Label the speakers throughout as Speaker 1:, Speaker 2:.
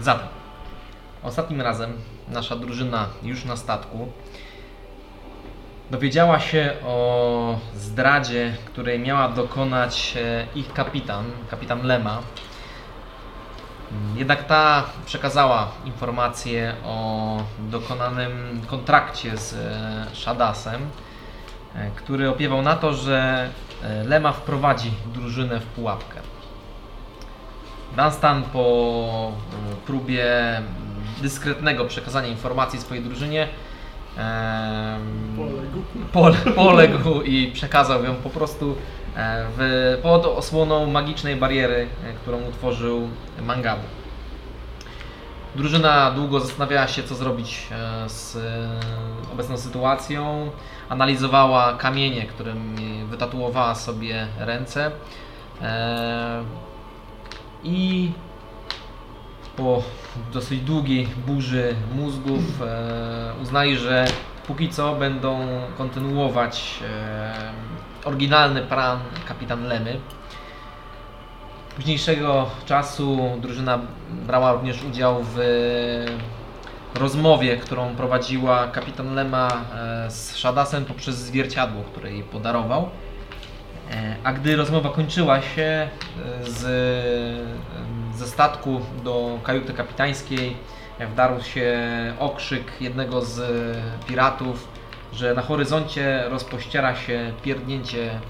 Speaker 1: Zatem, ostatnim razem nasza drużyna już na statku dowiedziała się o zdradzie, której miała dokonać e, ich kapitan, kapitan Lema. Jednak ta przekazała informację o dokonanym kontrakcie z e, Shadasem, e, który opiewał na to, że e, Lema wprowadzi drużynę w pułapkę. Dunstan po e, próbie dyskretnego przekazania informacji swojej drużynie em,
Speaker 2: Poległ.
Speaker 1: pole- poległ i przekazał ją po prostu e, w, pod osłoną magicznej bariery, e, którą utworzył Mangabu. Drużyna długo zastanawiała się, co zrobić e, z e, obecną sytuacją. Analizowała kamienie, którymi wytatuowała sobie ręce. E, I po dosyć długiej burzy mózgów e, uznali, że póki co będą kontynuować e, oryginalny plan kapitan Lemy. Późniejszego czasu drużyna brała również udział w rozmowie, którą prowadziła kapitan Lema e, z Shadasem poprzez zwierciadło, które jej podarował. E, A gdy rozmowa kończyła się, e, z, em, ze statku do kajuty kapitańskiej wdarł się okrzyk jednego z piratów, że na horyzoncie rozpościera się pierdnięcie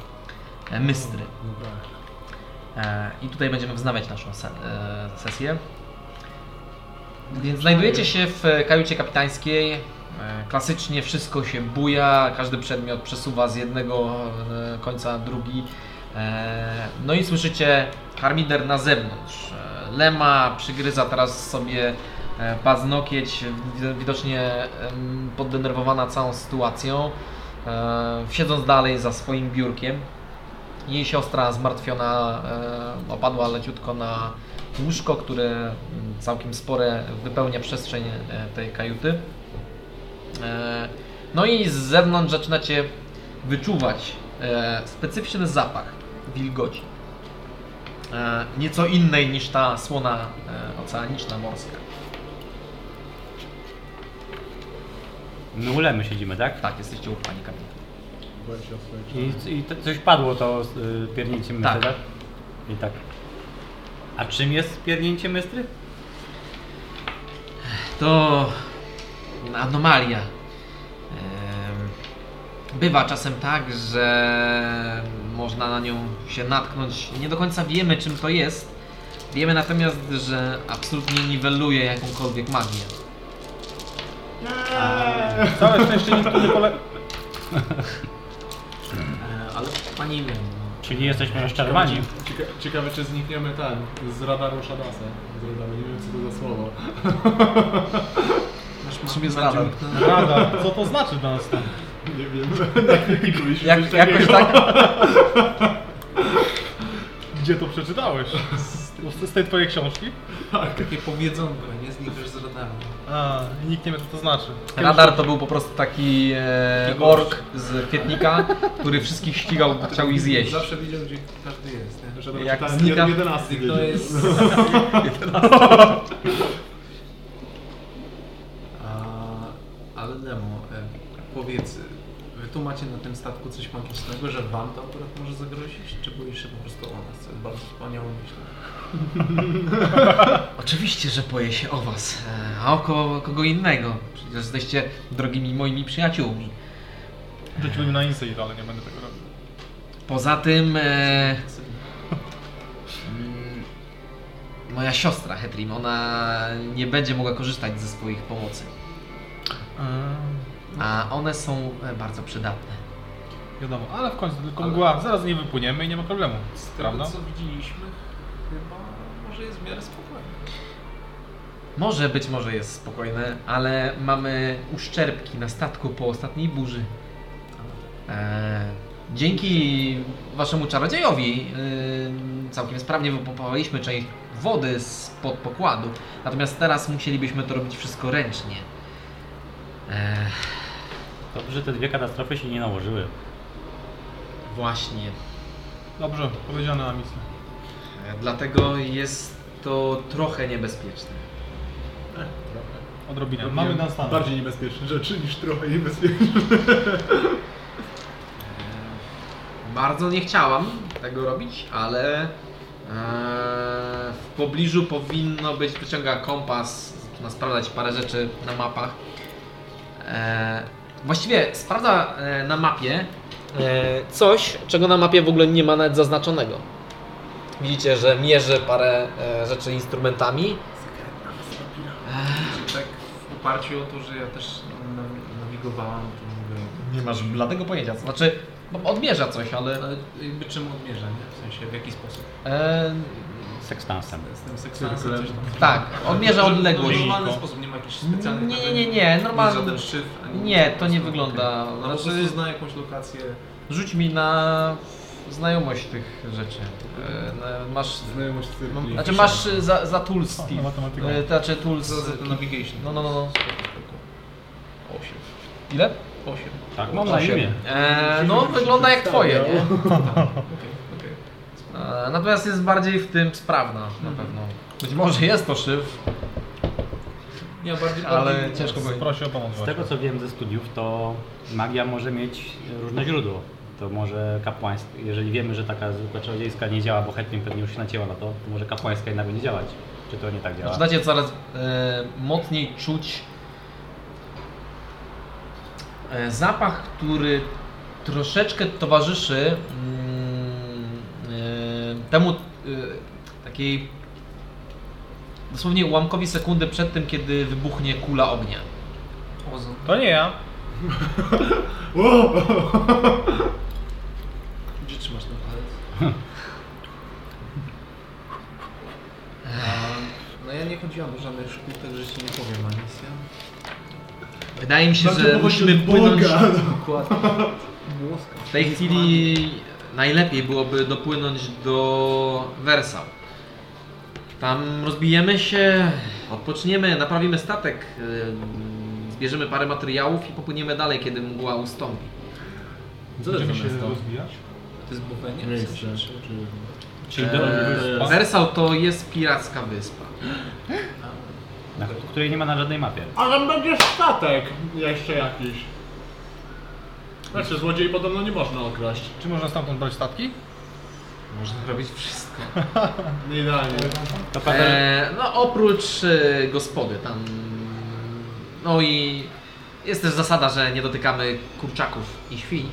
Speaker 1: e, mystry. E, I tutaj będziemy wznawiać naszą se- e, sesję. Więc znajdujecie się w kajucie kapitańskiej. E, Klasycznie wszystko się buja, każdy przedmiot przesuwa z jednego e, końca na drugi. E, No i słyszycie harmider na zewnątrz. E, Lema przygryza teraz sobie e, paznokieć, wi- widocznie em, poddenerwowana całą sytuacją, e, siedząc dalej za swoim biurkiem. Jej siostra zmartwiona e, opadła leciutko na łóżko, które mm, całkiem spore wypełnia przestrzeń e, tej kajuty. E, No i z zewnątrz zaczynacie wyczuwać e, specyficzny zapach wilgoci. E, Nieco innej niż ta słona e, oceaniczna morska.
Speaker 3: My ulemy siedzimy, tak?
Speaker 1: Tak, jesteście uchwani kapitanie.
Speaker 2: Byłem siostrą, jak
Speaker 3: I, i to, coś padło to y, pierdnięcie mystry,
Speaker 1: Tak.
Speaker 3: tak. I tak. A czym jest pierdnięcie mystry?
Speaker 1: To anomalia. Em, Bywa czasem tak, że można na nią się natknąć. Nie do końca wiemy, czym to jest. Wiemy natomiast, że absolutnie niweluje jakąkolwiek magię.
Speaker 2: Eee.
Speaker 3: Całe szczęście nikt tu nie
Speaker 1: E,
Speaker 3: pole...
Speaker 1: Ale pani no, wiem.
Speaker 3: Czyli jesteśmy rozczarowani.
Speaker 2: Cieka ciekawe, czy znikniemy ten, z radaru Shadasa. Z radaru, nie wiem co to za słowo.
Speaker 1: Masz czym jest radar?
Speaker 3: Rada, co to znaczy dla nas?
Speaker 2: Nie wiem, nie kliknęliśmy
Speaker 1: Jak,
Speaker 2: już
Speaker 1: jakoś
Speaker 2: takiego.
Speaker 1: tak.
Speaker 4: Gdzie to przeczytałeś? Z, z tej twojej książki?
Speaker 5: Takie powiedzonko, nie znikasz z radaru.
Speaker 4: A, i nikt nie wie co to znaczy.
Speaker 1: Radar to był po prostu taki e, ork z kwietnika, który wszystkich ścigał, bo chciał ich zjeść.
Speaker 5: Zawsze widział, gdzie każdy jest, nie?
Speaker 2: Shadar
Speaker 1: Jak
Speaker 2: czytałem
Speaker 1: znika-
Speaker 2: 11
Speaker 5: To
Speaker 2: wiedział.
Speaker 5: jest... A, Ale Nemo, e, powiedz, e, wy tu macie na tym statku coś magicznego, że wam to akurat może zagrozić? Czy boisz się po prostu o nas? To jest bardzo wspaniałe myślę.
Speaker 1: Oczywiście, że boję się o was, e, a o ko- kogo innego. Przecież jesteście drogimi moimi przyjaciółmi.
Speaker 4: Rzuciłbym na insight, ale nie będę tego robił.
Speaker 1: Poza tym, e, mm, moja siostra Hetrim, ona nie będzie mogła korzystać ze swoich pomocy,
Speaker 3: Eee,
Speaker 1: a one są e, bardzo przydatne.
Speaker 4: wiadomo, ale w końcu tylko
Speaker 5: Ale-
Speaker 4: mgła. Zaraz nie wypłyniemy i nie ma problemu.
Speaker 5: Z tego
Speaker 4: Prawda?
Speaker 5: co widzieliśmy, chyba może jest w miarę spokojnie.
Speaker 1: Może być, może jest spokojne, ale mamy uszczerbki na statku po ostatniej burzy. E, dzięki waszemu czarodziejowi y, całkiem sprawnie wypompowaliśmy część wody spod pokładu, natomiast teraz musielibyśmy to robić wszystko ręcznie. E,
Speaker 3: Dobrze, te dwie katastrofy się nie nałożyły.
Speaker 1: właśnie.
Speaker 4: Dobrze, powiedziana misja.
Speaker 1: E, Dlatego jest to trochę niebezpieczne.
Speaker 3: E,
Speaker 4: Odrobinę.
Speaker 2: Robiłem
Speaker 4: Mamy na stan.
Speaker 2: Bardziej niebezpieczne rzeczy niż trochę niebezpieczne.
Speaker 1: Bardzo nie chciałam tego robić, ale e, w pobliżu powinno być, wyciąga kompas, zaczyna sprawdzać parę rzeczy na mapach. E, właściwie sprawdza e, na mapie e, coś, czego na mapie w ogóle nie ma nawet zaznaczonego. Widzicie, że mierzy parę e, rzeczy instrumentami.
Speaker 5: Czyli tak w oparciu o to, że ja też na- nawigowałam, to mówię,
Speaker 1: Nie masz bladego pojęcia, to znaczy bo odmierza coś, ale
Speaker 5: ale jakby czym odmierza, nie? W sensie, w jaki sposób?
Speaker 1: e,
Speaker 3: Sekstansem.
Speaker 5: Z tym seksansem coś tam.
Speaker 1: tak, odmierza
Speaker 5: Że- no,
Speaker 1: odległość.
Speaker 5: normalny sposób, nie ma jakichś specjalnych...
Speaker 1: Nie, nie,
Speaker 5: narzędzi,
Speaker 1: nie, nie, normalny-
Speaker 5: Żaden szyfr, ani
Speaker 1: Nie,
Speaker 5: nic,
Speaker 1: to
Speaker 5: po
Speaker 1: nie
Speaker 5: prostu,
Speaker 1: wygląda-
Speaker 5: okej. No,
Speaker 1: znaczy-
Speaker 5: po prostu zna jakąś lokację.
Speaker 1: Rzuć mi na znajomość tych rzeczy. E, na- Masz.
Speaker 2: Znajomość cyrkli.
Speaker 1: Znaczy masz e, za, za tools
Speaker 2: no
Speaker 1: Steve.
Speaker 4: matematyka.
Speaker 1: E, to Znaczy tools.
Speaker 5: Za, za to navigation.
Speaker 1: No, no, no, no.
Speaker 5: Osiem.
Speaker 1: Ile?
Speaker 5: Osiem.
Speaker 3: Tak, mam na
Speaker 1: Osiem.
Speaker 3: imię.
Speaker 1: E, no wygląda jak twoje, nie?
Speaker 5: Okej, okej.
Speaker 1: E, natomiast jest bardziej w tym sprawna na pewno. Być może jest to szyf,
Speaker 5: Nie, bardziej...
Speaker 1: ale
Speaker 5: bardziej-
Speaker 1: ciężko powiedzieć.
Speaker 4: Prosi o pomoc
Speaker 3: Z
Speaker 4: właśnie.
Speaker 3: tego co wiem ze studiów, to magia może mieć różne źródło. To może kapłaństwo, jeżeli wiemy, że taka zwykła czarodziejska nie działa, bo chętnie pewnie już się nacięła na to, to może kapłańska jednak będzie działać. Czy to nie tak działa?
Speaker 4: Znaczy,
Speaker 1: Zaczynacie coraz e, mocniej czuć e, zapach, który troszeczkę towarzyszy mm, e, temu e, takiej dosłownie ułamkowi sekundy przed tym, kiedy wybuchnie kula ognia.
Speaker 5: Ozon.
Speaker 4: To nie ja.
Speaker 2: O!
Speaker 5: Gdzie trzymasz ten palec? No ja nie chodziłam do żadnych szkół, także ci nie powiem ani nic. Ja...
Speaker 1: Wydaje mi się,
Speaker 2: Znaczy,
Speaker 1: że
Speaker 2: pochodzi
Speaker 1: musimy
Speaker 2: od
Speaker 1: płynąć
Speaker 2: Boga.
Speaker 5: Dokładnie. Mózg.
Speaker 1: W tej chwili najlepiej byłoby dopłynąć do Wersal. Tam rozbijemy się, odpoczniemy, naprawimy statek, ym, zbierzemy parę materiałów i popłyniemy dalej, kiedy mgła ustąpi.
Speaker 2: Co to jest
Speaker 4: się
Speaker 2: miasto?
Speaker 4: rozbijać?
Speaker 5: To jest buchenie?
Speaker 2: Miejsce.
Speaker 4: tak,
Speaker 2: Czy...
Speaker 4: Czyli
Speaker 1: Eee, Wersal to jest piracka wyspa.
Speaker 3: Na, której nie ma na żadnej mapie.
Speaker 4: Ale będzie statek jeszcze jakiś.
Speaker 2: Znaczy, złodziei podobno nie można okraść.
Speaker 4: Czy można stamtąd brać statki?
Speaker 1: Można robić wszystko.
Speaker 2: Nie idealnie.
Speaker 4: E,
Speaker 3: To prawda, że
Speaker 1: Eee, no oprócz e, gospody tam... No i jest też zasada, że nie dotykamy kurczaków i świń.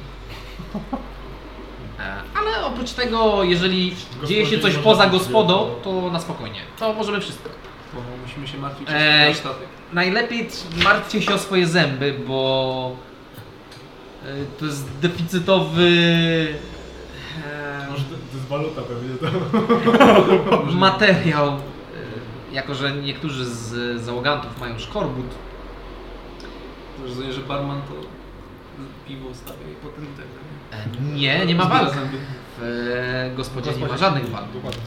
Speaker 1: E, Ale oprócz tego, jeżeli dzieje się
Speaker 2: Gospodzie
Speaker 1: coś
Speaker 2: nie
Speaker 1: poza
Speaker 2: można
Speaker 1: gospodą,
Speaker 2: powiedzieć.
Speaker 1: to na spokojnie. To możemy wszystko.
Speaker 5: Bo musimy się martwić
Speaker 1: Eee.
Speaker 5: eee. o statek.
Speaker 1: Najlepiej tr- martwcie się o swoje zęby, bo e, to jest deficytowy e,
Speaker 2: Może to, to jest waluta pewnie to.
Speaker 1: materiał, e, jako że niektórzy z załogantów mają szkorbut,
Speaker 5: Rozumiem, że barman to piwo stawia i potem tak.
Speaker 1: E, Nie, nie ma
Speaker 5: Zbiera
Speaker 1: walk.
Speaker 5: zęby.
Speaker 1: W e, gospodzie nie ma żadnych walk.
Speaker 4: Dokładnie.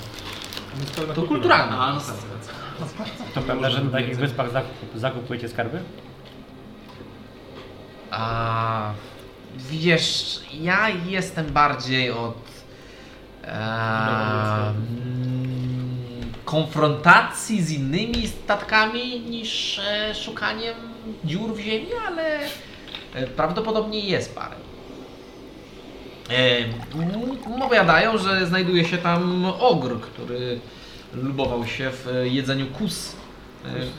Speaker 4: To jest
Speaker 1: To
Speaker 4: pełna
Speaker 1: kulturalne.
Speaker 4: kultura.
Speaker 5: A, no tak, tak.
Speaker 3: to prawda, że na takich wyspach zakup, zakupujecie skarby?
Speaker 1: A wiesz, ja jestem bardziej od e, mm, konfrontacji z innymi statkami niż e, szukaniem dziur w ziemi, ale e, prawdopodobnie jest parę. E, m- Opowiadają, że znajduje się tam ogr, który lubował się w e, jedzeniu kus.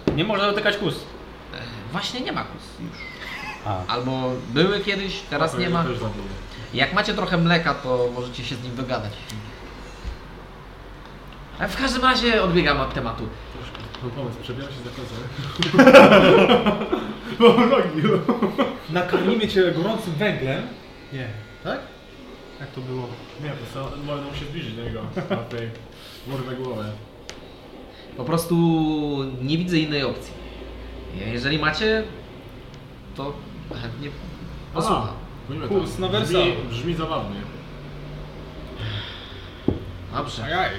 Speaker 1: E,
Speaker 3: Nie można dotykać kus.
Speaker 1: E, Właśnie nie ma kus już.
Speaker 3: A,
Speaker 1: Albo były kiedyś, teraz nie ma.
Speaker 2: Też zabiję.
Speaker 1: Jak macie trochę mleka, to możecie się z nim dogadać. A w każdym razie odbiegam od tematu.
Speaker 2: Mam pomysł, przebieram się za kozę. Bo nogi.
Speaker 4: Nakarmimy cię gorącym węglem. Nie. Tak? Jak to było?
Speaker 2: Nie, po prostu będą się zbliżyć do niego. Na tej murwę głowę.
Speaker 1: Po prostu nie widzę innej opcji. E, Jeżeli macie, to chętnie posłucham.
Speaker 2: Pójdźmy
Speaker 4: Kurs
Speaker 2: tam.
Speaker 4: na
Speaker 2: brzmi,
Speaker 4: Wersalu.
Speaker 2: brzmi zabawnie.
Speaker 1: Dobrze.
Speaker 4: Ajaj.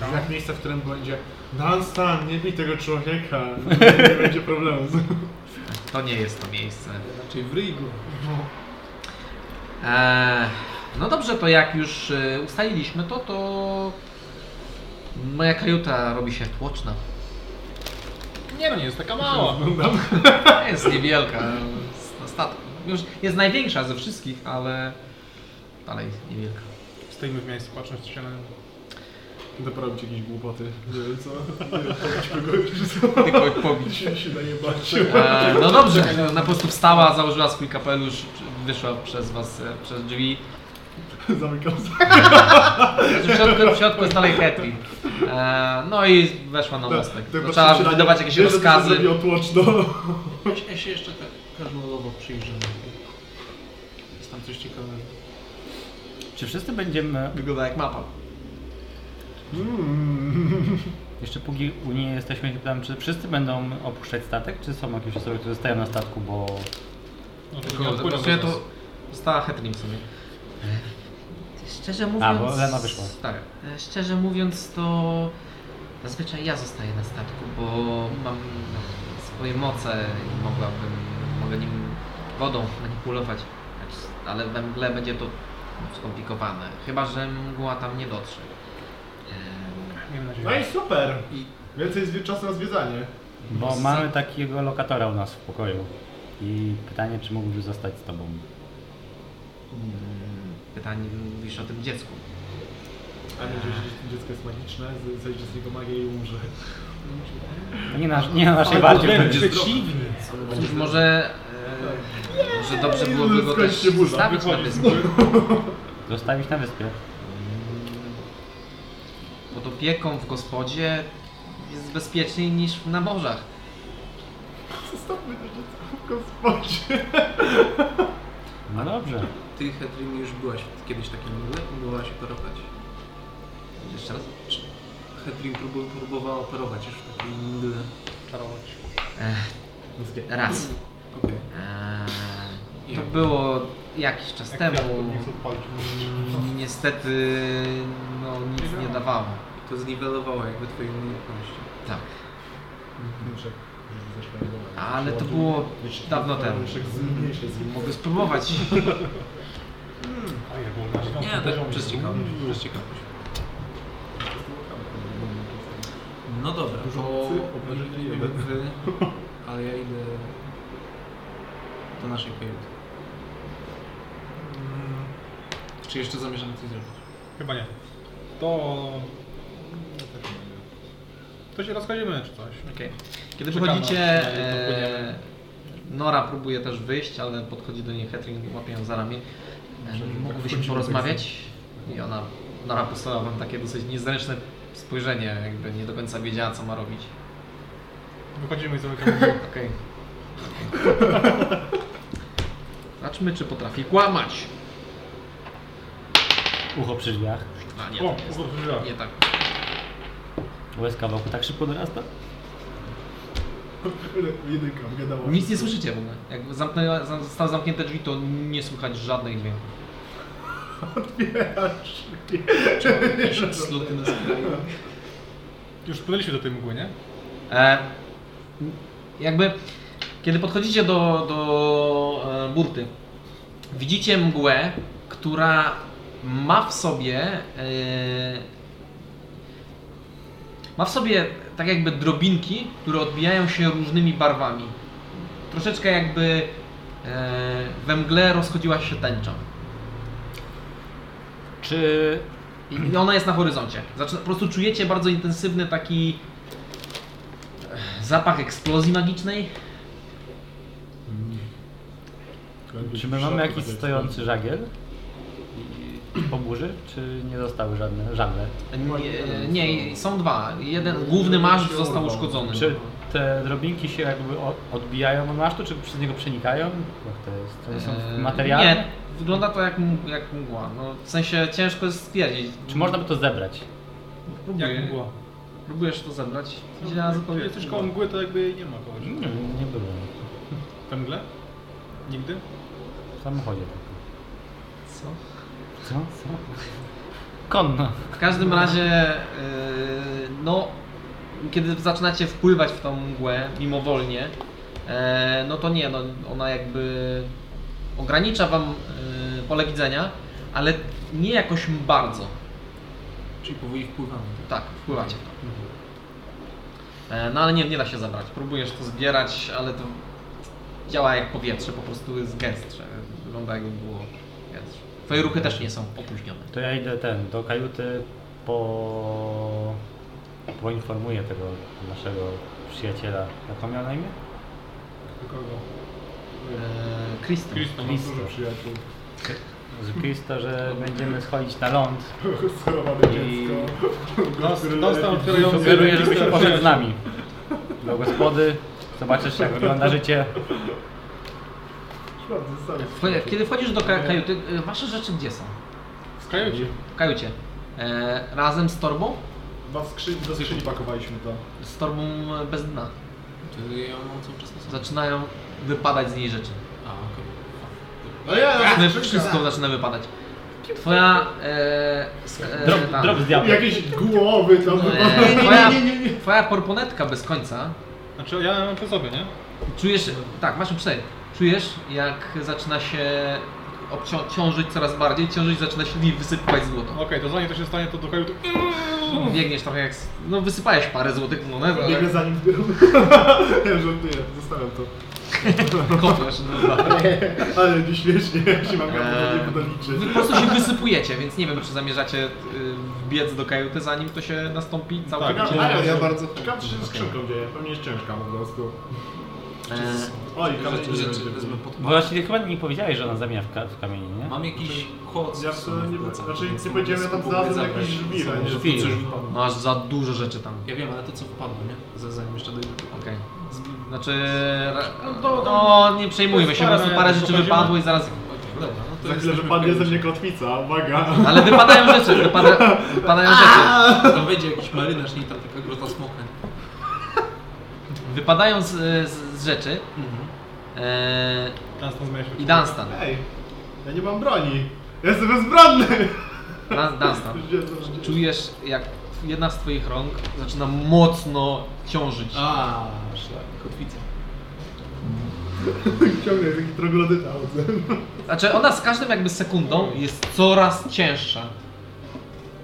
Speaker 2: Tam. Jak miejsce, w którym będzie Dan Stan, nie bij tego człowieka. Nie będzie problemu.
Speaker 1: To nie jest to miejsce.
Speaker 5: Raczej w Rygu.
Speaker 1: Eee, no dobrze, to jak już e, ustaliliśmy to, to moja kajuta robi się tłoczna.
Speaker 4: Nie no, nie jest taka mała.
Speaker 1: Jest niewielka. z- Na statku. Już jest największa ze wszystkich, ale dalej niewielka.
Speaker 4: Stoimy w miejscu, patrząc co się na
Speaker 2: Doprawić jakieś głupoty. Nie wiem co. Nie wiem, go już
Speaker 1: Tylko ich pobić.
Speaker 2: się, się najebać.
Speaker 1: E, no dobrze, ona po prostu wstała, założyła swój kapelusz, przy- wyszła przez was, e, przez drzwi.
Speaker 2: Zamykam za.
Speaker 1: Znaczy, W środku, w środku jest dalej Hetwin. E, no i weszła na mostek.
Speaker 2: Tak, tak
Speaker 1: Zaczęła
Speaker 2: patrzę się na
Speaker 1: wydawać
Speaker 2: nie.
Speaker 1: jakieś
Speaker 2: Wiesz, że to się
Speaker 1: rozkazy.
Speaker 2: zrobi otłoczno.
Speaker 5: Chodź, ja się jeszcze tak casualowo przyjrzymy. Jest tam coś ciekawego.
Speaker 3: Czy wszyscy będziemy...
Speaker 1: Wygląda jak mapa.
Speaker 3: Jeszcze póki Unii jesteśmy, się pytam, czy wszyscy będą opuszczać statek, czy są jakieś osoby, które zostają na statku, bo...
Speaker 4: No, to nie
Speaker 1: Tylko
Speaker 4: odpłyną
Speaker 1: właściwie
Speaker 4: do nas.
Speaker 1: to została Hetwin w sumie. Yy, Szczerze mówiąc...
Speaker 3: A, bo Lena wyszła.
Speaker 1: Tak. E, Szczerze mówiąc to zazwyczaj ja zostaję na statku, bo mam swoje moce i mogłabym, mogę nim wodą manipulować. Znaczy, Ale we mgle będzie to skomplikowane. Chyba, że mgła tam nie dotrze. Ehm,
Speaker 4: Miejmy nadzieję.
Speaker 2: No i super.
Speaker 1: I-
Speaker 2: Więcej jest czasu na zwiedzanie.
Speaker 3: Bo mamy takiego lokatora u nas w pokoju. I pytanie, czy mógłby zostać z tobą.
Speaker 1: Mm, Pytanie, mówisz o tym dziecku.
Speaker 2: A nie, że dziecko jest magiczne, z- zejdzie z niego magia i umrze.
Speaker 3: To nie na, nie na naszej
Speaker 4: Ale
Speaker 3: bardziej
Speaker 4: wręcz
Speaker 3: będzie.
Speaker 4: przeciwnie.
Speaker 1: Cóż, może, e, może dobrze byłoby go też
Speaker 2: Skończy się buza,
Speaker 1: stawić na
Speaker 2: wychodzi.
Speaker 1: wyspie,
Speaker 3: Zostawić na wyspie.
Speaker 1: pod opieką w gospodzie jest bezpieczniej niż na morzach.
Speaker 2: Zostawmy to dziecko w gospodzie.
Speaker 3: No dobrze.
Speaker 5: Ty, Hedrin, już byłaś kiedyś w takim mgle i byłaś operować.
Speaker 1: Jeszcze raz?
Speaker 5: Hedrin próbu- próbowała operować już w takim mgle.
Speaker 4: Czarować.
Speaker 1: Raz.
Speaker 5: Okej.
Speaker 1: Eee, to było jakiś czas temu. Mm, Niestety no, nic nie dawało.
Speaker 5: To zniwelowało jakby twoje umiejętności.
Speaker 1: Tak.
Speaker 2: Muszę zeszłego.
Speaker 1: Ale to było dawno temu.
Speaker 2: Muszę zmniejszyć z nim.
Speaker 1: Mogę spróbować.
Speaker 5: Nie, tak przez ciekawość. Przez ciekawość. No dobra,
Speaker 2: Dużo
Speaker 5: to
Speaker 2: mocy, obnażenie
Speaker 5: nie wiem
Speaker 2: jeden.
Speaker 5: wy, ale ja idę do naszej kajuty. Czy jeszcze zamierzam coś zrobić?
Speaker 4: Chyba nie. To... To się rozchodzimy czy coś.
Speaker 1: Okej. Kiedy
Speaker 4: Czekamy,
Speaker 1: wychodzicie,
Speaker 4: aż tutaj
Speaker 1: e,
Speaker 4: popłyniemy.
Speaker 1: Nora próbuje też wyjść, ale podchodzi do niej Hetring i łapie ją za ramię. E, Mogłybyśmy
Speaker 2: wchodzimy
Speaker 1: porozmawiać? I ona, Nora posłała wam takie dosyć niezręczne spojrzenie, jakby nie do końca wiedziała, co ma robić.
Speaker 4: Wychodzimy i zamykamy.
Speaker 1: Okej. Zobaczmy, czy potrafi kłamać.
Speaker 3: Ucho przy drzwiach.
Speaker 1: A nie,
Speaker 4: O,
Speaker 1: tak jest.
Speaker 4: uchodź
Speaker 1: Nie tak.
Speaker 3: Łezka wokół tak szybko dorasta?
Speaker 2: Jedynka, gadała.
Speaker 1: Nic nie słyszycie w ogóle. Jak zamknęła- za- zostały zamknięte drzwi, to nie słychać żadnych dźwięków.
Speaker 2: Wiesz,
Speaker 5: Sloty na skraju.
Speaker 4: Już płynęliśmy do tej mgły, nie?
Speaker 1: E, jakby, kiedy podchodzicie do, do e, burty, widzicie mgłę, która ma w sobie. E, ma w sobie tak jakby drobinki, które odbijają się różnymi barwami. Troszeczkę jakby e, we mgle rozchodziła się tęcza.
Speaker 3: Czy...
Speaker 1: I i ona jest na horyzoncie. Zaczyna, po prostu czujecie bardzo intensywny taki eh, zapach eksplozji magicznej.
Speaker 3: Czy my mamy jakiś stojący żagiel? I- Po burzy? Czy nie zostały żadne? Żagle.
Speaker 1: Nie, e, nie, są dwa. Jeden główny masz został uszkodzony.
Speaker 3: Czy Znaczy, te drobinki się jakby o- odbijają od masztu, czy przez niego przenikają? Jak to jest? To są
Speaker 1: Eh,
Speaker 3: materiały?
Speaker 1: Nie, wygląda to jak, m- jak mgła. No, w sensie ciężko jest stwierdzić.
Speaker 3: Czy można by to zebrać?
Speaker 1: Próbuję,
Speaker 4: Jak mgła.
Speaker 1: Próbujesz to zebrać. Widziała
Speaker 4: Jak
Speaker 1: zapowiedź.
Speaker 4: jesteś koło mgły, to jakby jej nie ma kogoś.
Speaker 3: Nie, nie było.
Speaker 4: Te mgle? Nigdy?
Speaker 3: W samochodzie tylko.
Speaker 1: Co?
Speaker 3: Co? Co? Konno.
Speaker 1: W każdym razie, yy, no, kiedy zaczynacie wpływać w tą mgłę mimowolnie, e, no to nie, no, ona jakby ogranicza wam yy, pole widzenia, ale nie jakoś bardzo.
Speaker 5: Czyli powoli wpływamy.
Speaker 1: Mhm. Tak, wpływacie w to. E, No ale nie, nie da się zabrać. Próbujesz to zbierać, ale to działa jak powietrze, po prostu jest gęstsze. Wygląda jakby było gęstsze. Twoje ruchy też nie są opóźnione.
Speaker 3: To ja idę ten, do kajuty po... poinformuję tego naszego przyjaciela. Jak on miał na imię?
Speaker 2: Kogo?
Speaker 1: E, Kristen.
Speaker 2: Kristo, mam
Speaker 3: Kristo.
Speaker 2: dużo przyjaciół.
Speaker 3: Z Krista, że będziemy schodzić na ląd
Speaker 2: Schorowane
Speaker 3: I-
Speaker 2: dziecko.
Speaker 4: Nos- Dostał
Speaker 3: I
Speaker 4: otwierający
Speaker 3: Sugeruję, żebyś poszedł z nami do gospody, zobaczysz jak wygląda życie.
Speaker 1: Wcho- Kiedy wchodzisz do ka- kajuty, e, wasze rzeczy gdzie są?
Speaker 2: W kajucie.
Speaker 1: W kajucie. E, razem z torbą?
Speaker 2: Do skrzyni, do skrzyni pakowaliśmy to.
Speaker 1: Z torbą e, bez dna.
Speaker 5: Czyli ja mam cały czas na sobie.
Speaker 1: Zaczynają wypadać z niej rzeczy.
Speaker 5: A, okej.
Speaker 2: No ja,
Speaker 1: No, Wszystko zaczyna wypadać. Twoja... E, sk- e,
Speaker 3: Drop,
Speaker 1: ta-
Speaker 3: drop z diabła.
Speaker 2: Jakieś głowy tam.
Speaker 1: e, twoja, twoja porponetka bez końca
Speaker 4: Znaczy ja mam po sobie, nie?
Speaker 1: Czujesz, tak, masz uprzedzenie. Czujesz, jak zaczyna się obcią- ciążyć coraz bardziej, ciążyć zaczyna się i wysypywać złoto.
Speaker 4: Okej, to zanim to się stanie, to do kajuty...
Speaker 1: Biegniesz trochę jak. s- No, wysypałeś parę złotych monet, ale
Speaker 2: Biegę za nim. Ja żartuję, zostawiam to.
Speaker 1: kopiesz. no dobra.
Speaker 2: Ale mi śmiesznie, jak się mam eee. nie
Speaker 1: Wy po
Speaker 2: podaliczy.
Speaker 1: prostu się wysypujecie, więc nie wiem, czy zamierzacie y, wbiec do kajuty, zanim to się nastąpi całkiem.
Speaker 4: Tak,
Speaker 2: a
Speaker 4: ja
Speaker 2: się-
Speaker 4: bardzo-
Speaker 2: Ciekawe, co się z skrzynką dzieje. Pewnie jest ciężka po prostu.
Speaker 1: E,
Speaker 2: Oj,
Speaker 5: Rzeczy,
Speaker 2: kamień
Speaker 5: rzeczy
Speaker 2: będzie.
Speaker 5: wezmę pod
Speaker 3: Bo Właśnie chyba nie powiedziałeś, że ona zamienia w, ka- w kamienie, nie?
Speaker 5: Mam jakiś koc.
Speaker 2: Ja
Speaker 5: w
Speaker 2: to
Speaker 5: sumie
Speaker 2: nie-
Speaker 5: w plecach,
Speaker 2: znaczy nic
Speaker 5: więc
Speaker 2: nie powiedziałem, ja tam
Speaker 5: spróbuję
Speaker 2: znalazłem
Speaker 5: zabrać
Speaker 2: jakieś żwir,
Speaker 5: ze
Speaker 2: a nie
Speaker 5: sobą, że
Speaker 2: żwir.
Speaker 5: to coś wypadło.
Speaker 1: masz za dużo rzeczy tam.
Speaker 5: Ja wiem, ale to co wypadło, nie? Z- Zanim jeszcze dojdę do
Speaker 1: Okej. Znaczy. No, nie przejmujmy się, po prostu parę rzeczy wypadło i zaraz.
Speaker 5: Okej, dobra, no to
Speaker 2: Za chwilę
Speaker 5: jesteśmy
Speaker 2: wypadnie
Speaker 5: w
Speaker 2: ze
Speaker 5: kajucie.
Speaker 2: mnie kotwica, uwaga.
Speaker 1: Ale wypadają rzeczy, wypada, wypadają rzeczy.
Speaker 5: Tam wejdzie jakiś marynarz, nie tam taka grota smoka.
Speaker 1: Wypadają z, z, z rzeczy.
Speaker 5: Mhm.
Speaker 1: E,
Speaker 4: Dunstan zmienia się.
Speaker 1: I Dunstan.
Speaker 2: Ej, ja nie mam broni. Ja jestem bezbronny.
Speaker 1: Dan- Dunstan. Czujesz, jak jedna z Twoich rąk zaczyna mocno ciążyć.
Speaker 5: A, szlak, kotwica.
Speaker 2: Ciągle taki troglodyta chodzę.
Speaker 1: Znaczy, ona z każdą jakby sekundą jest coraz cięższa.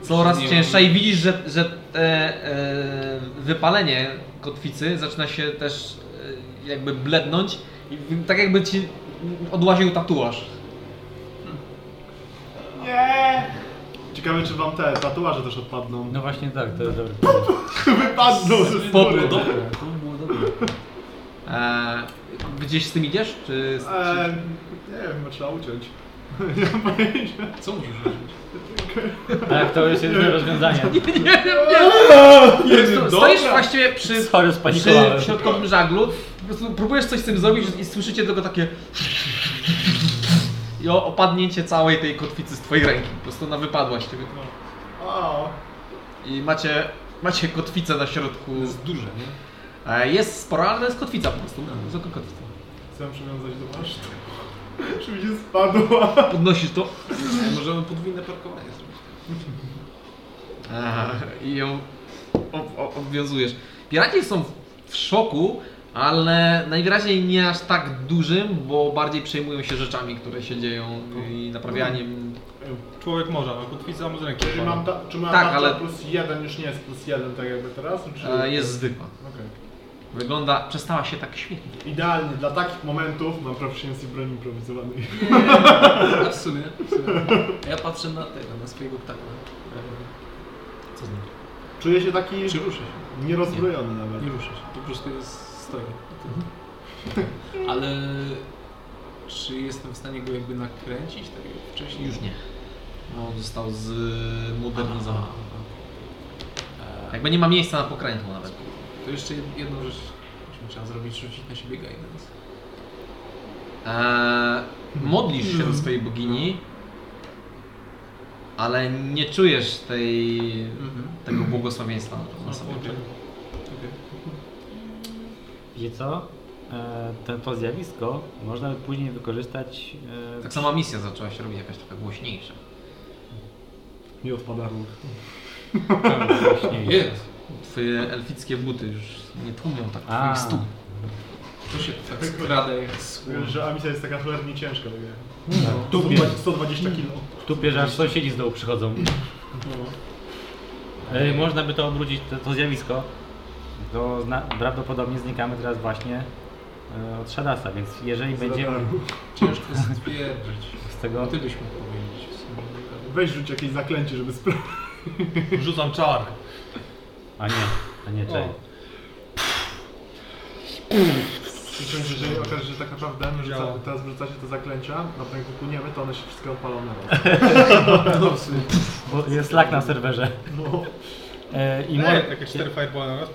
Speaker 1: Coraz
Speaker 5: Nie
Speaker 1: cięższa
Speaker 5: wiem.
Speaker 1: i widzisz, że, że e, e, wypalenie kotwicy zaczyna się też e, jakby blednąć. I w- tak jakby ci odłaził tatuaż.
Speaker 2: Nie! Ciekawe, czy wam te tatuaże też odpadną.
Speaker 3: No właśnie tak, to jest dobre.
Speaker 2: Wypadną ze
Speaker 1: Popół,
Speaker 2: skóry.
Speaker 1: dobra, to było dobre. E, gdzieś z tym idziesz? Czy, czy
Speaker 5: E,
Speaker 2: Eee, nie wiem, chyba trzeba uciąć. Nie mam pojęcia.
Speaker 5: Co możesz zrobić?
Speaker 3: Tak, to jest jedyne rozwiązanie.
Speaker 1: Nie wiem, nie. Sto- Stoisz właściwie przy,
Speaker 3: Sorry,
Speaker 1: przy
Speaker 3: spanikowałem.
Speaker 1: w środkowym żaglu, po prostu próbujesz coś z tym zrobić i słyszycie tylko takie i o- opadnięcie całej tej kotwicy z twojej ręki. Po prostu ona wypadła z ciebie.
Speaker 2: O,
Speaker 1: I macie, macie kotwicę na środku.
Speaker 5: To jest duże, nie?
Speaker 1: E, Jest spora, ale to jest kotwica po prostu. No, zwykła kotwica.
Speaker 2: chcę przywiązać do masztu. Czy mi się spadła?
Speaker 1: Podnosisz to
Speaker 5: Ale możemy podwójne parkowanie zrobić.
Speaker 1: Aha, I ją ob, ob, obwiązujesz. Piraci są w- w szoku, ale najwyraźniej nie aż tak dużym, bo bardziej przejmują się rzeczami, które się dzieją i naprawianiem.
Speaker 4: Człowiek może, a kotwica mu z ręki.
Speaker 2: Czy mam, ta, czy mam
Speaker 1: Tak,
Speaker 2: tarczę
Speaker 1: ale-
Speaker 2: plus jeden już nie jest plus jeden tak jakby teraz? Czy...
Speaker 1: E, Jest zwykła.
Speaker 2: Okej.
Speaker 1: Wygląda, przestała się tak świetnie.
Speaker 2: Idealnie, dla takich momentów mam proficiency broni improwizowanej.
Speaker 5: A w sumie, w sumie. A Ja patrzę na tego, na swojego ptaka. Co z nim?
Speaker 2: Czuję się taki
Speaker 5: E, Czy ruszę się?
Speaker 2: nierozbrojony nawet.
Speaker 5: Nie ruszę się, po prostu jest stoi. Ale czy jestem w stanie go jakby nakręcić tak jak wcześniej?
Speaker 1: Już nie. No, on został zmodernizowany.
Speaker 5: Aha.
Speaker 1: Jakby nie ma miejsca na pokrętło nawet.
Speaker 5: To jeszcze jed- jedną rzecz, którą trzeba zrobić, rzucić na siebie guidance.
Speaker 1: Eee, modlisz się do swojej bogini, ale nie czujesz tej,
Speaker 5: Mhm.
Speaker 1: tego błogosławieństwa na sobie.
Speaker 3: Wiecie co? E, To, to zjawisko można by później wykorzystać e,
Speaker 1: Tak sama misja zaczęła się robić jakaś trochę głośniejsza.
Speaker 2: Mi odpada ruch.
Speaker 3: właśnie.
Speaker 5: Tak. Jest!
Speaker 1: Twoje elfickie buty już nie tłumią tak
Speaker 3: A.
Speaker 1: twoich stóp.
Speaker 5: To się tak skrada jak
Speaker 2: Wiem,
Speaker 5: słon.
Speaker 2: że Amisa jest taka cholernie ciężka. Tak jak.
Speaker 4: No.
Speaker 3: Tu
Speaker 2: 120, 120 kilo.
Speaker 3: Tupie, że aż sąsiedzi z dołu
Speaker 5: No.
Speaker 3: przychodzą. E, Można by to obrócić, to, to zjawisko, to zna, prawdopodobnie znikamy teraz właśnie e, od Shadasa, więc jeżeli będziemy
Speaker 5: Ciężko stwierdzić.
Speaker 3: z tego...
Speaker 5: No ty byś mógł powiedzieć w sumie. ale-
Speaker 2: Weź rzuć jakieś zaklęcie, żeby sprawdzić.
Speaker 4: Rzucam czar.
Speaker 3: A nie, a nie, czekaj.
Speaker 2: Przyciągnij, jeżeli okaże się, że tak naprawdę my rzuca,
Speaker 4: Działa.
Speaker 2: teraz wrzucacie te zaklęcia, na pewno jak wypłyniemy, to one się wszystkie odpalą na
Speaker 5: No, w sumie.
Speaker 3: Bo jest lak na serwerze.
Speaker 2: No,
Speaker 3: E,
Speaker 5: No
Speaker 3: I
Speaker 4: Nie,
Speaker 3: może,
Speaker 5: tak
Speaker 4: takie cztery fireball na raz.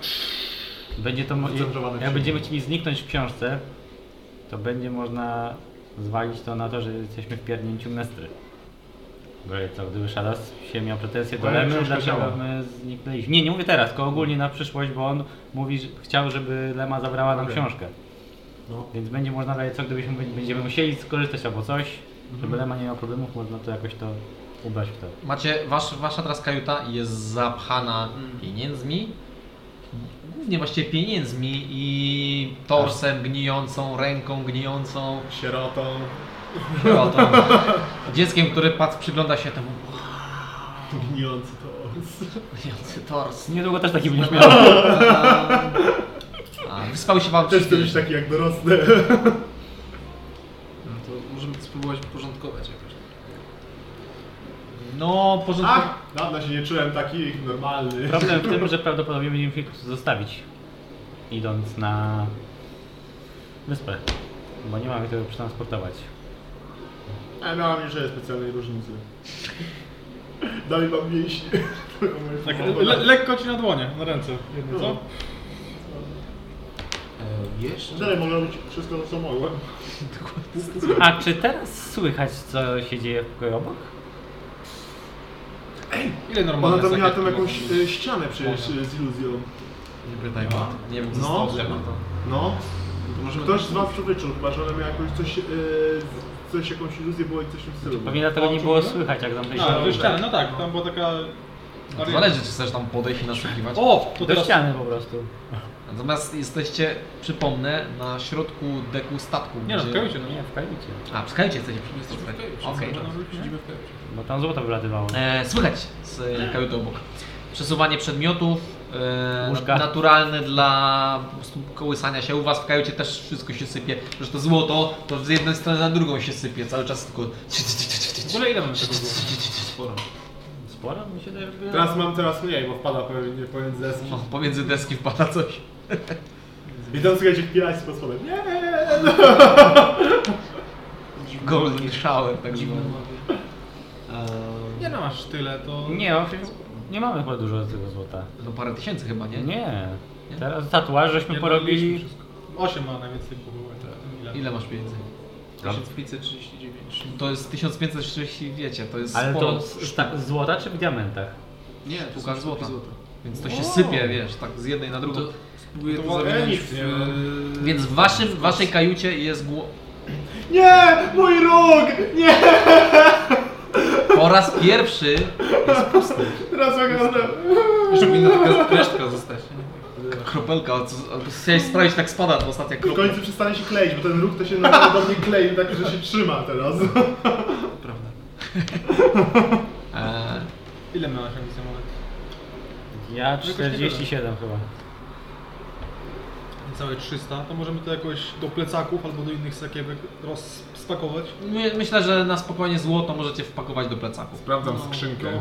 Speaker 3: będzie to mo-
Speaker 2: Skoncentrowane
Speaker 3: jak
Speaker 2: przyjęcie.
Speaker 3: będziemy chcieli zniknąć w książce, to będzie można zwalić to na to, że jesteśmy w pierdnięciu mestry. Bo co, gdyby Shadas się miał pretensje do
Speaker 2: Ale
Speaker 3: Lemy,
Speaker 2: książka działa.
Speaker 3: dlaczego my zniknęliśmy? Nie, nie mówię teraz, tylko ogólnie na przyszłość, bo on mówi, że chciał, żeby Lema zabrała nam
Speaker 2: Okej.
Speaker 3: książkę.
Speaker 2: no.
Speaker 3: Więc będzie można dać co, gdybyśmy będziemy musieli skorzystać albo coś, żeby Lema nie miał problemów, można to jakoś to ubrać w to.
Speaker 1: Macie, wasz, wasza teraz kajuta jest zapchana pieniędzmi. Głównie właściwie pieniędzmi i torsem gnijącą, ręką gnijącą,
Speaker 2: Sierotą.
Speaker 1: sierotą. Dzieckiem, które pac przygląda się temu
Speaker 2: Gnijący to os.
Speaker 1: gnijący tors.
Speaker 3: Niedługo też taki będziesz miał.
Speaker 1: A, wyspał się wam
Speaker 2: Też
Speaker 1: trzy
Speaker 2: chcę być
Speaker 1: dni.
Speaker 2: taki jak dorosły.
Speaker 5: No to możemy to spróbować uporządkować jakoś.
Speaker 1: No, porządku.
Speaker 2: Ach, dawno się nie czułem taki normalny.
Speaker 3: Problem w tym, że prawdopodobnie będziemy musieli kogoś zostawić, idąc na wyspę, bo nie mamy tego przetransportować.
Speaker 2: A miałam już specjalnej różnicy. Dalej mam mięśnie. To moje
Speaker 4: Tak,
Speaker 2: powodowe.
Speaker 4: le, lekko ci na dłonie, na ręce. Jedno, co?
Speaker 5: E,
Speaker 2: Dalej
Speaker 5: jeszcze?
Speaker 2: mogę robić wszystko to, co mogłem.
Speaker 3: A czy teraz słychać, co się dzieje w pokoju obok?
Speaker 4: Ile normalne
Speaker 2: Ona tam No miała
Speaker 4: sakiewki
Speaker 2: tam jakąś
Speaker 4: mogą-
Speaker 2: y, ścianę przecież y, z iluzją.
Speaker 1: Nie pytaj go. Nie wiem, co
Speaker 2: No.
Speaker 1: no.
Speaker 5: Lewa to.
Speaker 2: No.
Speaker 5: to możemy
Speaker 2: Ktoś z was to wyczuł, chyba że ona miała jakąś coś, y, coś jakąś iluzję było i coś w tym stylu.
Speaker 3: Pewnie dlatego nie było słychać, jak
Speaker 4: A, do
Speaker 3: zamknęliśmy
Speaker 4: ściany, no tak, tam była taka...
Speaker 1: To zależy, czy chcesz tam podejść i naszukiwać.
Speaker 4: O, to
Speaker 3: do
Speaker 4: teraz...
Speaker 3: ściany po prostu.
Speaker 1: Natomiast jesteście, przypomnę, na środku deku statku.
Speaker 4: Nie no,
Speaker 1: gdzie-
Speaker 4: skakujcie, no.
Speaker 3: Nie, w kajucie,
Speaker 1: A, przykajcie, chcecie
Speaker 5: Jesteśmy w
Speaker 1: przyjść.
Speaker 5: kajucie.
Speaker 1: Okej.
Speaker 5: No, no, Siedzimy w kajucie.
Speaker 3: bo tam złoto wylatywało.
Speaker 1: E, słychać z e, kajuty obok. Przesuwanie przedmiotów, e,
Speaker 3: Łóżka.
Speaker 1: naturalne dla po prostu kołysania się. U was w kajucie też wszystko się sypie. Przecież to złoto, to z jednej strony na drugą się sypie. Cały czas tylko...
Speaker 4: W ogóle ile mamy tego było?
Speaker 5: Sporo.
Speaker 3: Sporo mi się daje, że...
Speaker 2: Teraz mam teraz mniej, bo wpada pewnie pomiędzy deski.
Speaker 1: No, pomiędzy deski wpada coś.
Speaker 2: I tam słuchajcie, piraci pod spodem. Nie,
Speaker 1: Golden shower, tak
Speaker 5: Dziwne
Speaker 1: zwany.
Speaker 5: mapie. E,
Speaker 4: Nie no, masz tyle, to...
Speaker 3: Nie, o, nie mamy chyba dużo tego złota.
Speaker 1: No parę tysięcy chyba, nie?
Speaker 3: Nie, teraz tatuaż żeśmy
Speaker 4: nie no,
Speaker 3: porobili...
Speaker 4: wszystko. Osiem ma najwięcej tak. było. Ile?
Speaker 1: Ile masz pieniędzy?
Speaker 5: 1539.
Speaker 1: To jest 1530, wiecie, to jest
Speaker 3: Ale
Speaker 1: sporo.
Speaker 3: to z, ta, z złota czy w diamentach?
Speaker 5: Nie, to
Speaker 1: Sztuka
Speaker 5: są
Speaker 1: złota.
Speaker 5: sztuki
Speaker 1: Więc to się sypie, wiesz, tak z jednej na drugą.
Speaker 5: To spróbuję
Speaker 2: No To
Speaker 5: to,
Speaker 2: było
Speaker 5: zamienić
Speaker 2: elif,
Speaker 5: w...
Speaker 2: nie?
Speaker 5: e,
Speaker 1: Więc w waszym, w waszej kajucie jest gło...
Speaker 2: nie, mój róg! Nie!
Speaker 1: Po raz pierwszy
Speaker 2: Teraz wygląda.
Speaker 5: Żeby mi taka resztka zostać. nie?
Speaker 1: kropelka, od- od- chciałeś sprawdzić, tak spada to ostatnia
Speaker 2: W
Speaker 1: kropelka.
Speaker 2: końcu przestanie się kleić, bo ten róg to się na do mnie klei, tak że się trzyma teraz.
Speaker 5: Prawda.
Speaker 1: Eee,
Speaker 4: Ile my masz ambicje mamy?
Speaker 3: Ja
Speaker 4: Jakoś niedużo.
Speaker 3: 47 chyba.
Speaker 4: Niecałe 300, to możemy to jakoś do plecaków albo do innych sakiewek rozspakować.
Speaker 1: my- myślę, że na spokojnie złoto możecie wpakować do plecaków.
Speaker 2: Sprawdzam
Speaker 4: To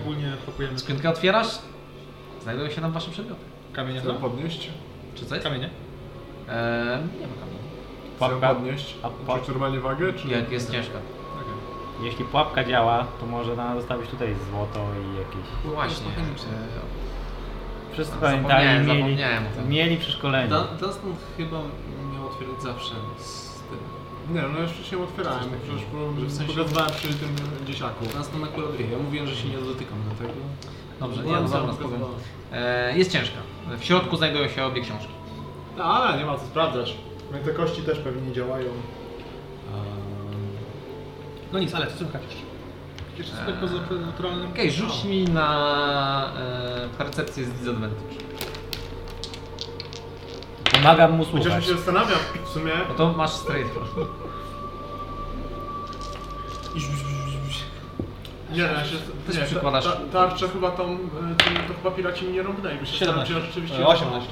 Speaker 4: ogólnie pakujemy
Speaker 1: Skrzynkę otwierasz, znajdują się tam wasze przedmioty.
Speaker 4: kamienie.
Speaker 2: Chcę
Speaker 4: tak?
Speaker 2: podnieść.
Speaker 1: Czy
Speaker 2: Tak.
Speaker 1: coś?
Speaker 4: Kamienie.
Speaker 1: Eee, nie ma kamieni.
Speaker 2: Chcę
Speaker 3: Pułapka,
Speaker 2: podnieść.
Speaker 3: a po-
Speaker 2: Czuć normalnie wagę, czy...
Speaker 1: Jak jest ciężka.
Speaker 4: Okay.
Speaker 3: jeśli pułapka działa, to może nam zostawić tutaj złoto i jakieś...
Speaker 1: No Właśnie.
Speaker 3: Wszyscy
Speaker 1: No, Zapomniałem,
Speaker 3: pamiętali, mieli,
Speaker 1: zapomniałem o tym.
Speaker 3: mieli przeszkolenie.
Speaker 5: Da- Dunstan chyba miał otwierać zawsze z tym.
Speaker 2: Nie, no jeszcze się otwierałem, bo przecież
Speaker 5: Że w sensie-
Speaker 2: pokazywałem przy tym dzieciaku.
Speaker 5: Dunstan akurat wie. Ja mówiłem, że się nie dotykam do tego.
Speaker 1: Dobrze, nie, no dobra, spokojnie. Eee, jest ciężka. W środku znajdują się obie książki.
Speaker 2: No, ale nie ma co sprawdzać. No i te kości też pewnie nie działają.
Speaker 4: Ehm. No nic, ale słychać jeszcze. Jeszcze eee. poza naturalnym.
Speaker 1: Okej, rzuć mi na e, percepcję z disadvantage.
Speaker 3: Pomagam mu
Speaker 2: Chociaż mi
Speaker 3: słuchać.
Speaker 2: się zastanawiam w sumie.
Speaker 1: No to masz straight. roll.
Speaker 2: Nie, ja się.
Speaker 1: Też
Speaker 2: nie,
Speaker 1: przykładasz-
Speaker 2: e, Ta, ta, tarczę chyba tą. y, tym- To chyba piraci mi nie rąbnęli. Bo się
Speaker 4: 17.
Speaker 2: zastanawiam, czy ja rzeczywiście.
Speaker 4: E, 18.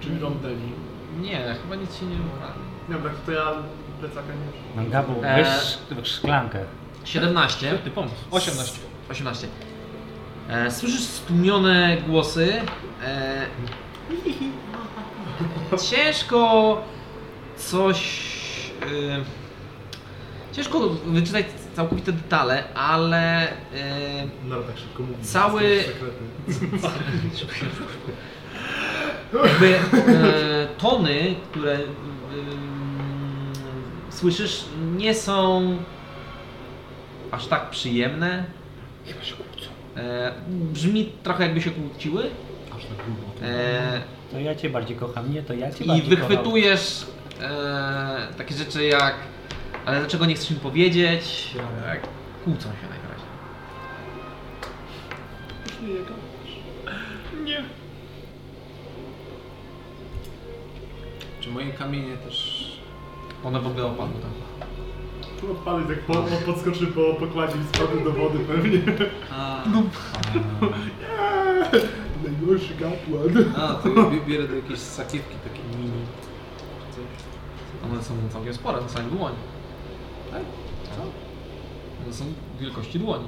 Speaker 2: Czyli rąbdeli.
Speaker 1: Nie, chyba nic się nie ukradnie.
Speaker 2: Dobra, tak to ja plecaka nie mam.
Speaker 3: No Gabu,
Speaker 1: Eee.
Speaker 3: weź sz- szklankę.
Speaker 1: 17.
Speaker 3: Ty pomysł.
Speaker 1: 18. 18. E, słyszysz stłumione głosy. E, ciężko coś. E, ciężko wyczytać całkowite detale, ale. E,
Speaker 2: Nara tak szybko mówi.
Speaker 1: Cały-
Speaker 2: To jest sekretny.
Speaker 1: jakby e, tony, które ym, słyszysz, nie są aż tak przyjemne. E, brzmi trochę jakby się kłóciły. tak E,
Speaker 3: To ja cię bardziej kocham, nie, to ja cię
Speaker 1: I
Speaker 3: bardziej kocham.
Speaker 1: wychwytujesz e, takie rzeczy jak ale dlaczego nie chcesz mi powiedzieć? E, kłócą się najwyraźniej.
Speaker 5: Czy moje kamienie też...
Speaker 1: One w ogóle opadły tak? tam.
Speaker 2: Odpadł jak po, on podskoczy po pokładzie i spadł do wody pewnie.
Speaker 5: A,
Speaker 2: Najgorszy kapłan.
Speaker 5: a to ja bi- biorę do jakiejś sakiewki takie mini. czy Coś.
Speaker 1: One są całkiem spore, to są dłoni.
Speaker 5: Tak?
Speaker 1: Co? One są wielkości dłoni.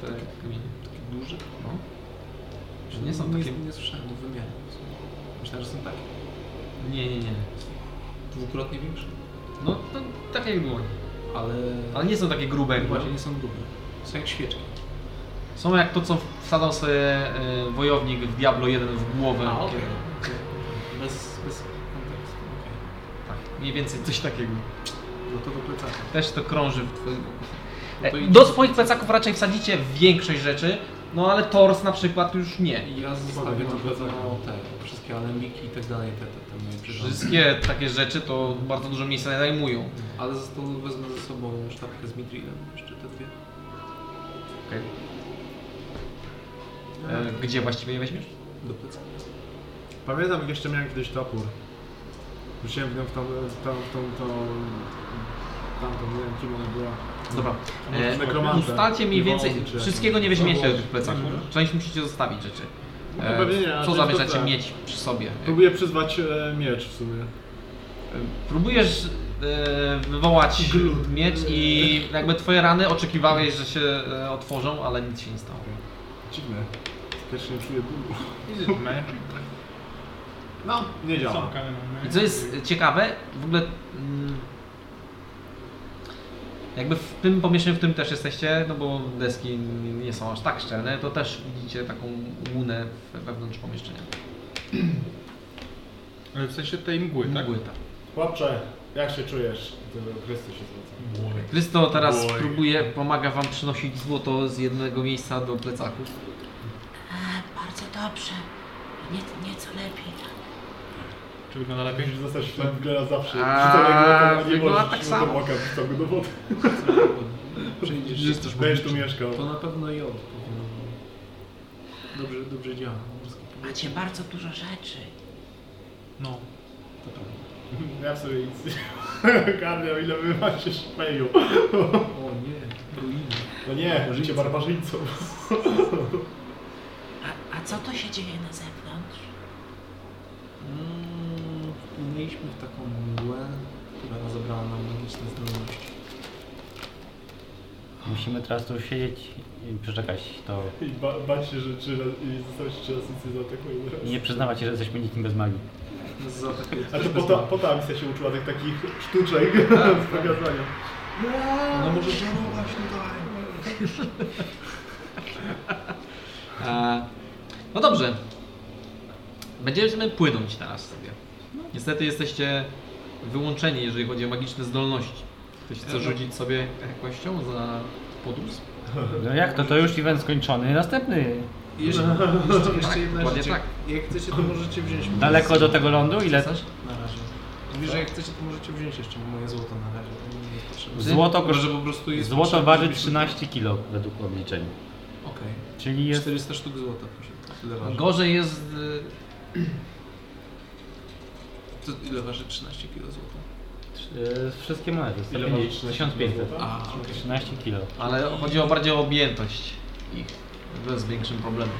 Speaker 1: Te kamienie.
Speaker 5: Takie duże.
Speaker 1: No. Że nie są takie...
Speaker 5: Nie, nie słyszałem o wymianie. Myślałem, że są takie.
Speaker 1: Nie, nie, nie.
Speaker 5: Dwukrotnie większe.
Speaker 1: No, to tak jak dłoń.
Speaker 5: Ale... tak
Speaker 1: Ale nie są takie grube jak
Speaker 5: Właśnie
Speaker 1: dłoń.
Speaker 5: nie są grube. Są jak świeczki.
Speaker 1: Są jak to, co wsadzał sobie y, wojownik w Diablo 1 w głowę.
Speaker 5: A, okej.
Speaker 1: Kiedy-
Speaker 5: Bez, bez kontekstu. okej.
Speaker 1: Tak, mniej więcej coś takiego.
Speaker 5: No to do plecaka.
Speaker 1: Też to krąży w twoim...
Speaker 5: No to
Speaker 1: E,
Speaker 5: idź.
Speaker 1: Do swoich plecaków raczej wsadzicie większość rzeczy, no ale tors na przykład już nie.
Speaker 5: I ja zostawię na pewno te wszystkie alembiki i tak dalej, te, te, te moje przyrządy.
Speaker 1: Wszystkie takie rzeczy to bardzo dużo miejsca nie zajmują.
Speaker 5: Ale został, wezmę ze sobą sztabkę z mitrilem, jeszcze te dwie.
Speaker 1: E, Gdzie właściwie je weźmiesz?
Speaker 5: Do plecaka.
Speaker 2: Pamiętam jak jeszcze miałem kiedyś topór. Rzuciłem w nią w tą, e, w tą, w tą, w tą, tamtą, nie wiem kim ona była.
Speaker 1: Dobra.
Speaker 2: Może
Speaker 1: E,
Speaker 2: nekromantę.
Speaker 1: ustalcie mniej
Speaker 2: No, Nie
Speaker 1: więcej,
Speaker 2: wolno, czy-
Speaker 1: wszystkiego nie weźmiecie
Speaker 2: No,
Speaker 1: do tych plecaków.
Speaker 2: mhm.
Speaker 1: Część musicie zostawić rzeczy.
Speaker 2: No to
Speaker 1: E,
Speaker 2: pewnie nie,
Speaker 1: Co
Speaker 2: ale część
Speaker 1: zamierzacie
Speaker 2: zostawiam.
Speaker 1: mieć przy sobie?
Speaker 2: Próbuję przyzwać e, miecz w sumie.
Speaker 1: Próbujesz e, wywołać miecz i jakby twoje rany oczekiwałeś, że się e, otworzą, ale nic się nie stało.
Speaker 2: Dziwne. Pierwszy nie czuję bólu.
Speaker 4: No.
Speaker 2: Nie działa.
Speaker 4: Sąka, no.
Speaker 1: I co jest ciekawe, w ogóle mm, jakby w tym pomieszczeniu, w którym też jesteście, no bo deski nie są aż tak szczelne, to też widzicie taką łunę w- wewnątrz pomieszczenia.
Speaker 4: Ale w sensie tej mgły, tak?
Speaker 1: Mgły, tak.
Speaker 2: Chłopcze, jak się czujesz? To Chrystus się zwraca.
Speaker 1: Krysto teraz
Speaker 4: Oj.
Speaker 1: próbuje, pomaga wam przynosić złoto z jednego miejsca do plecaków.
Speaker 6: A, bardzo dobrze. Nie, nieco lepiej.
Speaker 4: Czy wygląda lepiej?
Speaker 2: Musisz zostać w tym gra zawsze.
Speaker 1: A,
Speaker 2: Rzucam go, nie
Speaker 1: wygląda
Speaker 2: możesz.
Speaker 1: tak
Speaker 2: Tak
Speaker 1: samo.
Speaker 2: do oka, wrzucam go do wody.
Speaker 5: Przyjdziesz,
Speaker 2: Będziesz tu mieszkał.
Speaker 5: To na pewno jod powinno Dobrze, dobrze działa.
Speaker 6: Macie bardzo dużo rzeczy.
Speaker 4: No.
Speaker 2: Ja w sobie nic Karmiał, ile wy macie szpeju.
Speaker 5: O nie, ruiny.
Speaker 2: No nie, życie barbarzyńcą.
Speaker 6: A, a co to się dzieje na zewnątrz?
Speaker 5: Mm, Wpłynęliśmy w taką mgłę, która zabrała nam magiczne zdolności.
Speaker 3: Musimy teraz tu siedzieć i przeczekać to.
Speaker 2: I ba bać się, że trzy raz- i zostałeś trzy razy nic nie zaatakuje.
Speaker 3: I nie przyznawać się, że jesteśmy nikim bez magii.
Speaker 5: Nas zaatakuje
Speaker 2: A
Speaker 5: coś
Speaker 2: to po,
Speaker 5: bez
Speaker 2: ta,
Speaker 5: magii.
Speaker 2: po ta misja się uczyła tych takich sztuczek z pokazania.
Speaker 5: No może żarować tutaj.
Speaker 1: E, no dobrze. Będziemy płynąć teraz sobie. Niestety jesteście wyłączeni, jeżeli chodzi o magiczne zdolności. Ktoś chce rzucić sobie kością za podróż?
Speaker 3: No jak to? To już event skończony, następny.
Speaker 5: Jeszcze, jeszcze,
Speaker 1: Tak,
Speaker 5: jeszcze jedna
Speaker 1: dokładnie
Speaker 5: rzecz.
Speaker 1: tak.
Speaker 5: Jak chcecie, to możecie wziąć.
Speaker 3: Daleko do tego lądu? Ile?
Speaker 1: Chcesz?
Speaker 5: Na razie. Mówię, że jak chcecie, to możecie wziąć jeszcze moje złoto na razie. To nie jest potrzebne.
Speaker 3: Złoto,
Speaker 5: Tylko, że
Speaker 3: kosz...
Speaker 5: po prostu jest
Speaker 3: Złoto
Speaker 5: potrzebne,
Speaker 3: waży
Speaker 5: żebyśmy-
Speaker 3: 13 kg według obliczeń.
Speaker 5: Okej.
Speaker 3: Czyli jest
Speaker 5: 400 sztuk złota. proszę. Tyle waży.
Speaker 1: Gorzej jest.
Speaker 5: To ile waży 13 kg złota?
Speaker 3: e, wszystkie monety.
Speaker 2: Ile masz?
Speaker 3: 150, 1500.
Speaker 5: A,
Speaker 3: 13 kg.
Speaker 1: e, Ale chodzi o bardziej o objętość ich. To jest większym problemem.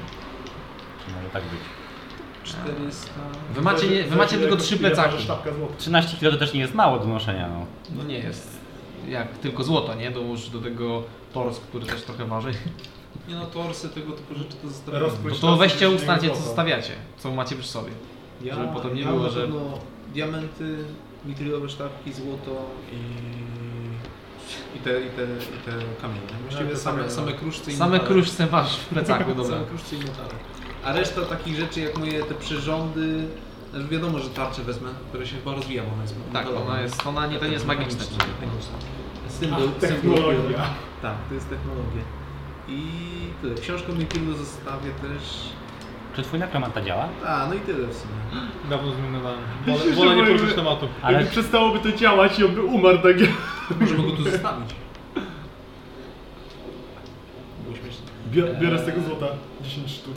Speaker 3: Może tak być.
Speaker 5: 400...
Speaker 1: Wy macie, nie, wy macie tylko trzy plecaki.
Speaker 2: Sztabka złota.
Speaker 3: 13 kg to też nie jest mało do noszenia, no.
Speaker 1: No nie jest. Jak tylko złoto, nie? Dołóż do tego tors, który też trochę waży.
Speaker 5: Nie no, torsy, tego typu rzeczy to zostawiam.
Speaker 2: Rozpłyń
Speaker 1: No to
Speaker 2: sztabkę
Speaker 1: weźcie
Speaker 2: żebyś
Speaker 1: ustacie,
Speaker 2: nie
Speaker 1: co
Speaker 2: kopał.
Speaker 1: zostawiacie, co macie przy sobie. żeby potem nie było,
Speaker 5: na
Speaker 1: że-
Speaker 5: pewno Diamenty, mitrylowe sztabki, złoto i... I te, i te, i te kamienie. Właściwie
Speaker 2: No, to
Speaker 5: same,
Speaker 2: kamienie, no.
Speaker 5: same kruszce i
Speaker 1: Same
Speaker 5: metale.
Speaker 1: kruszce masz w plecaku, dobra.
Speaker 5: Same kruszce i metale. A reszta takich rzeczy jak moje te przyrządy... Znaczy wiadomo, że tarczę wezmę, która się chyba rozwija, bo ona jest
Speaker 1: Tak,
Speaker 5: metalowa.
Speaker 1: ona jest, ona nie, to nie jest
Speaker 5: Tak,
Speaker 1: magiczne.
Speaker 5: Techniczne. Symbol,
Speaker 2: Ach,
Speaker 5: symbol.
Speaker 2: technologia.
Speaker 5: Tak, to jest technologia. I tyle. Książkę Mikilu zostawię też.
Speaker 3: Czy twój nekromanta działa?
Speaker 5: A, no i tyle w sumie.
Speaker 4: Dawno zmieniowałem. Wolę,
Speaker 2: Myślę, że
Speaker 4: wolę nie
Speaker 2: byłyby-
Speaker 4: poruszyć tematu.
Speaker 3: Ale-
Speaker 2: Jakby przestałoby to działać i on by umarł tak jak...
Speaker 5: Możemy go tu zostawić. Było śmieszne.
Speaker 2: Biorę, biorę z tego złota 10 sztuk.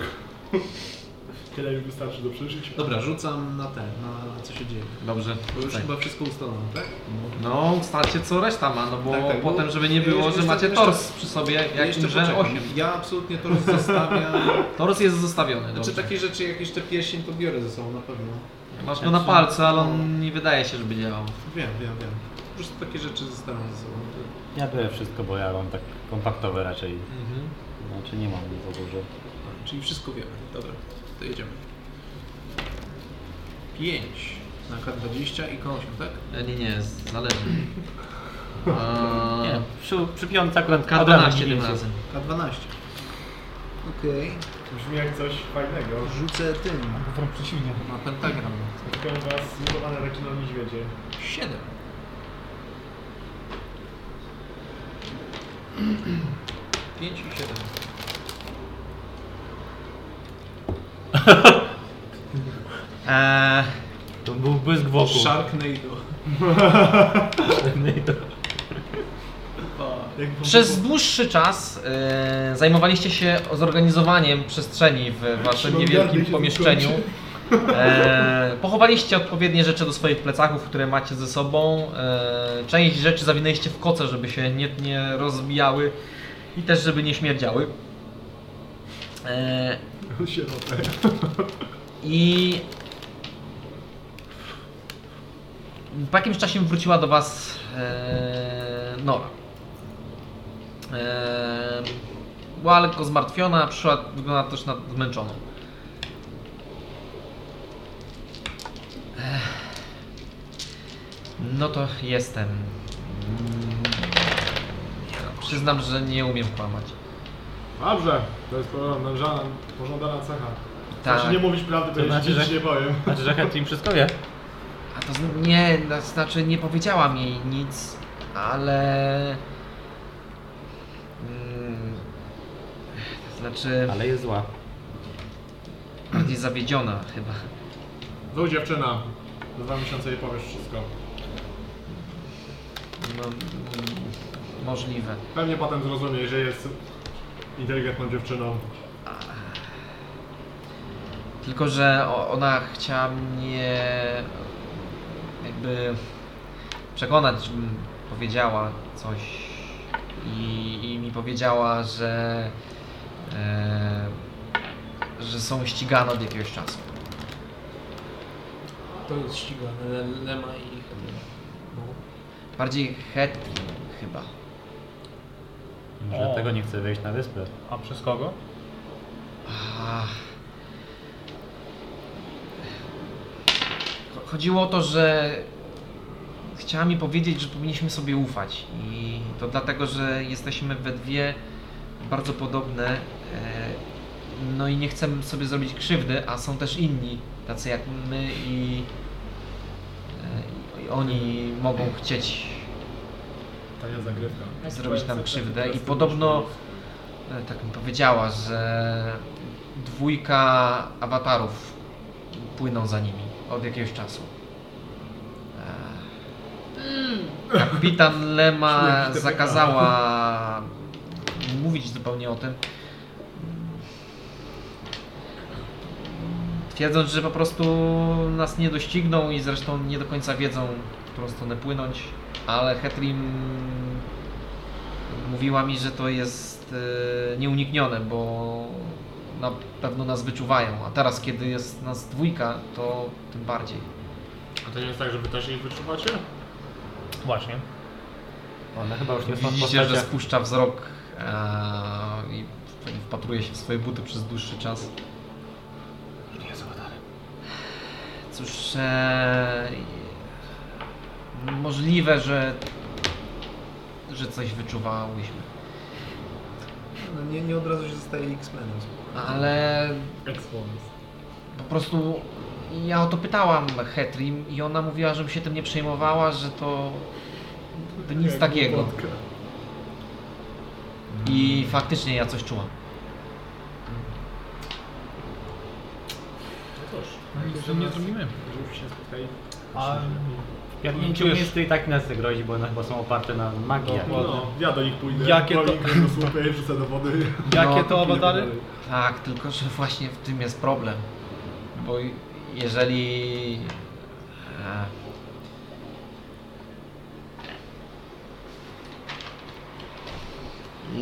Speaker 2: Tyle mi wystarczy do przeżycia.
Speaker 5: Dobra, rzucam na ten, na co się dzieje.
Speaker 1: Dobrze.
Speaker 5: Bo już
Speaker 1: tak.
Speaker 5: chyba wszystko ustalono, tak?
Speaker 1: No, ustacie co reszta ma, no bo
Speaker 5: Tak, tak, bo-
Speaker 1: potem, żeby nie było, że
Speaker 5: Jeszcze-
Speaker 1: macie
Speaker 5: jeszcze-
Speaker 1: tors przy sobie,
Speaker 5: Ja
Speaker 1: jak
Speaker 5: jeszcze
Speaker 1: że
Speaker 5: poczekam.
Speaker 1: 8.
Speaker 5: Ja absolutnie to zostawiam.
Speaker 1: Tors jest zostawiony,
Speaker 5: Znaczy
Speaker 1: dobrze.
Speaker 5: takie rzeczy jak jeszcze pierścień to biorę ze sobą na pewno.
Speaker 1: Masz
Speaker 5: Znaczy-
Speaker 1: go na palcu, ale on nie wydaje się, żeby działał.
Speaker 5: Wiem, wiem, wiem. Po prostu takie rzeczy zostawiam ze sobą.
Speaker 3: Ja biorę wszystko, bo ja mam tak kompaktowe raczej.
Speaker 4: Mhm.
Speaker 3: Znaczy nie mam nic za dużo.
Speaker 5: A, Czyli wszystko wiemy. Dobra, to jedziemy. 5 na K20 i K8, tak?
Speaker 1: E, Nie, nie, jest zależny. Eee,
Speaker 3: Nie, przy, przypiąca akurat od razu
Speaker 1: K12
Speaker 3: nie
Speaker 1: tym
Speaker 3: wiem, czy-
Speaker 1: razem.
Speaker 5: K12. Okej.
Speaker 2: Brzmi jak coś fajnego.
Speaker 5: Rzucę tym.
Speaker 4: Wręcz przeciwnie.
Speaker 5: Na pentagram.
Speaker 2: Spotkałem was zmutowane rekino niedźwiedzie.
Speaker 5: 7. Pięć i siedem. E,
Speaker 1: Eee,
Speaker 3: To był błysk wokół.
Speaker 5: Sharknado.
Speaker 1: Przez dłuższy czas e, zajmowaliście się zorganizowaniem przestrzeni w waszym
Speaker 2: No,
Speaker 1: niewielkim
Speaker 2: garnek się
Speaker 1: pomieszczeniu. E, pochowaliście odpowiednie rzeczy do swoich plecaków, które macie ze sobą. E, część rzeczy zawinęliście w koce, żeby się nie, nie rozbijały i też żeby nie śmierdziały. E,
Speaker 2: Sierotę.
Speaker 1: I po jakimś czasie wróciła do Was e, Nora. E, była lekko zmartwiona, przyszła, wygląda też na zmęczoną. Ech. E, No to jestem. Mm, ja Przyznam, że nie umiem kłamać.
Speaker 2: Dobrze, to jest pożądana, pożądana cecha.
Speaker 1: Tak.
Speaker 2: Znaczy nie mówić prawdy, bo
Speaker 3: To znaczy,
Speaker 2: znaczy,
Speaker 3: że-
Speaker 2: nie powiem.
Speaker 3: Znaczy, że Hetty im wszystko wie.
Speaker 1: A to zn- nie, to znaczy nie powiedziałam jej nic, ale. Mm, To znaczy,
Speaker 3: Ale jest zła.
Speaker 1: bardziej zawiedziona chyba.
Speaker 2: Wy dziewczyna, za dwa miesiące jej powiesz wszystko.
Speaker 1: No, mm, możliwe.
Speaker 2: Pewnie potem zrozumie, że jest inteligentną dziewczyną.
Speaker 1: Tylko, że o- ona chciała mnie jakby przekonać, żebym powiedziała coś i, i mi powiedziała, że, e, że są ścigane od jakiegoś czasu.
Speaker 5: To jest ścigane. Le- Lema i... No.
Speaker 1: Bardziej Hetty chyba.
Speaker 3: Może
Speaker 4: O.
Speaker 3: dlatego nie chce wejść na wyspę.
Speaker 4: A przez kogo?
Speaker 1: Ach. Cho- Chodziło o to, że chciała mi powiedzieć, że powinniśmy sobie ufać. I to dlatego, że jesteśmy we dwie bardzo podobne. e, No i nie chcemy sobie zrobić krzywdy, a są też inni, tacy jak my i, e, i oni mogą chcieć
Speaker 2: Tania zagrywka.
Speaker 1: zrobić nam krzywdę i podobno e, tak mi powiedziała, że dwójka awatarów płyną za nimi od jakiegoś czasu. E, Kapitan Lema
Speaker 2: Śmierć TPK.
Speaker 1: zakazała mówić zupełnie o tym. Twierdząc, że po prostu nas nie dościgną i zresztą nie do końca wiedzą, w którą stronę płynąć, ale Hetrim mówiła mi, że to jest e, nieuniknione, bo na pewno nas wyczuwają, a teraz kiedy jest nas dwójka, to tym bardziej.
Speaker 7: A to nie jest tak, że wy też ich wyczuwacie?
Speaker 1: Właśnie.
Speaker 3: One chyba już nie są w
Speaker 1: Widzicie, że
Speaker 3: postaciach.
Speaker 1: spuszcza wzrok e, i wpatruje się w swoje buty przez dłuższy czas.
Speaker 3: Nie są dalej.
Speaker 1: Cóż, e, możliwe, że, że coś wyczuwałyśmy,
Speaker 5: No nie, nie od razu się zostaje X-Menem.
Speaker 1: ale
Speaker 7: Exponent.
Speaker 1: po prostu ja o to pytałam Hetrim i ona mówiła, żebym się tym nie przejmowała, że to, to nic takiego. I faktycznie ja coś czułam.
Speaker 7: No cóż.
Speaker 4: Nic z tym nie zrobimy.
Speaker 2: Żebyśmy się spotkali.
Speaker 4: A
Speaker 3: Pierdnięciu
Speaker 4: Czujesz-
Speaker 3: jest to i tak nas grozi, bo one chyba są oparte na magii.
Speaker 2: No, ja do nich pójdę.
Speaker 4: Jakie to-
Speaker 2: Powiem im do słupy, wrzucę do wody.
Speaker 4: jakie
Speaker 1: No,
Speaker 4: to awatary?
Speaker 1: Tak, tylko że właśnie w tym jest problem. Bo jeżeli. e,
Speaker 2: No,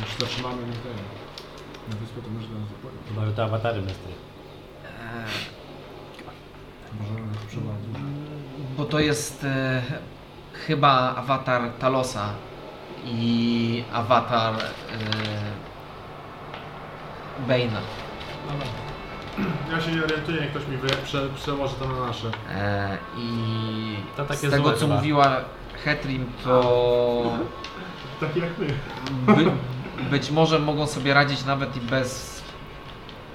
Speaker 2: Już zatrzymamy na ten. Na wyspę to może nas zapłacić.
Speaker 3: Chyba, że to awatary mestry.
Speaker 1: e,
Speaker 2: Może nas przewadzić.
Speaker 1: Bo to jest e, chyba awatar Talosa i awatar e, Bane'a.
Speaker 2: Ja się nie orientuję, jak ktoś mi wy, prze, przełoży to na nasze.
Speaker 1: E, I
Speaker 3: To takie
Speaker 1: z tego
Speaker 3: złe
Speaker 1: co
Speaker 3: chyba.
Speaker 1: mówiła Hetrim, to
Speaker 2: Tak jak my.
Speaker 1: by, być może mogą sobie radzić nawet i bez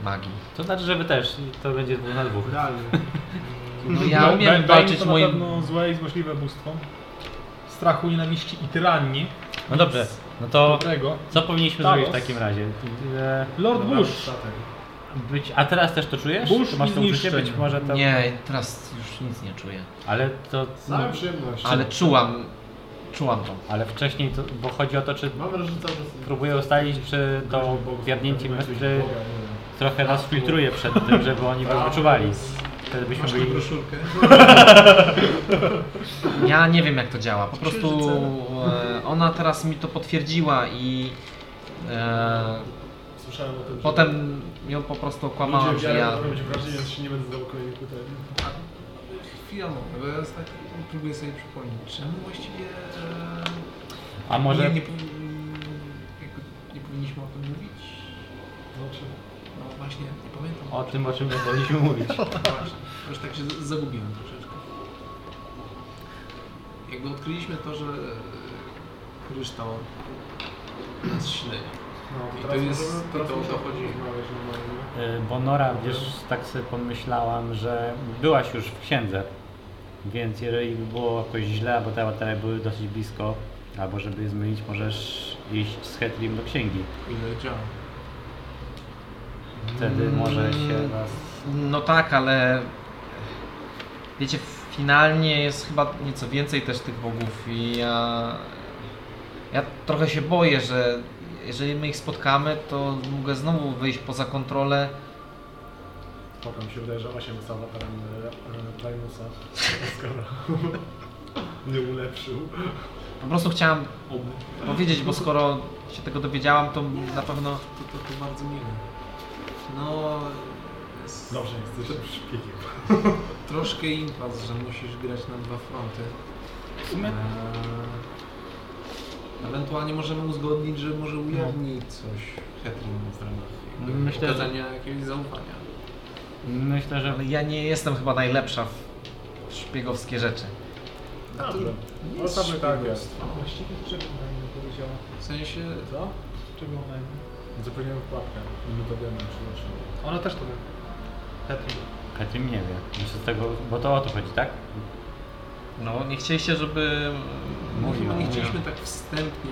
Speaker 1: magii.
Speaker 3: To znaczy, że wy też. I To będzie dwóch na dwóch.
Speaker 2: Realnie.
Speaker 1: No ja
Speaker 4: Be-
Speaker 1: umiem
Speaker 4: Be- Bane
Speaker 1: walczyć
Speaker 4: to na
Speaker 1: moim.
Speaker 4: pewno złe i złośliwe bóstwo. Strachu, nienawiści i tyranii.
Speaker 3: No dobrze, no to
Speaker 4: Dobrego.
Speaker 3: co powinniśmy
Speaker 4: Talos.
Speaker 3: zrobić w takim razie? E,
Speaker 4: Lord Bush.
Speaker 2: Statek.
Speaker 3: Być, a teraz też to czujesz?
Speaker 4: Burz
Speaker 3: Czy masz
Speaker 4: i
Speaker 3: to uczucie?
Speaker 4: zniszczenie.
Speaker 3: Być może to...
Speaker 1: Nie, teraz już nic nie czuję.
Speaker 3: Ale to... no,
Speaker 2: Same przyjemności.
Speaker 1: Ale czułam. Czułam to.
Speaker 3: Ale wcześniej to... Bo chodzi o to, czy...
Speaker 2: Mam wrażenie, że cały czas...
Speaker 3: Próbuję ustalić, czy to wiadnięcie mestry
Speaker 2: Boga, nie wiem.
Speaker 3: trochę nas filtruje przed tym, żeby oni was wyczuwali. Wtedy byśmy
Speaker 5: Masz tę
Speaker 3: byli...
Speaker 5: broszurkę?
Speaker 1: Ja nie wiem jak to działa. Po prostu
Speaker 5: Księżyce.
Speaker 1: e, ona teraz mi to potwierdziła i e,
Speaker 2: Słyszałem o tym, że
Speaker 1: potem ją po prostu okłamałam,
Speaker 2: ludzie
Speaker 1: że
Speaker 2: wiarą
Speaker 1: ja.
Speaker 2: robią ci wrażenie, że się nie będę zdawał kolejnych pytań.
Speaker 5: Chwila, no, bo ja jest tak, próbuję sobie przypomnieć, czemu właściwie... e,
Speaker 3: A może...
Speaker 5: Nie, nie, powi- jakby nie powinniśmy o tym mówić?
Speaker 2: Znaczy,
Speaker 5: No właśnie, nie pamiętam. No
Speaker 3: O tym, o czym nie powinniśmy mówić.
Speaker 5: Właśnie, już tak się z- zagubiłem troszeczkę. Jakby odkryliśmy to, że e, kryształ nas śledzi.
Speaker 2: no,
Speaker 5: I
Speaker 2: teraz
Speaker 5: to jest-
Speaker 2: możemy-
Speaker 5: i
Speaker 2: teraz
Speaker 5: to o to
Speaker 2: możemy
Speaker 5: chodzi.
Speaker 2: porozmawiać normalnie.
Speaker 3: Y, Bo Nora, wiesz, tak sobie pomyślałam, że byłaś już w księdze, więc jeżeli by było jakoś źle, bo te awatary były dosyć blisko, albo żeby je zmylić, możesz iść z Hetrim do księgi.
Speaker 5: Ile działa.
Speaker 3: Wtedy może się
Speaker 1: Mm,
Speaker 3: nas...
Speaker 1: No tak, ale wiecie, finalnie jest chyba nieco więcej też tych bogów i ja, ja trochę się boję, że jeżeli my ich spotkamy, to mogę znowu wyjść poza kontrolę.
Speaker 2: Spoko, mi się wydaje, że 8 z awatarem e, e, Primusa. Skoro nie ulepszył.
Speaker 1: Po prostu chciałam powiedzieć, bo skoro się tego dowiedziałam, to na pewno
Speaker 5: To, to, to bardzo miłe. No... jest
Speaker 2: Dobrze, jesteś szpiegiem.
Speaker 5: Troszkę impas, że musisz grać na dwa fronty.
Speaker 3: sumie-
Speaker 5: Eee, Ewentualnie możemy uzgodnić, że może ujawni coś Hetrim w ramach jakby
Speaker 3: Mm, Myślę, że-
Speaker 5: okazania jakiegoś zaufania.
Speaker 3: Myślę, że...
Speaker 1: ale ja nie jestem chyba najlepsza w szpiegowskie rzeczy.
Speaker 2: Dobrze.
Speaker 5: nie jest
Speaker 2: Zostawmy tak.
Speaker 4: Właściwie czego ona nie powiedziała?
Speaker 5: W sensie...
Speaker 2: Co?
Speaker 4: Czego ona nie...
Speaker 2: Zapomniałem pułapkę. I my to wiemy, przepraszam.
Speaker 4: Ona też to wie. Hetrim.
Speaker 3: Hetrim nie wie. Myślę, z tego... Bo to o to chodzi, tak?
Speaker 1: No, nie chcieliście, żeby...
Speaker 3: Mówił.
Speaker 5: Nie chcieliśmy tak wstępnie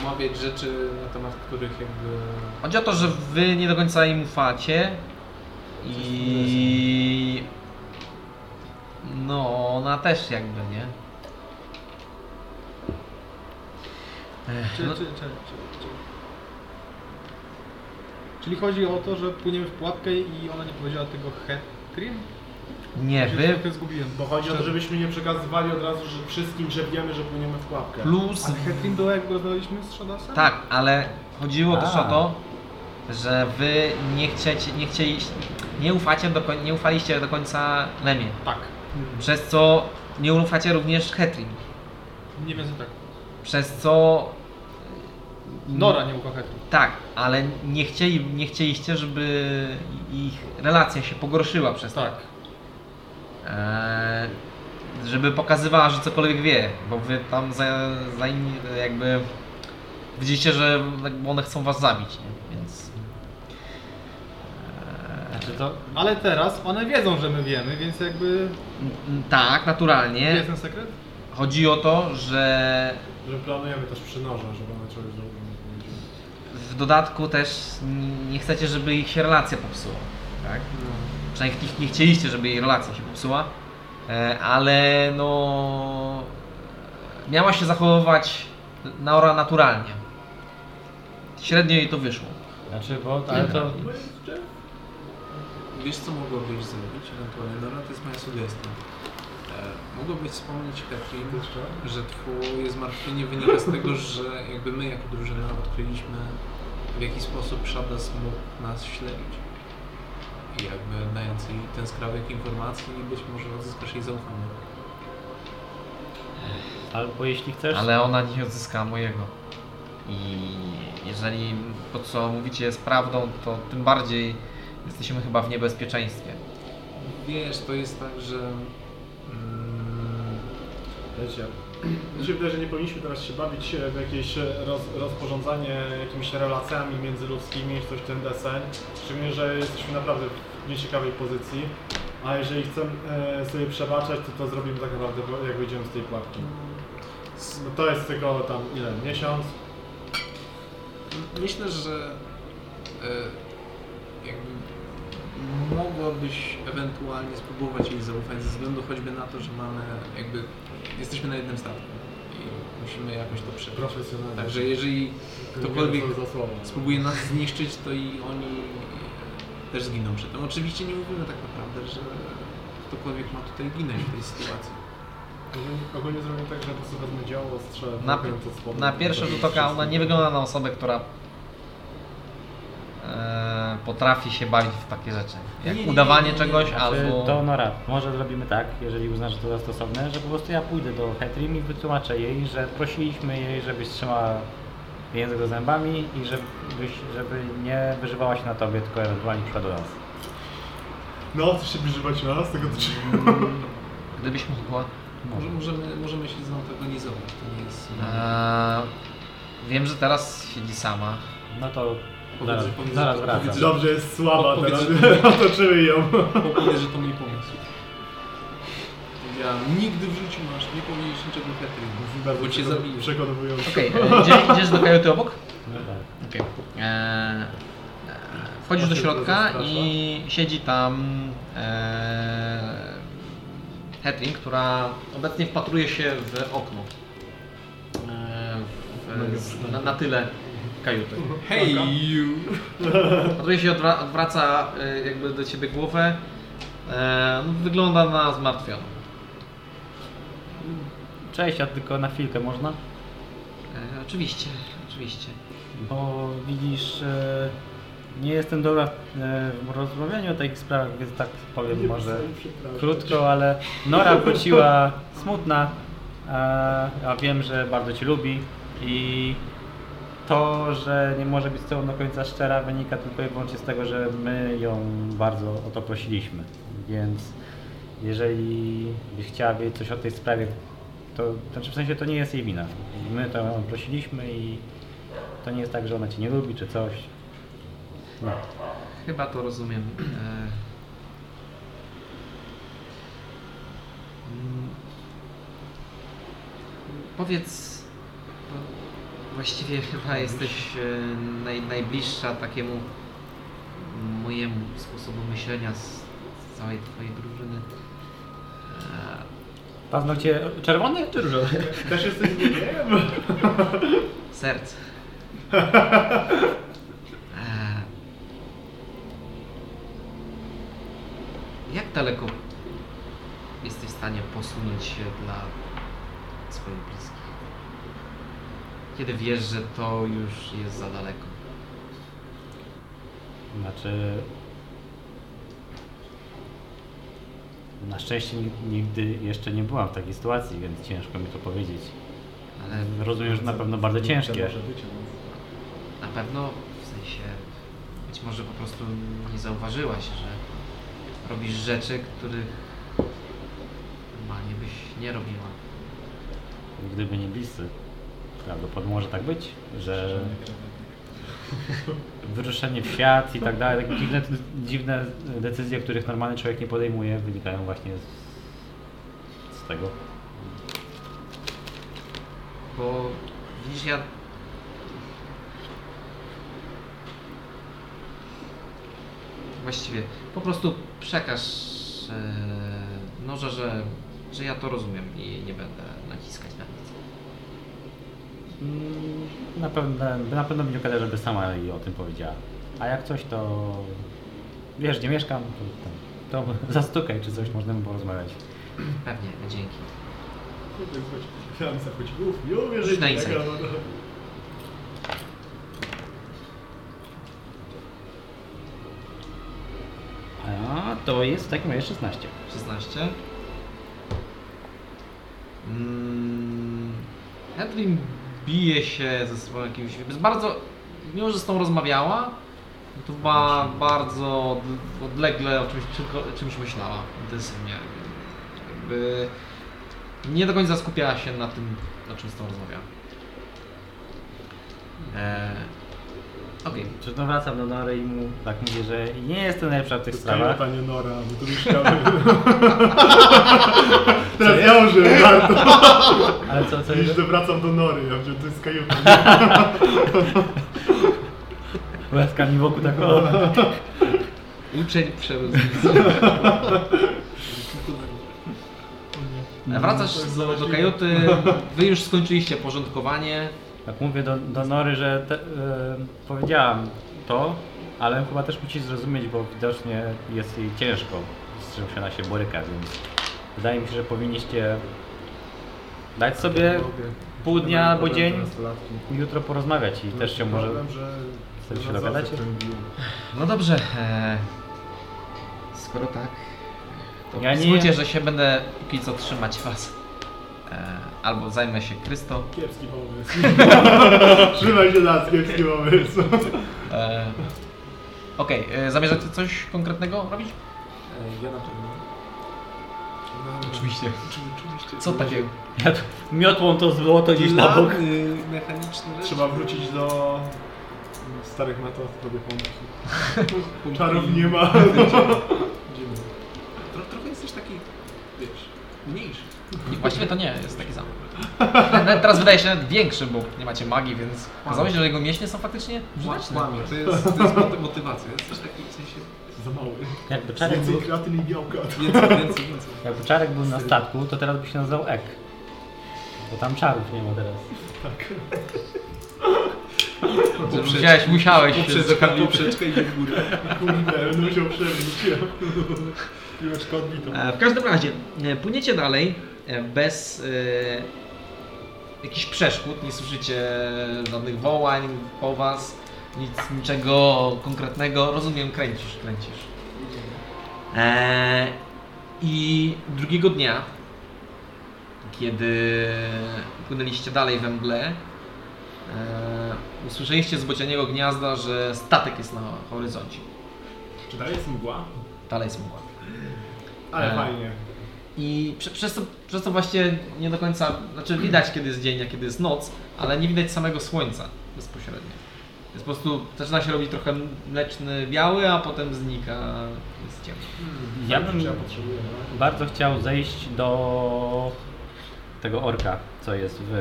Speaker 5: omawiać rzeczy, na temat których jakby...
Speaker 1: Chodzi o to, że wy nie do końca im ufacie i... No, ona też jakby, nie? Ech,
Speaker 4: Czy,
Speaker 1: no,
Speaker 4: czy, czy, czy, czy. Czyli chodzi o to, że płyniemy w pułapkę i ona nie powiedziała tego Hetrim?
Speaker 1: nie,
Speaker 4: Ja się
Speaker 1: wy
Speaker 4: trochę zgubiłem.
Speaker 2: Bo chodzi o to,
Speaker 4: Szczerze.
Speaker 2: żebyśmy nie przekazywali od razu że wszystkim, że wiemy, że płyniemy w pułapkę.
Speaker 1: plus...
Speaker 4: A Hetrim była jak rozmawialiśmy z Shadasem?
Speaker 1: Tak, ale chodziło też
Speaker 3: A.
Speaker 1: o to, że wy nie chcieliście, nie chcieliście, nie ufacie do koń- nie ufaliście do końca Lemie,
Speaker 7: Tak.
Speaker 1: przez co nie ufacie również Hetrin,
Speaker 7: Nie więcej tak.
Speaker 1: przez co mm,
Speaker 3: Mhm.
Speaker 7: Nora nie ukocha Hetru.
Speaker 1: tak, ale nie, chcieli, nie chcieliście, żeby ich relacja się pogorszyła przez to.
Speaker 7: Tak.
Speaker 1: Eee, żeby pokazywała, że cokolwiek wie, bo wy tam za, za inni jakby widzicie, że jakby one chcą was zabić, nie? więc
Speaker 3: Znaczy to
Speaker 4: Ale teraz one wiedzą, że my wiemy, więc jakby...
Speaker 1: m, m, tak, naturalnie.
Speaker 4: Jest ten sekret?
Speaker 1: Chodzi o to, że
Speaker 2: Że planujemy też przy noże, żeby one czegoś dobrego nie powiedzieli.
Speaker 1: w dodatku też nie chcecie, żeby ich się relacja popsuła, tak? Przynajmniej nie, nie chcieliście, żeby jej relacja się popsuła, e, ale no... Miała się zachowywać Naora naturalnie. Średnio jej to wyszło.
Speaker 3: Znaczy, bo ale to
Speaker 5: Wiesz, co mogłabyś zrobić ewentualnie? Dobra, to jest moja sugestia. E, mogłabyś wspomnieć Katrin, że twoje zmartwienie wynika z tego, że jakby my jako drużyna odkryliśmy w jaki sposób Shadas mógł nas śledzić. I jakby dając jej ten skrawek informacji i być może odzyskasz jej zaufanie.
Speaker 3: albo jeśli chcesz,
Speaker 1: Ale ona nie odzyskała mojego. I jeżeli to, co mówicie jest prawdą, to tym bardziej jesteśmy chyba w niebezpieczeństwie.
Speaker 5: Wiesz, to jest tak, że... Mm,
Speaker 2: Wiecie, mi się wydaje, że nie powinniśmy teraz się bawić e, w jakieś e, roz, rozporządzanie jakimiś relacjami międzyludzkimi, coś w ten deseń. Szczególnie, że jesteśmy naprawdę w nieciekawej pozycji. A jeżeli chcemy e, sobie przebaczać, to to zrobimy tak naprawdę, bo- jak wyjdziemy z tej pułapki. No to jest tylko tam ile? Miesiąc?
Speaker 5: Myślę, że e, jakby mogłabyś ewentualnie spróbować jej zaufać ze względu choćby na to, że mamy jakby jesteśmy na jednym statku i musimy jakoś to przebrać.
Speaker 2: Profesjonalnie.
Speaker 5: Także jeżeli ktokolwiek
Speaker 2: Dziękuję za słowo. Mhm.
Speaker 5: spróbuje nas zniszczyć, to i oni też zginą przy tym. Oczywiście nie mówimy tak naprawdę, że ktokolwiek ma tutaj ginąć w tej sytuacji.
Speaker 2: Ogólnie- Ogólnie zrobię tak, że po prostu wezmę działo, strzelę
Speaker 1: Na,
Speaker 2: pokręt od spodu.
Speaker 1: na pierwszy rzut oka ona nie wygląda na osobę, która e, potrafi się bawić w takie rzeczy. Jak udawanie czegoś albo...
Speaker 3: Czy Znaczy, to Nora, może zrobimy tak, jeżeli uznasz, że to za stosowne, że po prostu ja pójdę do Hetrim i wytłumaczę jej, że prosiliśmy jej, żebyś trzymała język do zębami i żebyś, żeby nie wyżywała się na tobie, tylko ewentualnie przyszła do nas.
Speaker 2: No, chcesz się wyżywać na nas, tego to
Speaker 1: Gdybyś mogła...
Speaker 5: Może możemy, możemy się zorganizować, to nie jest...
Speaker 1: E, wiem, że teraz siedzi sama.
Speaker 3: No to
Speaker 5: Powiedz,
Speaker 3: zaraz,
Speaker 5: że powiedz,
Speaker 3: zaraz
Speaker 5: że-
Speaker 3: wracam.
Speaker 5: powiedz, że-
Speaker 2: Dobrze, jest słaba
Speaker 5: Powiedz,
Speaker 2: teraz.
Speaker 5: że-
Speaker 2: Otoczyły ją.
Speaker 5: Powiedz, że to mój pomysł. Ja nigdy w życiu masz nie powiedzieć niczego Petry, bo cię zabiję.
Speaker 2: Przekonywujące.
Speaker 1: Okej, e, idzie- idziesz do kajuty obok?
Speaker 3: No tak.
Speaker 1: Okej. E, e, Wchodzisz do środka i siedzi tam e, Hetling, która obecnie wpatruje się w okno. E, w, z, na, na tyle kajuty.
Speaker 5: Hej, you!
Speaker 1: Wpatruje się, odwra, odwraca e, jakby do ciebie głowę. E, no, wygląda na zmartwioną.
Speaker 3: Cześć, a tylko na chwilkę można?
Speaker 1: E, oczywiście, oczywiście.
Speaker 3: Bo widzisz, e, nie jestem dobra e, w rozmawianiu o takich sprawach, więc tak powiem może krótko, ale Nora wróciła smutna, a, a wiem, że bardzo Ci lubi i to, że nie może być z Tobą do końca szczera wynika tylko i wyłącznie z tego, że my ją bardzo o to prosiliśmy, więc jeżeli byś chciała wiedzieć coś o tej sprawie, to znaczy w sensie to nie jest jej wina. My to ją prosiliśmy i to nie jest tak, że ona Cię nie lubi czy coś. No.
Speaker 1: Chyba to rozumiem. E, mm, Powiedz, bo właściwie chyba jesteś e, naj, najbliższa takiemu mojemu sposobu myślenia z z całej twojej drużyny.
Speaker 3: Paznokcie czerwone czy różowe?
Speaker 2: Też jesteś nie wiem.
Speaker 1: E, Serce. E, Jak daleko jesteś w stanie posunąć się dla swoich bliskich? Kiedy wiesz, że to już jest za daleko?
Speaker 3: Znaczy. Na szczęście ni- nigdy jeszcze nie byłam w takiej sytuacji, więc ciężko mi to powiedzieć.
Speaker 1: Ale
Speaker 3: Rozumiem, że na pewno bardzo ciężkie.
Speaker 8: Może być, no.
Speaker 1: na pewno w sensie być może po prostu nie zauważyłaś, że robisz rzeczy, których normalnie byś nie robiła.
Speaker 3: Gdyby nie bliscy. Prawdopodobnie może tak być, że
Speaker 8: Szerzenie krewetki.
Speaker 3: wyruszenie w świat i tak dalej, takie dziwne, dziwne decyzje, których normalny człowiek nie podejmuje, wynikają właśnie z, z tego.
Speaker 1: Bo widzisz, ja. Właściwie po prostu przekaż e, Noże, że, że ja to rozumiem i nie będę naciskać na nic.
Speaker 3: Mm, Na pewno, na pewno mi nie okazja, żeby sama jej o tym powiedziała. A jak coś, to wiesz, gdzie mieszkam, to, tam, to zastukaj czy coś, możemy porozmawiać.
Speaker 1: Pewnie, dzięki.
Speaker 2: Kurde, chodź, Franca, chodź, uf, nie uwierzę,
Speaker 1: Rzuć na
Speaker 2: że
Speaker 1: insight.
Speaker 3: A to jest w takim razie 16.
Speaker 1: 16. Mm, Hedwin bije się ze sobą jakimś. Jest bardzo. Mimo, że z tą rozmawiała, to chyba bardzo od- odlegle o czymś, czymko- czymś myślała intensywnie. Jakby nie do końca skupiała się na tym, na czym z tą rozmawiała. Eee, Okej.
Speaker 3: Czy to wracam do Nory i mu tak mówię, że nie jestem najlepsza w tych
Speaker 2: Kajota,
Speaker 3: sprawach.
Speaker 2: Panie Nora, bo tu mieszkamy. Teraz ja użyłem warto.
Speaker 3: Ale co, co
Speaker 2: Widzisz,
Speaker 3: jest?
Speaker 2: że wracam do Nory, ja wiem, to jest kajuta. nie?
Speaker 3: Łezka mi wokół tak. O.
Speaker 1: Uczeń przerósł. Wracasz do, do kajuty, wy już skończyliście porządkowanie.
Speaker 3: Tak mówię do, do Nory, że te, em, powiedziałam to, ale chyba też musi zrozumieć, bo widocznie jest jej ciężko, z czym się ona się boryka, więc wydaje mi się, że powinniście dać sobie
Speaker 2: Tak,
Speaker 8: Mogę.
Speaker 3: pół dnia albo
Speaker 8: Problem
Speaker 3: dzień
Speaker 8: teraz latki.
Speaker 3: i jutro porozmawiać i też się może...
Speaker 2: Problem, że...
Speaker 3: Chcecie się
Speaker 2: że zawsze
Speaker 3: dogadacie?
Speaker 2: ten bił.
Speaker 1: No dobrze. E, skoro tak, to
Speaker 3: Ja
Speaker 1: ja
Speaker 3: nie-
Speaker 1: że się będę póki co trzymać was. E, albo zajmę się Krysto.
Speaker 2: Kiepski pomysł. Trzymaj się nas, kiepski pomysł.
Speaker 1: E, Okej, e, zamierzacie coś konkretnego robić?
Speaker 5: E, Ja na pewno. No,
Speaker 1: Oczywiście.
Speaker 5: Oczy, oczywiście.
Speaker 1: Co takiego?
Speaker 3: Ja tu miotłą to złoto gdzieś
Speaker 5: Tak.
Speaker 3: na bok.
Speaker 5: Plany mechaniczne rzeczy.
Speaker 2: Trzeba wrócić do starych metod, robię pomysł.
Speaker 5: Pum-
Speaker 2: Czarów nie ma.
Speaker 5: Dziwne. Tro, trochę jest też taki, wiesz, mniejszy.
Speaker 1: I właściwie to nie, jest taki sam. Nawet teraz wydaje się nawet większy, bo nie macie magii, więc okazało się, że jego mięśnie są faktycznie
Speaker 5: Właśnie.
Speaker 1: żywaczne.
Speaker 5: To jest, to jest moty- motywacja. Jest też taki, w sensie,
Speaker 2: Za mały.
Speaker 3: Jakby czarek,
Speaker 2: Więcej
Speaker 3: był,
Speaker 2: kreatyny i białka.
Speaker 5: więcej, więcej, więcej.
Speaker 3: jakby czarek był na statku, to teraz by się nazywał Ek. Bo tam czarów nie ma teraz.
Speaker 5: Poprzeczkę.
Speaker 1: Musiałeś, musiałeś się
Speaker 5: Poprzeczka,
Speaker 1: zokalić.
Speaker 5: poprzeczka idzie w górę.
Speaker 2: Kurde, będę musiał przebić. Piłeczka odbitą.
Speaker 1: E, W każdym razie, e, płyniecie dalej e, bez e, jakichś przeszkód, nie słyszycie e, żadnych wołań po was, nic, niczego konkretnego. Rozumiem, kręcisz, kręcisz. E, I drugiego dnia, kiedy płynęliście dalej we mgle, e, usłyszeliście z bocianiego gniazda, że statek jest na horyzoncie.
Speaker 2: Czy dalej jest mgła?
Speaker 1: Dalej jest mgła.
Speaker 2: Ale
Speaker 1: E.
Speaker 2: fajnie.
Speaker 1: I prze, przez, to, przez to właśnie nie do końca, znaczy widać kiedy jest dzień, a kiedy jest noc, ale nie widać samego słońca bezpośrednio. Jest po prostu, zaczyna się robić trochę mleczny biały, a potem znika, jest ciemno.
Speaker 3: Ja
Speaker 2: Fajnie,
Speaker 3: bym
Speaker 2: że ja potrzebuję, no.
Speaker 3: bardzo chciał zejść do tego orka, co jest w...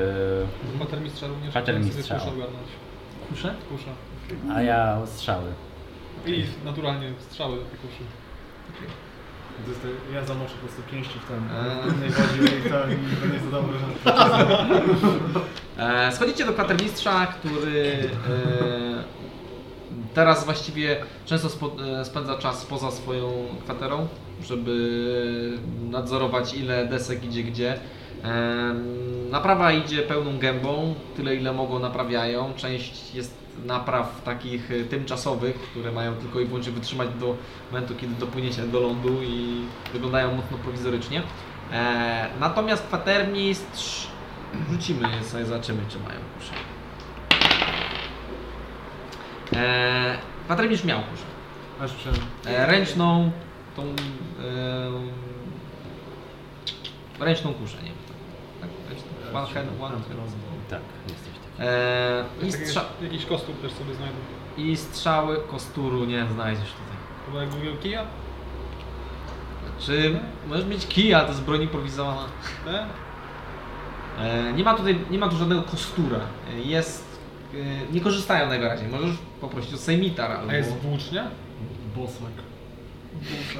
Speaker 7: Pater mistrza również.
Speaker 3: Mhm. Pater
Speaker 7: chciałem
Speaker 3: mistrza,
Speaker 7: Sobie
Speaker 3: o.
Speaker 7: kuszę ogarnąć.
Speaker 1: Kusze?
Speaker 7: Kusza.
Speaker 3: A ja strzały.
Speaker 7: I naturalnie strzały do tej kuszy.
Speaker 2: To jest to- Ja zamoczę po prostu pięści w ten
Speaker 1: Eee.
Speaker 2: w tej wodzie i tam i będę zadał wrażenie.
Speaker 1: E, schodzicie do kwatermistrza, który e, teraz właściwie często spo, e, spędza czas poza swoją kwaterą, żeby nadzorować ile desek idzie gdzie. Em, Naprawa idzie pełną gębą, tyle ile mogą naprawiają. Część jest napraw takich y, tymczasowych, które mają tylko i wyłącznie wytrzymać do momentu, kiedy dopłyniecie do lądu i wyglądają mocno prowizorycznie. E, Natomiast kwatermistrz rzucimy sobie, zobaczymy czy mają kusze. E, Kwatermistrz miał kuszę.
Speaker 2: Aż przynajmniej.
Speaker 1: E, ręczną tą e, ręczną kuszę, nie wiem. Tak, ręczną. One hand, one hand.
Speaker 3: Tak, jesteś taki.
Speaker 1: E, i,
Speaker 7: Jakiś-
Speaker 1: strza-
Speaker 7: Jakiś kostur też sobie znajdę.
Speaker 1: I strzały kosturu nie znajdziesz tutaj.
Speaker 7: Chyba jak mówił kija?
Speaker 1: Czy Znaczy, możesz mieć kija, to jest broń improwizowana.
Speaker 7: E?
Speaker 1: E, nie ma tutaj, nie ma tu żadnego kostura. E, Jest, e, nie korzystają najwyraźniej. Możesz poprosić o sejmitar albo...
Speaker 7: A jest włócznia?
Speaker 2: Bosak.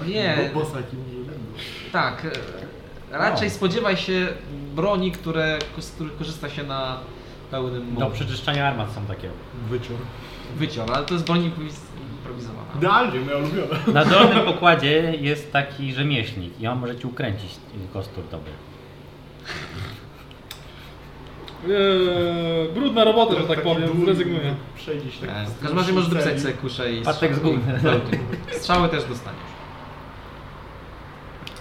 Speaker 1: Nie.
Speaker 2: Bo, bosak i może będą.
Speaker 1: Tak. e, Raczej spodziewaj się broni, które, z których korzysta się na pełnym
Speaker 3: Do
Speaker 1: mowie.
Speaker 3: przeczyszczania armat są takie.
Speaker 2: Wycior.
Speaker 1: Wyciął, ale to jest broń improwiz- improwizowana.
Speaker 2: Idealnie, moja ulubiona.
Speaker 3: Na dolnym pokładzie jest taki rzemieślnik i on może ci ukręcić kostur tobie.
Speaker 7: Eee, brudna robota, że tak
Speaker 2: Taki
Speaker 7: powiem,
Speaker 2: długi
Speaker 7: zrezygnuję.
Speaker 2: Przejdziesz tak.
Speaker 1: E, W każdym razie możesz dopisać sobie kuszę i
Speaker 3: Patek z gumy.
Speaker 1: i- Strzały też dostaniesz.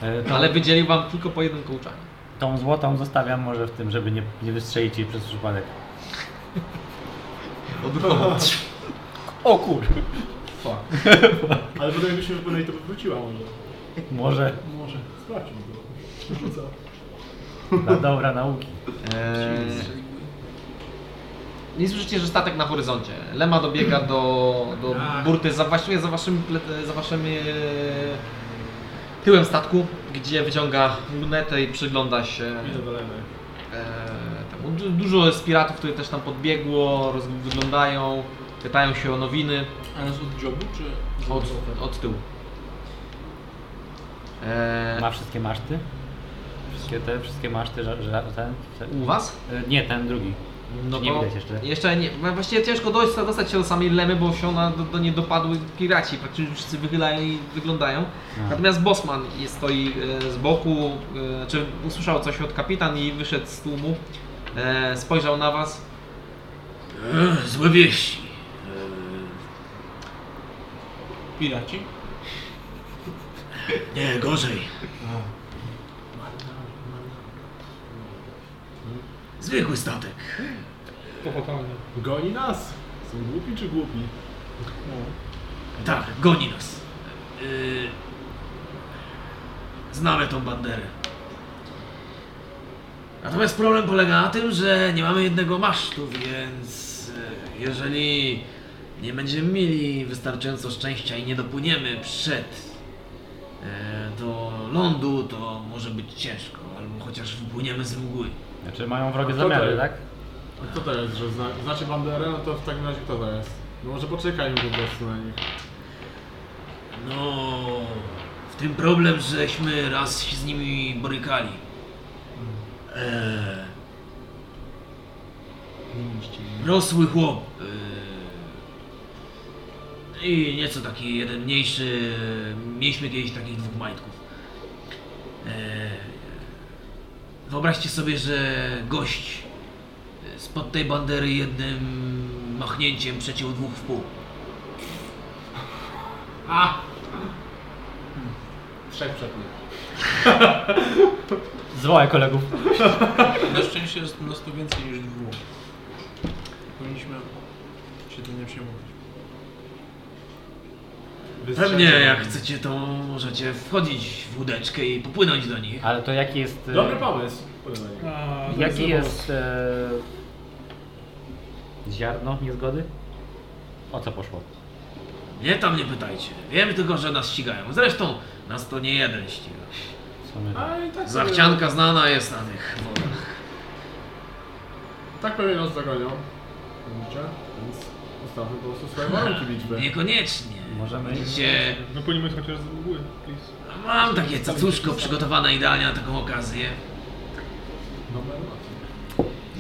Speaker 3: E, to-
Speaker 1: Ale wydzielił wam tylko po jednym kołczanie.
Speaker 3: Tą złotą zostawiam może w tym, żeby nie, nie wystrzelić jej przez przypadek. O kur...
Speaker 1: Fuck.
Speaker 2: Ale potem jakbyśmy już byli, to by wróciła może.
Speaker 3: Może
Speaker 2: Może. Sprawdźmy to. No Rzuca.
Speaker 3: dla dobra nauki.
Speaker 1: E, nie słyszycie, że statek na horyzoncie. Lema dobiega do, do burty, za, właściwie za waszym, ple- za waszym e, tyłem statku, gdzie wyciąga lunetę i przygląda się
Speaker 2: Widzę dolemy.
Speaker 1: E, tam, du- dużo jest piratów, które też tam podbiegło, roz, wyglądają, pytają się o nowiny
Speaker 5: Ale z od jobu, czy... z
Speaker 1: od,
Speaker 5: odlotu?
Speaker 1: od tyłu. E,
Speaker 3: Ma wszystkie maszty? Wszystkie te, wszystkie maszty, że, że ten, ten...
Speaker 1: u was?
Speaker 3: E, Nie, ten drugi.
Speaker 1: No
Speaker 3: nie
Speaker 1: to
Speaker 3: widać jeszcze?
Speaker 1: Jeszcze nie. no Właściwie ciężko dojść, dostać się do samej lemy, bo się ona do, do niej dopadły piraci. Praktycznie wszyscy wychylają i wyglądają.
Speaker 3: A.
Speaker 1: Natomiast Bosman jest, stoi e, z boku, e, czy usłyszał coś od kapitan i wyszedł z tłumu. E, spojrzał na was.
Speaker 5: Złe wieści. Piraci?
Speaker 8: Nie, gorzej. Zwykły statek.
Speaker 7: To fatalnie.
Speaker 2: Goni nas. Są głupi czy głupi?
Speaker 8: Tak, goni nas. Y, Znamy tą banderę. Natomiast problem polega na tym, że nie mamy jednego masztu, więc y, jeżeli nie będziemy mieli wystarczająco szczęścia i nie dopłyniemy przed y, do lądu, to może być ciężko, albo chociaż wypłyniemy z mgły.
Speaker 3: Znaczy mają wrogie
Speaker 2: A kto to
Speaker 3: zamiary,
Speaker 2: jest?
Speaker 3: tak?
Speaker 2: A co to jest, że zna... znaczy banderę, no to w takim razie kto to jest? No może poczekajmy po prostu na nich.
Speaker 8: No, w tym problem, żeśmy raz się z nimi borykali. Eee, rosły chłop. Eee, I nieco taki jeden mniejszy. Mieliśmy kiedyś takich dwóch majtków. Eee, wyobraźcie sobie, że gość e, spod tej bandery jednym machnięciem przeciął dwóch w pół.
Speaker 2: Trzech przed nim.
Speaker 3: Zwołaj kolegów.
Speaker 5: Na szczęście jest mnóstwo więcej niż dwóch. Powinniśmy się tym nie przejmować.
Speaker 8: Pewnie, jak chcecie, to możecie wchodzić w łódeczkę i popłynąć do nich.
Speaker 3: Ale to jaki jest... e,
Speaker 2: Dobry pomysł. Powiem na niego.
Speaker 7: A, to
Speaker 3: Jaki
Speaker 7: zły
Speaker 3: jest... E... Ziarno niezgody? O co poszło?
Speaker 8: Nie tam nie pytajcie. Wiem tylko, że nas ścigają. Zresztą nas to nie jeden ściga.
Speaker 3: W sumie tak.
Speaker 2: A i tak
Speaker 8: Zachcianka znana jest na tych wodach.
Speaker 2: Pewnie, tak pewnie nas dogonią. Widzicie? Więc ustawmy po prostu swoje warunki liczby.
Speaker 8: Niekoniecznie.
Speaker 3: Możemy iść.
Speaker 8: Gdzie
Speaker 7: pomysł. Wypłyniemy chociaż z mgły, please.
Speaker 8: mam takie cacuszko przygotowane idealnie na taką okazję.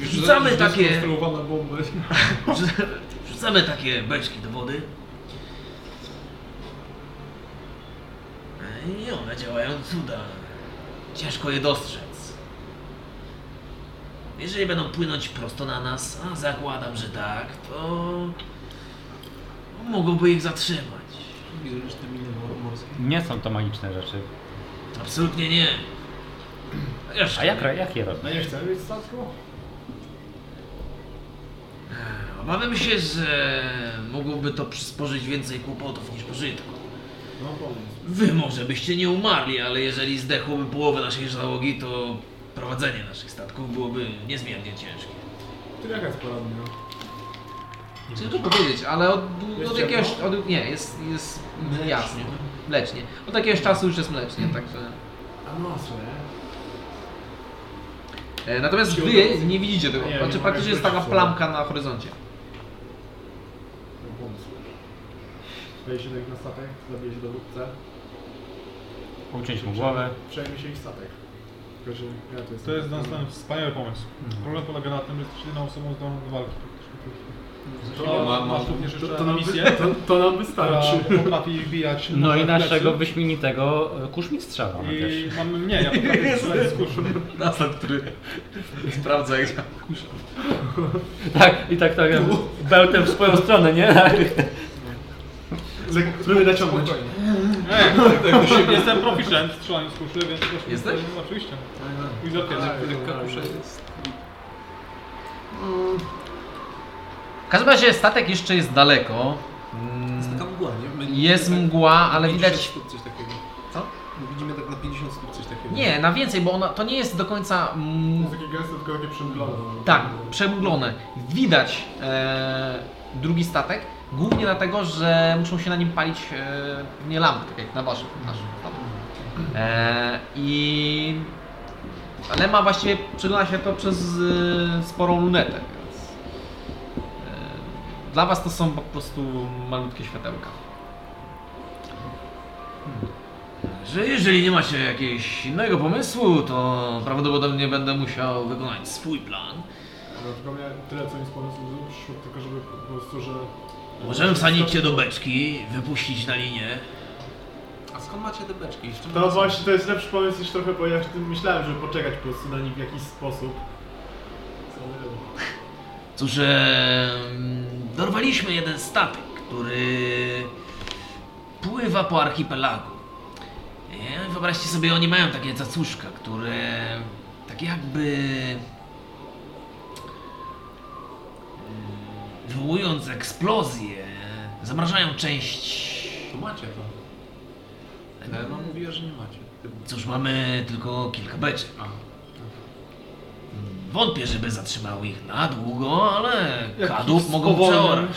Speaker 8: Rzucamy takie...
Speaker 2: Sterowana bomba.
Speaker 8: Rzucamy takie beczki do wody.
Speaker 1: E,
Speaker 8: I one działają cuda. Ciężko je dostrzec.
Speaker 1: Jeżeli będą płynąć prosto na nas, a zakładam, że tak, to mogłoby ich zatrzymać.
Speaker 5: Widzisz te miny mor- morskie?
Speaker 3: Nie są to magiczne rzeczy.
Speaker 1: Absolutnie nie. Jeszcze
Speaker 3: A jak,
Speaker 1: nie.
Speaker 3: jak je robisz?
Speaker 2: No nie chcemy mieć statku?
Speaker 1: Obawiam się, że mogłoby to przysporzyć więcej kłopotów niż pożytku.
Speaker 2: No powiedz.
Speaker 1: Wy może byście nie umarli, ale jeżeli zdechłoby połowa naszej załogi, to prowadzenie naszych statków byłoby niezmiernie ciężkie.
Speaker 2: Ty jaka jest pora dnia?
Speaker 9: Ciężko powiedzieć, ale od,
Speaker 2: Jest
Speaker 9: od jakiegoś...
Speaker 2: ciepło?
Speaker 9: Od, nie, jest, jest jasno. Mlecznie. Od jakiegoś czasu już jest
Speaker 2: Hmm.
Speaker 9: mlecznie, także...
Speaker 2: A no, słuchaj.
Speaker 9: E, Natomiast wy nie widzicie tego.
Speaker 2: Nie, nie
Speaker 9: Znaczy
Speaker 2: mogę
Speaker 9: praktycznie jest taka
Speaker 2: wrócić,
Speaker 9: plamka na horyzoncie.
Speaker 2: No pomysł. Wejdzie do ich na statek, zabije się dowódcę,
Speaker 3: Uczyć mu głowę.
Speaker 2: przejmie się ich statek. Tylko, że ja to jest...
Speaker 4: To jest dla
Speaker 3: Mhm.
Speaker 4: nas ten wspaniały pomysł. Problem polega na tym, że jesteś jedyną osobą zdolną do walki. To
Speaker 5: ma- ma-
Speaker 4: masz również jeszcze
Speaker 2: to nam
Speaker 4: misję,
Speaker 2: To, to nam
Speaker 4: która
Speaker 2: wystarczy.
Speaker 4: potrafi wbijać
Speaker 3: Znaczy- No
Speaker 4: noże
Speaker 3: i
Speaker 4: w plecy.
Speaker 3: naszego wyśmienitego e, kuszmistrza mamy
Speaker 4: I
Speaker 3: też.
Speaker 4: mamy mnie, ja potrafię strzelać z kuszy.
Speaker 9: Następ, który sprawdza jak
Speaker 3: Tak, i tak tak bełtem w swoją stronę, nie? Tak.
Speaker 2: Spróbuj naciągnąć.
Speaker 4: Tak, Ej, jestem proficient w strzelaniu z kuszy, więc proszę.
Speaker 9: Jesteś?
Speaker 4: Oczywiście.
Speaker 5: Fajne.
Speaker 4: I za pierwszy.
Speaker 5: Ale lekka
Speaker 2: tak,
Speaker 5: kusza jest.
Speaker 9: W każdym razie statek jeszcze jest daleko.
Speaker 5: Jest taka
Speaker 9: Mm,
Speaker 5: mgła, nie? My nie
Speaker 9: Jest
Speaker 5: tak
Speaker 9: mgła, ale
Speaker 5: 50
Speaker 9: widać.
Speaker 5: stóp coś takiego.
Speaker 9: Co?
Speaker 5: My widzimy tak na 50 stóp coś takiego.
Speaker 9: Nie, na więcej, bo ona, to nie jest do końca.
Speaker 2: To
Speaker 9: Mm,
Speaker 2: jest takie gęste, tylko takie przymglone.
Speaker 9: tak, przemglone. Widać e, drugi statek, głównie dlatego, że muszą się na nim palić e, nie lampy, tak jak na waszym. Naszym, tam. E, I. Ale ma właściwie przygląda się to przez e, sporą lunetę, więc. E, dla was to są po prostu malutkie światełka.
Speaker 1: Że jeżeli nie macie jakiegoś innego pomysłu, to prawdopodobnie będę musiał wykonać swój plan.
Speaker 2: No, tylko mnie tyle co mi z pomysłu przyszło, tylko żeby po prostu, że...
Speaker 1: Możemy wsadzić cię do beczki, wypuścić na linię.
Speaker 5: A skąd macie te beczki? Z czym
Speaker 2: To
Speaker 5: one są?
Speaker 2: właśnie, to jest lepszy pomysł niż trochę, bo ja już tym myślałem, żeby poczekać po prostu na nich w jakiś sposób. Co wiem.
Speaker 1: Cóż, e, dorwaliśmy jeden statek, który pływa po archipelagu. E, Wyobraźcie sobie, oni mają takie cacuszka, które tak jakby mm, mm, wywołując eksplozję, zamrażają część
Speaker 5: To macie to. Elena mówiła, że nie macie.
Speaker 1: Cóż, mamy tylko kilka beczek. no.
Speaker 5: A.
Speaker 1: Wątpię, żeby zatrzymały ich na długo, ale
Speaker 4: Jak
Speaker 1: kadłub
Speaker 4: ich
Speaker 1: mogą
Speaker 4: spowolnią,
Speaker 1: przeorać.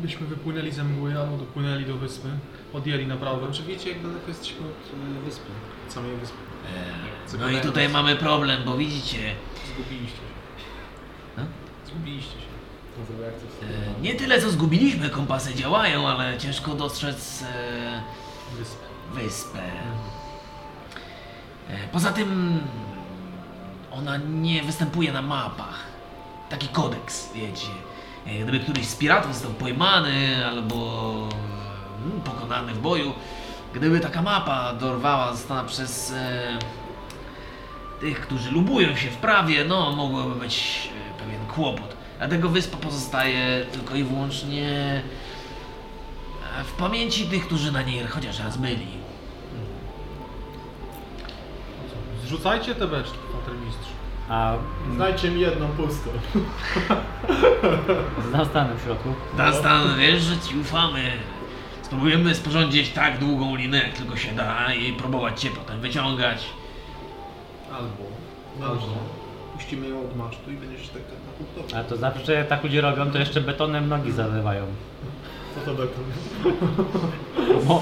Speaker 4: Byśmy wypłynęli ze mgły, albo dopłynęli do wyspy, odjęli na prawo.
Speaker 5: Czy wiecie, jak daleko jesteśmy od y, wyspy? Od samej wyspy.
Speaker 1: Eee, No i
Speaker 5: Zgadzają
Speaker 1: tutaj
Speaker 5: się.
Speaker 1: mamy problem, bo widzicie,
Speaker 5: Zgubiliście się.
Speaker 1: A?
Speaker 5: Zgubiliście się.
Speaker 2: No,
Speaker 1: e, nie tyle co zgubiliśmy, kompasy działają, ale ciężko dostrzec e,
Speaker 4: Wyspy.
Speaker 1: wyspę. E, Poza tym ona nie występuje na mapach. Taki kodeks, wiecie. E, Gdyby któryś z piratów został pojmany albo mm, pokonany w boju, gdyby taka mapa dorwała została przez e, tych, którzy lubują się w prawie, no mogłoby być e, pewien kłopot. Dlatego wyspa pozostaje tylko i wyłącznie e, w pamięci tych, którzy na niej chociaż raz byli.
Speaker 4: Zrzucajcie te beczki, patermistrz.
Speaker 3: A
Speaker 2: Znajdźcie mi jedną pustą.
Speaker 3: zastanę w środku.
Speaker 1: Dastan, wiesz, że ci ufamy. Spróbujemy sporządzić tak długą linę, jak tylko się da i próbować cię potem wyciągać.
Speaker 5: Albo. Albo. Puścimy ją od masztu i będziesz tak katapultował.
Speaker 3: A to znaczy, że jak tak ludzie robią, to jeszcze betonem nogi zalewają.
Speaker 2: Co to beton?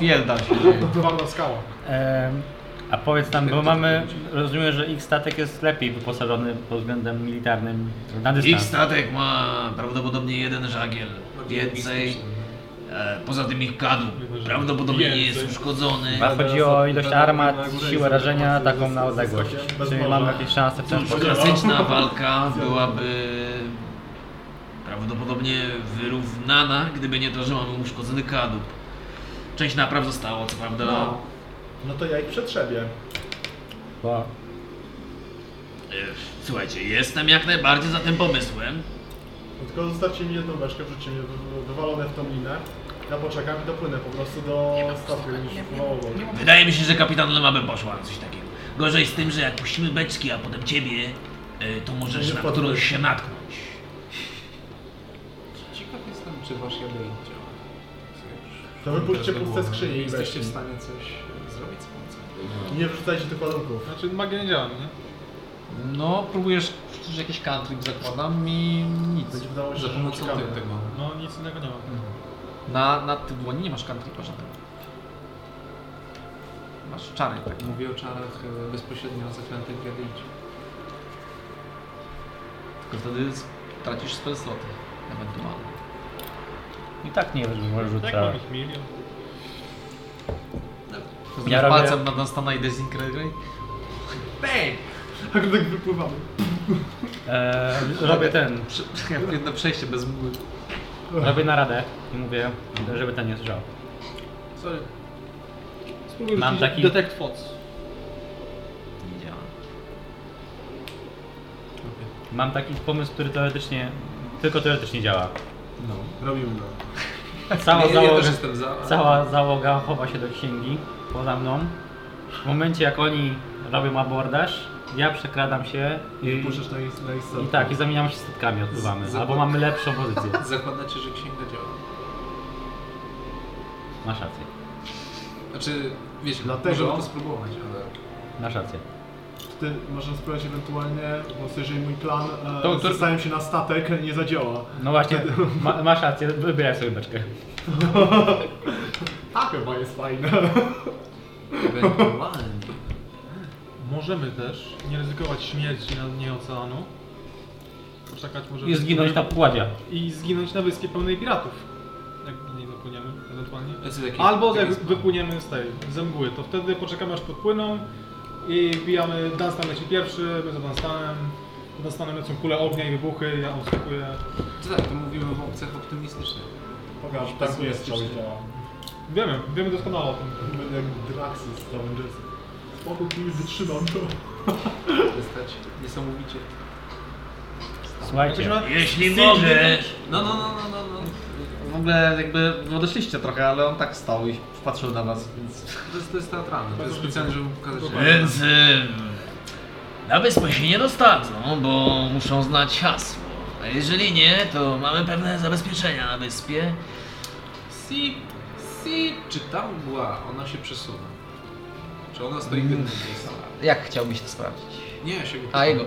Speaker 9: Fielda się dzieje.
Speaker 4: Twarda skała.
Speaker 3: Em, a powiedz nam, bo mamy, rozumiem, że ich statek jest lepiej wyposażony pod względem militarnym na
Speaker 1: Ich
Speaker 3: dystans.
Speaker 1: statek ma prawdopodobnie jeden żagiel. Więcej. E, poza tym ich kadłub prawdopodobnie nie jest uszkodzony.
Speaker 3: A chodzi o ilość
Speaker 2: Teraz
Speaker 3: armat,
Speaker 2: na górze
Speaker 3: siłę
Speaker 2: jest
Speaker 3: rażenia,
Speaker 2: informacja,
Speaker 3: taką
Speaker 2: że
Speaker 3: na
Speaker 2: jest- jest
Speaker 3: odległość.
Speaker 2: skokiem bez
Speaker 3: Czyli
Speaker 2: morza.
Speaker 3: mamy jakieś szanse w ten
Speaker 1: Bo
Speaker 3: sposób.
Speaker 1: Klasyczna walka byłaby prawdopodobnie wyrównana, gdyby nie to, że mamy uszkodzony kadłub. Część napraw została, co prawda.
Speaker 2: No to ja ich przetrzebię.
Speaker 3: Bo
Speaker 8: Słuchajcie, jestem jak najbardziej za tym pomysłem.
Speaker 2: No Tylko zostawcie mi jedną beczkę, wrzućcie mnie w- wywalone w tą linę. Ja poczekam i dopłynę po prostu do statku, jak mi się wpływało wodą.
Speaker 8: Wydaje mi się, że kapitan Lema by poszła na coś takiego. Gorzej z tym, że jak puścimy beczki, a potem ciebie, y, to możesz
Speaker 2: Nie
Speaker 8: na
Speaker 2: wpadłem.
Speaker 8: którąś się natknąć.
Speaker 5: Ciekaw jestem, czy wasz jadej działa. Co już-
Speaker 2: To wypuśćcie
Speaker 5: do
Speaker 2: puste
Speaker 5: głowy.
Speaker 2: skrzynie i
Speaker 5: Jesteście w
Speaker 2: weźcie. No.
Speaker 5: stanie coś e, zrobić z pomocą.
Speaker 2: Nie wrzucajcie tych ładunków.
Speaker 4: Znaczy magia nie działa, nie?
Speaker 1: No, próbujesz przecież jakiś cantrip zakładam i nic.
Speaker 2: Będzie wydawało się,
Speaker 5: Za
Speaker 2: że
Speaker 5: pomocą
Speaker 2: uciekamy.
Speaker 5: tego. tego.
Speaker 4: No nic innego nie ma.
Speaker 1: Na, na tym dłoni nie masz cantripa żadnego. Masz czary, tak?
Speaker 5: Mówię o czarach e, bezpośrednio zaklętych w jadejcie.
Speaker 1: Tylko wtedy s- tracisz spell sloty, ewentualnie.
Speaker 3: I tak nie możesz
Speaker 4: Tak
Speaker 3: rzucać.
Speaker 4: mam ich milion.
Speaker 1: To
Speaker 3: Ja
Speaker 1: ja
Speaker 3: robię-
Speaker 1: palcem na Dunstana i Desintegrate?
Speaker 2: Tak, tak wypływamy.
Speaker 3: Eee, robię ten,
Speaker 1: Jak jedno przejście bez mgły.
Speaker 3: robię naradę i mówię, żeby ten nie słyszał.
Speaker 4: Sorry. Spróbuj
Speaker 3: Mam
Speaker 4: rzucić
Speaker 3: taki-
Speaker 4: Detect Fox.
Speaker 1: Nie działa.
Speaker 3: Mam taki pomysł, który teoretycznie, tylko teoretycznie działa.
Speaker 5: No, robimy go.
Speaker 3: Cała
Speaker 5: ja, ja też
Speaker 3: załoga,
Speaker 5: jestem za. ale-
Speaker 3: cała załoga chowa się do księgi poza mną. W momencie jak oni robią abordaż, ja przekradam się i,
Speaker 2: Puszczasz na ich, na ich
Speaker 3: i
Speaker 2: stronę.
Speaker 3: tak, i zamieniamy się statkami, odpływamy.
Speaker 5: Z-
Speaker 3: Albo
Speaker 5: zapłat-
Speaker 3: mamy lepszą pozycję.
Speaker 5: Zakładacie, że księga działa.
Speaker 3: Masz rację,
Speaker 5: Znaczy, wiecie,
Speaker 2: Dlatego-
Speaker 5: możemy to spróbować, ale...
Speaker 3: masz rację.
Speaker 2: Ty możesz spróbować ewentualnie, bo jeżeli mój plan e,
Speaker 3: To-
Speaker 2: to,
Speaker 3: to-
Speaker 2: się na statek nie zadziała.
Speaker 3: No właśnie, ma, masz rację, wybieraj sobie beczkę.
Speaker 2: Tak chyba jest fajne.
Speaker 5: Ewentualnie.
Speaker 4: Możemy też nie ryzykować śmierci na dnie oceanu. Poczekać może...
Speaker 3: I zginąć na pokładzie.
Speaker 4: I zginąć na wyspie pełnej piratów. Jak nie dopłyniemy, ewentualnie.
Speaker 5: Znaczy, jakiś
Speaker 4: Albo jak
Speaker 5: mechanizm.
Speaker 4: wypłyniemy z tej, ze mgły, to wtedy poczekamy aż podpłyną i wbijamy, Dunstan leci pierwszy, my za Dunstanem. Dunstanem lecą kule ognia i wybuchy, ja odskakuję.
Speaker 5: To tak, to mówimy w opcjach optymistycznych.
Speaker 2: Pokaż, tak jest, cały działa.
Speaker 4: Wiemy, wiemy doskonale o tym.
Speaker 2: Będę jak Draxus z Avengersów. Spokój, nie wytrzymam to.
Speaker 5: Wystać niesamowicie.
Speaker 3: Słuchajcie,
Speaker 8: Jeśli mogę,
Speaker 5: No, no, no, no, no, no.
Speaker 1: W ogóle jakby wy odeszliście trochę, ale on tak stał i patrzył na was, więc...
Speaker 5: To jest, to jest teatralne, to jest specjalnie, żeby pokazać, że...
Speaker 8: więc ym, na wyspę się nie dostadzą, bo muszą znać hasło. A jeżeli nie, to mamy pewne zabezpieczenia na wyspie.
Speaker 5: Si, si. Czy ta mgła, ona się przesuwa? Czy ona stoi w jednym miejscu?
Speaker 1: Jak chciałbyś to sprawdzić?
Speaker 5: Nie, ja się go
Speaker 1: A jego.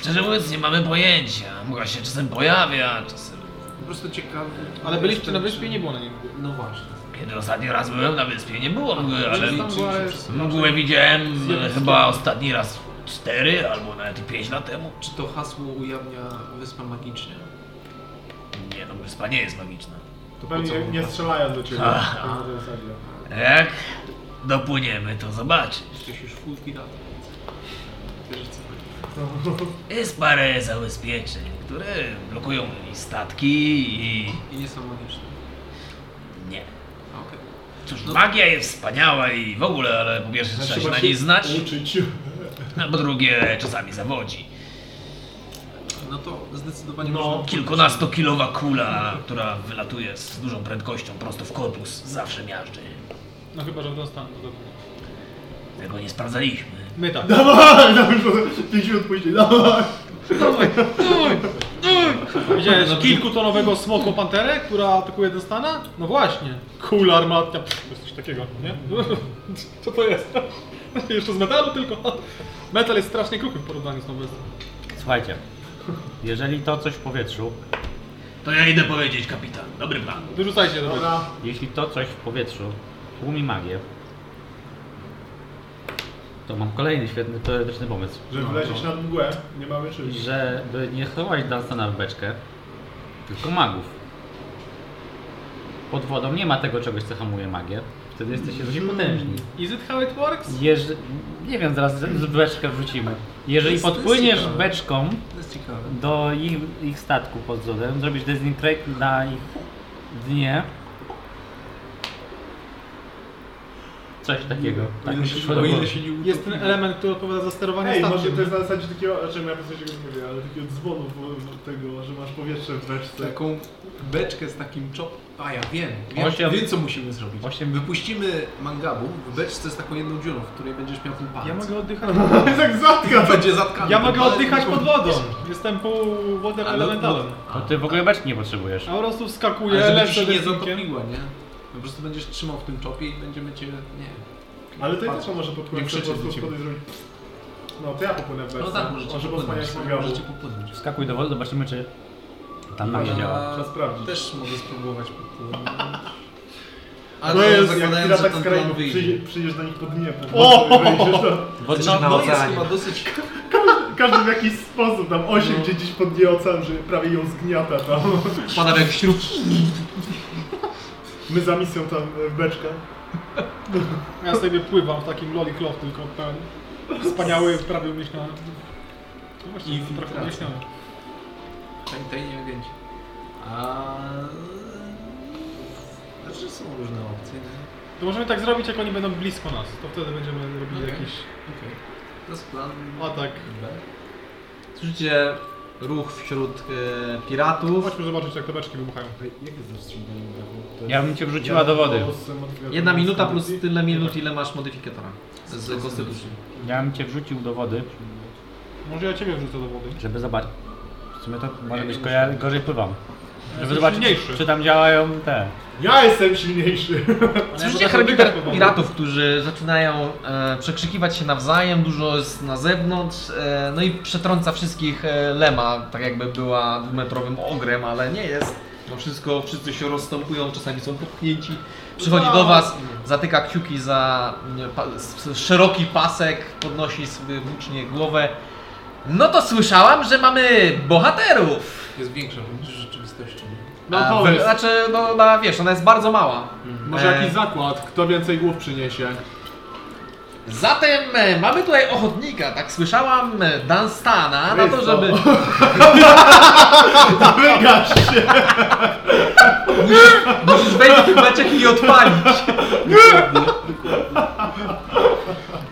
Speaker 8: Szczerze mówiąc, nie mamy pojęcia. Mgła się czasem pojawia, czasem...
Speaker 5: Po prostu ciekawy.
Speaker 4: Ale byliście na
Speaker 5: jestem,
Speaker 4: wyspie i
Speaker 5: czy-
Speaker 4: nie było na nim.
Speaker 5: No właśnie.
Speaker 8: Kiedy ostatni raz byłem na wyspie, nie było mgły, No, ale...
Speaker 5: Czyli-
Speaker 4: tam
Speaker 5: czyli
Speaker 4: była-
Speaker 5: się przesuwa.
Speaker 8: Mgłę widziałem e, chyba ostatni raz 4 albo nawet 5 lat temu.
Speaker 5: Czy to hasło ujawnia wyspę magicznie?
Speaker 8: Nie, no wyspa nie jest magiczna.
Speaker 2: To
Speaker 5: po
Speaker 2: pewnie
Speaker 5: co?
Speaker 2: nie strzelają do ciebie.
Speaker 8: Aha.
Speaker 2: Tak na zasadzie.
Speaker 8: Jak dopłyniemy, to zobaczysz.
Speaker 5: Jesteś już full pirata. Wiesz co?
Speaker 8: Jest parę zabezpieczeń, które blokują i statki i...
Speaker 5: I nie są magiczne.
Speaker 8: nie.
Speaker 5: A, Okej.
Speaker 8: Cóż, magia jest wspaniała i w ogóle, ale po pierwsze
Speaker 2: Znaczy
Speaker 8: trzeba się na niej znać,
Speaker 2: Uczyć.
Speaker 8: a No, po drugie czasami zawodzi.
Speaker 5: No to zdecydowanie
Speaker 2: No,
Speaker 5: można.
Speaker 8: Kilkunastokilowa kula, która wylatuje z dużą prędkością prosto w korpus, zawsze miażdży.
Speaker 4: No chyba, że w Dunstan. to dobra.
Speaker 8: Tego nie sprawdzaliśmy.
Speaker 4: My tak.
Speaker 2: Dawaj, dawaj, dawaj, 5 minut później, dawaj.
Speaker 4: Widziałeś
Speaker 7: No,
Speaker 4: kilkutonowego smoko panterę, która atakuje Dunstana? No właśnie. Kula armatnia. Pff, jest coś takiego, nie? Co to jest? Jeszcze z metalu tylko. Metal jest strasznie kruchy w porównaniu z tą bestią.
Speaker 3: słuchajcie. Jeżeli to coś w powietrzu,
Speaker 8: To ja idę powiedzieć, kapitan. Dobry plan.
Speaker 4: Wyrzucajcie do
Speaker 2: Dobra.
Speaker 3: Jeśli to coś w powietrzu tłumi magię, to mam kolejny świetny teoretyczny pomysł.
Speaker 2: Żeby wlecieć na mgłę, nie mamy czym.
Speaker 3: Żeby nie chować Dunstana w beczkę, tylko magów. Pod wodą nie ma tego czegoś, co hamuje magię. Wtedy jesteście
Speaker 5: Mm.
Speaker 3: dość potężni.
Speaker 4: Is it how it works?
Speaker 3: Jeżeli, nie wiem, zaraz z z beczkę wrzucimy. Jeżeli
Speaker 5: To jest- to jest
Speaker 3: podpłyniesz
Speaker 5: ciekawe.
Speaker 3: beczką
Speaker 5: To jest ciekawe.
Speaker 3: do ich, ich statku pod wodą, zrobisz dezinkrate na ich dnie, Coś takiego. Tak mi
Speaker 5: ile,
Speaker 3: przyszło do
Speaker 5: się, Mm. o
Speaker 3: głowy.
Speaker 5: ile się nie utopimy.
Speaker 7: Jest ten element, który odpowiada za sterowanie
Speaker 2: Ej,
Speaker 7: statkiem.
Speaker 2: może to jest na zasadzie takiego, znaczy ja w sensie go mówię, ale takiego dzwonu w- w- tego, że masz powietrze w beczce.
Speaker 5: taką beczkę z takim czop... A ja wiem, wiem,
Speaker 3: Osiem-
Speaker 5: wiem co musimy zrobić.
Speaker 3: osiem-
Speaker 5: Wypuścimy mangabu w beczce z taką jedną dziurą, w której będziesz miał ten palec.
Speaker 7: Ja mogę oddychać.
Speaker 2: To jest jak zatka!
Speaker 5: Będzie zatkany.
Speaker 7: Ja
Speaker 5: ten
Speaker 7: mogę
Speaker 5: palec,
Speaker 7: oddychać
Speaker 5: będziesz
Speaker 7: pod wodą. Jestem pół water
Speaker 5: A, no,
Speaker 7: elementalem.
Speaker 3: To ty w ogóle beczki nie potrzebujesz.
Speaker 7: A po prostu
Speaker 5: Ale
Speaker 7: wskakuję,
Speaker 5: żeby ci
Speaker 7: lecę
Speaker 5: się nie
Speaker 7: delfinkiem.
Speaker 5: zatopiła, nie? Po prostu będziesz trzymał w tym czopie i będziemy cię, nie
Speaker 2: Ale to i
Speaker 5: Patrz,
Speaker 2: też może pod
Speaker 5: nie
Speaker 2: koniec po
Speaker 5: krzyczeć
Speaker 2: prostu
Speaker 5: do ciebie.
Speaker 2: spody zrobić. No to ja popłynę w beczce.
Speaker 5: No tak, możecie
Speaker 2: Może
Speaker 5: popłynąć,
Speaker 2: posłaniać
Speaker 5: tak,
Speaker 2: programu.
Speaker 5: możecie popłynąć.
Speaker 3: Skakuj do wody, zobaczymy czy tam nam nie
Speaker 5: Ja
Speaker 3: działa.
Speaker 2: Trzeba sprawdzić.
Speaker 5: Też mogę spróbować popłynąć. Ale
Speaker 2: No jest, jak
Speaker 5: zakładając,
Speaker 2: chwila
Speaker 5: że
Speaker 2: tak z
Speaker 5: ten
Speaker 2: kraju
Speaker 5: plan wyjdzie.
Speaker 2: przyjeżdża do nich pod Dniepr.
Speaker 7: O!
Speaker 2: No, wejdziesz, to
Speaker 3: Wodny
Speaker 5: No, no jest
Speaker 8: oceanie.
Speaker 5: chyba dosyć...
Speaker 2: Każdy w jakiś sposób, tam 8 no. gdzieś pod nieocean, że prawie ją zgniata tam.
Speaker 8: Spada jak śrub.
Speaker 2: My za misją tam e, w beczkę.
Speaker 7: Ja sobie pływam w takim loli kloch tylko pełen. Wspaniały, prawie umieśniony. No właśnie,
Speaker 5: Infiltracja.
Speaker 7: trochę umieśniony.
Speaker 5: Tajni agenci. A... Znaczy są różne opcje, nie?
Speaker 7: To możemy tak zrobić, jak oni będą blisko nas. To wtedy będziemy robili
Speaker 5: Okej.
Speaker 7: jakiś
Speaker 5: Okej. To jest plan
Speaker 7: atak.
Speaker 5: B.
Speaker 1: Słyszycie ruch wśród e, piratów.
Speaker 7: Chodźmy zobaczyć, jak te beczki wybuchają.
Speaker 2: Jak jest zatrzymanie dachu?
Speaker 3: Ja bym cię wrzuciła do wody.
Speaker 1: Jedna minuta plus tyle minut, ile masz modyfikatora z konstytucji.
Speaker 3: Ja bym cię wrzucił do wody,
Speaker 7: Może ja ciebie wrzucę do wody.
Speaker 3: żeby zobaczyć. W sumie to może być koja- gorzej pływam. Żeby
Speaker 7: jestem
Speaker 3: zobaczyć,
Speaker 7: silniejszy.
Speaker 3: czy tam działają te.
Speaker 2: Ja jestem silniejszy.
Speaker 1: Słyszycie charakter piratów, którzy zaczynają e, przekrzykiwać się nawzajem, dużo jest na zewnątrz, e, no i przetrąca wszystkich e, Lema, tak jakby była dwumetrowym ogrem, ale nie jest. No wszystko, wszyscy się rozstępują, czasami są popchnięci. Przychodzi do was, zatyka kciuki za mm, pa, s- s- szeroki pasek, podnosi sobie włócznie głowę. No to słyszałam, że mamy bohaterów!
Speaker 5: Jest większa niż rzeczywistości.
Speaker 2: No
Speaker 1: A,
Speaker 2: powiedz.
Speaker 1: Znaczy, no na, wiesz, ona jest bardzo mała.
Speaker 2: Może
Speaker 1: E,
Speaker 2: jakiś zakład, kto więcej głów przyniesie.
Speaker 1: Zatem e, mamy tutaj ochotnika, tak słyszałam, e, Danstana, na to,
Speaker 2: Wysto.
Speaker 1: żeby...
Speaker 2: no. Wygasz się!
Speaker 1: Musisz wejść w beczek i odpalić.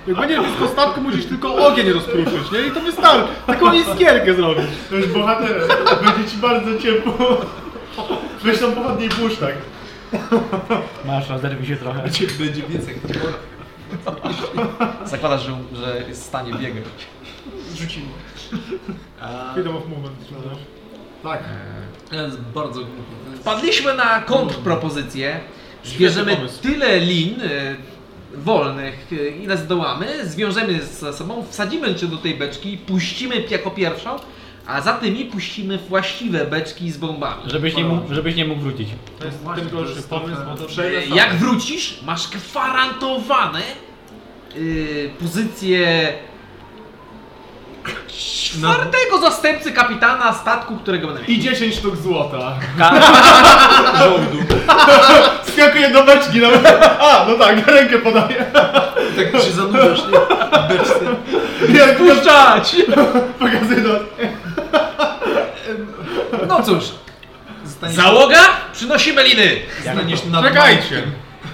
Speaker 7: Jak będziesz blisko statku, musisz tylko ogień rozpruszyć, nie? I to wystarczy. Taką iskierkę zrobić.
Speaker 2: To już bohaterem. Będzie ci bardzo ciepło. Weź tam pochodnie i puść tak.
Speaker 3: Masz, rozerwij się trochę.
Speaker 5: Będzie więcej jak to
Speaker 1: Zakładasz, że, że jest w stanie biegać.
Speaker 5: Rzucimy. A,
Speaker 7: Freedom of movement. no.
Speaker 5: tak. To jest bardzo głupie. To jest-
Speaker 1: Padliśmy na kontrpropozycję. Zbierzemy
Speaker 7: pomysł.
Speaker 1: tyle lin e, wolnych, e, ile zdołamy, zwiążemy ze sobą, wsadzimy cię do tej beczki, puścimy jako pierwszą, a za tymi puścimy właściwe beczki z bombami.
Speaker 3: Żebyś nie mógł, żebyś nie mógł wrócić.
Speaker 7: To jest
Speaker 5: Właśnie,
Speaker 7: ten
Speaker 5: to
Speaker 7: gorszy
Speaker 5: jest
Speaker 7: pomysł,
Speaker 5: trochę-
Speaker 7: bo to
Speaker 1: E, Jak wrócisz, masz gwarantowane yy, pozycję czwartego zastępcy kapitana statku, którego będę miał.
Speaker 2: I 10 sztuk złota.
Speaker 3: Ka-
Speaker 2: Skakuję do beczki nawet. A, no tak, rękę podaję.
Speaker 5: Tak się zanurzasz, nie? Beczce.
Speaker 2: Nie,
Speaker 1: Puszczać!
Speaker 2: pokazuję do...
Speaker 1: No cóż,
Speaker 5: Zostaniesz,
Speaker 1: załoga, przynosimy liny.
Speaker 5: zostaniesz nad
Speaker 7: Czekajcie!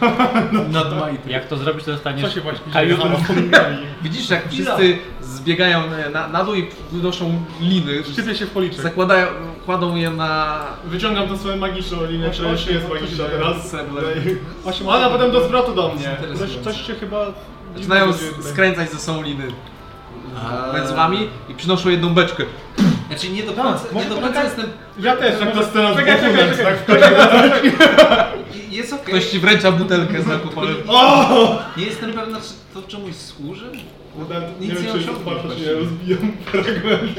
Speaker 5: Majtem. Nad majtem.
Speaker 3: Jak to zrobisz, to
Speaker 7: Co
Speaker 3: dostaniesz
Speaker 7: się właśnie dzieje?
Speaker 3: kajutę.
Speaker 1: Widzisz, jak wszyscy zbiegają e, na, na dół i wynoszą liny.
Speaker 7: Szczypię się w policzek.
Speaker 1: Zakładają, kładą je na...
Speaker 2: Wyciągam tą swoją magiczną linię,
Speaker 7: Osiem,
Speaker 2: która już nie jest
Speaker 7: osiem,
Speaker 2: magiczna
Speaker 7: osiem,
Speaker 2: teraz.
Speaker 5: Sebler.
Speaker 7: Osiem,
Speaker 2: Ona potem do zwrotu do mnie.
Speaker 7: Coś, coś się chyba...
Speaker 1: Zaczynają
Speaker 7: dzieje tutaj.
Speaker 1: s- skręcać ze sobą liny
Speaker 5: A.
Speaker 1: węzłami i przynoszą jedną beczkę.
Speaker 5: Znaczy nie do końca, nie
Speaker 7: może
Speaker 5: do końca
Speaker 7: tak-
Speaker 5: jestem...
Speaker 7: Ja też,
Speaker 2: Tak to
Speaker 7: może-
Speaker 2: scena z
Speaker 7: Czekaj, czekaj,
Speaker 2: Bokunem,
Speaker 7: czekaj.
Speaker 2: tak w końcu.
Speaker 5: Jest okej.
Speaker 1: Ktoś ci wręcza butelkę z alkoholem.
Speaker 5: Nie jestem pewna, czy to czemuś służy.
Speaker 2: Potem
Speaker 5: Nic
Speaker 2: No tak, nie
Speaker 5: nie
Speaker 2: wiem, czy się
Speaker 5: osiągniesz
Speaker 2: zobaczysz,
Speaker 5: właśnie.
Speaker 2: nie rozbijam fragment.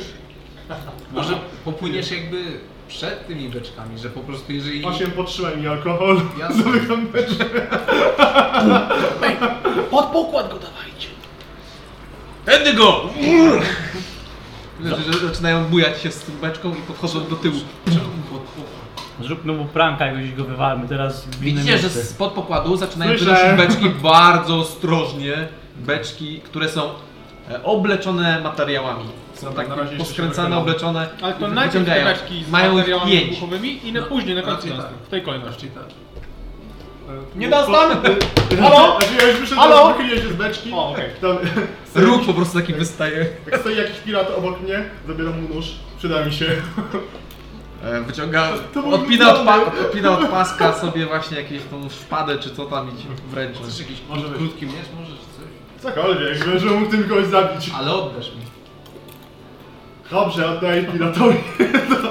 Speaker 5: Może popłyniesz jakby przed tymi beczkami, że po prostu jeżeli...
Speaker 2: 8 podtrzymaj mi alkohol.
Speaker 5: Ja-
Speaker 2: Zamykam beczkę.
Speaker 1: Tędy go! Że, Znaczy, że zaczynają bujać się z tą beczką i podchodzą do tyłu.
Speaker 5: Czemu pod- pod-
Speaker 3: Zróbmy mu pranka, jakbyś go wywalmy teraz w innym
Speaker 1: Widzicie, że
Speaker 3: miejscu.
Speaker 1: spod pokładu zaczynają
Speaker 2: Słyszę.
Speaker 1: wynosić beczki bardzo ostrożnie. Beczki, które są e, obleczone materiałami. Są
Speaker 2: Dobra, No, na razie
Speaker 1: tak
Speaker 2: jeszcze się
Speaker 1: poskręcane,
Speaker 2: wychylam.
Speaker 1: obleczone.
Speaker 7: Ale to
Speaker 1: i
Speaker 7: najpierw te
Speaker 1: wyciągają.
Speaker 7: beczki z
Speaker 1: Mają ich
Speaker 7: materiałami
Speaker 1: pięć.
Speaker 7: wybuchowymi i na
Speaker 5: No,
Speaker 7: później, na końcu
Speaker 5: raczej
Speaker 7: nas-
Speaker 5: tak.
Speaker 7: w tej kolejności.
Speaker 5: Raczej tak.
Speaker 4: Nie dam stany! Halo?
Speaker 2: Halo? Ja już wyszedłem,
Speaker 4: Halo?
Speaker 2: wychyliłem się z beczki.
Speaker 4: O, okej.
Speaker 2: Tam stoi,
Speaker 1: Róg po prostu taki wystaje.
Speaker 2: jak stoi jakiś pirat obok mnie, zabieram mu nóż, przyda mi się.
Speaker 1: E, Wyciąga,
Speaker 2: To był
Speaker 1: odpina od, pa,
Speaker 2: wyglądy.
Speaker 1: odpina od paska sobie właśnie jakieś tą szpadę czy co tam i ci wręczy.
Speaker 5: Chcesz jakiś
Speaker 2: Może być.
Speaker 5: krótki miecz, może czy coś?
Speaker 2: Cokolwiek, żeby mógł tym kogoś zabić.
Speaker 5: Ale oddasz mi.
Speaker 2: Dobrze, oddaję piratowi.
Speaker 5: Tylko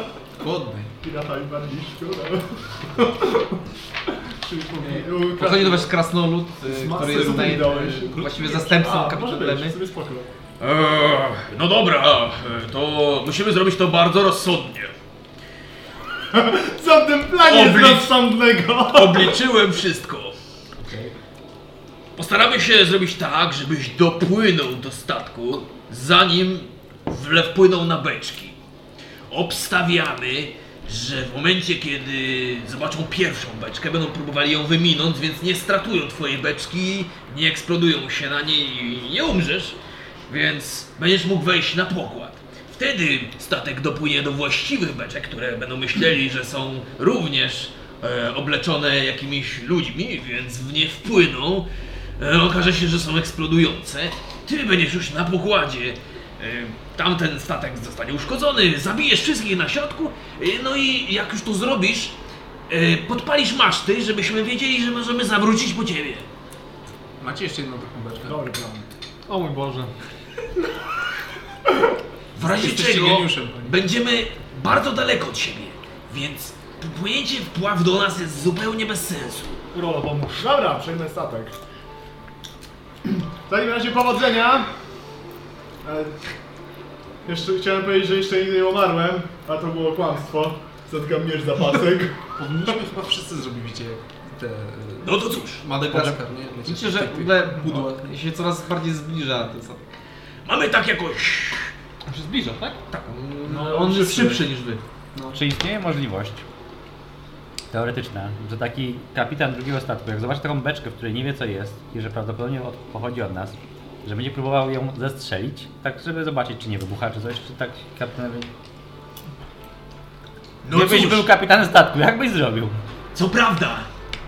Speaker 5: oddaj.
Speaker 2: Piratowi bardziej szkoda. Czyli
Speaker 1: Podchodzi do was krasnolud, e, który jest tutaj e, właściwie zastępcą kapitana
Speaker 2: kapitana.
Speaker 1: Lemy.
Speaker 2: sobie spokojnie.
Speaker 8: Eee, no dobra, e, to musimy zrobić to bardzo rozsądnie.
Speaker 2: Co w tym planie jest
Speaker 8: Oblicz-
Speaker 2: rozsądnego?
Speaker 8: Obliczyłem wszystko. Postaramy się zrobić tak, żebyś dopłynął do statku, zanim wle- wpłynął na beczki. Obstawiamy, że w momencie, kiedy zobaczą pierwszą beczkę, będą próbowali ją wyminąć, więc nie stratują twojej beczki, nie eksplodują się na niej i nie umrzesz, więc będziesz mógł wejść na pokład. Wtedy statek dopłynie do właściwych beczek, które będą myśleli, że są również e, obleczone jakimiś ludźmi, więc w nie wpłyną. E, okaże się, że są eksplodujące. Ty będziesz już na pokładzie. E, tamten statek zostanie uszkodzony, zabijesz wszystkich na środku. E, no i jak już to zrobisz, e, podpalisz maszty, żebyśmy wiedzieli, że możemy zawrócić po ciebie.
Speaker 5: Macie jeszcze jedną taką beczkę?
Speaker 2: Dobry plan.
Speaker 4: O mój Boże.
Speaker 8: W razie
Speaker 5: Jesteście
Speaker 8: czego
Speaker 5: geniuszem, panie.
Speaker 8: będziemy bardzo daleko od siebie, więc płynięcie w pław do nas jest zupełnie bez sensu.
Speaker 2: Urolo, pomóż. Dobra, przejmę statek. W takim razie powodzenia. E, Jeszcze chciałem powiedzieć, że jeszcze nigdy nie umarłem, a to było kłamstwo. Zatkam miecz za pasek.
Speaker 5: Powinniśmy chyba wszyscy zrobić jak te... e,
Speaker 8: No to cóż,
Speaker 5: Madagaskar, nie? Lecieć
Speaker 1: Widzicie, y, że
Speaker 5: tak,
Speaker 1: w
Speaker 5: tak.
Speaker 1: ogóle pudło się coraz bardziej zbliża. To jest,
Speaker 8: mamy tak jakoś.
Speaker 4: On się zbliża, tak?
Speaker 1: no, on jest szybszy niż wy.
Speaker 3: Czy istnieje możliwość teoretyczna, że taki kapitan drugiego statku, jak zobaczy taką beczkę, w której nie wie co jest i że prawdopodobnie od, pochodzi od nas, że będzie próbował ją zestrzelić, tak żeby zobaczyć czy nie wybucha, czy coś, czy tak kapitanowi...
Speaker 8: No
Speaker 3: Gdybyś
Speaker 8: cóż,
Speaker 3: był kapitanem statku, jak byś zrobił?
Speaker 8: co prawda,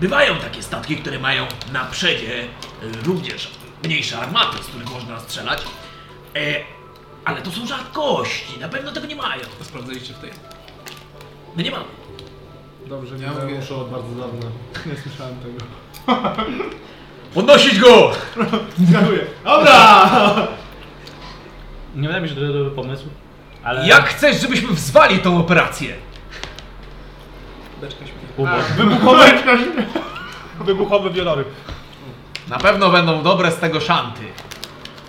Speaker 8: bywają takie statki, które mają na przedzie y, również mniejsze armaty, z których można strzelać, e, ale to są rzadkości, na pewno tego nie mają.
Speaker 5: To sprawdzaliście w tej?
Speaker 8: My nie mamy.
Speaker 2: Dobrze,
Speaker 5: Ja
Speaker 2: widzę
Speaker 5: mówię-
Speaker 2: muszę od bardzo dawna. Nie słyszałem tego.
Speaker 8: Podnosić go!
Speaker 2: Zgaduję. Dobra!
Speaker 3: Nie wydaje mi się, że to dobry pomysł, ale...
Speaker 8: Jak chcesz, żebyśmy wzwali tą operację?
Speaker 5: Beczka śmiechu.
Speaker 3: Ubóg.
Speaker 4: Wybuchowy, wybuchowy wieloryb.
Speaker 1: Na pewno będą dobre z tego szanty.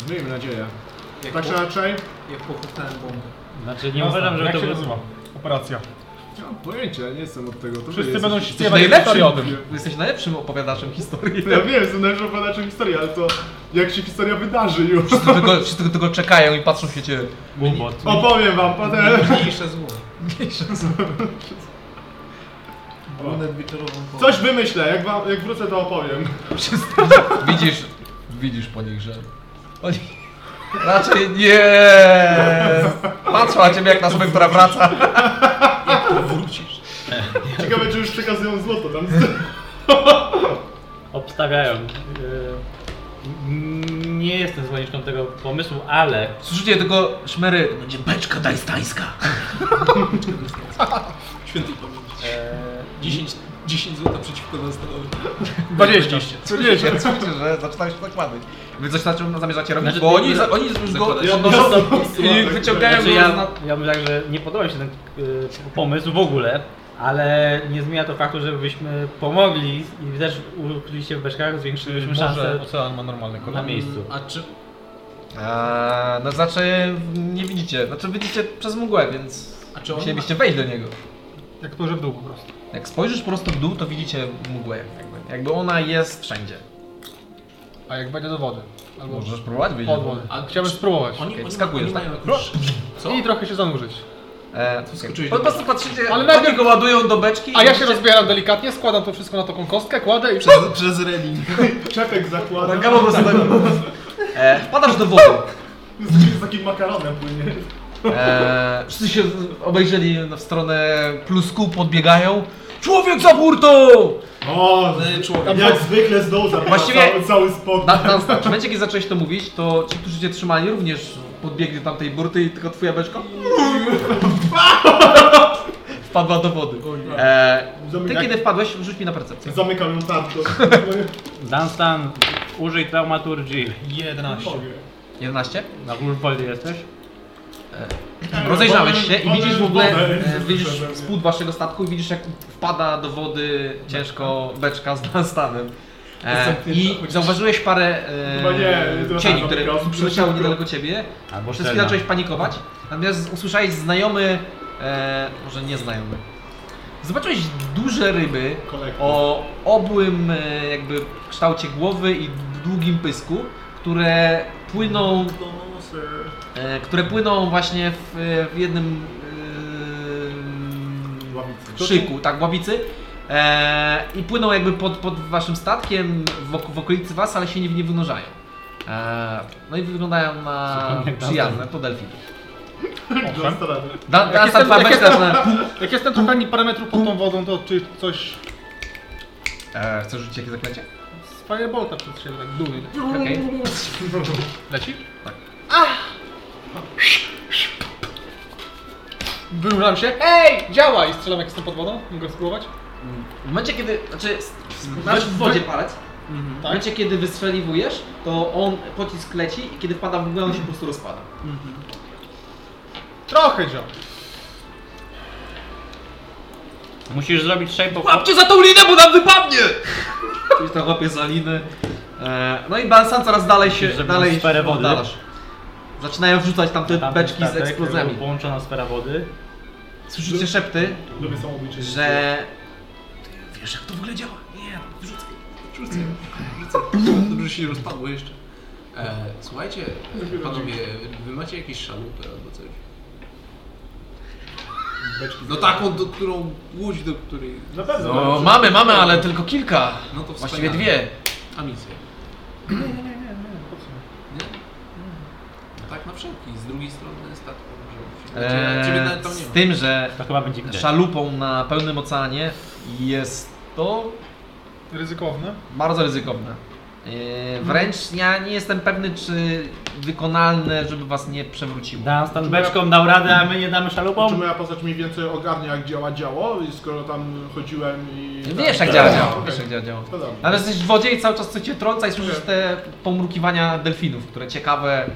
Speaker 2: Miejmy nadzieję.
Speaker 5: Jak,
Speaker 2: Tak czy
Speaker 5: po,
Speaker 2: inaczej?
Speaker 5: jak pochutałem bombę.
Speaker 3: Znaczy nie uważam, że
Speaker 4: Jak
Speaker 3: to
Speaker 4: się
Speaker 3: był-
Speaker 4: nazywa? Operacja.
Speaker 2: Nie mam pojęcia, nie jestem od tego. To
Speaker 4: Wszyscy
Speaker 2: jest-
Speaker 4: będą
Speaker 1: Jesteś
Speaker 4: śpiewać
Speaker 1: najlepszym,
Speaker 4: historię o tym.
Speaker 1: jesteś najlepszym opowiadaczem historii.
Speaker 2: Ja wiem, jestem najlepszym opowiadaczem historii, ale to jak się historia wydarzy już.
Speaker 1: Wszyscy tylko, wszyscy tylko czekają i patrzą się ciebie.
Speaker 3: Ubot.
Speaker 2: Opowiem wam potem.
Speaker 5: Mniejsze zło.
Speaker 2: O.
Speaker 5: Runę wieczorową po...
Speaker 2: Coś wymyślę, jak, wam, jak wrócę to opowiem.
Speaker 1: Widzisz, widzisz po nich, że oni raczej nie patrzą na ciebie jak na osobę, która wraca.
Speaker 5: Wrócisz.
Speaker 2: Ciekawe, czy już przekazują złoto tam.
Speaker 3: Obstawiają. Yy, e, n- nie jestem zwolenniczką tego pomysłu, ale
Speaker 1: Słyszycie tylko szmery.
Speaker 8: Będzie beczka dajstańska.
Speaker 5: Świętej pamięci.
Speaker 3: e,
Speaker 5: 10, 10 zł przeciwko nastanowi.
Speaker 4: 20.
Speaker 1: Słyszycie, słyszycie, że zaczynają się zakłady. Wy coś zaczynają- zamierzacie robić,
Speaker 3: Znaczy,
Speaker 1: bo oni,
Speaker 3: ja-
Speaker 1: oni już go
Speaker 5: zakładasz-
Speaker 1: podnoszą i wyciągają
Speaker 3: Znaczy,
Speaker 1: go
Speaker 3: ja,
Speaker 1: na...
Speaker 3: ja bym tak, że nie podoba mi się ten y, pomysł w ogóle, ale nie zmienia to faktu, żebyśmy pomogli i też ukryliście w beczkach, zwiększyliśmy szansę
Speaker 4: Może ocean ma normalny kolor.
Speaker 3: na miejscu.
Speaker 5: A czy...
Speaker 1: Eee, no znaczy nie widzicie, znaczy widzicie przez mgłę, więc
Speaker 5: A czy on
Speaker 1: musielibyście wejść do niego.
Speaker 4: Jak spojrzę w dół po prostu.
Speaker 1: Jak spojrzysz prosto w dół, to widzicie mgłę jakby. Jakby ona jest wszędzie.
Speaker 4: A jak będzie do wody? Albo
Speaker 1: Możesz próbować wyjść.
Speaker 4: pod wodę.
Speaker 5: A
Speaker 4: Chciałbym
Speaker 5: czy-
Speaker 4: spróbować.
Speaker 5: Oni, oni,
Speaker 1: Skakujesz,
Speaker 5: oni
Speaker 1: tak?
Speaker 5: mają jakąś... Co?
Speaker 4: I trochę się zanurzyć.
Speaker 1: E,
Speaker 5: skoczyłeś
Speaker 1: po
Speaker 5: do
Speaker 1: prostu patrzycie,
Speaker 4: Ale
Speaker 1: ale
Speaker 4: najpierw-
Speaker 1: oni go ładują do beczki.
Speaker 4: A
Speaker 1: i
Speaker 4: ja się
Speaker 1: widzicie-
Speaker 4: rozbieram delikatnie, składam to wszystko na taką kostkę, kładę i...
Speaker 5: Przez, przez reling.
Speaker 2: Czepek zakładam.
Speaker 1: Rękawa po prostu tak. E, wpadasz do wody.
Speaker 2: Z, z takim makaronem płynie.
Speaker 1: E, wszyscy się obejrzeli w stronę plusku, podbiegają. Człowiek za burtą!
Speaker 2: O,
Speaker 1: Y, człowiek.
Speaker 2: jak zwykle znowu zabiera
Speaker 1: Właściwie-
Speaker 2: cały, cały spot.
Speaker 1: Na, na, w momencie, kiedy zacząłeś to mówić, to ci, którzy cię trzymali, również podbiegli do tamtej burty i tylko twoja beczka wpadła do wody. E, ty,
Speaker 2: Zamykam,
Speaker 1: kiedy wpadłeś, rzuć mi na percepcję.
Speaker 2: zamykam ją tarczą.
Speaker 3: Dunstan, użyj traumaturgii.
Speaker 4: 11.
Speaker 1: 11.
Speaker 3: Na Wolfwoldzie jesteś?
Speaker 2: Tak.
Speaker 1: Rozejrzałeś się i
Speaker 2: Wodę-
Speaker 1: widzisz w ogóle,
Speaker 2: wodę
Speaker 1: e, widzisz
Speaker 2: słyszę, że-
Speaker 1: spód waszego statku i widzisz, jak wpada do wody ciężko beczka z Dunstanem. E, I zauważyłeś parę
Speaker 2: Chyba nie,
Speaker 1: e,
Speaker 2: to
Speaker 1: cieni,
Speaker 2: tam
Speaker 1: które
Speaker 2: tylko-
Speaker 1: przyleciały niedaleko ciebie.
Speaker 3: Albo
Speaker 1: Przez chwilę zacząłeś panikować, natomiast usłyszałeś znajomy, e, może nie znajomy. Zobaczyłeś duże ryby
Speaker 2: Kolektor.
Speaker 1: o obłym e, jakby kształcie głowy i długim pysku, które płyną, e, które płyną właśnie w, w jednym e,
Speaker 2: Ławicy.
Speaker 1: szyku, tak, ławicy. E, I płyną jakby pod, pod waszym statkiem w, w okolicy was, ale się nie, nie wynurzają. E, no i wyglądają na przyjazne, to delfiny.
Speaker 2: Dla starady.
Speaker 1: Da, da,
Speaker 4: jestem-
Speaker 1: Santa
Speaker 4: jak
Speaker 1: Barbara na...
Speaker 4: Jak jestem trochę ani parę metrów pod tą wodą, to czy coś
Speaker 1: E, chcesz rzucić jakieś zaklęcie?
Speaker 4: z Firebolta przed siebie, tak dumy.
Speaker 1: Okej.
Speaker 4: Leci? Tak. Wyruszam się, hej, działa! I strzelam jak jestem pod wodą, mogę spróbować?
Speaker 1: W momencie kiedy, znaczy, s- masz w wodzie palec, w
Speaker 4: Tak?
Speaker 1: momencie kiedy wystrzeliwujesz, to on, pocisk leci i kiedy wpada w górę, on się po prostu rozpada.
Speaker 4: Trochę działa.
Speaker 3: Musisz zrobić shape of...
Speaker 10: Łapcie za tą linę, bo nam wypadnie!
Speaker 1: Czyli to łapie za liny. E, no i Bansan coraz dalej się,
Speaker 3: Musisz zrobić
Speaker 1: dalej się
Speaker 3: sferę wody.
Speaker 1: oddalasz. Zaczynają wrzucać tam te
Speaker 3: Tamten
Speaker 1: beczki z
Speaker 3: statek,
Speaker 1: eksplozjami.
Speaker 3: Połączona sfera wody.
Speaker 1: Słyszycie szepty,
Speaker 2: Lubię samobójcze.
Speaker 1: że
Speaker 10: Wiesz jak to w ogóle działa? Nie, wrzucę.
Speaker 5: Rzucę, rzucę. Dobrze się nie rozpadło jeszcze. E, słuchajcie, e, panowie, wy- wy macie jakieś szalupy albo coś?
Speaker 2: Beczki
Speaker 5: No taką, do którą, łódź, do której...
Speaker 2: Na pewno.
Speaker 10: No, mamy, mamy, ale tylko kilka.
Speaker 5: No to
Speaker 10: Właściwie
Speaker 5: wspaniale.
Speaker 10: dwie.
Speaker 5: A misję? Nie? No tak na wszelki, z drugiej strony statku. że- Ciebie- Ciebie
Speaker 1: e,
Speaker 5: nawet tam nie
Speaker 1: z
Speaker 5: ma.
Speaker 1: tym, że
Speaker 3: To chyba będzie widać.
Speaker 1: szalupą na pełnym oceanie jest to
Speaker 4: Ryzykowne.
Speaker 1: Bardzo ryzykowne. Yy, Wręcz ja nie jestem pewny, czy wykonalne, żeby was nie przewróciło.
Speaker 3: Dunstan beczką dał radę, a my nie damy szalupą?
Speaker 2: Czy moja postać mniej więcej ogarnia jak działa działo, i skoro tam chodziłem i...
Speaker 1: No Wiesz jak
Speaker 2: Tak.
Speaker 1: działa
Speaker 2: Tak.
Speaker 1: działo,
Speaker 2: Okej.
Speaker 1: wiesz jak działa działo.
Speaker 2: To dobra.
Speaker 1: Ale jesteś w wodzie i cały czas coś cię trąca i słyszysz te pomrukiwania delfinów, które ciekawe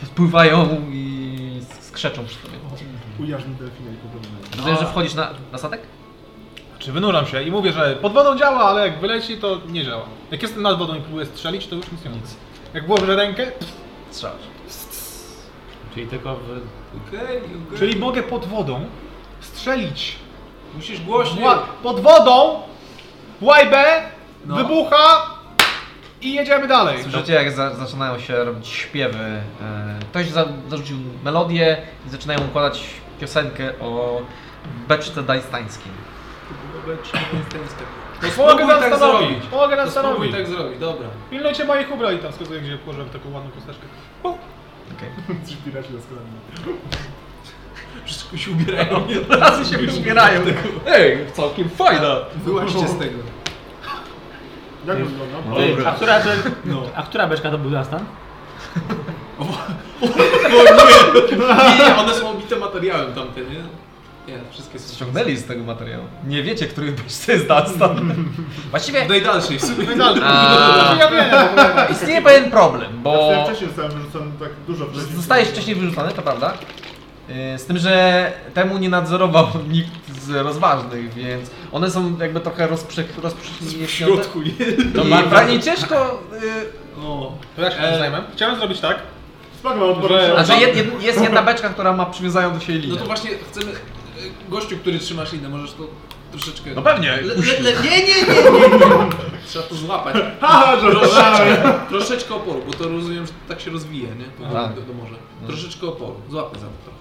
Speaker 1: p- pływają i skrzeczą przy tobie.
Speaker 2: Ujarzmy delfina i poglądamy.
Speaker 1: Rozumiem, że wchodzisz na, na statek?
Speaker 4: Czy wynuram się i mówię, że pod wodą działa, ale jak wyleci, to nie działa. Jak jestem nad wodą i próbuję strzelić, to już nic nie ma. Jak włożę rękę,
Speaker 1: Strzelasz.
Speaker 3: Czyli tylko w...
Speaker 5: Okej, okej.
Speaker 4: czyli mogę pod wodą strzelić.
Speaker 5: Musisz głośniej.
Speaker 4: Wła- pod wodą, łajbę,
Speaker 5: No.
Speaker 4: wybucha i jedziemy dalej.
Speaker 1: Słyszycie, jak za, zaczynają się robić śpiewy. e, Ktoś za, zarzucił melodię i zaczynają układać piosenkę o beczce dajstańskiej.
Speaker 5: Beczka, stańska.
Speaker 7: No,
Speaker 5: To
Speaker 4: Pomogę
Speaker 5: spróbuj
Speaker 4: nam
Speaker 5: tak zrobić.
Speaker 4: stanowić, pomogę
Speaker 5: To
Speaker 4: nam
Speaker 5: spróbuj
Speaker 4: stanowić.
Speaker 5: tak zrobić, dobra.
Speaker 4: Pilnujcie moich ubrań tam, wskazuję gdzie położyłem taką ładną kosteczkę.
Speaker 1: Okej.
Speaker 2: Ci piraci doskonale.
Speaker 5: Wszystko się ubierają.
Speaker 1: Tacy się wyśmierają. Ej, całkiem fajna.
Speaker 5: Tak, Wyłaźcie z tego.
Speaker 2: Jak wygląda?
Speaker 3: Ty, a, która be... a która beczka to był Dunstan?
Speaker 5: Nie, nie, one są obite materiałem tamte, nie? Nie, wszystkie są.
Speaker 1: Ściągnęli z tego materiału. Nie wiecie, który to jest Dunstan. No Właściwie
Speaker 5: W najdalszej w sumie.
Speaker 1: a,
Speaker 4: Ja wiem, bo-
Speaker 1: istnieje pewien problem, bo
Speaker 2: Ja wcześniej zostałem wyrzucony tak dużo wcześniej.
Speaker 1: zostajesz wcześniej wyrzucony, to prawda. Yy, Z tym, że temu nie nadzorował nikt z rozważnych, więc one są jakby trochę rozprzych... rozprzych...
Speaker 5: W środku jest.
Speaker 1: I prawie ciężko... Yy,
Speaker 5: O. E,
Speaker 4: To ja się tym zajmę. Chciałem zrobić tak.
Speaker 2: Smakował odpoczynku.
Speaker 1: znaczy jed, jed, jest jedna beczka, która ma przywiązaną do siebie
Speaker 5: No
Speaker 1: linię.
Speaker 5: to właśnie chcemy. e, Gościu, który trzymasz linę, możesz to troszeczkę.
Speaker 1: No pewnie.
Speaker 5: Le, le, le, nie, nie, nie, nie, nie. Trzeba to złapać.
Speaker 2: Haha, żartowałem.
Speaker 5: Troszeczkę, troszeczkę oporu, bo to rozumiem, że tak się rozwija, nie? To
Speaker 1: Tak.
Speaker 5: do, do morza. Troszeczkę oporu. Złapmy za to trochę.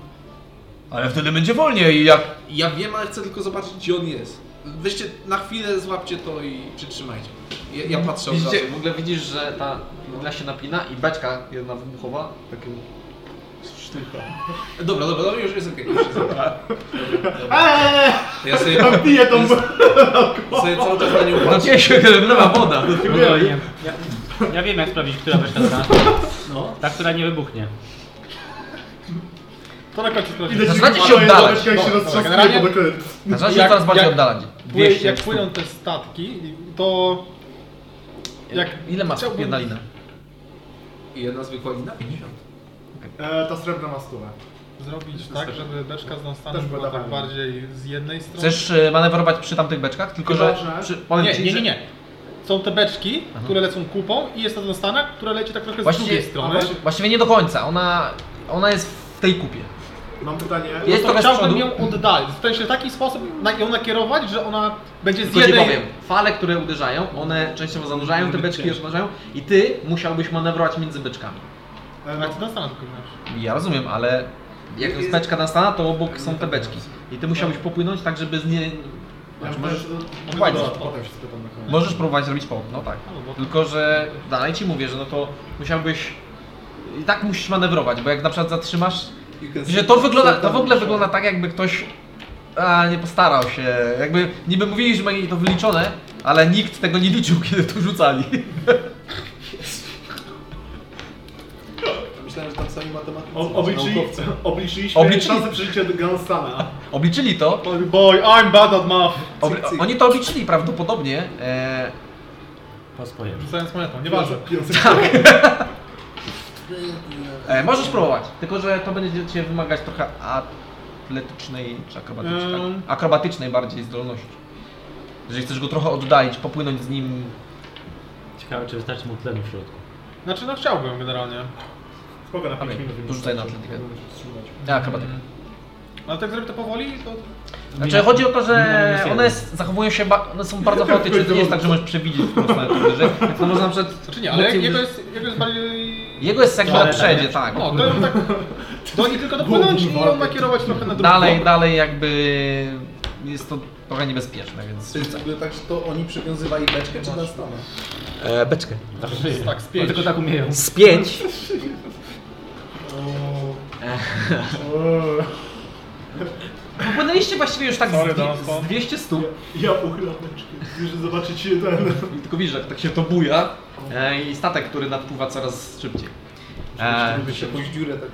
Speaker 1: Ale wtedy będzie wolniej, jak
Speaker 5: Ja wiem, ale chcę tylko zobaczyć, gdzie on jest. Weźcie na chwilę, złapcie to i przytrzymajcie. Ja, ja patrzę od
Speaker 1: znaczy,
Speaker 5: razu.
Speaker 1: Tak Widzicie, w ogóle widzisz, że ta igla się napina i beczka jedna wybuchowa, takim
Speaker 5: Dobra, dobra, dobra, już jest okej. już jest okej. Dobra, dobra. Ja
Speaker 1: Eee!
Speaker 5: sobie,
Speaker 2: Piję tą...
Speaker 5: sobie cały czas na nią patrzę.
Speaker 1: Znaczy się nowa woda.
Speaker 3: Ja, ja, ja wiem jak sprawdzić, która weszła ta. No. Ta, która nie wybuchnie.
Speaker 7: To na końcu sprawdzi.
Speaker 2: Idę ci
Speaker 1: Zaczynacie
Speaker 2: chyba
Speaker 1: się
Speaker 2: daję
Speaker 1: oddalać.
Speaker 2: dobyć, jak się roztrzaskuje,
Speaker 7: generalnie-
Speaker 2: bo będę-
Speaker 1: Zaczyna się
Speaker 7: Jak-
Speaker 1: coraz bardziej
Speaker 7: jak-
Speaker 1: oddalać.
Speaker 7: Pły-
Speaker 3: 200
Speaker 7: Jak
Speaker 3: stóp.
Speaker 7: płyną te statki, to jak
Speaker 1: Ile masz
Speaker 7: chciałbym-
Speaker 1: jedna lina?
Speaker 5: I jedna zwykła lina 50.
Speaker 2: E, Ta srebrna ma stówę.
Speaker 7: zrobić tak, żeby beczka z
Speaker 2: Też
Speaker 7: Donstanem była tak
Speaker 2: badałem.
Speaker 7: bardziej z jednej strony.
Speaker 1: Chcesz y, manewrować przy tamtych beczkach? Tylko, że...
Speaker 2: Chyba, że-
Speaker 1: Przy, powiem
Speaker 7: Nie,
Speaker 1: ci,
Speaker 7: nie,
Speaker 1: że-
Speaker 7: nie, nie. Są te beczki, które lecą kupą i jest ta Donstana, która leci tak trochę z
Speaker 1: Właściwie-
Speaker 7: drugiej strony.
Speaker 2: a właśnie-
Speaker 1: Właściwie nie do końca. Ona, ona jest w tej kupie.
Speaker 2: Mam pytanie.
Speaker 1: Jest
Speaker 7: No to
Speaker 1: trochę z
Speaker 7: chciałbym
Speaker 1: przodu.
Speaker 7: ją oddalić. W sensie w taki sposób na, ją nakierować, że ona będzie z
Speaker 1: Tylko ci
Speaker 7: jednej...
Speaker 1: powiem, fale, które uderzają, one częściowo zanurzają te beczki, rozmnażają i ty musiałbyś manewrować między beczkami.
Speaker 7: E, no, ty Dunstana tylko masz.
Speaker 1: Ja rozumiem, ale jak jest beczka nastana, to obok są te beczki. I ty musiałbyś popłynąć tak, żeby z nie...
Speaker 2: Ja
Speaker 1: Znaczy,
Speaker 2: też-
Speaker 1: możesz,
Speaker 2: Potem
Speaker 1: dokładnie.
Speaker 2: się- Potem się spytam na koniec.
Speaker 1: możesz próbować zrobić połóg, no tak. Tylko, że dalej ci mówię, że no to musiałbyś... I tak musisz manewrować, bo jak na przykład zatrzymasz... Że to wygląda, to w ogóle wygląda tak, jakby ktoś... A, nie postarał się. Jakby niby mówili, że mieli to wyliczone, ale nikt tego nie liczył, kiedy to rzucali.
Speaker 5: Myślałem, że tam sami matematycy.
Speaker 2: O- Obliczyli,
Speaker 5: naukowcy.
Speaker 2: obliczyliśmy
Speaker 1: Obliczyli.
Speaker 2: szansę przeżycia Gunstana.
Speaker 1: Obliczyli to,
Speaker 7: Boy, I'm bad at math.
Speaker 1: Obli-
Speaker 5: Cyk, cyk.
Speaker 1: oni to obliczyli prawdopodobnie. E,
Speaker 3: Po swoje.
Speaker 7: Rzucając monetą, nieważne.
Speaker 1: Tak. e, możesz próbować, tylko że to będzie cię wymagać trochę atletycznej czy akrobatycznej.
Speaker 7: Em.
Speaker 1: tak? Akrobatycznej bardziej zdolności. Jeżeli chcesz go trochę oddalić, popłynąć z nim.
Speaker 3: Ciekawe, czy wystarczy mu tlenu w środku.
Speaker 7: Znaczy no chciałbym generalnie.
Speaker 2: Spoko, na 5
Speaker 1: Okej,
Speaker 2: minut.
Speaker 1: to rzucaj na atletykę.
Speaker 2: Będę się wstrzymywać.
Speaker 1: A, akrobatyka.
Speaker 7: Ale tak zrobię to powoli, to
Speaker 1: Znaczy chodzi o to,
Speaker 3: Minus
Speaker 1: że
Speaker 3: jeden.
Speaker 1: one jest, zachowują się, ba- one są bardzo chaotyczne. Nie jest tak, że możesz przewidzieć po prostu na tym wyżej. Więc to można przed.
Speaker 7: Znaczy nie, ale jego jest, jego jest bardziej...
Speaker 1: Jego jest jakby
Speaker 3: Ale
Speaker 1: na przedzie, tak.
Speaker 7: No, to tak do nich tylko dopłynąć i ją nakierować trochę na drugą.
Speaker 1: Dalej, dalej jakby jest to trochę niebezpieczne, więc
Speaker 5: To jest w ogóle tak, że to oni przywiązywali beczkę czy Dunstana?
Speaker 1: E, beczkę.
Speaker 7: Tak, z pięć.
Speaker 3: Tylko tak umieją.
Speaker 1: Z pięć.
Speaker 2: Eee,
Speaker 1: Popłynęliście właściwie już tak z,
Speaker 7: Sorry,
Speaker 1: dwie-
Speaker 7: Donsko.
Speaker 1: z 200 stóp.
Speaker 2: Ja uchylam oczki, że zobaczycie ten.
Speaker 1: I tylko widzisz, jak tak się to buja. E, I statek, który nadpływa coraz szybciej. E,
Speaker 5: Żeby się pójść dziurę tak.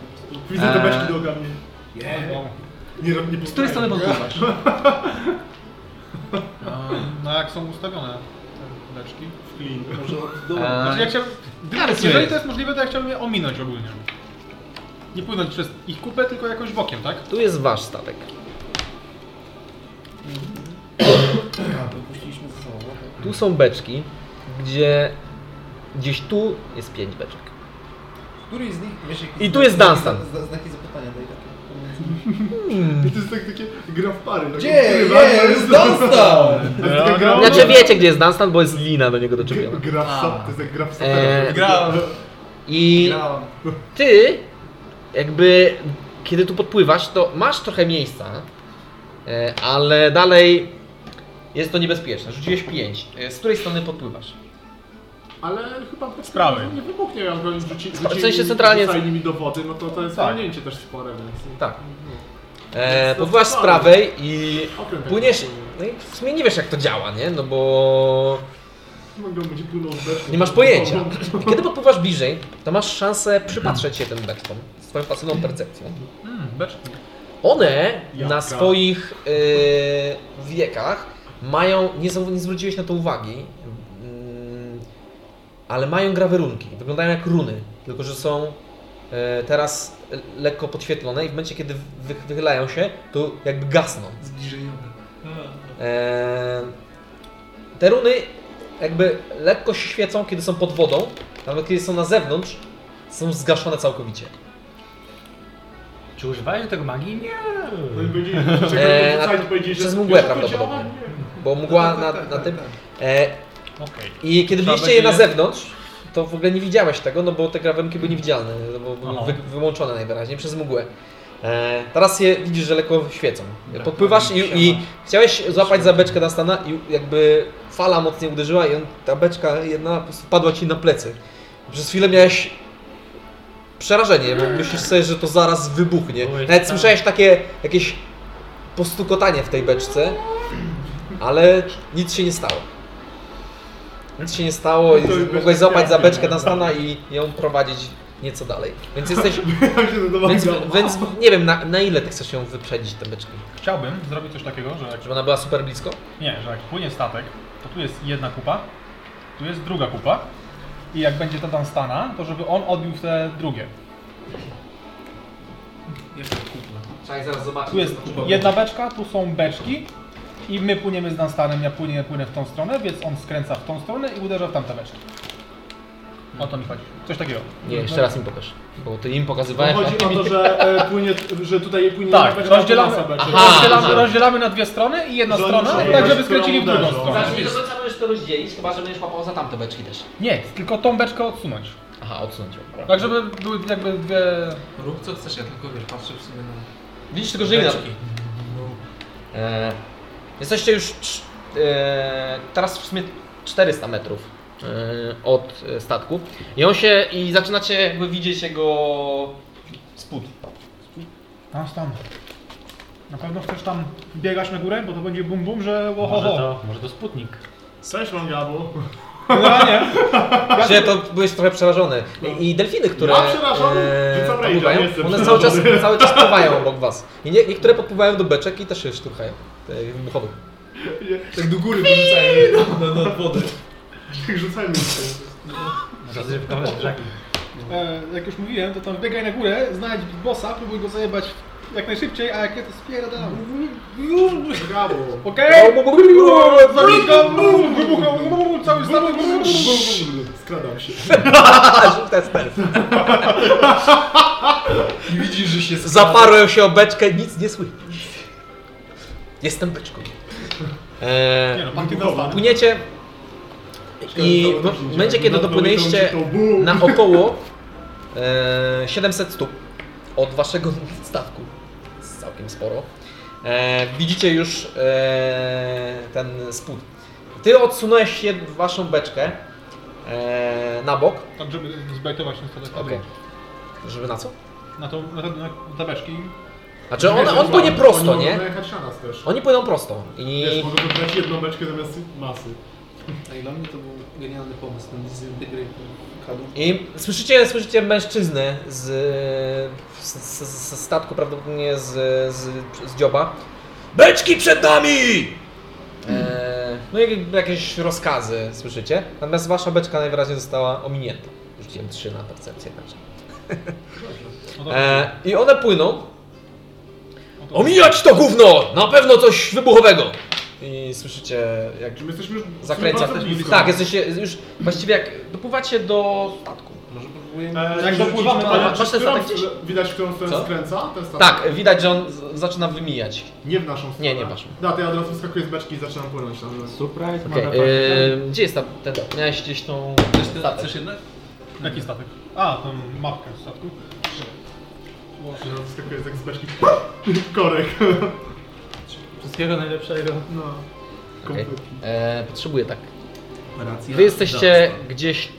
Speaker 2: Widzę te
Speaker 1: Eee.
Speaker 2: beczki do ogarnie. Nie, rob- nie
Speaker 1: z której strony E, podpływasz?
Speaker 7: No jak są ustawione te beczki.
Speaker 5: Może od dołu.
Speaker 1: E,
Speaker 7: Znaczy ja chciałbym...
Speaker 1: Eee. Ale co
Speaker 7: Jeżeli
Speaker 1: jest?
Speaker 7: to jest możliwe, to ja chciałbym je ominąć ogólnie. Nie płynąć przez ich kupę, tylko jakoś bokiem, tak?
Speaker 1: tu jest wasz statek.
Speaker 5: A, to puściliśmy ze sobą. tak?
Speaker 1: Tu są beczki, gdzie gdzieś tu jest pięć beczek.
Speaker 5: Który z nich wiesz jakie-
Speaker 1: I tu jest
Speaker 5: znaki-
Speaker 1: Dunstan.
Speaker 5: zna- Znaki zapytania daj takie.
Speaker 2: I to jest tak takie gra w pary. tak
Speaker 5: Gdzie
Speaker 2: odkrywa,
Speaker 5: jest Dunstan?
Speaker 2: To jest taka gra,
Speaker 7: No,
Speaker 1: Znaczy wiecie, gdzie jest Dunstan, bo jest lina do niego doczepiona.
Speaker 2: G- gra w sap, to jest jak gra w sap.
Speaker 1: E,
Speaker 5: Grałem.
Speaker 1: I
Speaker 5: Grałem.
Speaker 1: ty jakby kiedy tu podpływasz, to masz trochę miejsca, e, ale dalej jest to niebezpieczne. Rzuciłeś 5. Z której strony podpływasz?
Speaker 2: Ale chyba
Speaker 7: prawej.
Speaker 2: nie wybuchnie, jak oni rzuci,
Speaker 1: w sensie centralnie-
Speaker 2: rzucali nimi do wody, no to to jest
Speaker 7: Tak.
Speaker 2: walnięcie też spore, więc...
Speaker 1: Tak.
Speaker 2: No.
Speaker 1: E,
Speaker 2: Więc to
Speaker 1: podpływasz z
Speaker 2: wcale.
Speaker 1: prawej i
Speaker 2: Okręt
Speaker 1: płyniesz.
Speaker 2: taki płynie.
Speaker 1: No i w sumie nie wiesz jak to działa, nie? No bo
Speaker 2: Mogą będzie płynął z beczką.
Speaker 1: nie masz pojęcia. I kiedy podpływasz bliżej, to masz szansę przypatrzeć się tym beczkom z twoją pasywną percepcją.
Speaker 7: Mm, beczki.
Speaker 1: One na
Speaker 2: Jaka?
Speaker 1: swoich e, wiekach mają, nie, zau- nie zwróciłeś na to uwagi, mm, ale mają grawerunki. Wyglądają jak runy, tylko że są e, teraz lekko podświetlone i w momencie, kiedy wy, wychylają się, to jakby gasną.
Speaker 5: Zbliżeniowe.
Speaker 1: E, te runy jakby lekko się świecą, kiedy są pod wodą, nawet kiedy są na zewnątrz, są zgaszone całkowicie.
Speaker 3: Czy używałeś do tego magii? Nie.
Speaker 2: No i będzie, czekaj,
Speaker 1: na-
Speaker 2: rzucali, to powiedzieli, że...
Speaker 1: E, przez mgłę
Speaker 2: że to działa?
Speaker 1: prawdopodobnie.
Speaker 2: Nie. No
Speaker 1: Bo mgła na,
Speaker 2: tak,
Speaker 1: na tym. E,
Speaker 7: Okej.
Speaker 1: I kiedy
Speaker 7: Trzeba
Speaker 1: byliście je na
Speaker 7: będzie-
Speaker 1: zewnątrz, to w ogóle nie widziałeś tego, no bo te krawędzi były niewidzialne, no bo były
Speaker 3: Aha.
Speaker 1: wy, wyłączone najwyraźniej przez mgłę. E, teraz je widzisz, że lekko świecą.
Speaker 2: Tak,
Speaker 1: Podpływasz i, i chciałeś złapać za beczkę na stana i jakby fala mocniej uderzyła i on, ta beczka jedna po prostu padła ci na plecy. Przez chwilę miałeś przerażenie, bo myślisz sobie, że to zaraz wybuchnie.
Speaker 3: Oj,
Speaker 1: Nawet
Speaker 3: tak.
Speaker 1: słyszałeś takie jakieś postukotanie w tej beczce, ale nic się nie stało. Nic się nie stało i
Speaker 2: No To już no.
Speaker 1: mogłeś
Speaker 2: bez-
Speaker 1: złapać za beczkę na stana i ją prowadzić nieco dalej. Więc jesteś. Więc, więc nie wiem, na, na ile ty chcesz ją wyprzedzić, tę beczkę?
Speaker 4: Chciałbym zrobić coś takiego, że jak
Speaker 1: Żeby ona była super blisko?
Speaker 4: Nie, że jak płynie statek, to tu jest jedna kupa, tu jest druga kupa i jak będzie ta Dunstana, to żeby on odbił w te drugie.
Speaker 1: Czekaj, zaraz zobaczyć.
Speaker 4: Tu jest jedna beczka, tu są beczki i my płyniemy z Dunstanem, ja płynie, płynę w tą stronę, więc on skręca w tą stronę i uderza w tamte beczki. O to mi chodzi. Coś takiego.
Speaker 1: Nie, jeszcze raz im pokaż. Bo ty im pokazywałeś.
Speaker 2: No Chodzi o to, że, e, płynie, że tutaj płynie
Speaker 4: Tak,
Speaker 2: jedna beczka,
Speaker 4: rozdzielamy-
Speaker 2: druga beczka.
Speaker 1: Aha.
Speaker 4: Rozdzielamy, rozdzielamy na dwie strony i jedna
Speaker 2: Że oni
Speaker 4: strona,
Speaker 2: przejeżdżają,
Speaker 4: tak żeby skręcili w
Speaker 2: którą
Speaker 4: drugą
Speaker 2: uderzą.
Speaker 4: stronę.
Speaker 1: Znaczy, nie do końca możesz to rozdzielić, chyba że będziesz łapał za tamte beczki też.
Speaker 4: Nie, tylko tą beczkę odsunąć.
Speaker 1: Aha, odsunąć ją.
Speaker 4: Tak, żeby były jakby dwie...
Speaker 5: Rób co chcesz, ja tylko wiesz, patrzę w sumie na...
Speaker 1: Widzisz tylko, że nie e, Jesteście już cz- e, teraz w sumie 400 metrów e, od e, statku i on się, i zaczynacie jakby widzieć jego spód.
Speaker 4: Nas tam. Na pewno chcesz tam biegać na górę, bo to będzie bum bum, że
Speaker 3: Może
Speaker 4: ohoho.
Speaker 3: to, może to Sputnik.
Speaker 2: Cześć, mam gabu.
Speaker 4: Generalnie.
Speaker 1: Że to byłeś trochę przerażony. I, i delfiny, które.
Speaker 2: Ja przerażony? Rzucam
Speaker 1: tam
Speaker 2: rage,
Speaker 1: pływają,
Speaker 2: nie jestem
Speaker 1: One cały czas,
Speaker 2: przerażony.
Speaker 1: cały czas pływają obok was. I nie, niektóre podpływają do beczek i też się szturchają. Tych wybuchowych.
Speaker 5: Tak do góry wyrzucają na, na wodę.
Speaker 2: Tak rzucajmy się.
Speaker 3: Rozrywkowe brzegi.
Speaker 4: E, jak już mówiłem, to tam biegaj na górę, znajdź bossa, próbuj go zajebać jak najszybciej, a jak nie, to spierdalam.
Speaker 2: Gabu.
Speaker 4: Okej? Zabij go, bum, wybuchał, bum, bum, cały statek. bum, bum.
Speaker 2: Skradam się.
Speaker 1: A, rzut tester.
Speaker 5: I widzisz, że się
Speaker 1: Zaparłem się o beczkę, nic nie słychać. Jestem beczką.
Speaker 4: Nie
Speaker 1: Eee,
Speaker 4: no, pan tylko pan.
Speaker 1: płyniecie i w momencie, kiedy dopłynęliście na około e, 700 stóp od waszego statku, jest całkiem sporo, e, widzicie już e, ten spód. Ty odsunąłeś się waszą beczkę e, na bok.
Speaker 4: Tak, żeby zbajtować ten statek.
Speaker 1: Okej. Żeby na co?
Speaker 4: Na tą, na, te- na te beczki.
Speaker 1: Znaczy on, on płynie prosto, nie?
Speaker 2: Jechać na nas też.
Speaker 1: Oni płyną prosto. I...
Speaker 2: Wiesz, mogę wybrać jedną beczkę zamiast masy.
Speaker 5: Ej, No dla mnie to był genialny pomysł, ten zintegrate kadłub.
Speaker 1: I słyszycie, słyszycie mężczyznę z, z, z, z statku, prawdopodobnie z, z, z dzioba. Beczki przed nami! Eee, no i jakieś rozkazy słyszycie. Natomiast wasza beczka najwyraźniej została ominięta. Rzuciłem 3 na percepcję także.
Speaker 4: No to-
Speaker 1: Eee, I one płyną. Omijać to gówno! Na pewno coś wybuchowego! I słyszycie jak
Speaker 2: Czy my jesteśmy już w
Speaker 1: zakręca.
Speaker 2: sumie bardzo blisko.
Speaker 1: Tak, jesteście już właściwie jak dopływacie do statku. Może próbujemy...
Speaker 2: E,
Speaker 4: Jak dopływamy,
Speaker 2: ale
Speaker 1: masz
Speaker 2: czy
Speaker 1: ten
Speaker 2: którą-
Speaker 1: statek gdzieś?
Speaker 2: Widać, w którą stronę
Speaker 1: tak Co?
Speaker 2: skręca ten statek?
Speaker 1: Tak, widać, że on z- zaczyna wymijać.
Speaker 2: Nie w naszą stronę.
Speaker 1: Nie, nie w naszą.
Speaker 2: Da, to ja od razu wskakuję z beczki i zaczynam płynąć tam. No. że-
Speaker 3: Surprise,
Speaker 1: Okej,
Speaker 3: motherfucker.
Speaker 1: em, gdzie jest ta, ten, miałeś gdzieś tą... statek?
Speaker 5: Chcesz jednak?
Speaker 4: Jaki statek? A, tą mapkę statku.
Speaker 2: Że on wskakuje z- jak z beczki. Korek.
Speaker 3: Wszystkiego najlepszego.
Speaker 2: No.
Speaker 1: Okej.
Speaker 2: Kompletnie.
Speaker 1: E, potrzebuję tak.
Speaker 5: Racja.
Speaker 1: Wy jesteście
Speaker 5: Dunstan.
Speaker 1: gdzieś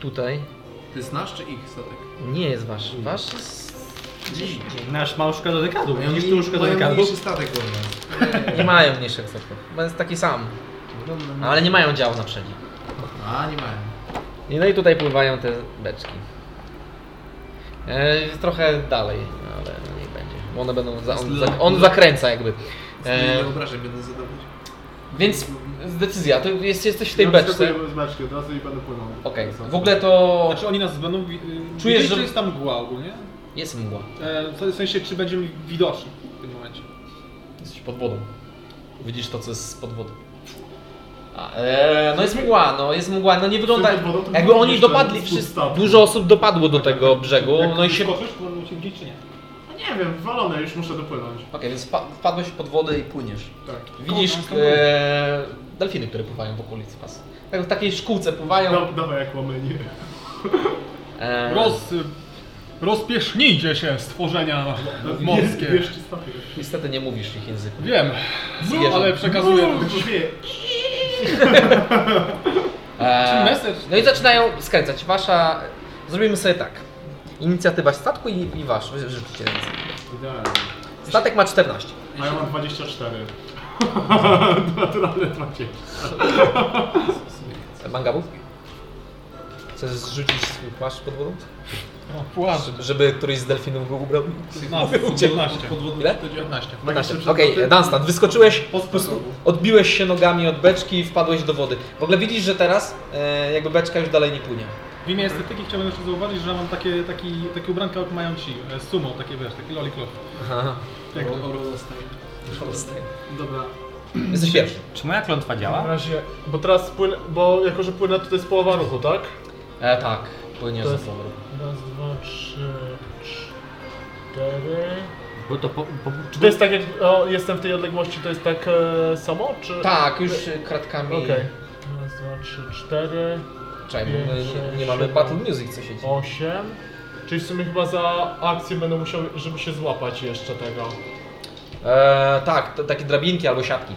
Speaker 1: tutaj.
Speaker 5: To jest nasz czy ich statek?
Speaker 1: Nie jest wasz. Wasz jest...
Speaker 3: Nasz małuszka do dekadu.
Speaker 5: Mają
Speaker 3: Widzisz
Speaker 5: mniej-
Speaker 3: tu łóżko do
Speaker 5: mają
Speaker 3: dekadu?
Speaker 5: mniejszy statek od nas.
Speaker 1: Nie mają mniejszych statków. Bo jest taki sam. Ale nie mają działu na przedzie.
Speaker 5: A, nie mają.
Speaker 1: I no i tutaj pływają te beczki. E, trochę dalej, ale no niech będzie. Bo One będą za, on, za, on zakręca jakby.
Speaker 5: Z
Speaker 1: E,
Speaker 5: eee. obrażeń będę zadawać.
Speaker 1: więc decyzja, to jest, jesteś w tej
Speaker 2: Ja
Speaker 1: beczce.
Speaker 2: wskakuję z beczki od razu i będę płynął. Tak,
Speaker 1: Okej,
Speaker 2: Sam.
Speaker 1: w ogóle to
Speaker 4: Znaczy oni nas będą... wi- y,
Speaker 1: Czujesz,
Speaker 4: widzieli,
Speaker 1: że-
Speaker 4: czy jest tam mgła ogólnie?
Speaker 1: jest mgła.
Speaker 4: E, w sensie, czy będziemy widoczni w tym momencie.
Speaker 1: Jesteś pod wodą. Widzisz to, co jest pod wodą. A, e, no jest mgła, no jest mgła, no nie wygląda...
Speaker 2: Pod wodą to
Speaker 1: Jakby
Speaker 2: było
Speaker 1: oni
Speaker 2: jeszcze
Speaker 1: dopadli,
Speaker 2: spód
Speaker 1: wszyscy,
Speaker 2: statku.
Speaker 1: dużo osób dopadło do tego brzegu,
Speaker 4: Jak
Speaker 1: no i się... Okej,
Speaker 4: skoczysz, to będą cię widzieć, czy nie?
Speaker 2: No Nie wiem, walone, już muszę dopłynąć.
Speaker 1: więc wpa- wpadłeś pod wodę i płyniesz.
Speaker 2: Tak.
Speaker 1: Widzisz e, delfiny, które pływają w okolicy was. Tak, w takiej szkółce pływają.
Speaker 2: Da, dawaj jak łamyni.
Speaker 1: E,
Speaker 4: Roz, rozpiesznijcie się, stworzenia morskie.
Speaker 2: Wiesz, czy statek.
Speaker 1: niestety nie mówisz ich języku.
Speaker 4: Wiem,
Speaker 1: Zwierzę.
Speaker 4: ale przekazuję.
Speaker 2: Tak się śmieje.
Speaker 1: E,
Speaker 4: message?
Speaker 1: Eee, no i zaczynają skręcać. Wasza... Zrobimy sobie tak. Inicjatywa statku i, i wasz. Wy Rzucicie ręce.
Speaker 2: Idealnie.
Speaker 1: Statek ma 14.
Speaker 2: A ja mam 24. Naturalne 20.
Speaker 1: Mangabu? Chcesz zrzucić swój płaszcz pod wodą?
Speaker 4: O, płaszcz.
Speaker 1: Żeby któryś z delfinów go ubrał?
Speaker 4: 15.
Speaker 1: Ile?
Speaker 4: 15.
Speaker 1: 15. Okej, Dunstan, wyskoczyłeś, po prostu odbiłeś się nogami od beczki i wpadłeś do wody. W ogóle widzisz, że teraz e, jakby beczka już dalej nie płynie.
Speaker 11: W imię estetyki chciałbym jeszcze zauważyć, że mam takie, taki, takie ubranka jak mają ci, e, sumo, takie wiesz, taki lollipop.
Speaker 1: Aha.
Speaker 11: Jak to?
Speaker 2: Dobra.
Speaker 1: Jesteś pierwszy.
Speaker 12: Czy moja klątwa
Speaker 2: Na
Speaker 12: działa?
Speaker 2: razie, bo teraz płynę, bo jako że płynę, to to jest połowa ruchu, tak?
Speaker 13: E, tak, płynie
Speaker 2: To
Speaker 13: za
Speaker 2: jest-
Speaker 13: sobą.
Speaker 2: Raz, dwa, trzy, cztery...
Speaker 12: Bo to po, po,
Speaker 2: Czy to jest tak jak o, jestem w tej odległości, to jest tak e, samo, czy...
Speaker 13: Tak, już e, kratkami.
Speaker 2: Okej. Raz, dwa, trzy, cztery,
Speaker 1: Czekaj, bo my No, nie, nie mamy Battle Music, co się dzieje.
Speaker 2: osiem... Czyli w sumie chyba za akcję będę musiał, żeby się złapać jeszcze tego.
Speaker 1: E, tak, to takie drabinki albo siatki.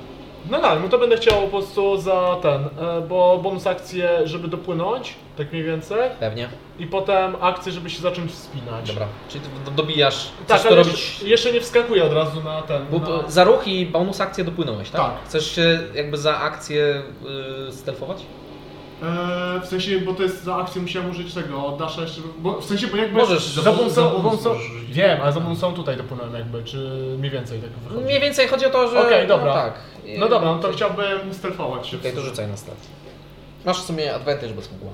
Speaker 2: No tak, no to będę chciał po prostu za ten, e, bo bonus akcję, żeby dopłynąć, tak mniej więcej,
Speaker 1: Pewnie.
Speaker 2: i potem akcję, żeby się zacząć wspinać.
Speaker 1: Dobra. Czyli ty do- dobijasz, chcesz
Speaker 2: Tak,
Speaker 1: to
Speaker 2: ale
Speaker 1: robić...
Speaker 2: jeszcze, jeszcze nie wskakuję od razu na ten.
Speaker 1: Bo,
Speaker 2: na...
Speaker 1: bo za ruch i bonus akcję dopłynąłeś, tak?
Speaker 2: Tak.
Speaker 1: Chcesz się jakby za akcję y, stealthować?
Speaker 2: Eee, w sensie, bo to jest za akcję musiałem użyć tego, od dasza No, jeszcze, bo w sensie, bo jakby...
Speaker 1: Możesz,
Speaker 2: za
Speaker 1: za
Speaker 2: bonusą,
Speaker 1: bonus- za bonus
Speaker 2: bonusą-
Speaker 1: możesz rzucić.
Speaker 2: Wiem, ale za bonusą tutaj dopłynąłem jakby, czy mniej więcej tak wychodzi.
Speaker 1: Mniej więcej chodzi o to, że...
Speaker 2: Okej, dobra.
Speaker 1: No, tak.
Speaker 2: No dobra, no to chciałbym stealthować się. w
Speaker 1: Okej, to
Speaker 2: sumie.
Speaker 1: rzucaj na start. Masz w sumie advantage bez kugła.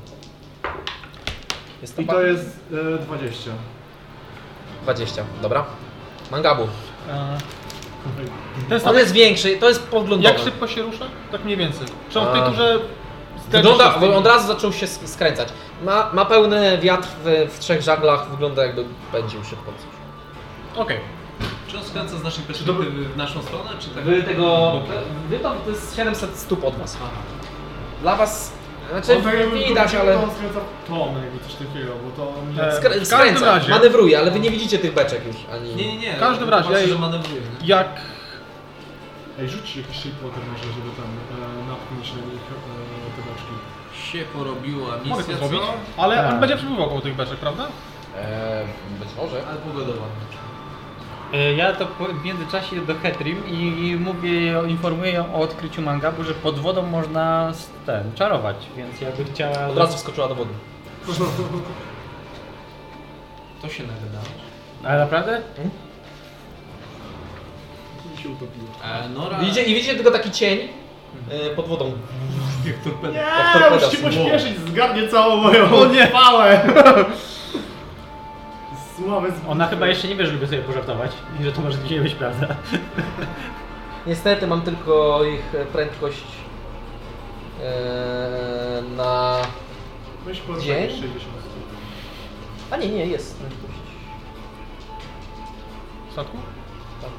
Speaker 1: Jest
Speaker 2: I to jest e, 20.
Speaker 1: 20, dobra. Mangabu.
Speaker 4: E,
Speaker 1: On
Speaker 2: tak-
Speaker 1: jest większy, to jest podglądowy.
Speaker 4: Jak szybko się rusza? Tak mniej więcej. Czy on w tej
Speaker 1: A.
Speaker 4: turze
Speaker 1: Wygląda, bo od razu zaczął się sk- skręcać. Ma, ma pełny wiatr w, w trzech żaglach, wygląda jakby pędził szybko.
Speaker 4: Okej.
Speaker 5: Czy on skręca z naszej perspektywy w naszą stronę, czy tak?
Speaker 1: tego... Wy to, to jest 700 stóp od was. Dla was... Znaczy
Speaker 2: On tak jakby
Speaker 1: widać,
Speaker 2: wrócił, To
Speaker 1: ale... Tak,
Speaker 2: on skręca w tom, jakby coś takiego, bo to... on-
Speaker 11: E,
Speaker 1: Skr-
Speaker 11: W każdym
Speaker 1: skręca,
Speaker 11: razie-
Speaker 1: manewruje, ale wy nie widzicie tych beczek już, ani...
Speaker 5: Nie, nie, nie.
Speaker 11: W każdym razie,
Speaker 5: Patrzę,
Speaker 11: ja-
Speaker 5: że manewruje. nie?
Speaker 11: Jak
Speaker 2: Ej, rzuć jakiś shapewater może, żeby tam e, natknąć na nich e, te beczki.
Speaker 5: Się porobiła
Speaker 11: mogę
Speaker 5: misja,
Speaker 11: to zrobić,
Speaker 5: co?
Speaker 11: ale
Speaker 12: Tak.
Speaker 11: on będzie przepływał koło tych beczek, prawda?
Speaker 1: Eee, być może.
Speaker 5: Ale pogodowa.
Speaker 3: E, Ja to po- w międzyczasie do Hetrim i i mówię, informuję ją o odkryciu mangabu, że pod wodą można s- ten czarować, więc jakby chciała...
Speaker 1: Od razu wskoczyła do wody.
Speaker 5: To się nagadałeś.
Speaker 12: Ale naprawdę?
Speaker 2: I się utopiło.
Speaker 5: E, Nora...
Speaker 1: Widzicie, I widzicie tylko taki cień e, pod wodą. Jak
Speaker 4: Tak,
Speaker 2: Nie,
Speaker 1: torpeda
Speaker 2: muszę Tak, się
Speaker 1: są.
Speaker 2: pośpieszyć, zgarnie całą moją o, nie. pałę. Sławę z...
Speaker 12: Ona chyba jeszcze nie wie, że lubię sobie pożartować i że to może dzisiaj być prawda.
Speaker 1: Niestety mam tylko ich e, prędkość e, na...
Speaker 2: Weź po
Speaker 1: Dzień?
Speaker 2: 60.
Speaker 1: A nie, nie, jest prędkość.
Speaker 4: W statku?
Speaker 1: Tak.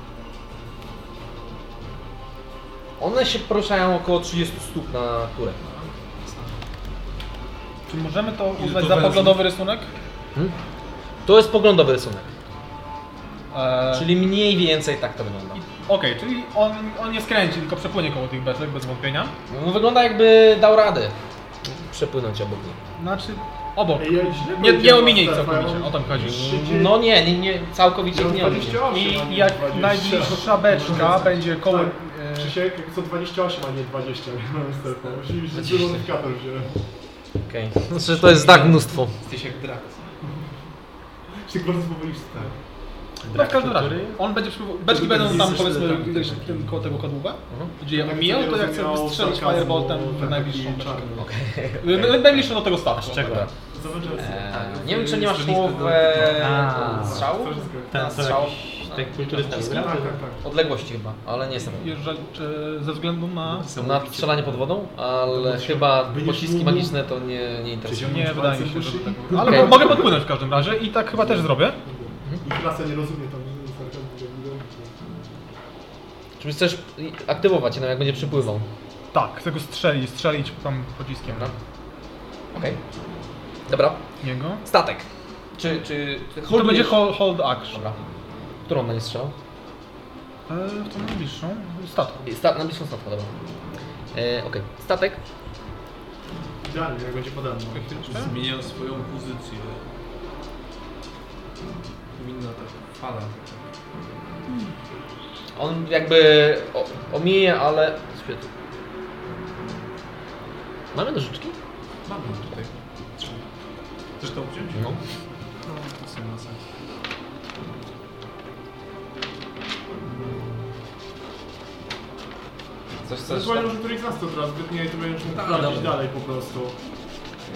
Speaker 1: One się poruszają około 30 stóp na turę.
Speaker 4: Czy możemy to
Speaker 5: Ile
Speaker 4: uznać
Speaker 5: to
Speaker 4: za
Speaker 5: węzłów?
Speaker 4: poglądowy rysunek?
Speaker 1: To jest poglądowy rysunek,
Speaker 4: E,
Speaker 1: czyli mniej więcej tak to wygląda.
Speaker 4: Okej, czyli on, on nie skręci, tylko przepłynie koło tych beczek, bez wątpienia.
Speaker 1: No, wygląda jakby dał radę przepłynąć obok nich.
Speaker 4: Znaczy, obok.
Speaker 2: Ej, ja źle
Speaker 4: Nie, nie
Speaker 2: powiedziałem, tak,
Speaker 4: ominie ich
Speaker 2: Stefan.
Speaker 4: całkowicie, o to mi chodzi.
Speaker 1: No nie, nie, nie całkowicie ich nie ominie.
Speaker 2: 28, a
Speaker 4: I
Speaker 2: nie
Speaker 4: jak
Speaker 2: 20.
Speaker 4: najbliższa beczka będzie koło...
Speaker 2: Tak.
Speaker 4: e,
Speaker 2: Krzysiek, jak co 28, a nie 20. Niestety, musieliśmy dużo kater wziąłem.
Speaker 1: Okej. Znaczy to jest tak mnóstwo.
Speaker 5: Jesteś jak drak.
Speaker 2: Czy tak bardzo powoli wstałem.
Speaker 4: No w każdym razie, on będzie przypływał, beczki będą tam powiedzmy gdzieś tym, koło tego kadłuba,
Speaker 1: Mhm.
Speaker 4: gdzie ja omijam, to ja chcę wystrzelić fireboltem w najbliższą beczkę. Okay. Najbliższą do tego statku. Z
Speaker 12: czego?
Speaker 1: Eee, nie wiem czy nie masz słów eee,
Speaker 12: A.
Speaker 1: strzału?
Speaker 12: Ten,
Speaker 1: Na
Speaker 12: co
Speaker 1: strzał No.
Speaker 12: jakiś tej kulturysta wygrał?
Speaker 2: Tak, tak, tak.
Speaker 1: odległości chyba, ale nie jestem.
Speaker 4: Jeżeli, czy ze względu na...
Speaker 1: Na strzelanie pod wodą, ale chyba pociski magiczne to nie, nie interesuje.
Speaker 4: Nie, wydaje mi się, że tak. było. Ale
Speaker 1: Okej.
Speaker 4: mo- mogę podpłynąć w każdym razie i tak chyba też zrobię.
Speaker 2: I klasa nie rozumie tam sarkazmu.
Speaker 1: Czy chcesz aktywować no jak będzie przypływał?
Speaker 4: Tak, chcę go strzelić, strzelić tam pociskiem na
Speaker 1: Dobra. Okej. Dobra.
Speaker 4: niego.
Speaker 1: Statek. Czy, czy, czy
Speaker 4: To będzie
Speaker 1: holdujesz?
Speaker 4: hold, hold action.
Speaker 1: Dobra. Którą będzie strzał?
Speaker 4: Eee, w tą najbliższą statku.
Speaker 1: Sta na bliższą statku, dobra. E, Okej. Statek.
Speaker 2: Idealnie, jak będzie podano.
Speaker 4: Chwileczkę.
Speaker 5: Zmieniał swoją pozycję. tak
Speaker 14: fala. On jakby o- omija, ale... Świetnie.
Speaker 1: Mamy nożyczki?
Speaker 5: Mamy tutaj. Chcesz to obciąć?
Speaker 1: No.
Speaker 5: No, to sobie ma sens.
Speaker 1: Coś chcesz?
Speaker 2: Zresztą już któryś z nas to teraz, zbytnie to będziesz mógł
Speaker 5: Tak,
Speaker 2: prowadzić
Speaker 5: dobra.
Speaker 2: dalej po prostu.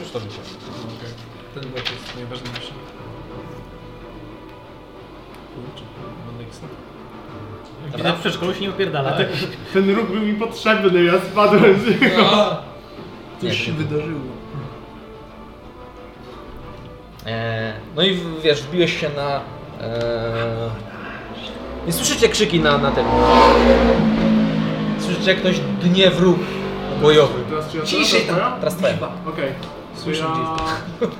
Speaker 1: Już to wyciągnę.
Speaker 5: Okej. Ten bot jest najważniejszy. Kurczę, będę ekstra.
Speaker 3: Dobra, w przedszkolu się nie opierdala. Tak.
Speaker 2: Ten róg był mi potrzebny, ja spadłem z
Speaker 1: Tak.
Speaker 2: niego.
Speaker 5: Coś się wydarzyło.
Speaker 1: E, No i w- wiesz, wbiłeś się na... E... Nie słyszycie krzyki na, na tym. Słyszycie jak ktoś dnie w róg bojowy.
Speaker 2: Teraz czy ja
Speaker 1: Ciszej
Speaker 2: teraz,
Speaker 1: tam,
Speaker 2: ja?
Speaker 1: teraz twoja.
Speaker 2: Okej.
Speaker 5: Słyszę,
Speaker 2: To ja-
Speaker 5: gdzie jest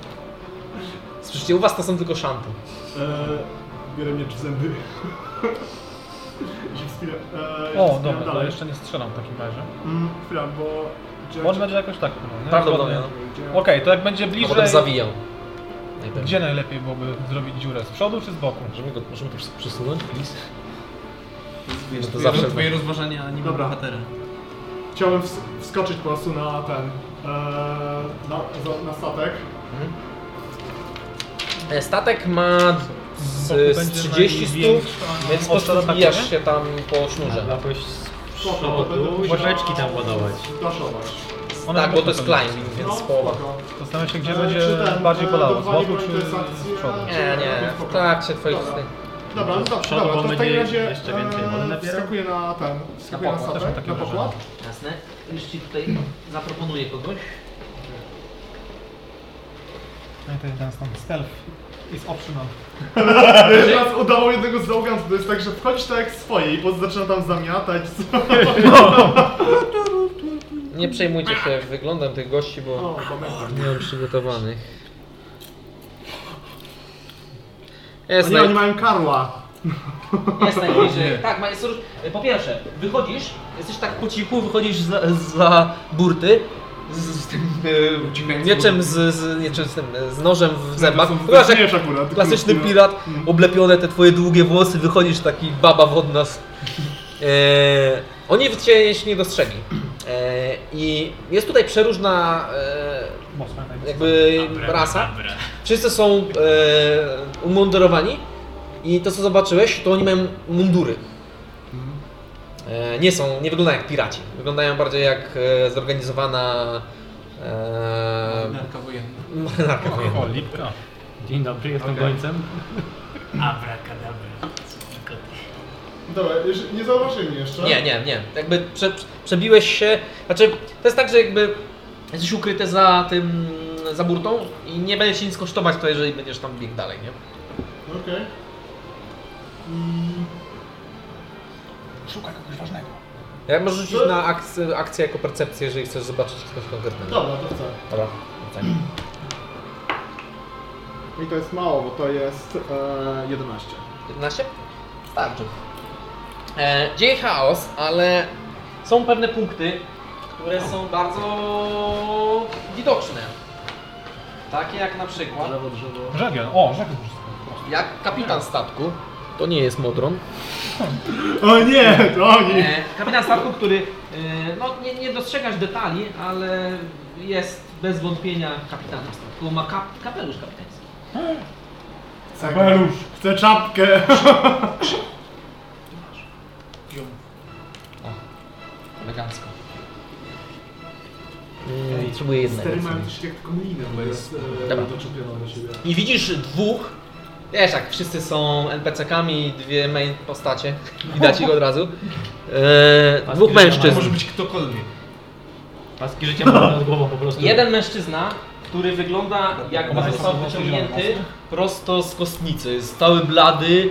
Speaker 1: Słyszycie, u was to są tylko szanty.
Speaker 2: Eee, biorę miecz w zęby. I się wspinam. Eee,
Speaker 4: O,
Speaker 2: wspinam
Speaker 4: dobra, to
Speaker 2: dalej.
Speaker 4: jeszcze nie strzelam w takim razie.
Speaker 2: Mm, chwila, bo... Jack-
Speaker 4: On będzie jakoś tak chyba, nie?
Speaker 1: Prawdopodobnie, no.
Speaker 4: Okej, to jak będzie
Speaker 1: A
Speaker 4: bliżej...
Speaker 1: potem zawijał.
Speaker 4: Gdzie najlepiej byłoby zrobić dziurę? Z przodu czy z boku?
Speaker 1: Możemy go, możemy to przesunąć, please?
Speaker 5: Wiesz,
Speaker 1: to
Speaker 5: twoje,
Speaker 1: zawsze-
Speaker 5: twoje rozważania nie
Speaker 2: Dobra.
Speaker 5: Dobra. bohatera.
Speaker 2: Chciałem ws- wskoczyć po prostu na ten... Eee, na, za, na statek.
Speaker 1: E, Statek ma z, z
Speaker 4: będzie
Speaker 1: 30 stóp,
Speaker 4: największa
Speaker 1: więc po prostu
Speaker 4: osada,
Speaker 1: wbijasz
Speaker 4: tak,
Speaker 1: się tam po sznurze.
Speaker 3: Jakoś z
Speaker 2: Spoko, to będę
Speaker 3: przodu
Speaker 2: musiał
Speaker 3: łażeczki tam ładować.
Speaker 2: Daszować.
Speaker 4: Ona
Speaker 1: Tak,
Speaker 4: na
Speaker 1: bo to jest
Speaker 4: pewno
Speaker 1: climbing, więc
Speaker 2: No,
Speaker 1: połowa.
Speaker 2: spoko.
Speaker 4: Zastanawiam się, gdzie
Speaker 2: Eee,
Speaker 4: będzie
Speaker 2: czy ten,
Speaker 4: bardziej
Speaker 2: eee,
Speaker 4: bolało, z
Speaker 2: dodawanie
Speaker 4: boku czy
Speaker 2: broń to jest
Speaker 4: z
Speaker 2: akcja?
Speaker 4: przodu? Tak
Speaker 1: Nie, nie,
Speaker 2: Spoko.
Speaker 1: w trakcie twoich...
Speaker 2: Dobra. Dobra, no dobrze,
Speaker 3: Przodu,
Speaker 2: dobra,
Speaker 3: bo
Speaker 2: to w takim
Speaker 3: będzie
Speaker 2: razie
Speaker 3: jeszcze więcej wody
Speaker 2: eee,
Speaker 3: nabiera.
Speaker 2: wskakuję na ten, wskakuję na,
Speaker 1: pokład,
Speaker 4: też mam
Speaker 2: statek,
Speaker 4: takie
Speaker 2: na pokład.
Speaker 4: wrażenie.
Speaker 14: Jasne. Już ci tutaj zaproponuję kogoś.
Speaker 4: No i to jest ten stąd. Stealth is optional.
Speaker 2: Teraz udało jednego z załogantów, to jest tak, że wchodź tak jak swoje i potem zaczyna tam zamiatać. co?
Speaker 1: Nie przejmujcie się wyglądem tych gości, bo
Speaker 2: O, pamiętam.
Speaker 1: nie mam przygotowanych.
Speaker 2: A
Speaker 1: Jest,
Speaker 2: nie,
Speaker 1: naj...
Speaker 2: oni mają karła.
Speaker 14: Jest najbliżej. Tak, ma, jest, róż- po pierwsze, wychodzisz, jesteś tak po cichu, wychodzisz za, za burty.
Speaker 1: z, z tym e, mieczem, z, z, nie, czym z, tym, e, z nożem w zębach.
Speaker 2: To są-
Speaker 1: Chyba,
Speaker 2: to
Speaker 1: że
Speaker 2: śmiesz akurat.
Speaker 1: klasyczny
Speaker 2: kurczę.
Speaker 1: pirat, oblepione te twoje długie włosy, wychodzisz taki baba wodna. z- E, oni cię nie dostrzegli. E, I jest tutaj przeróżna e,
Speaker 4: Mocno najbliżej.
Speaker 1: jakby rasa. Wszyscy są e, umundurowani i to co zobaczyłeś, to oni mają mundury. E, nie są, nie wyglądają jak piraci. Wyglądają bardziej jak e, zorganizowana e,
Speaker 5: Narka wojenna.
Speaker 1: marynarka wojenna.
Speaker 4: O, lipka.
Speaker 3: Dzień dobry, jestem gońcem.
Speaker 2: Dobra, jeszcze- nie zauważyli mnie jeszcze.
Speaker 1: Nie, nie, nie. Jakby prze, prze- przebiłeś się. Znaczy, to jest tak, że jakby jesteś ukryty za tym, za burtą i nie będzie ci nic kosztować to, jeżeli będziesz tam biegł dalej, nie?
Speaker 2: Okej. Mm,
Speaker 4: Szukaj kogoś ważnego.
Speaker 1: Jak możesz rzucić na akcję, akcję jako percepcję, jeżeli chcesz zobaczyć coś konkretnego.
Speaker 2: Dobra, to chcę.
Speaker 1: Dobra. Tak.
Speaker 2: I to jest mało, bo to jest e, 11.
Speaker 1: 11? Starczy. E, dzieje chaos, ale są pewne punkty, które są bardzo widoczne. Takie jak na przykład,
Speaker 4: Żagiel, o, żagiel.
Speaker 1: jak kapitan statku, to nie jest Modron,
Speaker 2: O nie, to oni!
Speaker 14: E, kapitan statku, który e, no, nie, nie dostrzegasz detali, ale jest bez wątpienia kapitanem statku. Ma kap, kapelusz kapitański.
Speaker 2: Sabelusz, chcę czapkę!
Speaker 14: Elegancko.
Speaker 1: mm, potrzebuje jednego.
Speaker 2: Stery mają też jak taką linę, bo jest e,
Speaker 1: Dobra.
Speaker 2: doczepioną do siebie.
Speaker 1: I widzisz dwóch, wiesz jak wszyscy są NPC-kami, dwie main postacie, widać ich od razu. E, dwóch mężczyzn.
Speaker 5: być ktokolwiek.
Speaker 3: Paski życia mam nad głową po prostu.
Speaker 14: Jeden mężczyzna, który wygląda jakby został wyciągnięty
Speaker 1: prosto z kostnicy. Stały blady,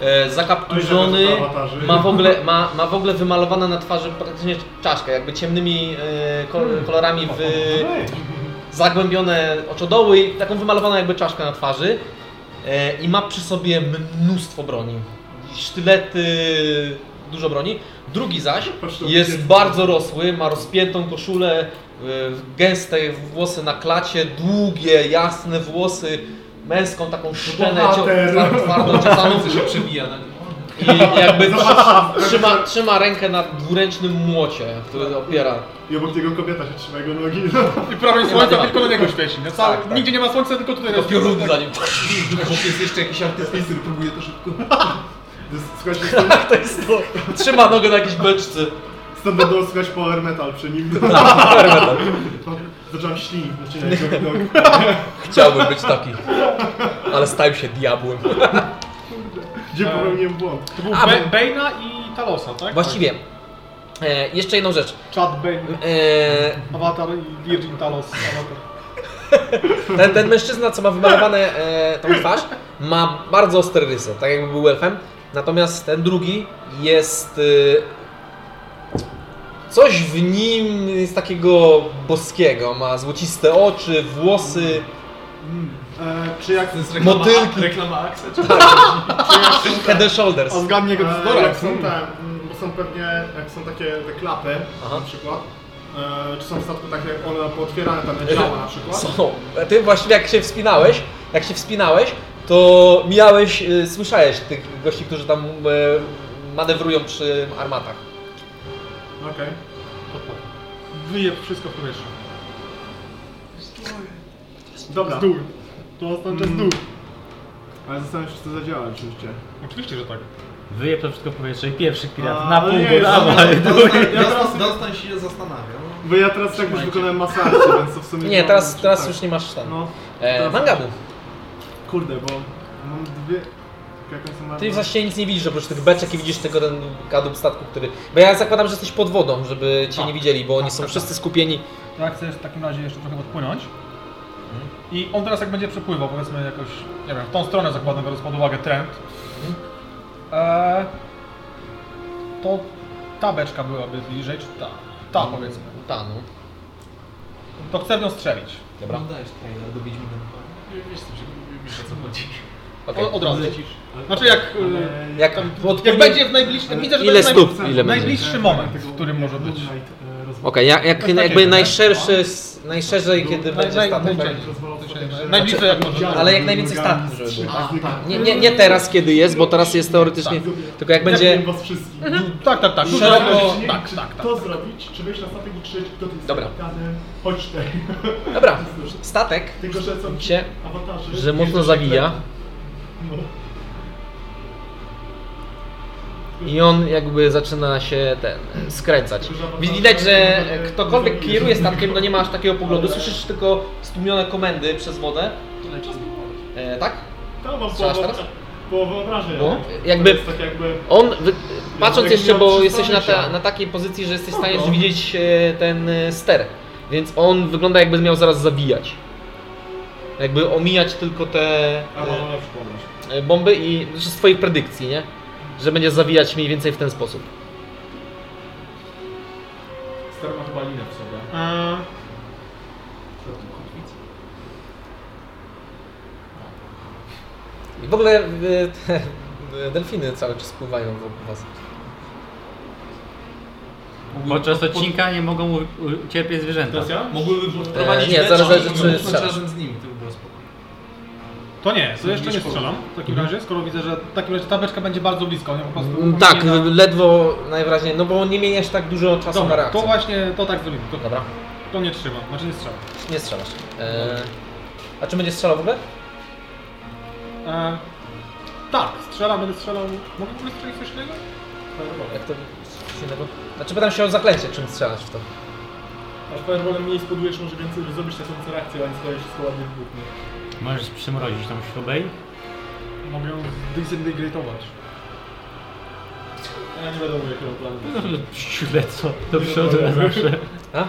Speaker 1: e,
Speaker 2: Oj,
Speaker 1: zakapturzony,
Speaker 2: żeby to awatarzy.
Speaker 1: ma w, ogóle, ma, ma w ogóle wymalowane na twarzy praktycznie czaszkę, jakby ciemnymi e,
Speaker 2: Hmm.
Speaker 1: kolor, kolorami w zagłębione oczodoły i taką wymalowaną jakby czaszkę na twarzy. E, I ma przy sobie mnóstwo broni. Sztylety, dużo broni. Drugi zaś
Speaker 2: No, Patrz, to
Speaker 1: jest
Speaker 2: jest-
Speaker 1: bardzo rosły, ma rozpiętą e, koszulę, y, gęste włosy na klacie, długie, jasne włosy,
Speaker 15: męską taką szczelę cio-
Speaker 2: No, Bohater.
Speaker 15: twar- twardą ciosaną.
Speaker 5: Co się przebija na nim.
Speaker 15: I jakby trzyma, trzyma, trzyma rękę na dwuręcznym młocie, który opiera.
Speaker 2: I obok niego kobieta się trzyma jego nogi. no.
Speaker 4: I prawie słońce
Speaker 15: tematu.
Speaker 4: tylko na niego świeci. nie? Cały-
Speaker 15: Tak, tak.
Speaker 4: Nigdzie nie ma słońca, tylko tutaj jest.
Speaker 15: Piorun za nim.
Speaker 5: Chłop jest jeszcze jakiś artysta, który próbuje to szybko.
Speaker 2: Słuchajcie, stąd-
Speaker 15: To jest to. Trzyma nogę na jakiejś beczce.
Speaker 2: stąd będą słuchać power metal przy nim. Zacząłem ślinić, znaczy na jego widok.
Speaker 1: Chciałbym być taki. Ale stałem się diabłem.
Speaker 2: Gdzie popełniłem błąd?
Speaker 4: To był
Speaker 1: A,
Speaker 4: Be-
Speaker 1: bo-
Speaker 4: Bane'a i Talosa, tak?
Speaker 1: Właściwie. E, jeszcze jedną rzecz.
Speaker 4: Chad Bane,
Speaker 1: E,
Speaker 4: Avatar i Virgin Talos. Avatar.
Speaker 1: ten, ten mężczyzna, co ma wymalowane e, tą twarz, ma bardzo ostre rysy, tak jakby był elfem. Natomiast ten drugi jest... E, coś w nim jest takiego boskiego. Ma złociste oczy, włosy.
Speaker 2: E, czy jak
Speaker 5: To jest reklama,
Speaker 1: Motylki.
Speaker 5: reklama Axa, czy
Speaker 1: Head and shoulders.
Speaker 4: A zgadnie go
Speaker 2: E,
Speaker 4: Zdora.
Speaker 2: jak są te, mm, bo są pewnie, jak są takie te klapy
Speaker 1: Aha.
Speaker 2: na przykład, e, czy są w statku takie one pootwierane tam działa na przykład?
Speaker 1: Są. Ty właściwie jak się wspinałeś, jak się wspinałeś, to mijałeś, y, słyszałeś tych gości, którzy tam y, manewrują przy armatach.
Speaker 2: Okej.
Speaker 4: Wyje wszystko w powietrze.
Speaker 2: Dobra,
Speaker 4: Z dół. To oznacza z dół.
Speaker 2: ale zastanawiam się, czy to zadziała oczywiście.
Speaker 4: Oczywiście, że tak.
Speaker 3: Wyje to wszystko powietrze i pierwszy pirat
Speaker 2: A,
Speaker 3: na
Speaker 2: no
Speaker 3: pół
Speaker 2: nie,
Speaker 3: góry,
Speaker 2: jest,
Speaker 3: a
Speaker 2: jest,
Speaker 3: dół.
Speaker 2: Ja teraz,
Speaker 5: Dostań, dostań się zastanawiam.
Speaker 2: bo ja teraz tak już wykonałem masażę, więc to w sumie...
Speaker 1: Nie,
Speaker 2: mam-
Speaker 1: teraz,
Speaker 2: czy
Speaker 1: teraz
Speaker 2: tak.
Speaker 1: już nie masz ten.
Speaker 2: No,
Speaker 1: E,
Speaker 2: teraz-
Speaker 1: mangabu,
Speaker 2: kurde, bo mam dwie... Jaką są
Speaker 1: ty właściwie nic nie widzisz oprócz tych beczek i widzisz tylko ten kadłub statku, który... Bo ja zakładam, że jesteś pod wodą, żeby cię nie widzieli, bo oni są wszyscy skupieni.
Speaker 4: To ja chcę w takim razie jeszcze trochę odpłynąć. I on teraz jak będzie przepływał, powiedzmy jakoś, nie wiem, w tą stronę zakładam, biorąc pod uwagę trend, Mhm. eee, to ta beczka byłaby bliżej, czy ta? Ta powiedzmy.
Speaker 1: Ta, no.
Speaker 4: To chcę w nią strzelić.
Speaker 1: Dobra.
Speaker 5: Dajesz trailer do Wiedźmina. Wiesz, co- wiesz o co chodzi.
Speaker 1: Okej.
Speaker 4: O, od razu lecisz. Znaczy jak, e,
Speaker 1: Jak,
Speaker 4: jak
Speaker 1: odpowiedni-
Speaker 4: będzie w najbliższym, widzę, że
Speaker 1: Ile
Speaker 4: to jest
Speaker 1: stóp?
Speaker 4: Najbliższy,
Speaker 1: Ile będzie?
Speaker 4: najbliższy moment, w którym może być.
Speaker 1: Okej, jak, jak
Speaker 4: Coś takiego,
Speaker 1: jakby
Speaker 4: nie?
Speaker 1: najszerszy, s- najszerzej, kiedy
Speaker 4: Naj,
Speaker 1: będzie
Speaker 4: naj,
Speaker 1: statek.
Speaker 4: najbliżej.
Speaker 2: Znaczy,
Speaker 4: Najbliżej jak może.
Speaker 1: Ale jak najwięcej statków, żeby było. Tak.
Speaker 2: A, tak.
Speaker 1: Nie, nie, nie teraz, kiedy jest, bo teraz jest teoretycznie. Tylko jak będzie.
Speaker 2: was wszystkich.
Speaker 4: Tak, tak, tak.
Speaker 1: Szeroko-
Speaker 4: Szeroko. Tak, tak, tak.
Speaker 2: To zrobić, czy wejść na statek i krzyczeć, kto ty jest
Speaker 1: Dobra.
Speaker 2: kapitanem, chodź tutaj.
Speaker 1: Dobra, statek
Speaker 2: Tylko, że są
Speaker 1: się,
Speaker 2: awatarzy.
Speaker 1: że mocno zawija
Speaker 2: No.
Speaker 1: i on jakby zaczyna się ten e, skręcać. Widać, że ktokolwiek kieruje statkiem, no nie ma aż takiego poglądu. Słyszysz tylko stłumione komendy przez wodę. E, tak?
Speaker 2: Tam mam
Speaker 1: Strzelasz
Speaker 2: połowę,
Speaker 1: teraz?
Speaker 2: połowę obrażeń.
Speaker 1: No,
Speaker 2: ale
Speaker 1: jakby-
Speaker 2: To jest tak jakby...
Speaker 1: On, wy, patrząc
Speaker 2: Jak
Speaker 1: jeszcze,
Speaker 2: miał
Speaker 1: bo
Speaker 2: 300
Speaker 1: jesteś na, ta,
Speaker 2: życia.
Speaker 1: na takiej pozycji, że jesteś w stanie widzieć e, ten e, ster, więc on wygląda jakby miał zaraz zawijać. Jakby omijać tylko te...
Speaker 2: A,
Speaker 1: e,
Speaker 2: no, na przykład.
Speaker 1: e, bomby i znaczy z twoich predykcji, nie? Że będzie zawijać mniej więcej w ten sposób.
Speaker 2: Stary ma chyba linę w sobie.
Speaker 4: Eee,
Speaker 1: I w ogóle e, te e, delfiny cały czas pływają wokół was.
Speaker 3: Podczas odcinka nie mogą u- u- cierpieć zwierzęta.
Speaker 2: Teraz ja?
Speaker 5: Mogłyby odprowadzić
Speaker 1: Eee, nie,
Speaker 5: mecz,
Speaker 1: zaraz
Speaker 5: ale
Speaker 1: zależy,
Speaker 5: mogłyby
Speaker 1: czy
Speaker 5: pójść
Speaker 1: strzelasz.
Speaker 5: razem z nimi, to by było spoko.
Speaker 4: To nie, to jeszcze nie strzelam w takim
Speaker 2: Mhm.
Speaker 4: razie, skoro widzę, że w takim razie ta beczka będzie bardzo blisko, nie po prostu.
Speaker 1: Mm, Tak,
Speaker 4: nie na-
Speaker 1: ledwo najwyraźniej, no bo nie mieniasz tak dużo czasu na
Speaker 4: Dobra,
Speaker 1: reakcję.
Speaker 4: to właśnie to tak zrobimy. To,
Speaker 1: Dobra,
Speaker 4: to nie trzyma, znaczy nie strzela.
Speaker 1: nie strzelasz. E, a czy będziesz strzelał w ogóle?
Speaker 4: E, tak, strzelam, będę strzelał. Mogę w ogóle strzelić coś innego?
Speaker 1: Jak to... coś innego? Znaczy pytam się o zaklęcie, czym strzelasz w to.
Speaker 2: Aż fireballem mniej spudujesz, może więcej zrobić na tą reakcję, a nie stoi wszystko ładnie w dwóch.
Speaker 3: Możesz przymrozić tą śrubę i
Speaker 4: Mogę ją disintegratować.
Speaker 2: Ja nie wiadomo jakiego planu.
Speaker 3: śrubę co do przodu zawsze.
Speaker 1: A?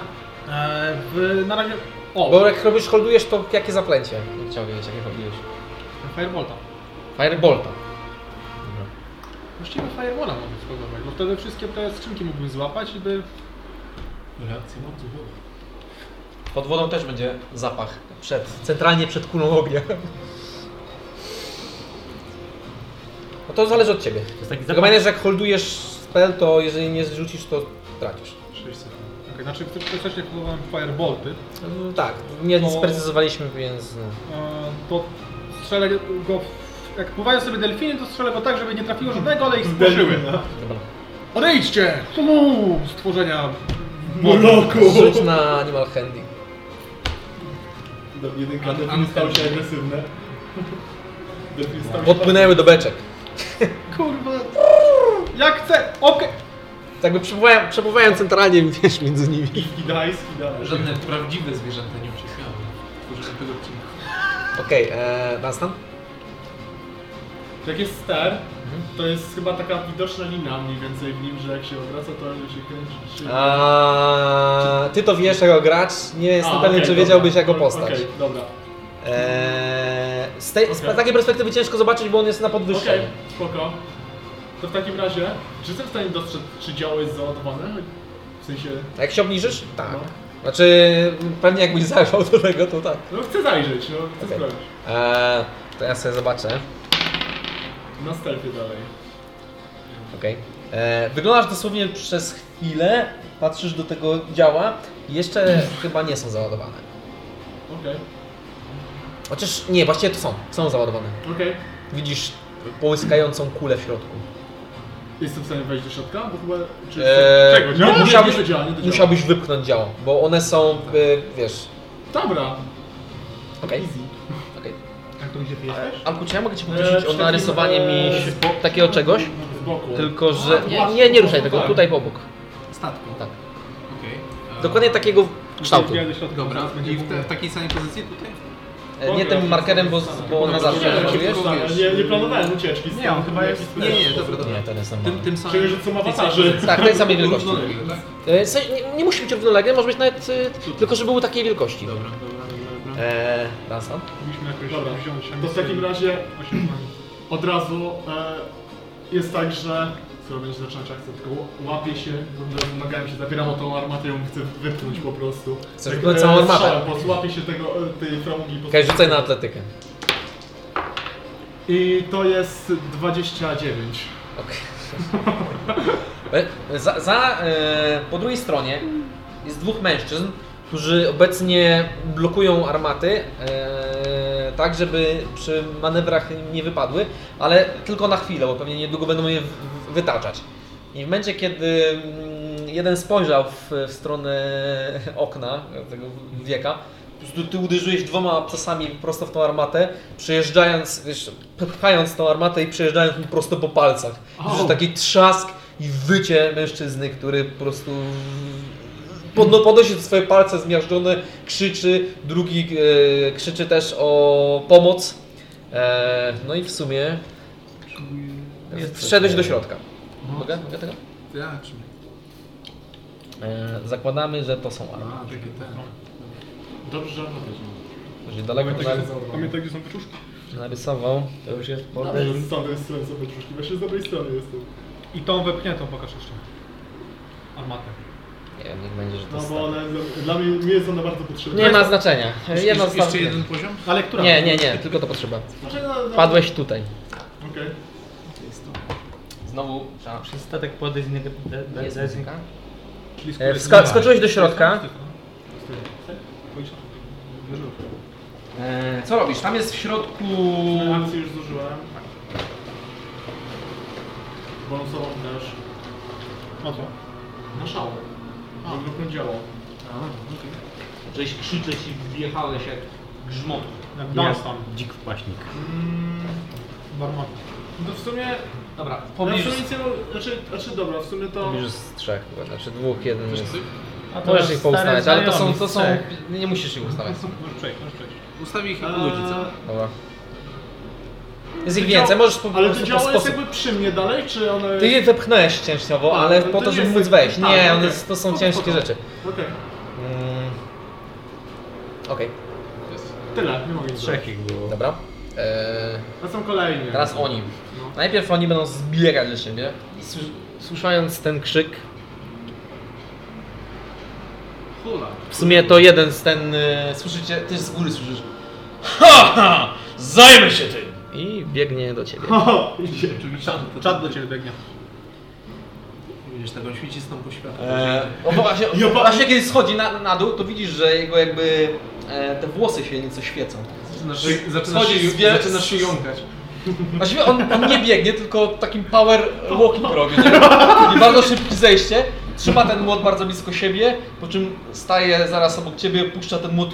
Speaker 4: E, w, na razie. O,
Speaker 1: Bo jak robisz, holdujesz, to jakie zaklęcie? Nie chciałbym wiedzieć, jakie holdujesz.
Speaker 4: Firebolta.
Speaker 1: Firebolta.
Speaker 4: Właściwie Firewalla mogę spróbować, bo wtedy wszystkie te skrzynki mógłbym złapać i by.
Speaker 5: Reakcja mocy była.
Speaker 1: Pod wodą też będzie zapach. Przed, centralnie przed kulą ognia. No to zależy od ciebie.
Speaker 3: jest taki
Speaker 1: Tylko
Speaker 3: zapach.
Speaker 1: pamiętaj, że jak holdujesz spell, to jeżeli nie zrzucisz, to tracisz.
Speaker 2: 6 sekund.
Speaker 4: Okay, znaczy wtedy wcześniej próbowałem Firebolty.
Speaker 1: No, tak, nie
Speaker 4: To-
Speaker 1: sprecyzowaliśmy, więc no.
Speaker 4: E, to
Speaker 2: strzelę go, w- jak pływają sobie delfiny, to strzelę go tak, żeby nie trafiło żadnego, ale ich stworzyły. Odejdźcie! Uuu, Stworzenia.
Speaker 1: Rzuć no, na Animal Handling.
Speaker 4: Do- Jedynka delfin stał się agresywne. Delfin stał się
Speaker 1: Podpłynęły do beczek.
Speaker 2: Kurwa. Jak chcę! Okej.
Speaker 1: Tak by przepływają, przepływają centralnie, wiesz, między nimi.
Speaker 4: Gdański dalej.
Speaker 5: Żadne prawdziwe zwierzęta nie ucierpiały. Tworzymy tego odcinka.
Speaker 1: Okej, okay, Dunstan?
Speaker 4: Jak jest ster, to jest chyba taka widoczna linia mniej więcej w nim, że jak się obraca, to się kręci. Się...
Speaker 1: A, ty to wiesz jako gracz, nie jestem
Speaker 4: A,
Speaker 1: pewien,
Speaker 4: okej,
Speaker 1: czy
Speaker 4: dobra.
Speaker 1: wiedziałbyś jako
Speaker 4: O-
Speaker 1: postać.
Speaker 4: Okej, dobra.
Speaker 1: Eee, z, tej, z
Speaker 4: Okej.
Speaker 1: takiej perspektywy ciężko zobaczyć, bo on jest na
Speaker 4: Okej,
Speaker 1: podwyższeniu.
Speaker 4: spoko. To w takim razie, czy jestem w stanie dostrzec, czy działo jest załadowane? W sensie,
Speaker 1: A Jak się obniżysz? Tak.
Speaker 4: No.
Speaker 1: Znaczy, pewnie jakbyś zajrzał do tego, to tak.
Speaker 4: no chcę zajrzeć, no chcę
Speaker 1: Okej.
Speaker 4: sprawdzić.
Speaker 1: Eee, to ja sobie zobaczę.
Speaker 4: Na stealthie dalej.
Speaker 1: Okej. E, Wyglądasz dosłownie przez chwilę, patrzysz do tego działa. Jeszcze chyba nie są załadowane.
Speaker 4: Okej,
Speaker 1: Chociaż nie, właściwie to są. Są załadowane.
Speaker 4: okej.
Speaker 1: Widzisz połyskającą kulę w środku.
Speaker 4: Jestem w stanie wejść do środka? Bo chyba... Czy...
Speaker 1: Eee,
Speaker 4: Czego? Działa? Nie,
Speaker 1: musiałbyś,
Speaker 4: nie, to działa, nie, to działa.
Speaker 1: musiałbyś wypchnąć działo, bo one są, y, wiesz...
Speaker 4: Dobra,
Speaker 1: Okej.
Speaker 4: easy.
Speaker 1: okej.
Speaker 2: Jak to gdzie ty jesteś?
Speaker 1: Alku, czy ja mogę Cię
Speaker 4: Eee,
Speaker 1: poprosić o
Speaker 4: przed
Speaker 1: narysowanie
Speaker 4: chwilą,
Speaker 1: mi
Speaker 4: eee,
Speaker 1: si- takiego czegoś?
Speaker 4: Z boku.
Speaker 1: Tylko, że...
Speaker 4: A,
Speaker 1: Nie,
Speaker 4: właśnie,
Speaker 1: nie, nie ruszaj
Speaker 4: właśnie,
Speaker 1: tego,
Speaker 4: tak.
Speaker 1: tutaj obok.
Speaker 5: Statku.
Speaker 1: Tak.
Speaker 5: Okej. E,
Speaker 1: Dokładnie takiego kształtu.
Speaker 2: Wbijaj do środka,
Speaker 5: Dobra,
Speaker 2: zaraz będzie
Speaker 5: i w, te,
Speaker 2: mówił.
Speaker 5: w takiej samej pozycji tutaj?
Speaker 1: E, Nie tym markerem, bo, bo na
Speaker 4: Nie,
Speaker 1: zawsze.
Speaker 4: no,
Speaker 1: Czujesz?
Speaker 4: nie, nie, nie planowałem ucieczki.
Speaker 16: Nie, on chyba jest-
Speaker 5: Nie, nie, dobra, dobra.
Speaker 1: Nie, ten jest
Speaker 5: Tym,
Speaker 1: normalny.
Speaker 5: tym samym...
Speaker 4: Czyli, że są awatarzy.
Speaker 1: Tak, tej samej wielkości.
Speaker 5: Równolegle, tak?
Speaker 1: E, w sensie Nie, nie musi być równolegle, może być nawet... y, Tylko, żeby był takiej wielkości.
Speaker 5: Dobra, dobra, dobra, dobra.
Speaker 1: Eee, Dunstan?
Speaker 2: Musimy jakoś
Speaker 4: Dobra,
Speaker 2: wziąć.
Speaker 4: to w takim razie od razu e, jest tak, że co będzie zaczynać akcję, tylko łapię się, do- nogami się zapieram o tą armatę i ją chcę wypchnąć po prostu. Tak, e,
Speaker 1: Chcesz wypchnąć całą armatę?
Speaker 4: strzałem, Po prostu łapię się tego, e, tej framugi. po
Speaker 1: Okej,
Speaker 4: prostu.
Speaker 1: rzucaj na atletykę.
Speaker 4: I to jest 29.
Speaker 1: Okej. Za, za, e, po drugiej stronie jest dwóch mężczyzn, którzy obecnie blokują armaty, e, tak żeby przy manewrach nie wypadły, ale tylko na chwilę, bo pewnie niedługo będą je w- w- wytaczać. I w momencie, kiedy mm, jeden spojrzał w, w stronę okna tego wieka, po prostu ty uderzyłeś dwoma abcasami prosto w tą armatę, przejeżdżając, wiesz, pchając tą armatę i przejeżdżając mu prosto po palcach. Słyszysz taki trzask i wycie mężczyzny, który po prostu podno- podnosi swoje palce zmiażdżone, krzyczy, drugi e, krzyczy też o pomoc. E, no i w sumie wszedłeś do środka. Mogę? Mogę tego?
Speaker 5: Ja, czy...
Speaker 1: E, zakładamy, że to są armaty.
Speaker 5: A, takie ten.
Speaker 4: Dobrze, że armatę
Speaker 1: Jeżeli Znaczy, daleko nar-
Speaker 2: Pamiętaj, gdzie są wyczuszki?
Speaker 1: narysował, to już jest bordel.
Speaker 4: wziąłem. Z tamtej strony są wyczuszki, właśnie z dobrej strony jestem.
Speaker 2: I tą wepchniętą pokaż jeszcze. Armatę.
Speaker 1: Nie wiem, niech będzie, że to
Speaker 4: No
Speaker 1: jest.
Speaker 4: bo
Speaker 1: tak.
Speaker 4: one, dla mnie nie jest ona bardzo potrzebna.
Speaker 1: Nie ma znaczenia. Jedna
Speaker 5: Jeszcze, jeszcze
Speaker 1: ostatnia.
Speaker 5: jeden poziom?
Speaker 2: Ale która?
Speaker 1: Nie, nie, nie, tylko to potrzeba.
Speaker 4: Znaczy, no, no,
Speaker 1: Padłeś tutaj.
Speaker 4: Okej.
Speaker 8: Znowu trzeba
Speaker 3: Przez statek płody z niego...
Speaker 1: Jest muzyka.
Speaker 2: Czyli
Speaker 1: E,
Speaker 2: skóry-
Speaker 1: wska- Skoczyłeś do środka.
Speaker 8: E, co robisz? Tam jest w środku.
Speaker 4: Akcję już zużyłem. Bonusową też.
Speaker 2: No co?
Speaker 4: Na szałę. Żeby wyglądało.
Speaker 8: Żeś krzyczeć i wjechałeś jak grzmot.
Speaker 2: Jak
Speaker 16: Jak
Speaker 2: Dunstan.
Speaker 16: dzik w paśnik.
Speaker 2: Do armaty.
Speaker 4: Mm, No w sumie...
Speaker 8: Dobra,
Speaker 4: Ja w
Speaker 8: pobliżu.
Speaker 4: sumie nic nie... Znaczy, znaczy dobra, w sumie to...
Speaker 1: Już z trzech, chyba, znaczy dwóch, jeden jest.
Speaker 3: A to
Speaker 1: Możesz ich poustawiać, ale to są,
Speaker 3: znajomy,
Speaker 1: to są,
Speaker 3: cech.
Speaker 1: nie musisz ich ustawiać.
Speaker 2: Możesz przejść, możesz przejść.
Speaker 5: Ustawię ich i
Speaker 4: Eee,
Speaker 5: ludzi, co?
Speaker 1: Dobra. Jest ich
Speaker 4: to działa-
Speaker 1: więcej, możesz po
Speaker 4: Ale to
Speaker 1: prostu po
Speaker 4: działo jest
Speaker 1: sposób.
Speaker 4: jakby przy mnie dalej, czy one...
Speaker 1: Ty je wepchnąłeś częściowo,
Speaker 4: Tak,
Speaker 1: ale
Speaker 4: to
Speaker 1: po to,
Speaker 4: nie
Speaker 1: żeby
Speaker 4: jest
Speaker 1: móc
Speaker 4: tak-
Speaker 1: wejść.
Speaker 4: tak,
Speaker 1: Nie,
Speaker 4: okej.
Speaker 1: one, to są
Speaker 4: Spoko,
Speaker 1: ciężkie
Speaker 4: spoko.
Speaker 1: rzeczy.
Speaker 4: Okej.
Speaker 1: Mm. Okej,
Speaker 4: Tyle, nie mogę nic
Speaker 16: Trzech ich było.
Speaker 1: dobra. Eee,
Speaker 4: zrobić. To są kolejne.
Speaker 1: Teraz oni. Najpierw oni będą zbierać do siebie. I słys- Słyszając ten krzyk. W sumie to jeden z ten. y, Słyszycie, ty z góry słyszysz.
Speaker 17: Ha, ha! Zajmę się tym!
Speaker 1: I biegnie do ciebie.
Speaker 4: O, idzie.
Speaker 5: Oczywiście. to-
Speaker 2: Czad do ciebie biegnie.
Speaker 5: Widzisz, taką świecistą poświatę.
Speaker 8: No bo właśnie,
Speaker 1: e,
Speaker 8: właśnie kiedy schodzi na, na dół, to widzisz, że jego jakby e, te włosy się nieco świecą.
Speaker 5: Zaczynasz,
Speaker 2: Znaczy,
Speaker 18: Schodzi
Speaker 5: zaczynasz,
Speaker 18: z wiel-
Speaker 5: zaczynasz się jąkać.
Speaker 1: Właściwie on, on nie biegnie, tylko takim power walking robi. nie? I bardzo szybkie zejście. Trzyma ten młot bardzo blisko siebie, po czym staje zaraz obok ciebie, puszcza ten młot.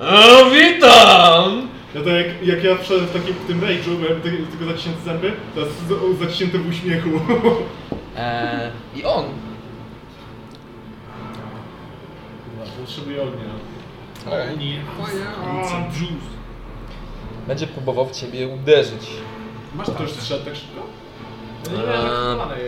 Speaker 1: O, witam!
Speaker 2: Ja to jak, jak ja wszedłem w takim w tym rage'u, byłem ty- tylko zaciśnięte zęby, teraz z- zaciśnięte w uśmiechu.
Speaker 1: Eee, I on.
Speaker 2: Potrzebuję ognia.
Speaker 18: Nie.
Speaker 1: Będzie próbował w ciebie uderzyć.
Speaker 2: Masz to już strzelę tak szybko?
Speaker 16: No
Speaker 1: nie miałem aktywowanej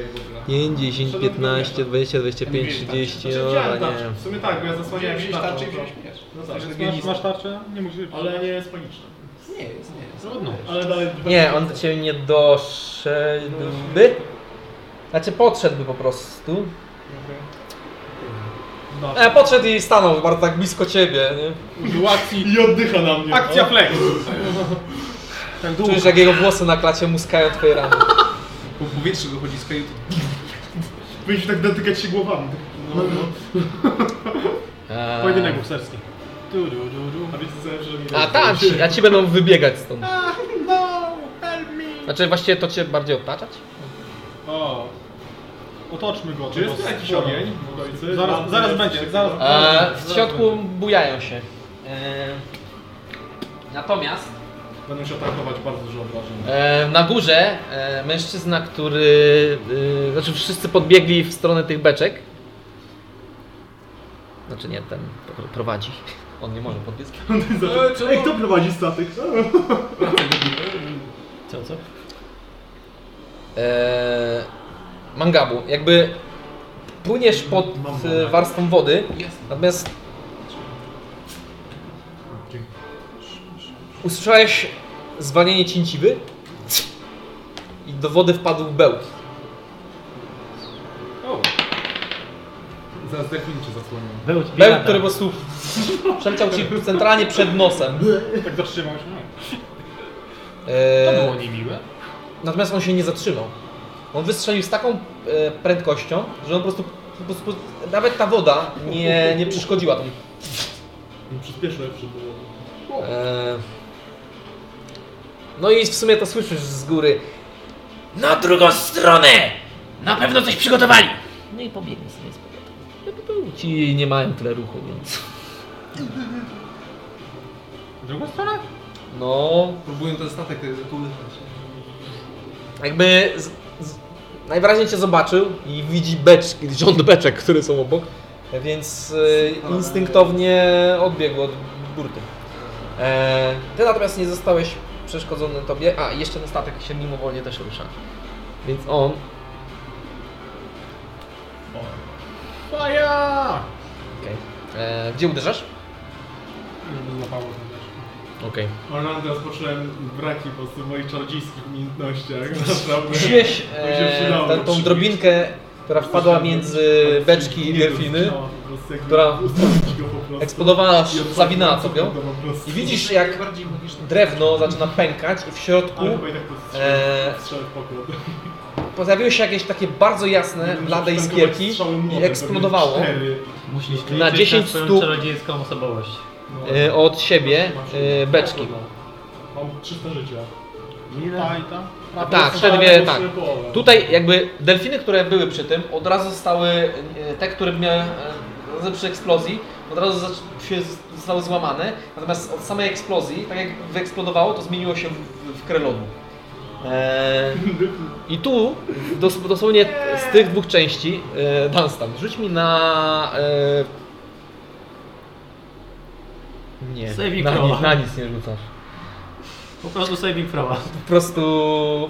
Speaker 1: 5, 10, 15, 20, 25,
Speaker 5: tak.
Speaker 1: 30,
Speaker 2: Znaczy,
Speaker 1: no
Speaker 2: wziąłem
Speaker 1: ale
Speaker 2: tarczę.
Speaker 1: nie.
Speaker 2: W sumie tak, bo ja zasłaniałem się tarczą.
Speaker 5: miecz.
Speaker 2: No tak,
Speaker 4: Masz, masz tarczę? Nie musisz.
Speaker 2: ale nie jest paniczna.
Speaker 5: Nie, jest, nie jest.
Speaker 4: Trudno.
Speaker 2: Ale dalej...
Speaker 1: Nie, on do ciebie nie doszedłby. Znaczy podszedłby po prostu.
Speaker 2: No.
Speaker 1: E, podszedł i stanął bardzo tak blisko ciebie, nie?
Speaker 4: Użył akcji.
Speaker 2: I oddycha na mnie.
Speaker 4: Akcja flex. Tak długo.
Speaker 1: Czujesz jak jego włosy na klacie muskają twoje rany.
Speaker 5: Po powietrzu go chodzi z kajuty.
Speaker 2: Powinniśmy tak dotykać się głowami. No, no.
Speaker 4: Pojedynek bokserski. Du, du, du, du.
Speaker 2: A wiecie co, że mi...
Speaker 1: A tam, ci- a ci będą wybiegać stąd.
Speaker 2: No, help me!
Speaker 1: Znaczy właściwie to cię bardziej otaczać?
Speaker 4: O. Otoczmy go.
Speaker 2: Czy
Speaker 4: tego
Speaker 2: jest tu jakiś
Speaker 4: sporo.
Speaker 2: ogień? Okolicy?
Speaker 4: Zaraz,
Speaker 2: Mam-
Speaker 4: zaraz
Speaker 2: jest
Speaker 4: będzie,
Speaker 2: jakiś-
Speaker 4: zaraz.
Speaker 1: E, w środku bujają się. E,
Speaker 19: Natomiast
Speaker 2: Będą się atakować bardzo dużo obrażeń.
Speaker 1: E, Na górze e, mężczyzna, który. e, Znaczy, wszyscy podbiegli w stronę tych beczek. Znaczy, nie, ten który prowadzi. On nie może podbiec.
Speaker 2: Ej, kto prowadzi statek?
Speaker 1: Co, co? E, mangabu, jakby płyniesz pod e, warstwą wody, natomiast usłyszałeś zwalnienie cięciwy i do wody wpadł bełt.
Speaker 5: Zaraz definicie zasłonią.
Speaker 20: Był
Speaker 1: Bełt, który po prostu przeleciał ci centralnie przed nosem.
Speaker 4: Tak zatrzymał się.
Speaker 1: E,
Speaker 3: To było niemiłe.
Speaker 1: Natomiast on się nie zatrzymał. On wystrzelił z taką e, prędkością, że on po prostu, po prostu nawet ta woda nie, nie przeszkodziła tą.
Speaker 2: Przyspieszyłem przy No, było.
Speaker 1: E, no i w sumie to słyszysz z góry.
Speaker 8: Na drugą stronę! Na pewno coś przygotowali!
Speaker 1: No i pobiegnie sobie z powrotem. Jakby był Ci nie mają tyle ruchu, więc.
Speaker 4: Drugą stronę?
Speaker 1: No,
Speaker 5: Próbuję ten statek tutaj zakołychać.
Speaker 1: jakby z, z, najwyraźniej cię zobaczył i widzi beczki, rząd beczek, które są obok, więc e, instynktownie odbiegł od burty. E, ty natomiast nie zostałeś przeszkodzony tobie, a i jeszcze ten statek się mimowolnie też rusza, więc on
Speaker 4: Faja!
Speaker 1: Okej. E, Gdzie uderzasz?
Speaker 4: Żeby złapało to też.
Speaker 1: Okej.
Speaker 2: Orlando, rozpocząłem braki po prostu w moich czarodziejskich umiejętnościach, naprawdę.
Speaker 1: Wziąłeś
Speaker 2: Bo się
Speaker 1: e,
Speaker 2: przydało.
Speaker 1: tę- tą drobinkę, która wpadła między
Speaker 5: E,
Speaker 1: beczki i
Speaker 2: Nie,
Speaker 1: delfiny,
Speaker 2: no, po prostu jakby
Speaker 1: która
Speaker 2: ustawić go po prostu.
Speaker 1: eksplodowała,
Speaker 2: I odpalić
Speaker 1: zawinęła
Speaker 2: go
Speaker 1: sobie ją.
Speaker 2: po prostu.
Speaker 1: I widzisz jak drewno zaczyna pękać i w środku
Speaker 2: Ale chyba i tak po prostu
Speaker 1: Eee.
Speaker 5: E,
Speaker 2: strzelę w pokład.
Speaker 1: pojawiły się jakieś takie bardzo jasne,
Speaker 2: Będę
Speaker 1: blade
Speaker 2: musiał
Speaker 1: iskierki
Speaker 2: tankować strzały
Speaker 1: i
Speaker 2: młotem,
Speaker 1: eksplodowało
Speaker 2: pewnie cztery.
Speaker 3: Musisz liczyć
Speaker 1: Na 10
Speaker 3: swoją
Speaker 1: stóp.
Speaker 3: czarodziejską osobowość.
Speaker 1: e, od siebie e, beczki.
Speaker 2: Mam 300 życia.
Speaker 4: Ta i ta.
Speaker 1: A tak, wtedy wie, tak. Tutaj jakby delfiny, które były przy tym, od razu zostały, e, te, które miały e, razy przy eksplozji, od razu zac- się z- zostały złamane, natomiast od samej eksplozji, tak jak wyeksplodowało, to zmieniło się w, w krę lodu. E, I tu, dos, dosłownie z tych dwóch części, e, Dunstan, rzuć mi na... E, nie,
Speaker 3: Saving
Speaker 1: na,
Speaker 3: throwa.
Speaker 1: ni- na nic nie rzucasz.
Speaker 3: Po prostu saving throwa.
Speaker 1: Po prostu...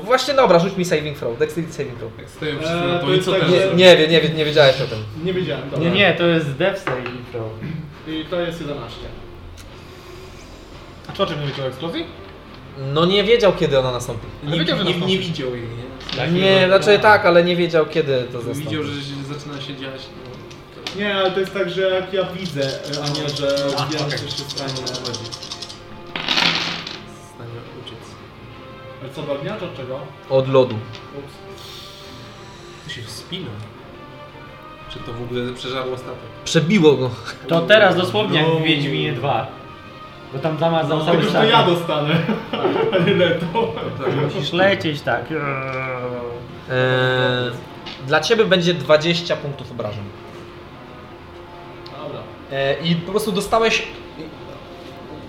Speaker 1: Właśnie dobra, rzuć mi saving throw, dexterity saving throw.
Speaker 5: Jak stoją
Speaker 2: Eee,
Speaker 5: wszyscy na
Speaker 2: to
Speaker 5: E, to i
Speaker 2: jest
Speaker 5: co
Speaker 2: tak,
Speaker 5: teraz?
Speaker 1: Nie, nie,
Speaker 5: Nie,
Speaker 1: wie- nie, wie- nie wiedziałeś o tym.
Speaker 2: Nie wiedziałem, dobra.
Speaker 3: Nie, nie, to jest death saving throw.
Speaker 2: I to jest 11.
Speaker 4: A czy o czym nie wiecie o eksplozji?
Speaker 1: No nie wiedział kiedy ona nastąpi.
Speaker 5: nie,
Speaker 4: wiedział, że
Speaker 5: nie,
Speaker 4: nastąpi.
Speaker 5: nie widział jej, nie?
Speaker 1: Nie, znaczy tak, ale nie wiedział kiedy to zastąpi.
Speaker 5: Widział, że się zaczyna się dziać. No.
Speaker 2: Nie, ale to jest tak, że jak ja widzę, e, a nie, że wiem, co się stanie.
Speaker 5: Stanie uciec.
Speaker 2: Ale co, do ognia czy od czego?
Speaker 1: Od lodu.
Speaker 2: Ups.
Speaker 5: To się wspina. Czy to w ogóle przeżarło statek?
Speaker 1: Przebiło go.
Speaker 3: To teraz dosłownie jak w Wiedźminie 2.
Speaker 21: Bo tam zamarzał cały
Speaker 2: Tylko, że No, to
Speaker 21: statek.
Speaker 2: ja dostanę, a nie leto.
Speaker 21: Musisz lecieć tak.
Speaker 1: Eee, dla ciebie będzie 20 punktów obrażeń.
Speaker 2: Dobra.
Speaker 1: E, I po prostu dostałeś.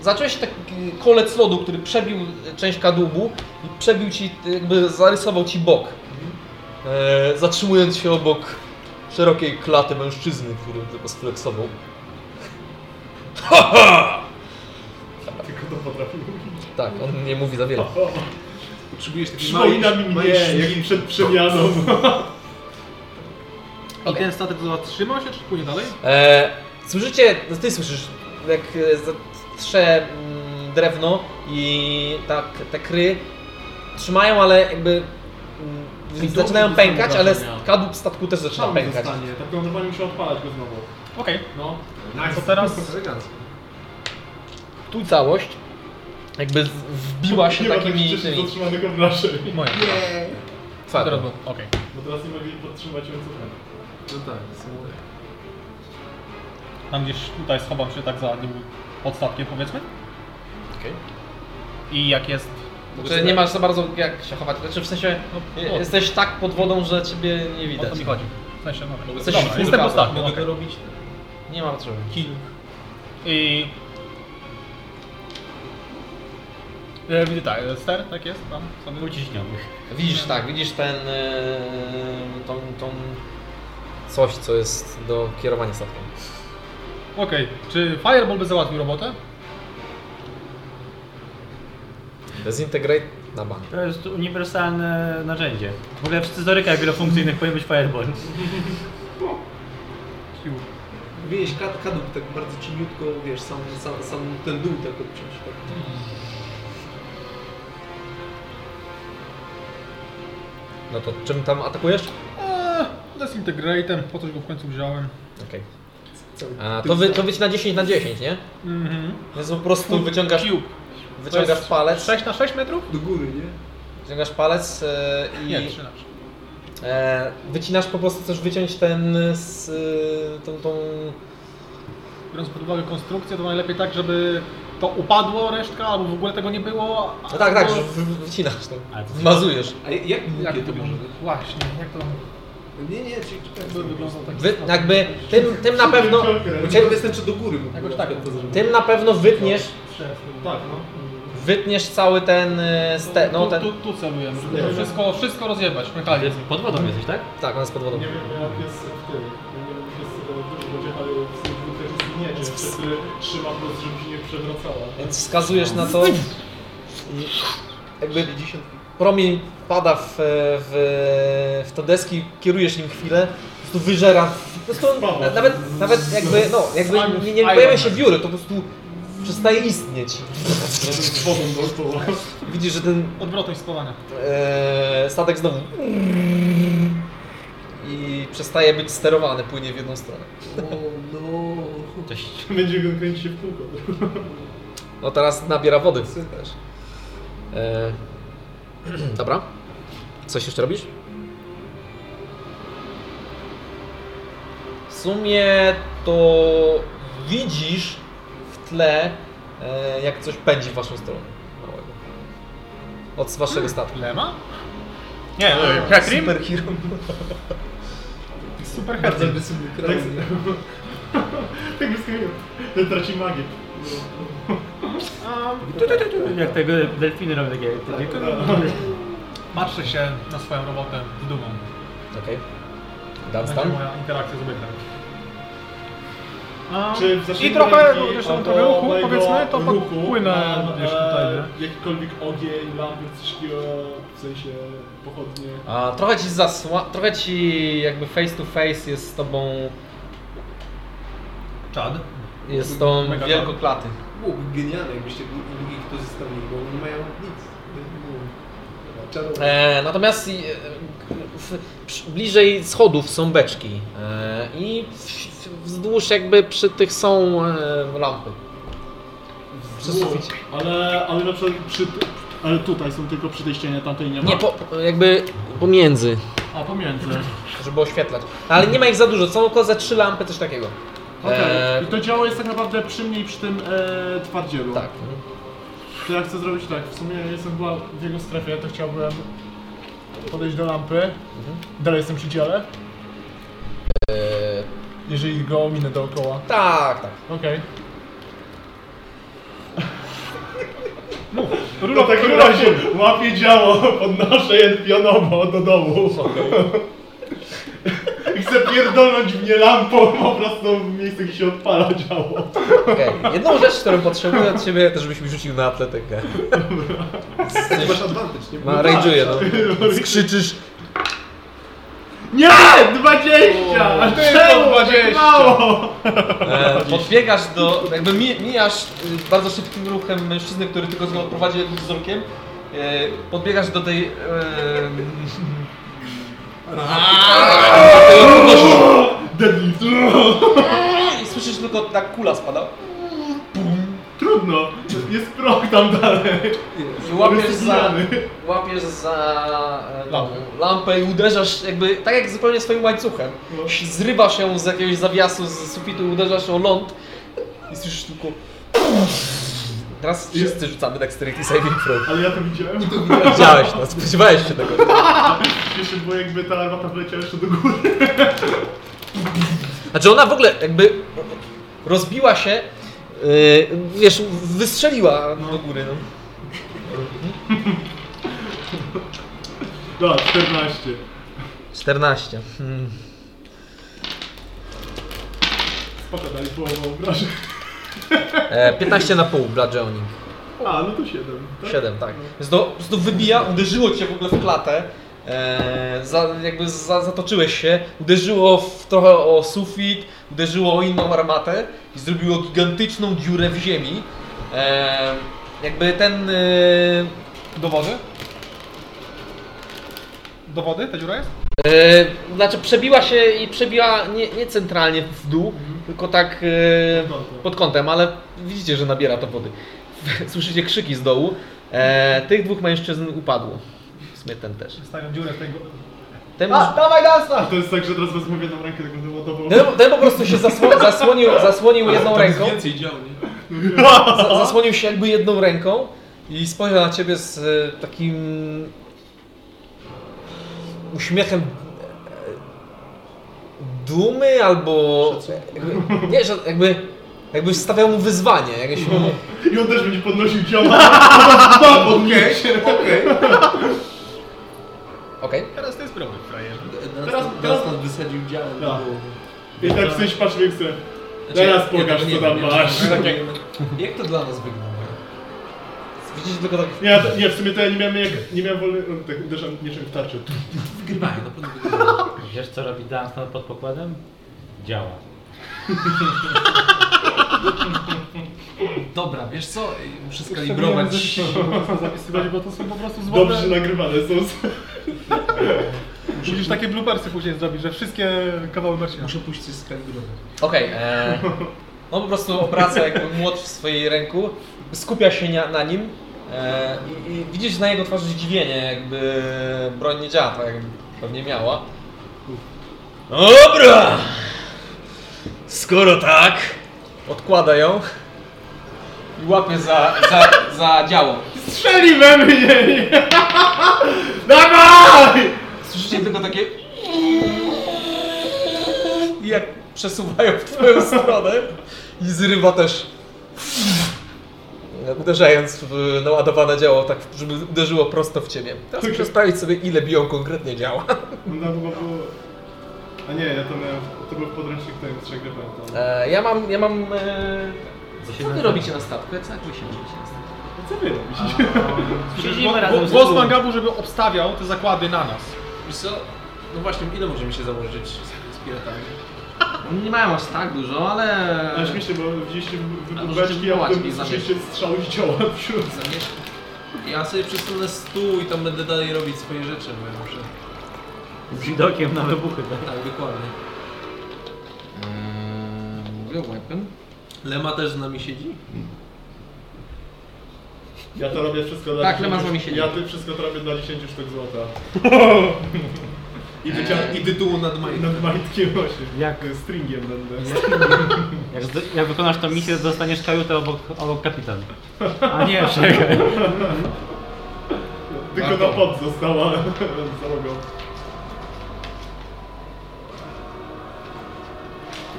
Speaker 1: Zacząłeś tak e, kolec lodu, który przebił e, część kadłubu i przebił ci, e, jakby zarysował ci bok. E, zatrzymując się obok szerokiej klaty mężczyzny, który tylko sfleksował.
Speaker 2: Tylko to potrafił.
Speaker 1: Tak, on nie mówi za wiele.
Speaker 5: Potrzebujesz taki mały,
Speaker 2: Przypomina mi
Speaker 5: mały
Speaker 2: mnie, jak przed przemianą.
Speaker 1: No.
Speaker 4: I ten statek zatrzymał się, czy płynie dalej?
Speaker 1: E, słyszycie, no ty słyszysz, jak e, zatrze mm, drewno i tak, te kry trzymają, ale jakby mm,
Speaker 2: I
Speaker 1: zaczynają
Speaker 2: dół
Speaker 1: pękać, ale
Speaker 2: wrażenia.
Speaker 1: kadłub statku też zaczyna
Speaker 2: Trzeba
Speaker 1: pękać.
Speaker 2: zostanie. Tak plądowanie muszę odpalać go znowu.
Speaker 4: Okej.
Speaker 2: No.
Speaker 5: Tak,
Speaker 4: To teraz
Speaker 1: Tu całość jakby z- wbiła się
Speaker 2: Nie ma tak
Speaker 1: takimi
Speaker 2: wcześniej
Speaker 1: tymi...
Speaker 2: zatrzymanego w naszej.
Speaker 1: Moja.
Speaker 4: Teraz
Speaker 1: Twardo.
Speaker 4: było. Okej.
Speaker 2: Bo teraz nie mogli podtrzymać łańcuchem.
Speaker 5: No tak, są
Speaker 4: Tam gdzieś tutaj schowam się tak za nim pod statkiem powiedzmy.
Speaker 1: Okej.
Speaker 4: I jak jest...
Speaker 1: Znaczy, nie masz za bardzo jak się chować, znaczy w sensie
Speaker 4: No,
Speaker 1: je-
Speaker 4: no.
Speaker 1: jesteś tak pod wodą, że ciebie nie
Speaker 4: O
Speaker 1: widać.
Speaker 4: to mi chodzi. W sensie, no.
Speaker 1: Jesteś
Speaker 4: Dobra,
Speaker 1: w
Speaker 4: jestem pod
Speaker 1: rękawie.
Speaker 4: statkiem,
Speaker 1: Mogę
Speaker 4: okej.
Speaker 1: Nie mam czego.
Speaker 4: I... E, widzę tak, ster, tak jest, tam sobie...
Speaker 3: Uciśnionych.
Speaker 1: Widzisz tak, widzisz ten... e, tą, tą... coś, co jest do kierowania statkiem.
Speaker 4: Okej, czy Fireball by załatwił robotę?
Speaker 1: Dezintegrate na bank.
Speaker 3: To jest uniwersalne narzędzie. W ogóle w scyzorykach wielofunkcyjnych powinien być fireball.
Speaker 5: Wiesz, kad, kadłub tak bardzo cieniutko, wiesz, sam, sam, sam ten dół tak odciąć. Tak.
Speaker 1: No to czym tam atakujesz?
Speaker 4: Eee, desintegratem, po coś go w końcu wziąłem.
Speaker 1: Okej.
Speaker 5: Cały
Speaker 1: A,
Speaker 5: tył
Speaker 1: To, wy,
Speaker 5: za-
Speaker 1: to być na 10 na 10, nie?
Speaker 4: Mhm.
Speaker 1: Więc po prostu wyciągasz,
Speaker 4: Cube. To
Speaker 1: wyciągasz
Speaker 4: jest
Speaker 1: palec,
Speaker 4: 6 na 6 metrów?
Speaker 5: Do góry, nie?
Speaker 1: wyciągasz palec e, i
Speaker 4: Nie, 3 na 3.
Speaker 1: e, wycinasz po prostu, chcesz wyciąć ten, z, e, tą, tą...
Speaker 4: Biorąc pod uwagę konstrukcję, to najlepiej tak, żeby to upadło resztka, albo w ogóle tego nie było.
Speaker 1: No tak, tak,
Speaker 4: albo-
Speaker 1: w- w- wycinasz to,
Speaker 3: Ale to-
Speaker 1: wmazujesz.
Speaker 5: A E, jak
Speaker 4: Jak
Speaker 5: długie
Speaker 4: to
Speaker 5: to może
Speaker 4: wygląda?
Speaker 5: być?
Speaker 4: Właśnie, jak to...
Speaker 5: Nie, nie, czy- czekaj.
Speaker 4: To wygląda tak.
Speaker 1: Wy, jakby tym, tym na pewno...
Speaker 5: Bo ciekawy jestem, czy do góry mógł
Speaker 4: Jakoś tak.
Speaker 5: to zrobić.
Speaker 1: Tym na pewno wytniesz,
Speaker 2: Tak, no.
Speaker 1: wytniesz cały ten... e, Ste, no,
Speaker 4: tu,
Speaker 1: ten
Speaker 4: tu, tu celujemy, żeby
Speaker 2: Nie.
Speaker 4: to
Speaker 5: no.
Speaker 4: wszystko, wszystko rozjebać,
Speaker 3: Ale
Speaker 4: mechanizm.
Speaker 3: pod wodą jesteś, tak?
Speaker 1: tak, on jest pod wodą.
Speaker 2: Nie wiem, jak jest w tym. Nie wiem, jak jest tego dużo będzie, ale w tym dwóch też jest nie, czy który trzyma plus, żeby się nie przewracała.
Speaker 1: Więc wskazujesz na to i jakby promień pada w, w, w te deski, kierujesz nim chwilę, po prostu wyżera, po prostu
Speaker 2: Spada.
Speaker 1: na- nawet, nawet jakby, no, jakby nie, nie pojawia się wióry, to po prostu przestaje istnieć.
Speaker 2: Razem z wodą dookoła.
Speaker 1: Widzisz, że ten
Speaker 4: Odwrotność spawania.
Speaker 1: e, statek znowu i przestaje być sterowany, płynie w jedną stronę.
Speaker 3: Cześć.
Speaker 2: Będzie go kręcić się w kółko.
Speaker 1: No teraz nabiera wody. E, dobra. Coś jeszcze robisz? W sumie to widzisz w tle, e, jak coś pędzi w waszą stronę. Małego. Od waszego statku.
Speaker 4: Lema? Nie, no, Hetrim?
Speaker 1: Superhero.
Speaker 4: Super
Speaker 5: Bardzo
Speaker 4: Hetrim.
Speaker 5: agresywny
Speaker 2: Tak,
Speaker 5: kraj.
Speaker 2: tak by skończył. Ten traci magię.
Speaker 3: Jak tego delfiny robią takie...
Speaker 4: Patrzę się na swoją robotę z dumą.
Speaker 1: Okej. Okay.
Speaker 4: Będzie
Speaker 1: tam.
Speaker 4: moja interakcja z obiektem.
Speaker 2: Czy E, w zasięgu
Speaker 4: I trochę,
Speaker 2: ręki
Speaker 4: zresztą
Speaker 2: albo
Speaker 4: trochę ruchu,
Speaker 2: mojego
Speaker 4: powiedzmy, to
Speaker 2: ruchu
Speaker 4: popłynę
Speaker 2: mam,
Speaker 4: gdzieś tutaj, nie?
Speaker 2: e, Jakikolwiek ogień, lampy, coś takiego, w sensie pochodnie.
Speaker 1: A, trochę ci zasła... Trochę ci jakby face to face jest z tobą...
Speaker 4: Czad.
Speaker 1: Jest z tą
Speaker 4: Mega
Speaker 1: wielkoklaty.
Speaker 5: Byłoby genialne, jakbyście długi to zostawili, bo oni mają nic. No, Czarowne.
Speaker 1: E, natomiast e, w, przy, bliżej schodów są beczki e, i w, w, wzdłuż jakby przy tych są e, lampy. Przy suficie.
Speaker 2: Ale, ale na przykład przy, ale tutaj są tylko przy tej ścianie, tamtej nie ma.
Speaker 1: Nie, po, jakby pomiędzy,
Speaker 2: A pomiędzy.
Speaker 1: żeby oświetlać. Ale nie ma ich za dużo, są około za trzy lampy, coś takiego.
Speaker 4: Okej.
Speaker 1: E,
Speaker 4: I to działo jest tak naprawdę przy mnie i przy tym e, twardzielu.
Speaker 1: Tak.
Speaker 4: To ja chcę zrobić tak, w sumie jestem była w jego strefie, to chciałbym podejść do lampy.
Speaker 1: Mhm.
Speaker 4: Dalej jestem przy dziele,
Speaker 1: e,
Speaker 4: jeżeli go ominę dookoła.
Speaker 1: tak, tak.
Speaker 4: Okej.
Speaker 2: Rura, tak rura się łapie działo, podnoszę je pionowo do domu. I chcę pierdolnąć mnie lampą po prostu w miejsce, gdzie się odpala działo.
Speaker 1: Okej. Jedną rzecz, którą potrzebuję od ciebie, to żebyś mi rzucił na atletykę.
Speaker 5: Masz advantage, nie?
Speaker 1: Ma, rage'uje, no. Skrzyczysz.
Speaker 4: Nie! 20! A czemu? 20! Mało!
Speaker 1: E, podbiegasz do, jakby mi- mijasz y, bardzo szybkim ruchem mężczyzny, który tylko go odprowadzi jednym wzrokiem. E, podbiegasz do tej... E, do tego kogoś.
Speaker 2: Deadlift.
Speaker 1: I słyszysz tylko tak kula spada.
Speaker 2: Trudno, jest prog No, tam dalej.
Speaker 1: I łapiesz za,
Speaker 2: Wysypiamy.
Speaker 1: łapiesz za e, tą lampę i uderzasz jakby, tak jak zupełnie swoim łańcuchem. Zrywa się z jakiegoś zawiasu, z sufitu i uderzasz o ląd i słyszysz tylko... Teraz wszyscy rzucamy dexterity saving throw.
Speaker 2: Ale ja to widziałem.
Speaker 1: Widziałeś to, spodziewałeś się tego.
Speaker 2: Jeszcze bo jakby ta armata wleciała jeszcze do góry.
Speaker 1: Znaczy ona w ogóle jakby rozbiła się, yy, wiesz, wystrzeliła do góry. No.
Speaker 2: Dobra, 14.
Speaker 1: 14. Hmm.
Speaker 2: Spoko, dali połowę obrażeń.
Speaker 1: E, 15 na pół, bludgeoning.
Speaker 2: A, no to 7. Tak?
Speaker 1: 7, tak. Więc to po prostu wybija, uderzyło cię w ogóle w klatę. E, za, jakby za, zatoczyłeś się, uderzyło w, trochę o sufit, uderzyło o inną armatę i zrobiło gigantyczną dziurę w ziemi. E, jakby ten. E,
Speaker 22: Do wody? Do wody ta dziura jest?
Speaker 1: E, znaczy przebiła się i przebiła nie, nie centralnie w dół, tylko tak e, pod kątem, ale widzicie, że nabiera to wody. Słyszycie krzyki z dołu. E, tych dwóch mężczyzn upadło. W sumie ten też.
Speaker 2: Stawiam dziurę tego.
Speaker 1: Ten,
Speaker 2: A, dawaj dansa! To jest tak, że teraz wezmę w jedną rękę tego dołową.
Speaker 1: ten, ten po prostu się zasło, zasłonił, zasłonił jedną ręką.
Speaker 5: Więcej dział, nie?
Speaker 1: Za- Zasłonił się jakby jedną ręką i spojrzał na ciebie z e, takim uśmiechem e, dumy albo jakby, nie, że jakby jakby stawiał mu wyzwanie, jakieś mu,
Speaker 2: I on też będzie podnosił działa.
Speaker 5: Okej, okej.
Speaker 1: okej.
Speaker 22: Teraz to jest problem, frajerze.
Speaker 5: Teraz, teraz nas wysadził działem
Speaker 2: Tak.
Speaker 5: na głowę.
Speaker 2: I tak w sensie patrz większe. Teraz
Speaker 5: Znaczy, ja
Speaker 2: pokaż,
Speaker 5: tego nie
Speaker 2: co tam
Speaker 5: wiem, ja
Speaker 2: masz.
Speaker 5: tego nie wiem. Jak to dla nas wygląda?
Speaker 1: Widzicie tylko tak
Speaker 2: Nie, to, nie, w sumie to ja nie miałem jak, nie miałem wolny, no, tak uderzam mieczem w tarczę.
Speaker 5: Wygrywają, na pewno wygrywają.
Speaker 3: Wiesz co robi Dunstan pod pokładem? Działa.
Speaker 5: Dobra, wiesz co? Muszę skalibrować.
Speaker 2: Zapisywać, bo to są po prostu złote... Dobrze nagrywane są.
Speaker 22: Musisz takie bloopersy później zrobić, że wszystkie kawały Marcina.
Speaker 5: Muszę pójść coś skalibrować.
Speaker 1: Okej. e, On po prostu obraca jakby młot w swojej ręku, skupia się na, na nim e, i, i widzisz na jego twarzy zdziwienie, jakby broń nie działa tak, jak pewnie miała. Dobra! Skoro tak... Odkłada ją i łapie za, za, za działo.
Speaker 2: Strzeli we mnie! Dawaj!
Speaker 1: Słyszycie tylko takie... I jak przesuwają w twoją stronę i zrywa też... Uderzając w naładowane działo, tak żeby uderzyło prosto w ciebie. Teraz muszę sprawdzić sobie ile biją konkretnie działa.
Speaker 2: No tam chyba było... A nie, ja to miałem... To był podręcznik ten trzech gry pamiętam.
Speaker 1: E, ja mam, ja mam... E... Co wy robicie na statku? Jak wy się robicie na statku?
Speaker 2: A co wy robicie?
Speaker 23: Siedzimy
Speaker 22: Gło-
Speaker 23: razem ze
Speaker 22: Głos
Speaker 23: sobą.
Speaker 22: Mangabu, żeby obstawiał te zakłady na nas.
Speaker 5: Wiesz co? No właśnie, ile możemy się założyć z, z piratami?
Speaker 24: Nie mają aż tak dużo, ale...
Speaker 5: No,
Speaker 2: Ale śmiesznie, bo widzieliście
Speaker 24: A możecie
Speaker 2: wybucheczki, a
Speaker 24: wywołać i
Speaker 2: potem słyszeliście strzały z dzioła wśród.
Speaker 5: Zamiesz... Ja sobie przesunę stół i tam będę dalej robić swoje rzeczy, bo ja muszę.
Speaker 23: Z widokiem na wybuchy.
Speaker 5: Tak, dokładnie.
Speaker 25: E,
Speaker 24: Eee, Mówię weapon.
Speaker 5: Lema też z nami siedzi?
Speaker 2: Ja to robię wszystko dla
Speaker 24: Tak,
Speaker 2: 10
Speaker 24: Lema z wami siedzi.
Speaker 2: Ja ty wszystko to robię dla 10 sztuk złota. I, wycia- I tytułu nad majtkiem. Nad majtkiem właśnie.
Speaker 3: Jak?
Speaker 2: Stringiem będę.
Speaker 3: Jak, zdo- jak wykonasz tą misję, dostaniesz kajutę obok, obok kapitan. A nie, czekaj.
Speaker 2: Tylko na pod została załogą.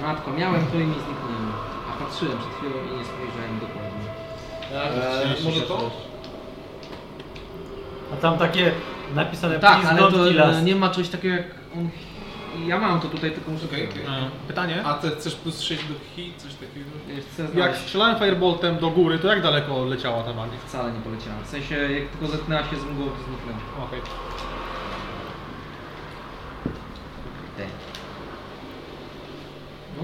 Speaker 25: Matko, miałem, który mi zniknęły. A patrzyłem przed chwilą i nie spojrzałem dokładnie.
Speaker 2: Eee, może to?
Speaker 3: A tam takie napisane
Speaker 25: Tak,
Speaker 3: please
Speaker 25: ale
Speaker 3: don't
Speaker 25: to
Speaker 3: kill us.
Speaker 25: e, nie ma czegoś takiego jak on... Ja mam to tutaj, tylko muszę...
Speaker 5: Okej, okej.
Speaker 4: Pytanie?
Speaker 5: A ty chcesz plus 6 do hi, coś takiego?
Speaker 25: Chcę
Speaker 4: Jak
Speaker 25: znaleźć.
Speaker 4: strzelałem fireboltem do góry, to jak daleko leciała ta magia?
Speaker 25: Wcale nie poleciała. W sensie, jak tylko zetknęła się z mgłą, to zniknęła.
Speaker 4: Okej.
Speaker 25: No.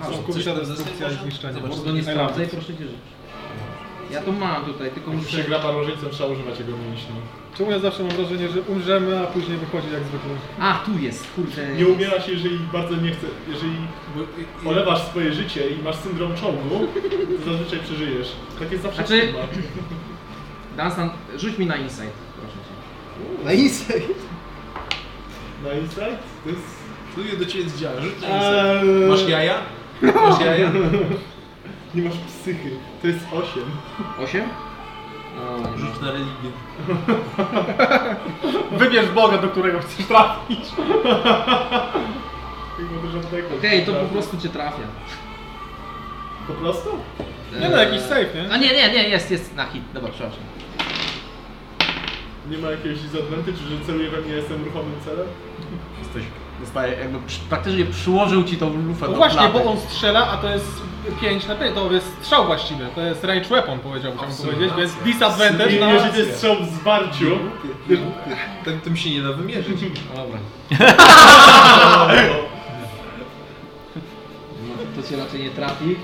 Speaker 4: A,
Speaker 25: Halo,
Speaker 4: co,
Speaker 25: coś
Speaker 4: siadam
Speaker 25: tam
Speaker 4: ze
Speaker 25: zastanawiasz?
Speaker 4: specjalnym zniszczeniem.
Speaker 25: Zobacz,
Speaker 4: Bo
Speaker 25: to nie
Speaker 4: I love it.
Speaker 25: sprawdzaj, proszę cię żyć. Ja to mam tutaj, tylko
Speaker 2: Jak
Speaker 25: muszę...
Speaker 2: się gra parożycem, trzeba używać jego mięśni.
Speaker 4: Czemu ja zawsze mam wrażenie, że umrzemy, a później wychodzi jak zwykle?
Speaker 25: A, tu jest, kurde.
Speaker 2: Nie umiera się, jeżeli bardzo nie chce, jeżeli olewasz swoje życie i masz syndrom czołgu, to zazwyczaj przeżyjesz. Tak jest zawsze
Speaker 25: Znaczy-
Speaker 2: chyba.
Speaker 25: Dunstan, rzuć mi na insight, proszę cię.
Speaker 2: Na insight? Na insight? To jest...
Speaker 5: Tu do ciebie z działa, rzuć na
Speaker 2: Eee.
Speaker 5: insight. Masz jaja? Masz jaja?
Speaker 2: Nie masz psychy. To jest 8.
Speaker 25: 8? No,
Speaker 5: Rzuć na religię.
Speaker 4: Wybierz Boga, do którego chcesz trafić.
Speaker 25: Okej, to po prostu cię trafia. E,
Speaker 2: Po prostu?
Speaker 4: Nie no, jakiś safe, nie?
Speaker 25: A nie, nie, nie, jest, jest na hit. Dobra, przepraszam.
Speaker 2: Nie ma jakiegoś disadvantage, że celuje we mnie, jestem ruchomym celem?
Speaker 26: Jesteś, dostaje, jakby przy, praktycznie przyłożył ci tą lufę
Speaker 4: No
Speaker 26: do
Speaker 4: właśnie,
Speaker 26: klapy.
Speaker 4: bo on strzela, a to jest 5 na 5, to jest strzał właściwy, to jest range weapon powiedziałbym chciałbym powiedzieć, więc disadvantage
Speaker 2: I
Speaker 4: na... Mhm.
Speaker 2: Jeżeli to jest strzał w zwarciu,
Speaker 5: Tym, tym się nie da wymierzyć.
Speaker 25: Dobra. No, to cię raczej nie trafi.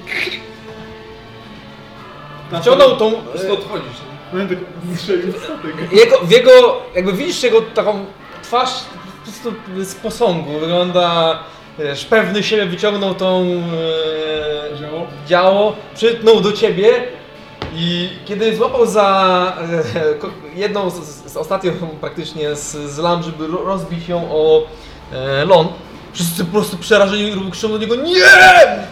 Speaker 1: Wciągnął tą... e,
Speaker 5: odchodzisz.
Speaker 4: No
Speaker 2: będę
Speaker 4: tak
Speaker 2: strzelił w statek.
Speaker 1: Jego, w jego, jakby widzisz jego taką twarz po prostu z posągu. Wygląda, wiesz, pewny siebie wyciągnął tą e,
Speaker 4: Działo?
Speaker 1: działo, przytnął do ciebie i kiedy złapał za e, ko- jedną, z, z z ostatnią praktycznie z, z lam, żeby ro- rozbić ją o e, ląd, wszyscy po prostu przerażeni robią- krzyczą do niego NIE! E,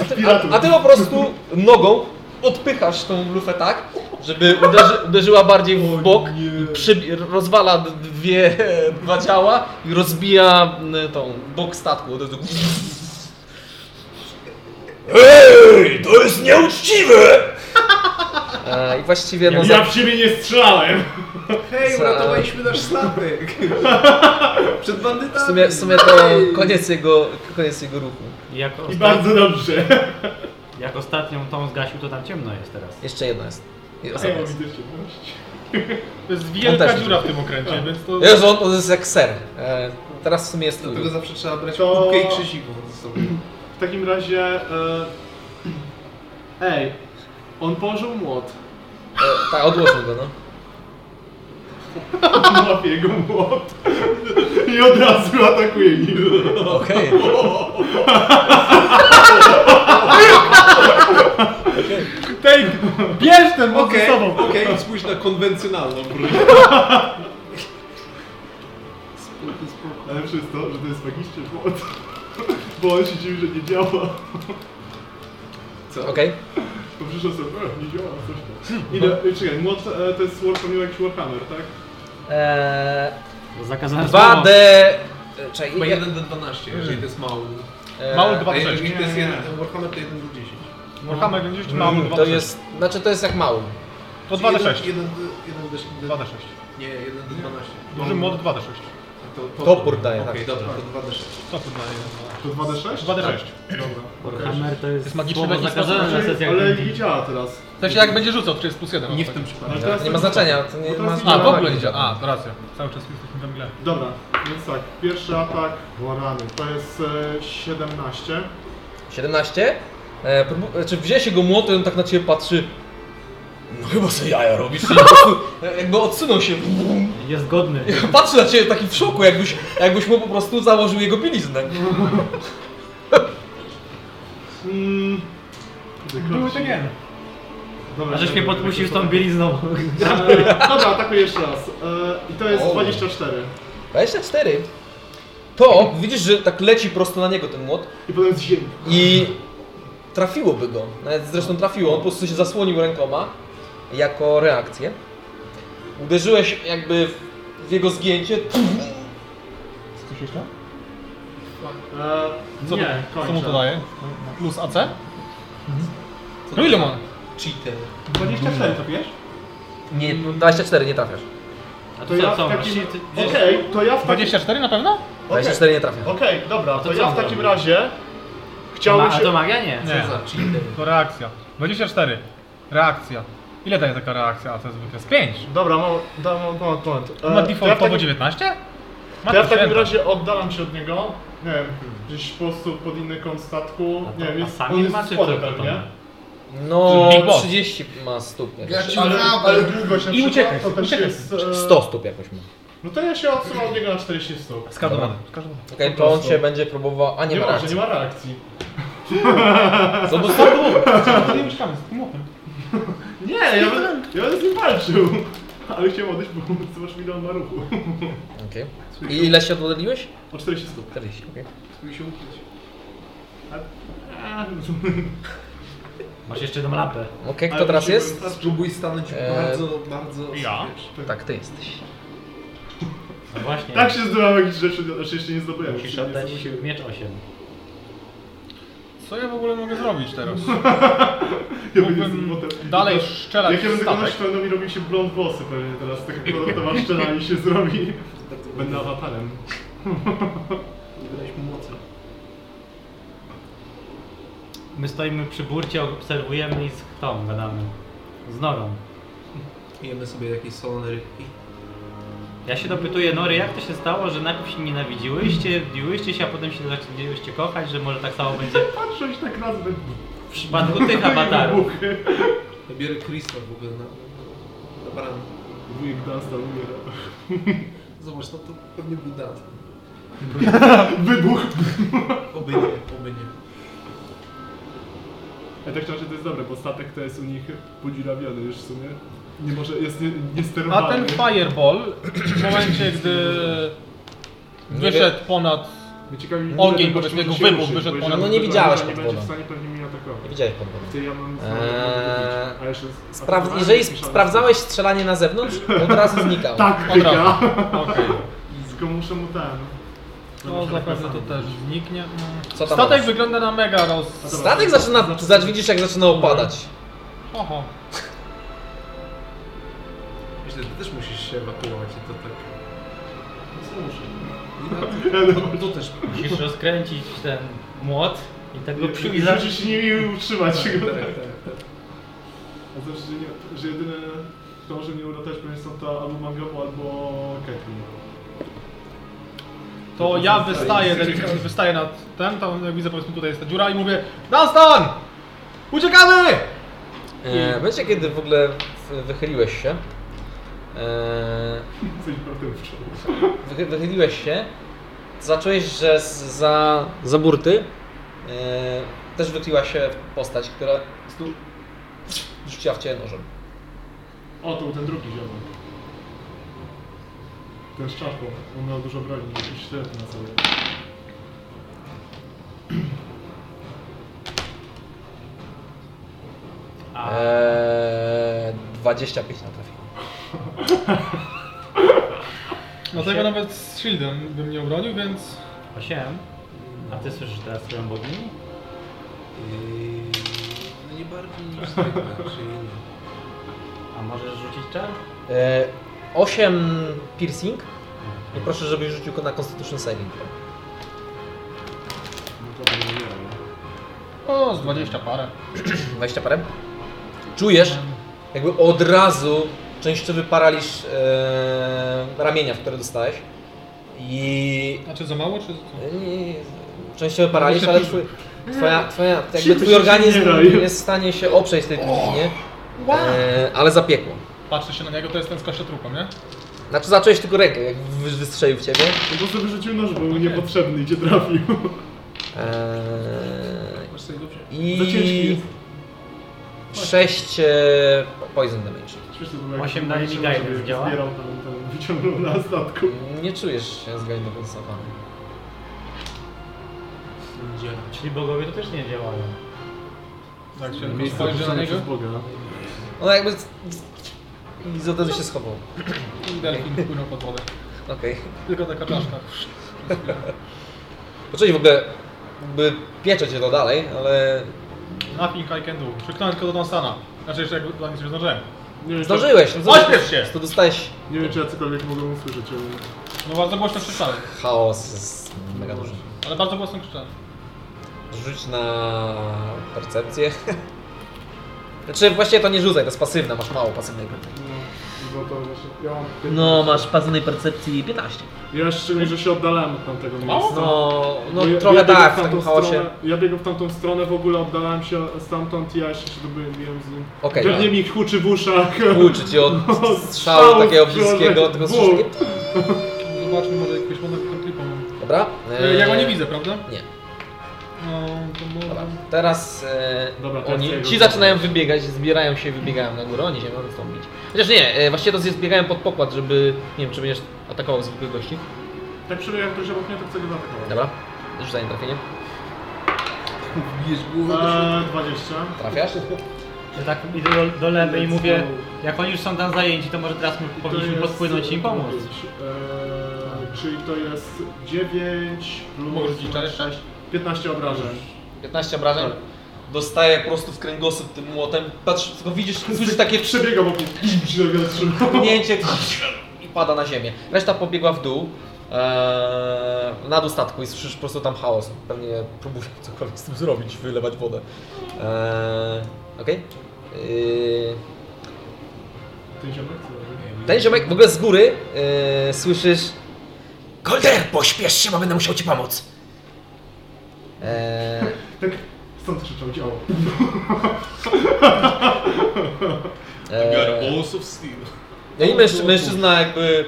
Speaker 1: a, ty, a, a ty po prostu nogą odpychasz tą lufę tak, żeby uderzy, uderzyła bardziej w bok, i przybi- rozwala dwie, dwa ciała i rozbija m, tą bok statku. Od razu Ej, to jest nieuczciwe! E, I właściwie no,
Speaker 2: Ja w siebie nie strzelałem!
Speaker 5: Hej,
Speaker 1: Za-
Speaker 5: uratowaliśmy nasz statek! Przed bandytami!
Speaker 1: w, sumie, w sumie to koniec jego, koniec jego ruchu.
Speaker 3: Jak,
Speaker 2: I
Speaker 3: ostat...
Speaker 2: bardzo dobrze.
Speaker 3: jak ostatnią tą zgasił, to tam ciemno jest teraz.
Speaker 1: Jeszcze jedno jest. I
Speaker 2: A ja
Speaker 1: ostatnie
Speaker 2: mam
Speaker 1: jest.
Speaker 2: widzę ciemność.
Speaker 4: To jest
Speaker 1: On
Speaker 4: wielka
Speaker 1: też
Speaker 4: dziura w tym okręcie,
Speaker 2: Tak.
Speaker 4: więc to...
Speaker 1: Jezu, on to jest jak ser. E, teraz w sumie jest
Speaker 5: Dlatego
Speaker 1: tylko.
Speaker 5: zawsze trzeba brać
Speaker 2: To-
Speaker 5: kubkę i krzyziwo ze sobą.
Speaker 2: W takim razie... E... Ej, on położył młot.
Speaker 1: E, tak, odłożmy go, no.
Speaker 2: Łapie jego młot. I od razu atakuje nim.
Speaker 1: Okej.
Speaker 4: Take! Bierz ten mocno
Speaker 5: Okej,
Speaker 4: ze sobą!
Speaker 5: okej, spójrz na konwencjonalną broń.
Speaker 2: Ale przez to, że to jest magiczny młot. Bo on się dziwi, że nie działa.
Speaker 1: Okej.
Speaker 2: To przyszedł sobie, e, nie działa, coś tam. Ile, czekaj, młot e, to jest war, to miał jakiś warhammer, tak?
Speaker 1: E,
Speaker 3: To zakazane słowo.
Speaker 1: 2D... e, Czekaj,
Speaker 5: Chyba
Speaker 1: ja-
Speaker 5: 1 do 12, jeżeli to jest mały.
Speaker 1: e,
Speaker 4: Mały dwa
Speaker 5: A
Speaker 4: sześć.
Speaker 5: jeżeli to jest 1 to Warhammer, to 1 do 10.
Speaker 4: Warhammer będzie jeszcze mały, dwa
Speaker 1: To
Speaker 4: do
Speaker 1: jest... Znaczy to jest jak mały.
Speaker 4: sześć. To 2 do 6.
Speaker 5: 1 do
Speaker 4: 2 do
Speaker 5: 6.
Speaker 4: 6.
Speaker 5: Nie, 1 do 12.
Speaker 4: Duży mod 2 do 6.
Speaker 5: To- to-
Speaker 1: Topór daje,
Speaker 5: Okej,
Speaker 1: tak.
Speaker 5: dobra, to 2 do 6.
Speaker 4: Co tu daje?
Speaker 2: To 2d6?
Speaker 4: 2 do 6.
Speaker 3: Warhammer to jest,
Speaker 4: jest magiczny
Speaker 3: słowo
Speaker 4: magiczny
Speaker 3: zakazane na sesjach.
Speaker 2: Ale nie działa teraz.
Speaker 4: W sensie jak będzie rzucał, to jest plus 1.
Speaker 5: Nie w tym przypadku.
Speaker 2: Ale teraz
Speaker 1: Nie ma znaczenia, to nie
Speaker 2: Bo
Speaker 1: ma
Speaker 2: teraz
Speaker 4: A,
Speaker 1: znaczenia.
Speaker 4: w ogóle nie działa. A, to racja. Cały czas jesteśmy we mgle.
Speaker 2: Dobra, więc tak, pierwszy atak warany to jest e, 17.
Speaker 1: 17? E, próbu- e, czy wziąłeś jego młot i on tak na ciebie patrzy? No chyba sobie jaja robisz. czyli po prostu, e, jakby odsunął się.
Speaker 3: Jest godny.
Speaker 1: Patrzy na ciebie taki w szoku, jakbyś, jakbyś mu po prostu założył jego bieliznę.
Speaker 2: Mm. Były to nie. Dobra,
Speaker 3: A żeś mnie
Speaker 2: dobra,
Speaker 3: podpuścił z
Speaker 2: dobra.
Speaker 3: tą bielizną.
Speaker 2: E, Dobra, atakuję jeszcze raz. E, I to jest 24.
Speaker 1: 24. To widzisz, że tak leci prosto na niego ten młot.
Speaker 2: I potem z ziemi.
Speaker 1: I trafiłoby go. Nawet zresztą trafiło. On po prostu się zasłonił rękoma jako reakcję. Uderzyłeś jakby w- w jego zgięcie.
Speaker 4: Coś jeszcze?
Speaker 2: Eee,
Speaker 4: Co,
Speaker 2: nie,
Speaker 4: to, co
Speaker 2: kończę.
Speaker 4: mu to daje? Plus AC?
Speaker 1: No
Speaker 4: ile ma?
Speaker 1: Cheater.
Speaker 2: 24 to wiesz?
Speaker 1: Nie, 24 nie trafiasz.
Speaker 2: A
Speaker 4: to co, co,
Speaker 2: w takim...
Speaker 4: właśnie ty-
Speaker 2: Okej, to ja w takim...
Speaker 4: 24 na pewno?
Speaker 2: Okej.
Speaker 1: 24 nie trafia.
Speaker 2: Okej, dobra, to,
Speaker 4: co
Speaker 2: ja
Speaker 4: on
Speaker 2: w takim
Speaker 4: robi?
Speaker 2: razie
Speaker 4: To
Speaker 2: chciałbym
Speaker 4: ma-
Speaker 2: się...
Speaker 4: a to magia? Nie.
Speaker 2: Co
Speaker 4: Nie.
Speaker 2: za cheater?
Speaker 4: To reakcja. 24. Reakcja. Ile daje taka reakcja? A to jest zwykle z 5.
Speaker 2: Dobra, mam, dam, mam, moment, moment.
Speaker 4: Ma E,
Speaker 2: Eee, to ja w
Speaker 4: defaultowo
Speaker 2: takim-
Speaker 4: 19?
Speaker 2: To ja w takim
Speaker 4: święta.
Speaker 2: razie oddalam się od niego. Nie wiem, gdzieś po prostu pod inny kąt statku.
Speaker 4: to-
Speaker 2: Nie wiem,
Speaker 4: a
Speaker 2: jest,
Speaker 4: sami
Speaker 2: on jest
Speaker 4: macie,
Speaker 2: spory
Speaker 4: czy to
Speaker 2: pewnie.
Speaker 4: tam?
Speaker 1: No,
Speaker 4: Big Boss.
Speaker 1: 30 ma stóp. jakoś.
Speaker 2: Ja ci Ale- dam, ale długość na
Speaker 4: I
Speaker 2: przykład,
Speaker 4: uciekaj,
Speaker 2: to też
Speaker 4: uciekaj.
Speaker 2: jest, e,
Speaker 1: 100 stóp jakoś ma.
Speaker 2: No to ja się odsuwam od niego na 40 stóp.
Speaker 1: Skardowany.
Speaker 4: Skardowany.
Speaker 1: Okej,
Speaker 2: Po
Speaker 1: to on
Speaker 2: prostu.
Speaker 1: cię będzie próbował. A nie,
Speaker 2: Nie
Speaker 1: ma
Speaker 2: może,
Speaker 1: reakcji.
Speaker 2: nie ma reakcji.
Speaker 1: Co bo skardowany.
Speaker 4: Nie mieszkamy z tym młotem.
Speaker 2: Nie, ja bym, ja bym z nim walczył. Ale chciałem odejść, bo zobacz mi on ma ruchu.
Speaker 1: Okej. I ile się oddaliłeś?
Speaker 2: O 40 stóp.
Speaker 1: 40, okej.
Speaker 2: Spróbuj się ukryć.
Speaker 3: Masz jeszcze jedną lampę.
Speaker 1: Okej, kto teraz jest?
Speaker 5: Spróbuj stanąć
Speaker 1: Eee,
Speaker 5: bardzo, bardzo...
Speaker 4: E, ja?
Speaker 5: wiesz,
Speaker 1: Tak, ty jesteś.
Speaker 3: No właśnie.
Speaker 2: Tak się zdobyłem jakichś rzeczy, znaczy jeszcze nie zdobyłem.
Speaker 3: Musisz oddać miecz 8.
Speaker 4: Co ja w ogóle mogę zrobić teraz?
Speaker 2: Ja bym
Speaker 4: Mógłbym dalej strzelać
Speaker 2: No Jak ja
Speaker 4: w
Speaker 2: będę kogoś
Speaker 4: statek.
Speaker 2: to no mi robił się blond włosy pewnie teraz, tak kwadratowa szczela mi się zrobi. Będę awatarem.
Speaker 5: Wybrać mu mocy.
Speaker 3: My stoimy przy burcie, obserwujemy i z tą gadamy. Z Norą.
Speaker 5: Jemy sobie jakieś solone rybki.
Speaker 3: Ja się dopytuję Nory, jak to się stało, że najpierw się nienawidziłyście, biłyście się, a potem się zaczęliście kochać, że może tak samo będzie
Speaker 2: Patrząc tak raz będę...
Speaker 3: w przypadku tych awatarów.
Speaker 5: Ja biorę Krista w ogóle na, na baran.
Speaker 2: Wujek Dunstan umiera.
Speaker 5: Zobacz, no to pewnie był Dan.
Speaker 2: Wybuch!
Speaker 5: Oby nie, oby nie.
Speaker 2: Ja tak szczerze to jest dobre, bo statek to jest u nich podziurawiony już w sumie. Nie może, jest nie- niesterowalny.
Speaker 4: A ten fireball w momencie, gdy wyszedł ponad
Speaker 2: Mnie ciekawi, ile
Speaker 4: ogień,
Speaker 2: ten
Speaker 4: powiedzmy
Speaker 2: gościu
Speaker 4: jego
Speaker 2: musi
Speaker 4: wybuch
Speaker 2: ruszyć,
Speaker 4: wyszedł
Speaker 2: bo
Speaker 4: ponad...
Speaker 1: No
Speaker 2: jeżeli
Speaker 1: nie
Speaker 2: on
Speaker 1: widziałeś
Speaker 2: nie
Speaker 1: pod
Speaker 2: będzie w
Speaker 1: wodą.
Speaker 2: stanie pewnie mnie atakować.
Speaker 1: Nie widziałeś pod wodą.
Speaker 2: Ty ja mam
Speaker 1: Eee,
Speaker 2: A jeszcze
Speaker 1: Spraw... Jeżeli sprawdzałeś strzelanie na zewnątrz, od razu znikał.
Speaker 2: Tak,
Speaker 4: Od
Speaker 2: tyka.
Speaker 4: razu. Okej.
Speaker 2: Tylko muszę mu ten.
Speaker 4: No zapewne to też zniknie.
Speaker 1: tak Co tam
Speaker 4: Statek
Speaker 1: masz?
Speaker 4: wygląda na mega roz...
Speaker 1: Statek zaczyna, zaczyna, widzisz jak zaczyna opadać.
Speaker 4: Oho.
Speaker 5: Myślę, że ty też musisz się ewakuować i to tak...
Speaker 2: Ja
Speaker 5: No, to też
Speaker 3: Musisz rozkręcić ten młot i tak go
Speaker 2: Musisz
Speaker 3: psiu i za...
Speaker 2: się nimi utrzymać.
Speaker 5: tak, tak, tak.
Speaker 2: A to, że, nie, że jedyne, kto może mnie uratować, pewnie są to albo Mangabu, albo no. Ketli.
Speaker 4: To ja wystaję, delikatnie wystaję nad ten, tam jak widzę powiedzmy tutaj jest ta dziura i mówię Dunstan! Uciekamy!
Speaker 1: E, w momencie, kiedy w ogóle w- wychyliłeś się, e,
Speaker 2: Coś portywczą.
Speaker 1: Wychy- wychyliłeś się, zacząłeś, że z- za, za burty e, też wykliła się postać, która po prostu rzuciła w ciebie nożem.
Speaker 2: O, to był ten drugi ziomek. Ten z czapką. On miał dużo broni, jakiś sztylet na sobie.
Speaker 1: E, 25 natrafił.
Speaker 4: Dlatego nawet z shieldem bym nie obronił, więc...
Speaker 3: 8. A ty słyszysz teraz swoją bogini?
Speaker 5: Eee, No nie bardziej niż zwykle, czyli nie.
Speaker 3: A możesz rzucić czar?
Speaker 1: E, 8 piercing i proszę, żebyś rzucił na Constitution Saving. throw.
Speaker 2: No to nie miałem.
Speaker 4: O, z 20 parę.
Speaker 1: 20 parę. Czujesz, jakby od razu częściowy paraliż e, ramienia, w które dostałeś. I
Speaker 4: Znaczy za mało, czy co?
Speaker 1: Nie, Częściowy paraliż, ale twój, twoja, twoja, jakby
Speaker 2: Szybko
Speaker 1: twój
Speaker 2: się
Speaker 1: organizm
Speaker 2: zbiera,
Speaker 1: nie
Speaker 2: już.
Speaker 1: jest w stanie się oprzeć tej truciźnie, e, ale zapiekło.
Speaker 4: Patrzę się na niego, to jest ten z kościotrupem, nie?
Speaker 1: Znaczy zacząłeś tylko rękę, jak wy- wystrzelił w ciebie.
Speaker 2: No to sobie rzucił nóż, bo był niepotrzebny i cię trafił.
Speaker 1: E,
Speaker 5: Masz sobie go wziąć.
Speaker 2: Za ciężki
Speaker 1: I
Speaker 2: jest.
Speaker 1: 6 e, poison damage.
Speaker 2: śmieszne to było.
Speaker 3: Osiem daje mi guidance działa?
Speaker 2: Zbierał ten, ten wyciągnął na statku.
Speaker 1: Nie czujesz się zgajdowany.
Speaker 3: Czyli bogowie to też nie działają.
Speaker 2: Tak,
Speaker 27: się spojrzy na niego.
Speaker 1: Ona jakby... z- I z odezu się schował.
Speaker 27: I delfin płynął pod wodę.
Speaker 1: Okej.
Speaker 27: Tylko taka czaszka.
Speaker 1: Poczęli w ogóle... By piecze cię to dalej, ale...
Speaker 4: Nothing I can do. Przyknąłem tylko do Donstana. Znaczy jeszcze jak dla nich coś zdążyłem.
Speaker 1: Zdążyłeś!
Speaker 4: Ośpiesz się!
Speaker 1: To dostałeś...
Speaker 2: Nie wiem, czy ja cokolwiek mogę usłyszeć, ale...
Speaker 4: No bardzo głośno krzyczałem.
Speaker 1: Chaos jest mega duży.
Speaker 4: Ale bardzo głośno krzyczałem.
Speaker 1: Rzuć na... percepcję. Znaczy właśnie to nie rzucaj, to jest pasywna, masz mało pasywnej.
Speaker 2: No, bo to właśnie... Ja mam piętnaście.
Speaker 28: No, masz pasanej percepcji 15.
Speaker 2: Ja szczególnie, że się oddalałem od tamtego miejsca.
Speaker 28: No, no
Speaker 2: Bo
Speaker 28: trochę
Speaker 2: biegłem
Speaker 1: tak,
Speaker 2: w
Speaker 1: w takim
Speaker 2: tamtą
Speaker 1: chaosie.
Speaker 2: Stronę, ja biegłem w tamtą stronę, w ogóle oddalałem się stamtąd i ja jeszcze się dobyłem z nim.
Speaker 1: Okej.
Speaker 2: Pewnie mi huczy w uszach.
Speaker 1: Huczy ci od strzału takiego bliskiego, tylko słyszysz takie-
Speaker 4: Zobaczmy, może jakieś moment klipą.
Speaker 1: Dobra?
Speaker 4: E, Ja go nie widzę, prawda?
Speaker 1: Nie.
Speaker 4: No, to może...
Speaker 1: Teraz e,
Speaker 2: Dobra, to
Speaker 1: oni,
Speaker 2: ja chcę
Speaker 1: ci
Speaker 2: jego-
Speaker 1: zaczynają wybiegać, zbierają się, wybiegają na górę, oni się mogą stąd bić. Chociaż nie, e, właściwie to zbiegają pod pokład, żeby, nie wiem, czy będziesz atakował zwykłych gości.
Speaker 2: Tak przebiegam ktoś obok mnie, to chcę go zaatakować.
Speaker 1: Dobra, rzucaj na trafienie.
Speaker 5: Bijesz głowę do
Speaker 2: Eee, 20.
Speaker 1: Trafiasz?
Speaker 3: Ja tak idę do, do lewej i mówię, jak oni już są tam zajęci, to może teraz my
Speaker 2: To
Speaker 3: powinniśmy
Speaker 2: jest-
Speaker 3: podpłynąć i im pomóc.
Speaker 2: Eee, czyli to jest 9 plus...
Speaker 4: Mogę rzucić czar jeszcze?
Speaker 2: 15 obrażeń.
Speaker 1: 15 obrażeń. Dostaje Tak. po prostu w kręgosłup tym młotem, patrz, tylko widzisz, słyszysz takie
Speaker 2: Przebiega obok mnie.
Speaker 1: pchnięcie i pada na ziemię. Reszta pobiegła w dół, e, na dół statku i słyszysz po prostu tam chaos. Pewnie próbują cokolwiek z tym zrobić, wylewać wodę. E, Okej? Y,
Speaker 2: Ten ziomek co robi?
Speaker 1: Ten ziomek w ogóle z góry e, słyszysz Kolder, pośpiesz się, bo będę musiał ci pomóc. E,
Speaker 2: Tak, stąd krzyczał działo.
Speaker 1: e,
Speaker 5: of Steel.
Speaker 1: No i mężczy, mężczyzna jakby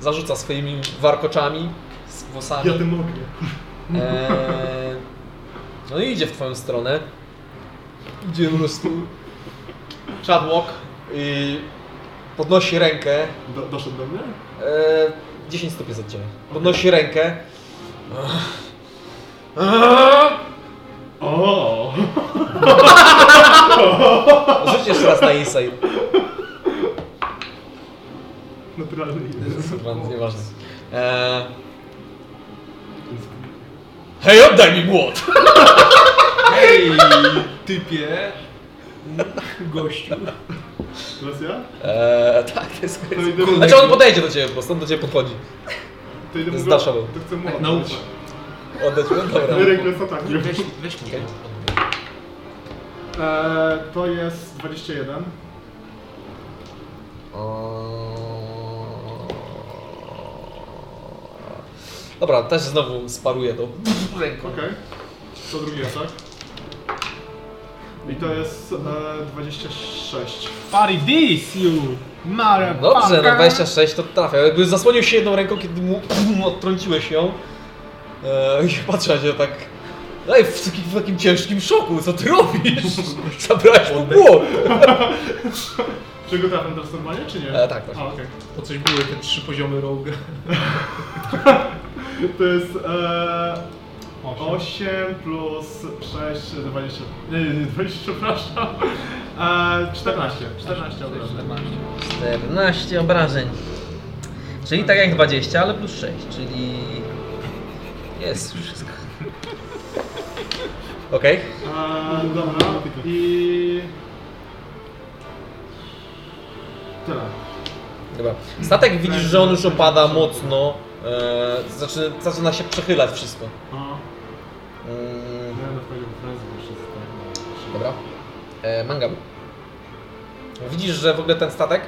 Speaker 1: zarzuca swoimi warkoczami z włosami.
Speaker 2: Ja tym mogę.
Speaker 1: Eee, no i idzie w twoją stronę. Idzie po prostu. Chadlock i podnosi rękę.
Speaker 2: Do, doszedł do mnie?
Speaker 1: Eee, 10 stóp jest od ciebie. Podnosi rękę.
Speaker 2: O!
Speaker 1: Rzuć jeszcze raz na insight.
Speaker 2: Naturalny
Speaker 1: Kurwa, Nieważne. Eee, hej, oddaj mi młot!
Speaker 5: Hej, typie. Gościu.
Speaker 2: Teraz ja?
Speaker 1: Eee, tak, to jest...
Speaker 2: To idę,
Speaker 1: Znaczy on podejdzie do ciebie po prostu, on do ciebie podchodzi.
Speaker 2: to idę
Speaker 1: z
Speaker 2: mu go-
Speaker 1: Daszową.
Speaker 2: To chcę mu
Speaker 5: Naucz.
Speaker 2: oddać.
Speaker 1: Tak, Oddać mu? Dobra.
Speaker 2: Regres ataki.
Speaker 5: Weź, weź mnie.
Speaker 2: Eee, to jest 21.
Speaker 1: Dobra, też znowu sparuję to.
Speaker 2: Okej. To drugi atak. I to jest e, 26.
Speaker 4: Party this, you! Mara
Speaker 1: Dobrze, no 26 to trafia. Jakby zasłonił się jedną ręką, kiedy mu mu odtrąciłeś ją. Eee, I patrzę na ciebie tak... Ej, w takim, w takim ciężkim szoku, co ty robisz? Zabrałeś mu głowę.
Speaker 2: Czy go trafiam teraz normalnie, czy nie?
Speaker 1: E, tak, tak.
Speaker 2: A, okej.
Speaker 5: Po coś były te trzy poziomy rogue.
Speaker 2: To jest e, 8 plus 6, 20. Nie, nie, nie, 20, przepraszam. E, 14. 14 obrażeń.
Speaker 28: 14 obrażeń. Czyli tak jak 20, ale plus 6, czyli... Jest już wszystko.
Speaker 1: Okej.
Speaker 2: Eee, dobra, i... Tyle.
Speaker 1: Dobra. Statek widzisz, że on już opada mocno. Eee, zaczyna, zaczyna się przechylać wszystko.
Speaker 2: O,
Speaker 1: Mm,
Speaker 2: ja będę wchodził w frenzy, bo wszystko.
Speaker 1: Dobra. E, mangam. Widzisz, że w ogóle ten statek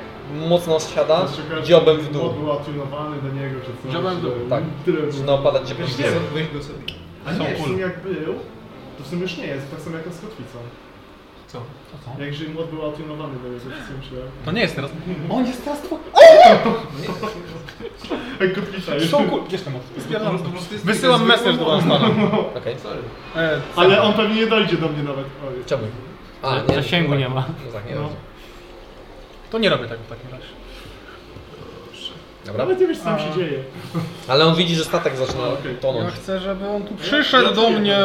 Speaker 1: mocno zsiada
Speaker 2: Zastrzegałem,
Speaker 1: dziobem
Speaker 2: że
Speaker 1: w dół.
Speaker 2: bot Był attunowany do niego, czy coś.
Speaker 5: Dziobem w dół,
Speaker 2: że
Speaker 1: tak.
Speaker 2: Tyle
Speaker 1: Zaczyna opadać dziobem w
Speaker 2: Wiesz,
Speaker 1: dół.
Speaker 2: nie,
Speaker 5: Weź go sobie.
Speaker 2: a nie, w sumie jak był, to w sumie już nie jest, tak samo jak z kotwicą.
Speaker 5: Co?
Speaker 2: Jak że mod był attunowany do niego, to myślałem.
Speaker 27: To nie jest teraz. On jest teraz twój.
Speaker 2: Jak kotwica jest.
Speaker 4: Są kur... Gdzież ten młot?
Speaker 5: Po prostu- po prostu jest
Speaker 4: Wysyłam
Speaker 5: taka zwykła
Speaker 4: message do tak.
Speaker 5: moda.
Speaker 4: Donstana.
Speaker 1: Okej.
Speaker 4: E,
Speaker 2: Ale on pewnie nie dojdzie do mnie nawet. Oj.
Speaker 1: Czemu? A,
Speaker 3: Zasięgu nie ma.
Speaker 1: No tak, nie
Speaker 2: No.
Speaker 1: no.
Speaker 4: To nie robię tego w takim razie.
Speaker 1: Dobra.
Speaker 2: Nawet nie wiesz, co tam się
Speaker 4: A.
Speaker 2: dzieje.
Speaker 1: Ale on widzi, że statek zaczyna
Speaker 4: No, Ja
Speaker 1: tonąć.
Speaker 4: chcę, żeby on tu
Speaker 2: przyszedł
Speaker 4: przyszedł do mnie.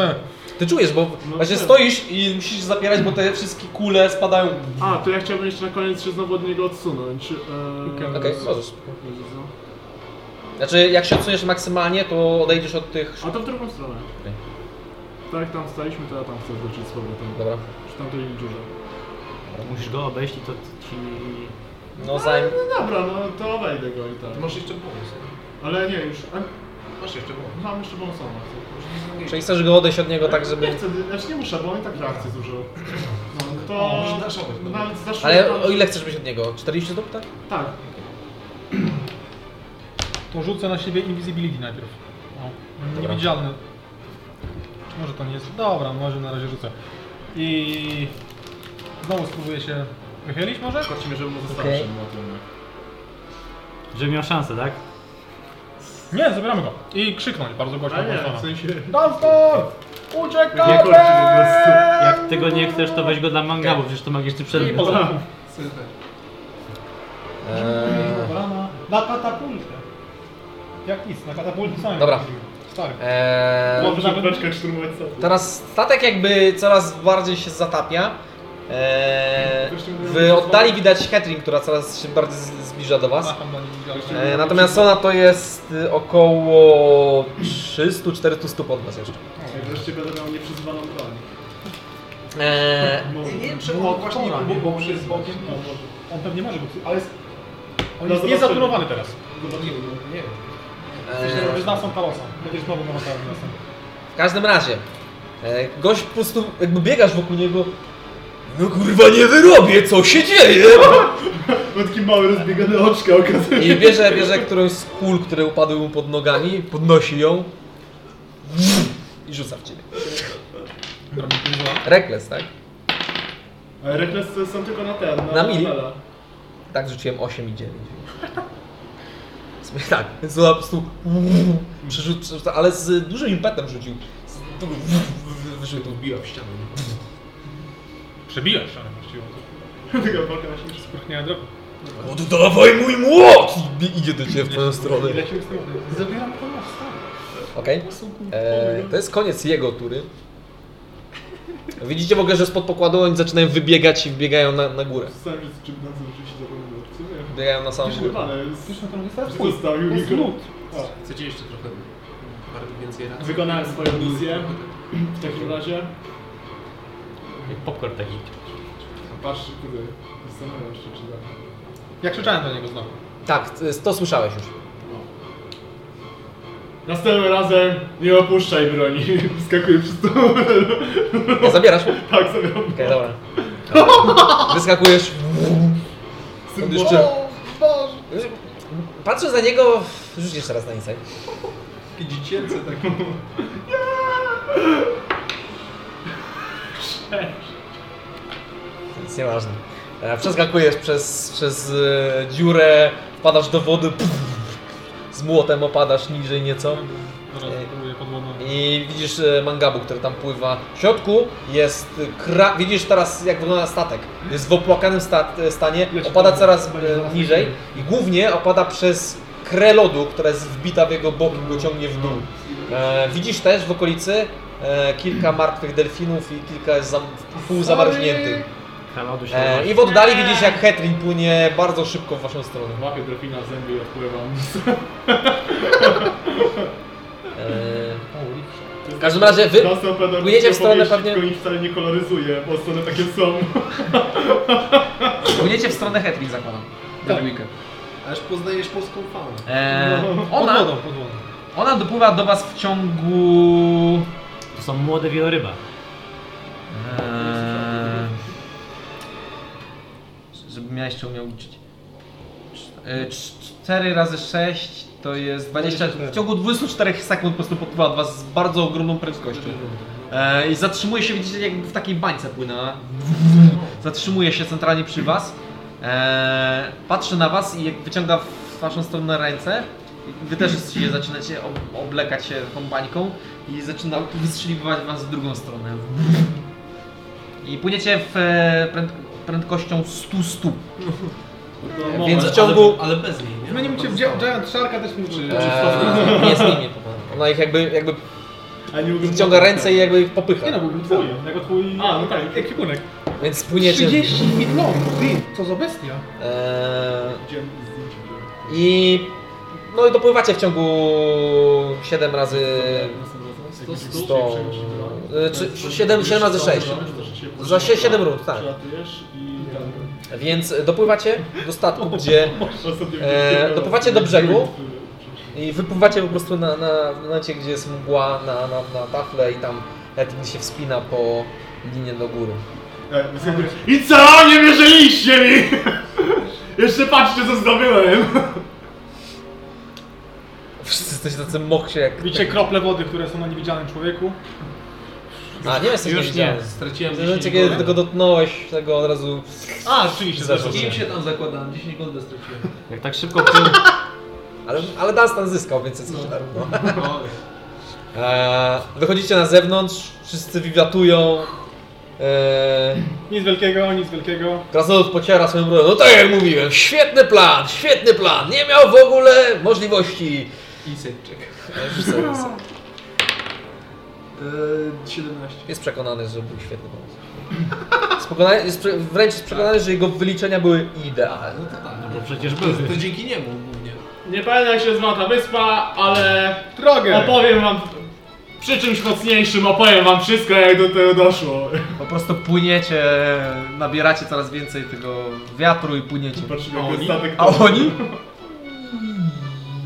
Speaker 1: Ty czujesz, bo
Speaker 4: No,
Speaker 1: właśnie stoisz i musisz zapierać, bo te wszystkie kule spadają.
Speaker 2: A, to ja chciałbym jeszcze na koniec się znowu od niego odsunąć. Eee,
Speaker 1: Okej, możesz.
Speaker 2: no.
Speaker 1: Znaczy, jak się odsuniesz maksymalnie, to odejdziesz od tych...
Speaker 2: A to w drugą stronę. Tak jak tam staliśmy, to ja tam chcę wrócić z powrotem.
Speaker 1: Dobra.
Speaker 2: Przy tamtej dziurze.
Speaker 3: Musisz go obejść i to ci...
Speaker 1: No zajm...
Speaker 2: No dobra, no to obejdę go i tak.
Speaker 5: Masz jeszcze bonus.
Speaker 2: Ale nie, już... A...
Speaker 5: Masz jeszcze bonus.
Speaker 2: Mam jeszcze bonusa. no, chcę- może nie
Speaker 1: Czyli chcesz go odejść od niego tak,
Speaker 2: Nie
Speaker 1: żeby...
Speaker 2: chcę, znaczy nie muszę, bo on i tak reakcję zużył. No to...
Speaker 5: O, może daszować, dobra.
Speaker 2: Nawet zaszło-
Speaker 1: Ale o ile chcesz być od niego? 40 stóp, tak?
Speaker 2: Tak.
Speaker 4: To rzucę na siebie Invisibility najpierw. O, niewidzialny. Czy Może to nie jest. Dobra, no, może na razie rzucę. I znowu spróbuję się wychylić może?
Speaker 2: Chodźmy, żeby mu zostało
Speaker 4: Okej.
Speaker 2: przed młotem.
Speaker 3: Żeby miał szansę, tak?
Speaker 4: Nie, zabieramy go. I krzyknąć bardzo głośno.
Speaker 2: A nie,
Speaker 4: Bostona.
Speaker 2: w sensie...
Speaker 4: Dunstan!
Speaker 2: Nie
Speaker 4: Uciekamy!
Speaker 2: chodź po prostu.
Speaker 3: Jak tego nie chcesz, to weź go dla mangabu, przecież to magiczny przedmiot.
Speaker 5: Super.
Speaker 1: Eee,
Speaker 4: Brama. Na katapultę. Jak nic, na katapultę sami.
Speaker 1: Dobra.
Speaker 4: Stary.
Speaker 1: eee,
Speaker 2: Może nawet beczkę szturmować sobie.
Speaker 1: Teraz statek jakby coraz bardziej się zatapia. Eee, w oddali widać Hetrin, która coraz się bardziej z- zbliża do Was.
Speaker 4: Macham do niej widziałem.
Speaker 1: Eee, natomiast Sona to jest y, około 300-400 stóp od Was jeszcze.
Speaker 2: Jak wreszcie będę miał nieprzyzwaną broń.
Speaker 1: Eee,
Speaker 2: Może.
Speaker 5: Nie wiem, czy on właśnie
Speaker 4: Dobra, nie.
Speaker 5: próbował przez bokiem.
Speaker 4: No, On pewnie może, bo ale jest. On
Speaker 2: No
Speaker 4: jest
Speaker 2: zobaczymy.
Speaker 4: niezaturowany teraz.
Speaker 5: no Nie wiem, nie wiem.
Speaker 4: Eee. Zna są Tarosa. Będziesz nowym bohaterem następnym.
Speaker 1: W każdym razie, e, gość po prostu jakby biegasz wokół niego. No kurwa nie wyrobię, co się dzieje?
Speaker 2: Bo taki mały rozbiegany oczka okazuje.
Speaker 1: I bierze, bierze którąś z kul, które upadły mu pod nogami, podnosi ją i rzuca w ciebie.
Speaker 4: Robi to zła.
Speaker 1: Rekles, tak?
Speaker 2: Ale Rekles E, są tylko na ten, na,
Speaker 1: Na mili.
Speaker 2: levela.
Speaker 1: Tak rzuciłem 8 i 9. W sumie tak, więc ona po prostu przerzuca, przerzuca, ale z dużym impetem rzucił. Z, wyszły tu.
Speaker 5: Wbiła w ścianę.
Speaker 4: Przebijasz, ale właściwie.
Speaker 2: Tylko walka na śmieci.
Speaker 4: Spychnie drogę.
Speaker 1: Oddawaj mój młot! I bie- idzie do ciebie w twoją stronę.
Speaker 4: Zabieram to na stary.
Speaker 1: Okej. E, To jest koniec jego tury. Widzicie w ogóle, że spod pokładu oni zaczynają wybiegać i wbiegają na, na górę.
Speaker 2: Sam jest czym na co się zapomniał. W sumie.
Speaker 1: Wbiegają na samą
Speaker 2: Jeszcze
Speaker 1: górę.
Speaker 2: dwa, ale jest-
Speaker 4: Wiesz, na którą wystawę?
Speaker 2: Zostawił mi go. O,
Speaker 5: Chcecie jeszcze trochę parę więcej razy?
Speaker 2: Wykonałem swoją misję. W takim razie.
Speaker 3: Jak popcorn taki.
Speaker 2: Patrz, kurde. Zastanawiam się, czy da.
Speaker 4: Ja krzyczałem do niego znowu.
Speaker 1: Tak, to słyszałeś już.
Speaker 2: Następnym razem nie opuszczaj broni. Wskakuję przez to.
Speaker 1: Ja zabierasz? Okej,
Speaker 2: tak sobie
Speaker 1: dobra. Wyskakujesz. On jeszcze... Patrząc na niego, rzuć jeszcze raz na insight.
Speaker 5: Takie dziecięce takie.
Speaker 1: To jest nieważne. E, Przeskakujesz przez, przez e, dziurę, wpadasz do wody, pff, z młotem opadasz niżej nieco.
Speaker 4: Zaraz
Speaker 1: Ej.
Speaker 4: próbuję podłogę.
Speaker 1: I widzisz e, mangabu, który tam pływa. W środku jest e, kra... Widzisz teraz, jak wygląda statek. Jest w opłakanym sta... e, stanie, opada coraz e, niżej i głównie opada przez krę lodu, która jest wbita w jego bok i go ciągnie w dół. E, widzisz też w okolicy e, kilka martwych delfinów i kilka zam... półzamarzniętych.
Speaker 3: Kaladu się
Speaker 1: E,
Speaker 3: nazywa.
Speaker 1: I w oddali widzisz, jak Hetrin płynie bardzo szybko w waszą stronę.
Speaker 2: Łapię drobina w zębie i odpływam.
Speaker 1: E, w każdym razie wy płyniecie w stronę pewnie...
Speaker 2: Tylko ich wcale nie koloryzuje, bo strony takie są.
Speaker 29: Płyniecie w stronę Hetwig, zakładam. Na
Speaker 4: Tak.
Speaker 29: dwójkę.
Speaker 5: Aż poznajesz polską faunę.
Speaker 29: E,
Speaker 4: No, Pod
Speaker 29: ona,
Speaker 4: wodą, pod wodą.
Speaker 29: ona dopływa do was w ciągu...
Speaker 3: To są młode wieloryba.
Speaker 29: Eee, żebym ja jeszcze umiał liczyć. Cz- e, cz- 4 razy 6 to jest 20. W ciągu 24 sekund po prostu popływa od was z bardzo ogromną prędkością. E, I zatrzymuje się, widzicie, jakby w takiej bańce płynęła. Zatrzymuje się centralnie przy was. E, patrzy na was i jak wyciąga w waszą stronę ręce. i Wy też się zaczynacie ob- oblekać się tą bańką i zaczyna wystrzeliwać was w drugą stronę.
Speaker 30: No,
Speaker 29: I płyniecie w e, pręd, prędkością 100 stóp.
Speaker 30: Więc w ciągu...
Speaker 5: Ale, ale bez niej, nie?
Speaker 4: Zmienił cię w Gia- Giant Sharka też mówił.
Speaker 30: Eee, nie z nimi po prostu. Ona No, ich jakby, jakby
Speaker 4: A nie mogę-
Speaker 30: wyciąga ręce i jakby ich popycha.
Speaker 4: Nie no, byłby twój, jako twój... A, no tak, ekwipunek.
Speaker 30: Więc płyniecie...
Speaker 4: 30 milionów, ty, co za bestia.
Speaker 30: Eee, I... No i dopływacie w ciągu 7 razy... 100... e, Czy 7, 7 razy 6. Za 7 rund, tak.
Speaker 2: Przylatujesz i tam...
Speaker 30: Więc dopływacie do statku, gdzie e, dopływacie do brzegu i wypływacie po prostu na, na w momencie, gdzie jest mgła na, na, na tafle i tam Edwin się wspina po linię do góry.
Speaker 2: Tak, I co? Nie wierzyliście mi! Jeszcze patrzcie co zdobyłem!
Speaker 30: Wszyscy jesteście tacy mokrzy jak...
Speaker 4: Widzicie krople wody, które są na niewidzialnym człowieku?
Speaker 30: A, nie jesteś
Speaker 4: Już
Speaker 30: niewidzialny.
Speaker 4: nie, straciłem
Speaker 30: W
Speaker 4: 10
Speaker 30: momencie, kiedy
Speaker 4: golda.
Speaker 30: tego dotknąłeś, tego od razu...
Speaker 4: A, rzeczywiście,
Speaker 30: zeszło
Speaker 4: zeszło
Speaker 30: cię.
Speaker 4: się.
Speaker 5: tam zakładam, 10 golda straciłem.
Speaker 3: Jak tak szybko płyną,
Speaker 30: Ale, ale Dunstan zyskał, więc jest no. darmo. Eee, wychodzicie na zewnątrz, wszyscy wiwatują. Eee,
Speaker 4: Nic wielkiego, nic wielkiego.
Speaker 30: Krasnolud pociera swoją brodę. No tak jak mówiłem, świetny plan, świetny plan. Nie miał w ogóle możliwości. E,
Speaker 5: I sejczyk.
Speaker 30: Rzucę, rzucę.
Speaker 5: Eee, 17.
Speaker 30: Jest przekonany, że był świetny pomysł. Jest pokonany, jest, prze- wręcz jest przekonany, że jego wyliczenia były idealne.
Speaker 5: No to tak.
Speaker 3: bo przecież
Speaker 5: To,
Speaker 3: były.
Speaker 5: to dzięki niemu głównie.
Speaker 2: Nie pamiętam jak się nazywa ta wyspa, ale...
Speaker 4: Drogę!
Speaker 2: Opowiem wam... Przy czymś mocniejszym opowiem wam wszystko jak do tego doszło.
Speaker 1: Po prostu płyniecie, nabieracie coraz więcej tego wiatru i płyniecie.
Speaker 2: Patrzymy jak ten statek...
Speaker 1: A oni?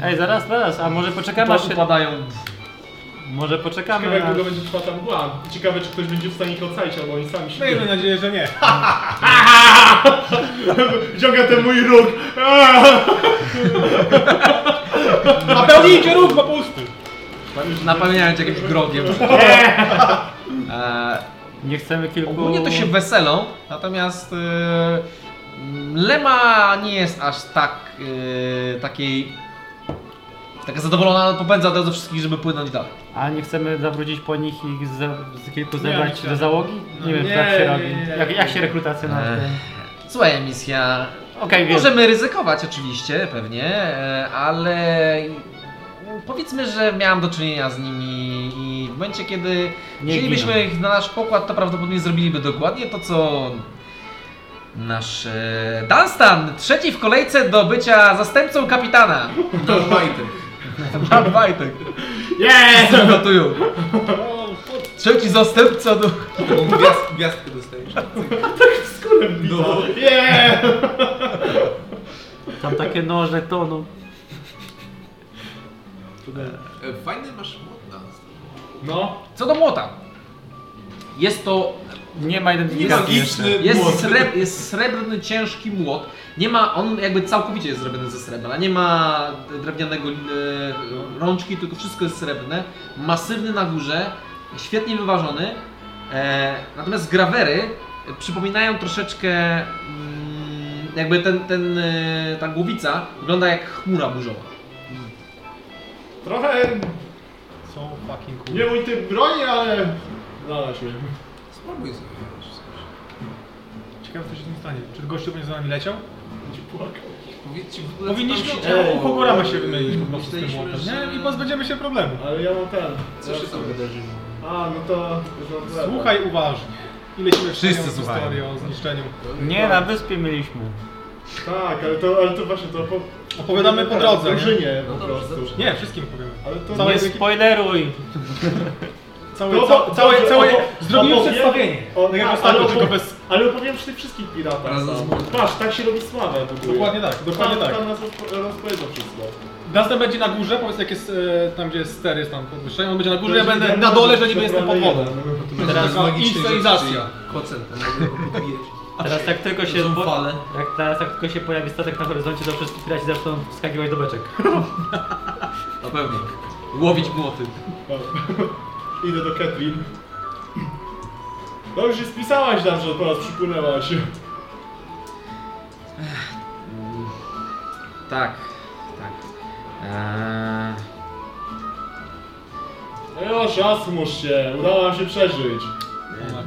Speaker 31: Ej, zaraz, zaraz, a może poczekamy aż
Speaker 1: Tam
Speaker 31: się...
Speaker 1: upadają.
Speaker 31: Może
Speaker 2: Ciekawe jak
Speaker 31: poczekamy aż...
Speaker 2: długo będzie trwała ta mgła. Ciekawe czy ktoś będzie w stanie ich ocalić albo oni sami się...
Speaker 4: Miejmy nadzieję, że nie.
Speaker 2: Ciąga ten mój róg!
Speaker 4: Napełnijcie róg, bo pusty!
Speaker 1: Napełniając jakimś grogiem. Eee,
Speaker 31: Nie chcemy kilku...
Speaker 1: Ogólnie to się weselą, natomiast yy, Lema nie jest aż tak yy, takiej taka zadowolona, popędza od razu wszystkich, żeby płynąć dalej.
Speaker 31: A nie chcemy zawrócić po nich i ze, z kilku zebrać
Speaker 4: nie
Speaker 31: do załogi? Nie wiem,
Speaker 2: No nie,
Speaker 31: jak się
Speaker 2: nie,
Speaker 31: robi.
Speaker 2: nie, nie,
Speaker 31: jak, jak
Speaker 2: nie.
Speaker 31: się rekrutacja na...
Speaker 1: Ech, Zła emisja.
Speaker 31: Okej, wiem.
Speaker 1: Możemy ryzykować oczywiście, pewnie, e, ale powiedzmy, że miałam do czynienia z nimi i w momencie, kiedy
Speaker 31: Nie
Speaker 1: chcielibyśmy
Speaker 31: giną.
Speaker 1: ich na nasz pokład, to prawdopodobnie zrobiliby dokładnie to, co nasz e, Dunstan, trzeci w kolejce do bycia zastępcą kapitana.
Speaker 5: To White.
Speaker 1: Pan Wajtek.
Speaker 2: Yes!
Speaker 1: Gotują. Trzeci zastępca do...
Speaker 5: Gwiazd, gwiazdkę dostajesz. No.
Speaker 2: Yeah!
Speaker 31: Tam takie noże no- toną.
Speaker 5: E, Fajny masz młot na
Speaker 2: No.
Speaker 1: Co do młota. Jest to
Speaker 31: Nie ma identyfikacji jeszcze.
Speaker 5: E,
Speaker 1: Jest, sreb, jest srebrny, ciężki młot. Nie ma, on jakby całkowicie jest zrobiony ze srebra. Nie ma drewnianego e, rączki, tylko wszystko jest srebrne. Masywny na górze, świetnie wyważony. E, natomiast grawery przypominają troszeczkę mm, jakby ten, ten, e, ta głowica wygląda jak chmura burzowa.
Speaker 2: Trochę
Speaker 4: Są fucking cool.
Speaker 2: nie mój typ broni, ale... Znalazł mnie.
Speaker 5: Spróbuj sobie. wiesz, coś.
Speaker 4: Ciekawe co się z nim stanie. Czy gościu będzie za nami leciał?
Speaker 2: Będzie płakał.
Speaker 5: Powiedzcie w ogóle, co
Speaker 4: Powinniśmy
Speaker 5: tam się działo.
Speaker 4: u Pogorama się wymienić po prostu z tym
Speaker 5: Myśleliśmy,
Speaker 4: młotem,
Speaker 5: że-
Speaker 4: nie? I pozbędziemy się problemu.
Speaker 2: Ale ja mam ten.
Speaker 5: Co się tam wydarzyło?
Speaker 2: A, no to... już mam problem.
Speaker 4: Słuchaj uważnie. I lecimy
Speaker 1: Wszyscy
Speaker 4: wspaniałą
Speaker 1: słuchają.
Speaker 4: historię o zniszczeniu.
Speaker 31: Nie, na wyspie mieliśmy.
Speaker 2: Tak, ale to, ale to właśnie to... Po...
Speaker 4: Opowiadamy po drodze, nie? No
Speaker 2: Drużynie po prostu.
Speaker 4: Nie, wszystkim powiemy.
Speaker 2: Ale to... No
Speaker 31: Nie spoileruj!
Speaker 4: Całe, ca, całe, całe, zrobimy przedstawienie.
Speaker 2: O,
Speaker 4: Tak jak
Speaker 2: a,
Speaker 4: ostatnio,
Speaker 2: ale,
Speaker 4: tylko
Speaker 2: opowie,
Speaker 4: bez...
Speaker 2: ale opowiem przy tych wszystkich piratach.
Speaker 5: Razem z młotem.
Speaker 2: Patrz, tak się robi sławę w ogóle.
Speaker 4: Dokładnie tak, dokładnie
Speaker 2: tam,
Speaker 4: tak.
Speaker 2: Tam nas rozpo- rozpowiedzą wszystko.
Speaker 4: Następny będzie na górze, powiedz jak jest, e, tam gdzie jest ster, jest tam podwyższenie, on będzie na górze, ja
Speaker 2: To
Speaker 4: będę
Speaker 2: jest
Speaker 4: na dole, że niby
Speaker 2: jeden,
Speaker 4: jestem pod
Speaker 2: jeden.
Speaker 4: wodą.
Speaker 5: Teraz
Speaker 4: taka
Speaker 5: magicznej
Speaker 4: inscenizacja.
Speaker 5: rzeczy, czyli Kocel ten mogę podbijać.
Speaker 31: Teraz jak tylko się...
Speaker 5: Są
Speaker 31: Po,
Speaker 5: fale.
Speaker 31: jak teraz jak tylko się pojawi statek na horyzoncie, to wszyscy piraci zaczną wskakiwać do beczek.
Speaker 1: Na pewno. Łowić młoty.
Speaker 2: O, Idę do Katrin. No już się spisałaś tam, że po raz przypłynęłaś.
Speaker 1: Tak, tak. Eee,
Speaker 2: No już, asmusz się, udało nam się przeżyć.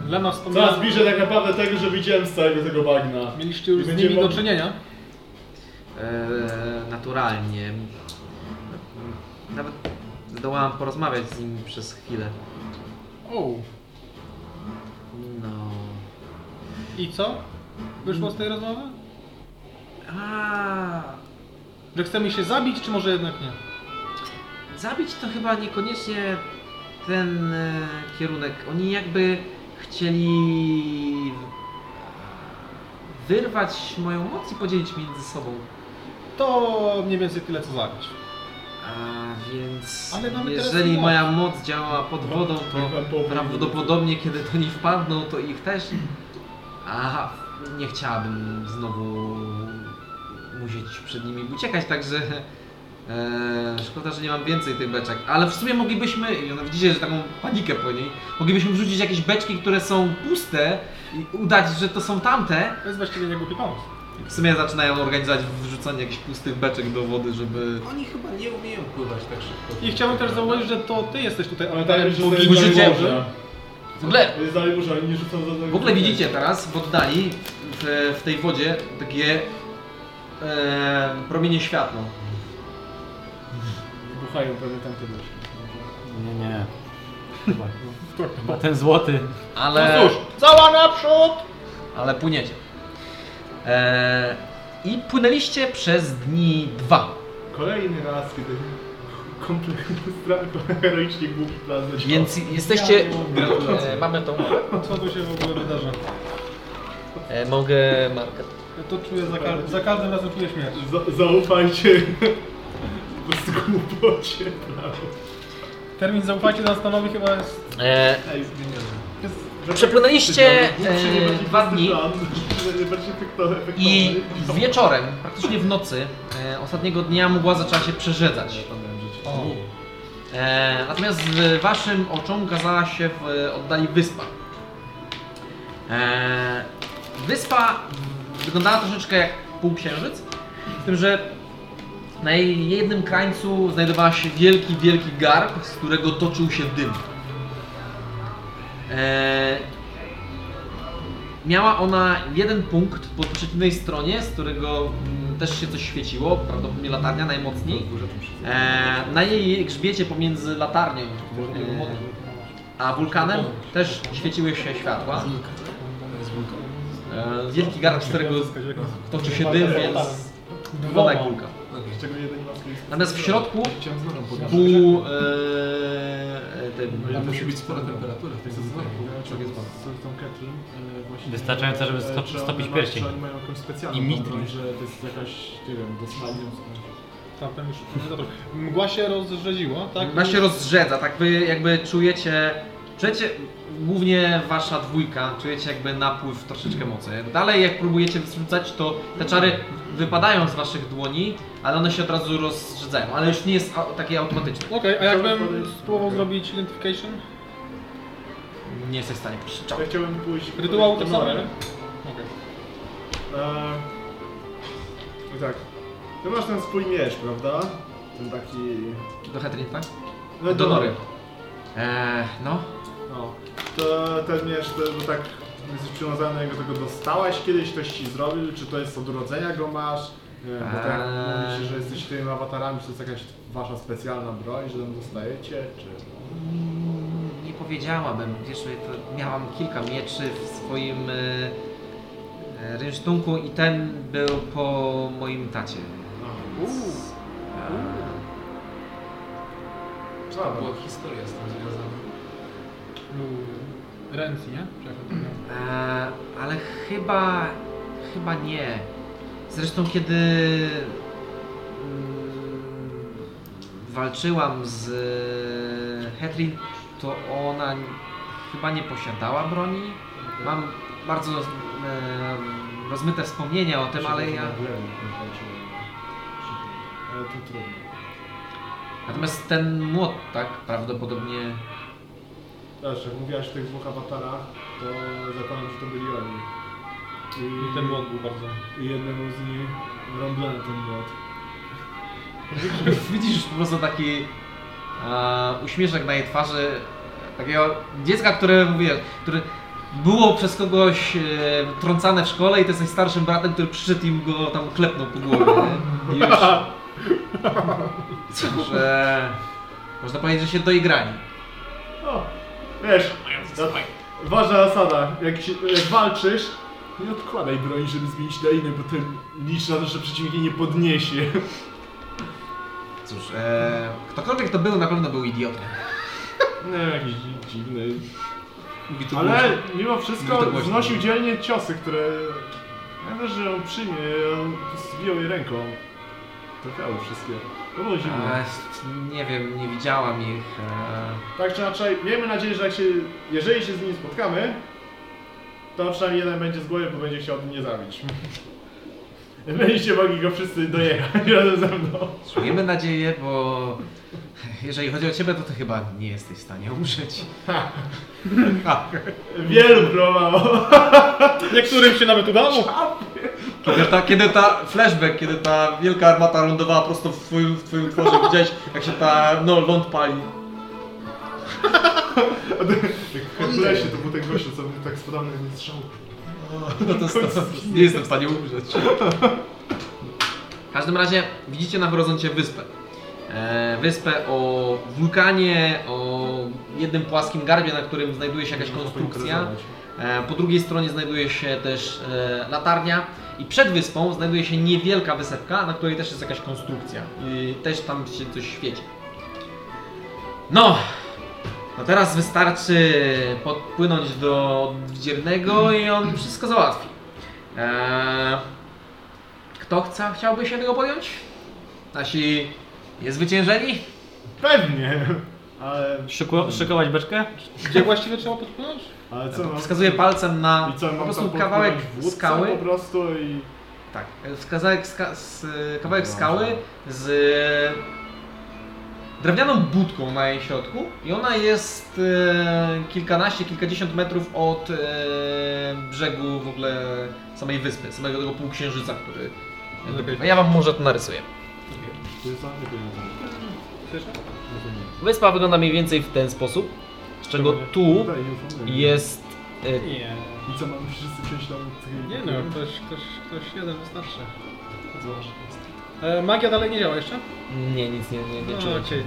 Speaker 4: Lena
Speaker 2: Coraz
Speaker 4: wspomniała,
Speaker 2: bliżej tak naprawdę tego, że widziałem z całego tego bagna.
Speaker 4: mieliście już
Speaker 2: I
Speaker 4: z
Speaker 2: będziemy
Speaker 4: nimi do
Speaker 2: mogli-
Speaker 4: czynienia.
Speaker 1: e, naturalnie. Nawet zdołałam porozmawiać z nim przez chwilę.
Speaker 4: O,
Speaker 1: No.
Speaker 4: i co? Wyszło z tej rozmowy?
Speaker 1: A,
Speaker 4: Że chcemy się zabić, czy może jednak nie?
Speaker 1: Zabić to chyba niekoniecznie ten e, kierunek. Oni jakby chcieli wyrwać moją moc i podzielić między sobą.
Speaker 4: To mniej więcej tyle co zabić.
Speaker 1: A więc
Speaker 4: Ale mamy teraz
Speaker 1: jeżeli
Speaker 4: moc.
Speaker 1: moja moc działa pod wodą, to prawdopodobnie kiedy to nie wpadną, to ich też. A nie chciałabym znowu musieć przed nimi uciekać, także e, szkoda, że nie mam więcej tych beczek. Ale w sumie moglibyśmy, i ona widzicie, że taką panikę po niej, moglibyśmy wrzucić jakieś beczki, które są puste i udać, że to są tamte.
Speaker 4: To jest właściwie niegłupi pomysł.
Speaker 1: W sumie zaczynają organizować wrzucanie jakichś pustych beczek do wody, żeby...
Speaker 5: Oni chyba nie umieją pływać tak szybko.
Speaker 4: I chciałbym też zauważyć, że to ty jesteś tutaj, ale
Speaker 2: Wydaje
Speaker 4: tak
Speaker 2: mi się, że to jest
Speaker 4: boginie
Speaker 2: dalej
Speaker 4: morza.
Speaker 2: morze.
Speaker 1: W ogóle
Speaker 2: To jest dalej morze, oni nie rzucą żadnego...
Speaker 1: W ogóle widzicie teraz w oddali, w, w tej wodzie, takie e, promienie światła.
Speaker 2: Wybuchają pewnie tamte nóżki.
Speaker 3: Nie, nie. Chyba. Chyba ten złoty.
Speaker 1: Ale,
Speaker 3: No cóż,
Speaker 4: cała naprzód!
Speaker 1: ale płyniecie. E, I płynęliście przez dni dwa.
Speaker 2: Kolejny raz, kiedy kompletnie stra- heroicznie głupi plan zadziałał.
Speaker 1: Więc jesteście.
Speaker 2: Gratulacje.
Speaker 1: E, mamy tą.
Speaker 4: Co tu się w ogóle wydarza?
Speaker 30: E, mogę markę.
Speaker 4: Ja to czuję za, każdym- za każdym razem czuję śmierć.
Speaker 2: Za- zaufajcie. Po prostu głupocie, prawda?
Speaker 4: Termin zaufajcie nas stanowi chyba jest...
Speaker 30: E,
Speaker 2: Ej, zmieniamy.
Speaker 30: Przepłynęliście, e,
Speaker 1: dwa dni.
Speaker 2: I
Speaker 1: I wieczorem, praktycznie w nocy, e, ostatniego dnia mgła zaczęła się przerzedzać.
Speaker 4: O.
Speaker 1: E, natomiast w waszym oczom kazała się w e, oddali wyspa. E, wyspa wyglądała troszeczkę jak półksiężyc, z tym, że na jej jednym krańcu znajdowała się wielki, wielki garb, z którego toczył się dym. E, miała ona jeden punkt po przeciwnej stronie, z którego mm, też się coś świeciło, prawdopodobnie latarnia najmocniej. E, na jej grzbiecie pomiędzy latarnią e, a wulkanem też świeciły się światła. E, wielki garb, z którego toczy się dym, więc wygląda jak wulkan.
Speaker 2: Z czego jeden maski jest...
Speaker 1: Natomiast w środku
Speaker 5: Chciałem znowu podać.
Speaker 1: był... E, e,
Speaker 5: Ale
Speaker 1: ten,
Speaker 5: musi być spora temperatura, to jest znowu.
Speaker 3: Wystarczająco, żeby sto- stopić pierścień.
Speaker 2: e, Czy oni mają jakąś specjalną
Speaker 3: I mitry.
Speaker 2: kontrolę, że to jest jakaś, nie wiem, dosłownie...
Speaker 4: Tam, tam już... no dobra. Mgła się rozrzedziła, tak?
Speaker 1: Ona się rozrzedza, tak wy jakby czujecie, czujecie głównie wasza dwójka, czujecie jakby napływ troszeczkę mocy. Dalej jak próbujecie wyrzucać, to te czary wypadają z waszych dładzi, ale one się od razu rozrzedzają, ale już nie jest au- takie automatyczne.
Speaker 4: Okej, a jakbym spróbował zrobić identification?
Speaker 1: Nie jesteś w stanie przeczytać.
Speaker 2: Ja chciałem pójść...
Speaker 4: Rytuał to samo, nie?
Speaker 2: Eee,
Speaker 4: Okej.
Speaker 2: no E, tak. Ty masz ten swój miecz, prawda? Ten taki...
Speaker 1: Do Hetrin, tak?
Speaker 2: No,
Speaker 1: Do Nory.
Speaker 2: Nory.
Speaker 1: Eee, no.
Speaker 2: No. To ten miecz, to, bo tak jesteś przywiązany do niego, tego dostałeś kiedyś, ktoś ci zrobił, czy to jest od urodzenia go masz? Nie, Bo tak
Speaker 1: Eee.
Speaker 2: mówi się, że jesteś tymi awatarami, czy to jest jakaś wasza specjalna broń, że tam dostajecie, czy...
Speaker 1: Mm, Nie powiedziałabym, wiesz, to miałam kilka mieczy w swoim e, e, rynsztunku i ten był po moim tacie.
Speaker 2: Uuu.
Speaker 4: No,
Speaker 5: To była historia z tym związana.
Speaker 4: Był Renzi, nie? Przepraszam.
Speaker 1: E, ale chyba. chyba nie. Zresztą kiedy. mm, walczyłam z e, Hetrin, to ona n- chyba nie posiadała broni. Mam bardzo e, rozmyte wspomnienia o tym, ale ja.
Speaker 2: Ale e, to trudno.
Speaker 1: Natomiast ten młot, tak? Prawdopodobnie.
Speaker 2: Zobacz, jak mówiłaś o tych dwóch awatarach, to zakładam, że to byli oni.
Speaker 4: I ten młot był bardzo...
Speaker 2: I jednemu z nich rąblany ten młot.
Speaker 1: Widzisz po prostu taki e, uśmieszek na jej twarzy, takiego dziecka, które, wiesz, które było przez kogoś e, trącane w szkole i ty jesteś starszym bratem, który przyszedł im go tam klepnął po głowie. nie? Już. że... Można powiedzieć, że się doigrali.
Speaker 2: O, wiesz, to, ważna zasada, jak, się, jak walczysz, nie odkładaj broni, żeby zmienić na inne, bo ten licz na to, że przeciwnik jej nie podniesie.
Speaker 1: Cóż, e, ktokolwiek to był, na pewno był idiotą.
Speaker 2: Nie wiem, No, jakiś dzi- dziwny.
Speaker 1: Mówi to
Speaker 2: Ale
Speaker 1: głośno.
Speaker 2: mimo
Speaker 1: Mówi to
Speaker 2: wszystko
Speaker 1: głośno.
Speaker 2: znosił dzielnie ciosy, które... Ja wiesz, że on przyjmie, on zbił jej ręką. Trafiały wszystkie. To było zimno.
Speaker 1: E, nie wiem, nie widziałam ich. E,
Speaker 2: Tak czy inaczej, miejmy nadzieję, że jak się, jeżeli się z nim spotkamy, to przynajmniej jeden będzie z głowy, bo będzie chciał mnie zabić. Będziecie mogli go wszyscy dojechać razem ze mną.
Speaker 1: Miejmy nadzieję, bo jeżeli chodzi o ciebie, to ty chyba nie jesteś w stanie umrzeć.
Speaker 2: Wielu próbowało.
Speaker 4: Niektórym się nawet udało.
Speaker 32: Kiedy ta, kiedy ta flashback, kiedy ta wielka armata lądowała prosto w twoim, w twoim tworze, widziałeś jak się ta, no, ląd pali.
Speaker 2: W lesie to był ten gościu, co mnie tak spadał na mnie strzał.
Speaker 32: No to jest, nie jestem w stanie umrzeć.
Speaker 1: W każdym razie widzicie na horyzoncie wyspę. E, wyspę o wulkanie, o jednym płaskim garbie, na którym znajduje się jakaś konstrukcja. E, po drugiej stronie znajduje się też e, latarnia i przed wyspą znajduje się niewielka wysepka, na której też jest jakaś konstrukcja. I też tam się coś świeci. No, no teraz wystarczy podpłynąć do odwdziernego i on wszystko załatwi. Eee, kto chce, chciałby się tego podjąć? Nasi niezwyciężeni?
Speaker 2: Pewnie, ale...
Speaker 3: Szyku- szykować beczkę?
Speaker 4: Gdzie właściwie trzeba podpłynąć?
Speaker 2: Ale co mam...
Speaker 1: Wskazuję palcem na
Speaker 2: I co, mam
Speaker 1: po prostu
Speaker 2: tam podpłynąć
Speaker 1: kawałek
Speaker 2: w łódce
Speaker 1: skały.
Speaker 2: po prostu i...
Speaker 1: Tak, wskazałek ska z, kawałek skały z e, drewnianą budką na jej środku i ona jest e, kilkanaście, kilkadziesiąt metrów od e, brzegu w ogóle samej wyspy, samego tego półksiężyca, który...
Speaker 32: A ja wam może to narysuję. Wyspa wygląda mniej więcej w ten sposób, z czego tu jest... e,
Speaker 4: Nie.
Speaker 2: I co, mamy wszyscy przejść tam...
Speaker 4: Nie no, ktoś, ktoś, ktoś jeden wystarczy. E, magia dalej nie działa jeszcze?
Speaker 32: Nie, nic nie, nie, nie
Speaker 4: No,
Speaker 32: czuję.
Speaker 4: okej.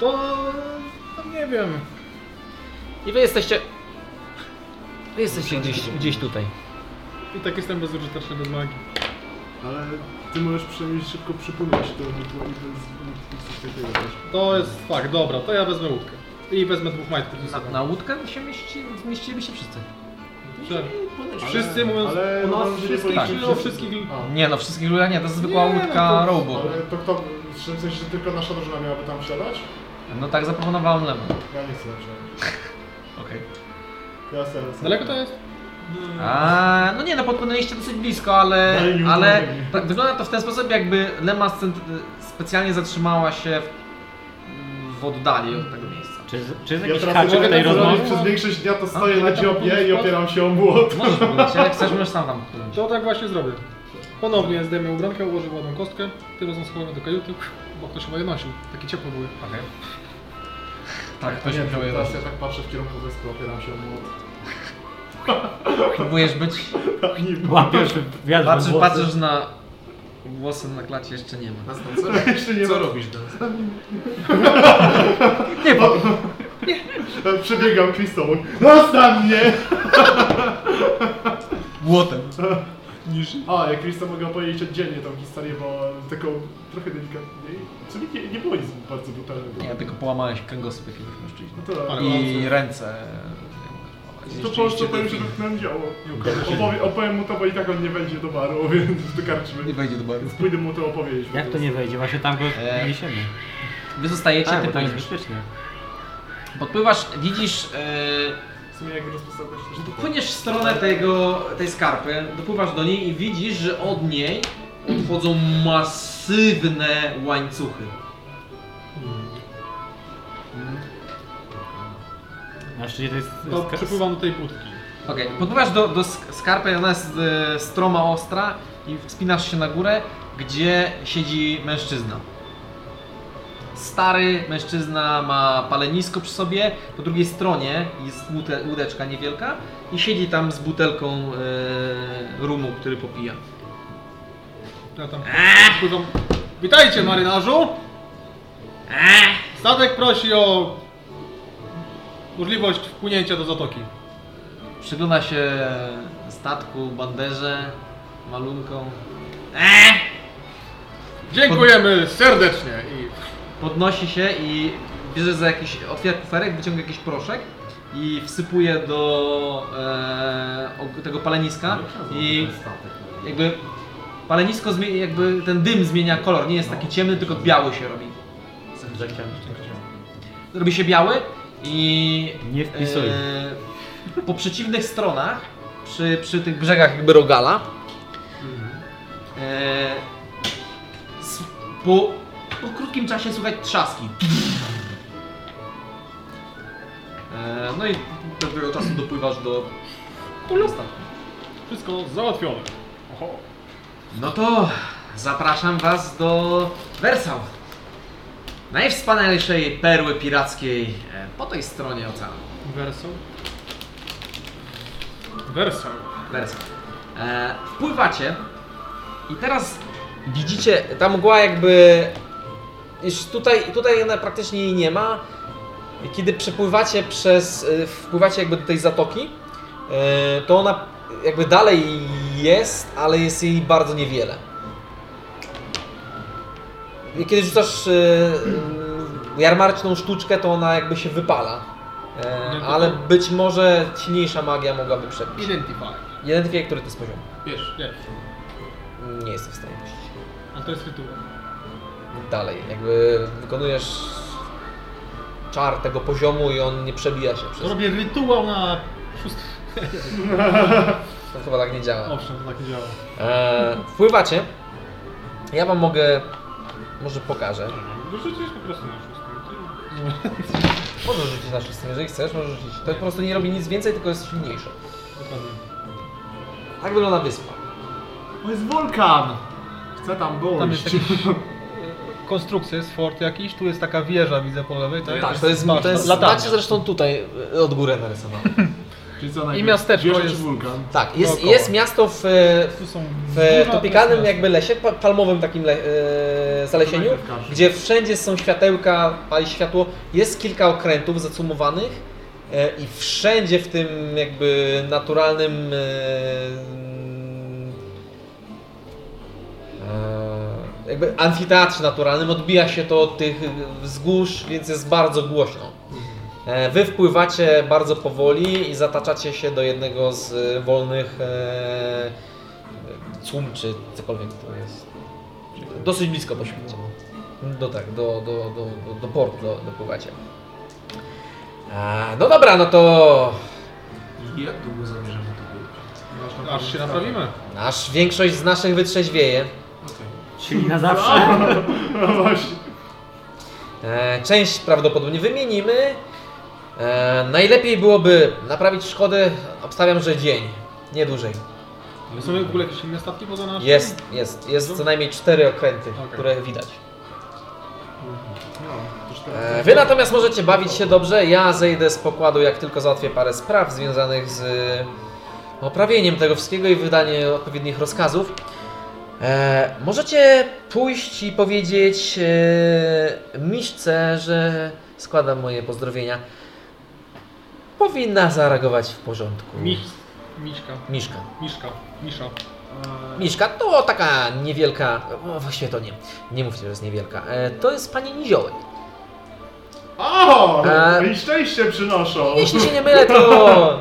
Speaker 4: To... to nie wiem.
Speaker 32: I wy jesteście... Wy jesteście gdzieś, gdzieś tutaj.
Speaker 4: I tak jestem bezużyteczny bez magii.
Speaker 2: Ale ty możesz przynajmniej szybko przypomnieć to, bo to jest coś takiego też.
Speaker 4: To jest fakt, dobra, to ja wezmę łódkę. I wezmę dwóch majtków ze sobą.
Speaker 1: Na łódkę się mieści, mieścilibyście wszyscy.
Speaker 4: Że- Wszyscy mówiąc
Speaker 2: ale
Speaker 4: o nas
Speaker 2: mam, że nie
Speaker 4: wszystkich,
Speaker 2: powinniśmy
Speaker 4: czyli o
Speaker 2: wszyscy.
Speaker 4: wszystkich...
Speaker 2: A.
Speaker 1: Nie no, wszystkich ludzi nie, to jest zwykła
Speaker 4: Nie, no
Speaker 1: łódka
Speaker 4: to-
Speaker 1: rowboat.
Speaker 2: Ale to kto, w tym sensie, że tylko nasza drużyna miałaby tam wsiadać?
Speaker 1: No tak zaproponowałem Lemon.
Speaker 2: Ja nie chcę wsiadać.
Speaker 1: Okej.
Speaker 2: Ja serdecznie.
Speaker 4: Daleko to jest?
Speaker 1: A, no nie, no podpłynęliście dosyć blisko,
Speaker 4: No,
Speaker 1: ale,
Speaker 2: Daj mi
Speaker 1: ale
Speaker 2: uwagę.
Speaker 1: tak, wygląda to w ten sposób, jakby Lema scent- specjalnie zatrzymała się w, w oddali od tego miejsca.
Speaker 3: Czy, czy jest
Speaker 2: Ja
Speaker 3: jakiś
Speaker 2: teraz
Speaker 3: haczyk
Speaker 2: mogę
Speaker 3: tej
Speaker 2: tak zrobić,
Speaker 3: rozmowy?
Speaker 2: przez większość dnia to stoję na
Speaker 4: ja tam
Speaker 2: dziobie i
Speaker 4: podpłynę.
Speaker 2: opieram się o młot.
Speaker 1: Możesz podpłynąć, jak chcesz, możesz sam tam podpłynąć.
Speaker 4: To tak właśnie zrobię. Ponownie zdejmę ubrankę, ułożę ładną kostkę, tym razem schowamy do kajuty, bo ktoś chyba je nosił. Takie ciepłe były.
Speaker 1: Okej. Tak,
Speaker 2: Nie
Speaker 1: ktoś
Speaker 2: wiem,
Speaker 1: musiał je
Speaker 2: teraz
Speaker 1: nosić.
Speaker 2: ja tak patrzę w kierunku wyspy, opieram się o młot.
Speaker 1: Próbujesz być...
Speaker 2: Tak, nie było.
Speaker 3: Łapiesz wiatr
Speaker 1: Patrzysz,
Speaker 3: we włosy.
Speaker 1: patrzysz na... Włosy na klacie jeszcze nie ma.
Speaker 2: Jeszcze nie
Speaker 1: Co
Speaker 2: ma.
Speaker 1: robisz teraz?
Speaker 2: e, Przebiegam Kristobą. Zostaw mnie!
Speaker 1: Błotem.
Speaker 2: A, jak Kristo mogę opowiedzieć oddzielnie tą historię, bo taką trochę delikatniej. W sumie nie, nie było nic bardzo brutalnego.
Speaker 1: Nie, tylko połamałeś kręgosłup jakiegoś mężczyźni.
Speaker 2: To, tak.
Speaker 1: I ręce.
Speaker 2: To po prostu powiem, że dotknąłem działo. Opowie, opowiem mu to, bo i tak on nie wejdzie do baru, więc do karczmy.
Speaker 1: Nie wejdzie do baru.
Speaker 2: Pójdę mu to opowiedzieć.
Speaker 3: Jak to nie wejdzie? Właśnie tam go
Speaker 1: Eee.
Speaker 3: niesiemy.
Speaker 1: Wy zostajecie,
Speaker 3: A,
Speaker 1: ty
Speaker 3: Tak, bo tam jest
Speaker 1: płyniesz.
Speaker 3: bezpiecznie.
Speaker 1: Podpływasz, widzisz... e,
Speaker 2: W sumie jak rozpostawiać to, że to
Speaker 1: Płyniesz w stronę tego, tej skarpy, dopływasz do niej i widzisz, że od niej odchodzą masywne łańcuchy.
Speaker 3: Na szczycie to jest...
Speaker 4: To
Speaker 3: ska-
Speaker 4: przypływam do tej budki.
Speaker 1: Okej, podpływasz do, do sk- skarpy, ona jest e, stroma, ostra i wspinasz się na górę, gdzie siedzi mężczyzna. Stary mężczyzna ma palenisko przy sobie, po drugiej stronie jest łute- łódeczka niewielka i siedzi tam z butelką e, rumu, który popija.
Speaker 4: Ja tam pływam. Witajcie marynarzu! Statek prosi o możliwość wpłynięcia do zatoki.
Speaker 33: Przygląda się statku, banderze, malunkom.
Speaker 4: Dziękujemy serdecznie i
Speaker 33: Podnosi się i bierze za jakiś, otwiera kuferek, wyciąga jakiś proszek i wsypuje do e, og- tego paleniska i jakby palenisko, zmie- jakby ten dym zmienia kolor, nie jest taki ciemny, tylko biały się robi. Robi się biały i...
Speaker 3: Nie wpisuj.
Speaker 33: e, po przeciwnych stronach, przy, przy tych brzegach jakby rogala, e, s- po, po krótkim czasie słychać trzaski. E, no i pewnego czasu dopływasz do...
Speaker 4: wszystko załatwione. Oho.
Speaker 33: No to zapraszam Was do Wersał. Najwspanialszej perły pirackiej e, po tej stronie oceanu.
Speaker 4: Wersu. Wersu.
Speaker 33: Wersał. E, wpływacie i teraz
Speaker 1: Widzicie, ta mgła jakby. Już tutaj, tutaj ona praktycznie jej nie ma. Kiedy przepływacie przez. y, wpływacie jakby do tej zatoki, y, to ona jakby dalej jest, ale jest jej bardzo niewiele. I Kiedy rzucasz y, y, jarmarczną sztuczkę, to ona jakby się wypala. Y, ale być może silniejsza magia mogłaby przebić.
Speaker 4: Identify.
Speaker 1: Identyfikuję, który to jest poziom.
Speaker 4: Wiesz, wiesz.
Speaker 1: Nie jestem w stanie.
Speaker 4: A to jest rytuał.
Speaker 1: dalej. Jakby wykonujesz czar tego poziomu i on nie przebija się przez.
Speaker 4: Robię rytuał na szóstym.
Speaker 1: To chyba tak nie działa.
Speaker 4: Owszem, to tak nie działa.
Speaker 1: E, wpływacie. Ja wam mogę. Może pokażę.
Speaker 4: Wyrzucisz po prostu na szóstym.
Speaker 1: Możesz rzucić na szóstym, jeżeli chcesz, możesz rzucić. To po prostu nie robi nic więcej, tylko jest silniejsze.
Speaker 4: Dokładnie.
Speaker 1: Tak wygląda wyspa.
Speaker 2: To jest wulkan! Chcę tam dojść.
Speaker 4: Tam jest jakiś... e, Konstrukcja jest fort jakiś, tu jest taka wieża, widzę po lewej, tak?
Speaker 1: Tak, to jest. To jest
Speaker 4: latarnia.
Speaker 1: macie zresztą tutaj e, od góry narysowane.
Speaker 2: Czyli co
Speaker 4: I miasteczko
Speaker 2: wieża czy
Speaker 4: jest-
Speaker 2: wulkan.
Speaker 1: Tak, jest,
Speaker 4: Dookoła.
Speaker 1: jest miasto w, e,
Speaker 4: Tu są
Speaker 1: w tropikalnym
Speaker 4: miasto.
Speaker 1: jakby lesie, pa- palmowym takim le, e, zalesieniu,
Speaker 2: To najpierw każdy.
Speaker 1: gdzie wszędzie są światełka, pali światło, jest kilka okrętów zacumowanych e, i wszędzie w tym jakby naturalnym e, e, jakby amfiteatrze naturalnym odbija się to od tych e, wzgórz, więc jest bardzo głośno. E, Wy wpływacie bardzo powoli i zataczacie się do jednego z e, wolnych e, cum czy cokolwiek to jest. Dosyć blisko po świecie. Do tak, do, do, do, do, do portu do, dopływacie. E, no dobra, no to
Speaker 5: Jak długo zamierzamy to być?
Speaker 4: tak, Aż się naprawimy.
Speaker 1: nasz większość z naszych wytrzeźwieje.
Speaker 5: Okej.
Speaker 3: Czyli na zawsze.
Speaker 1: E, część prawdopodobnie wymienimy. E, najlepiej byłoby naprawić szkody, obstawiam, że dzień, nie dłużej.
Speaker 4: Ale są w ogóle jakieś inne statki poza naszym?
Speaker 1: Jest, jest, jest co najmniej cztery okręty,
Speaker 4: Okej.
Speaker 1: które widać.
Speaker 2: No, to cztery.
Speaker 1: E, Wy natomiast możecie bawić się dobrze. Ja zejdę z pokładu, jak tylko załatwię parę spraw związanych z e, oprawieniem tego wszystkiego i wydaniem odpowiednich rozkazów. E, możecie pójść i powiedzieć e, Miszce, że składam moje pozdrowienia. Powinna zareagować w porządku.
Speaker 4: Miś, miśka,
Speaker 1: Miszka.
Speaker 4: miszka, misza.
Speaker 1: Miszka to taka niewielka. O, właściwie to nie. Nie mówcie, że jest niewielka. E, to jest pani Niziołek.
Speaker 2: O!
Speaker 1: E,
Speaker 2: I szczęście przynoszą!
Speaker 1: Jeśli się nie mylę, to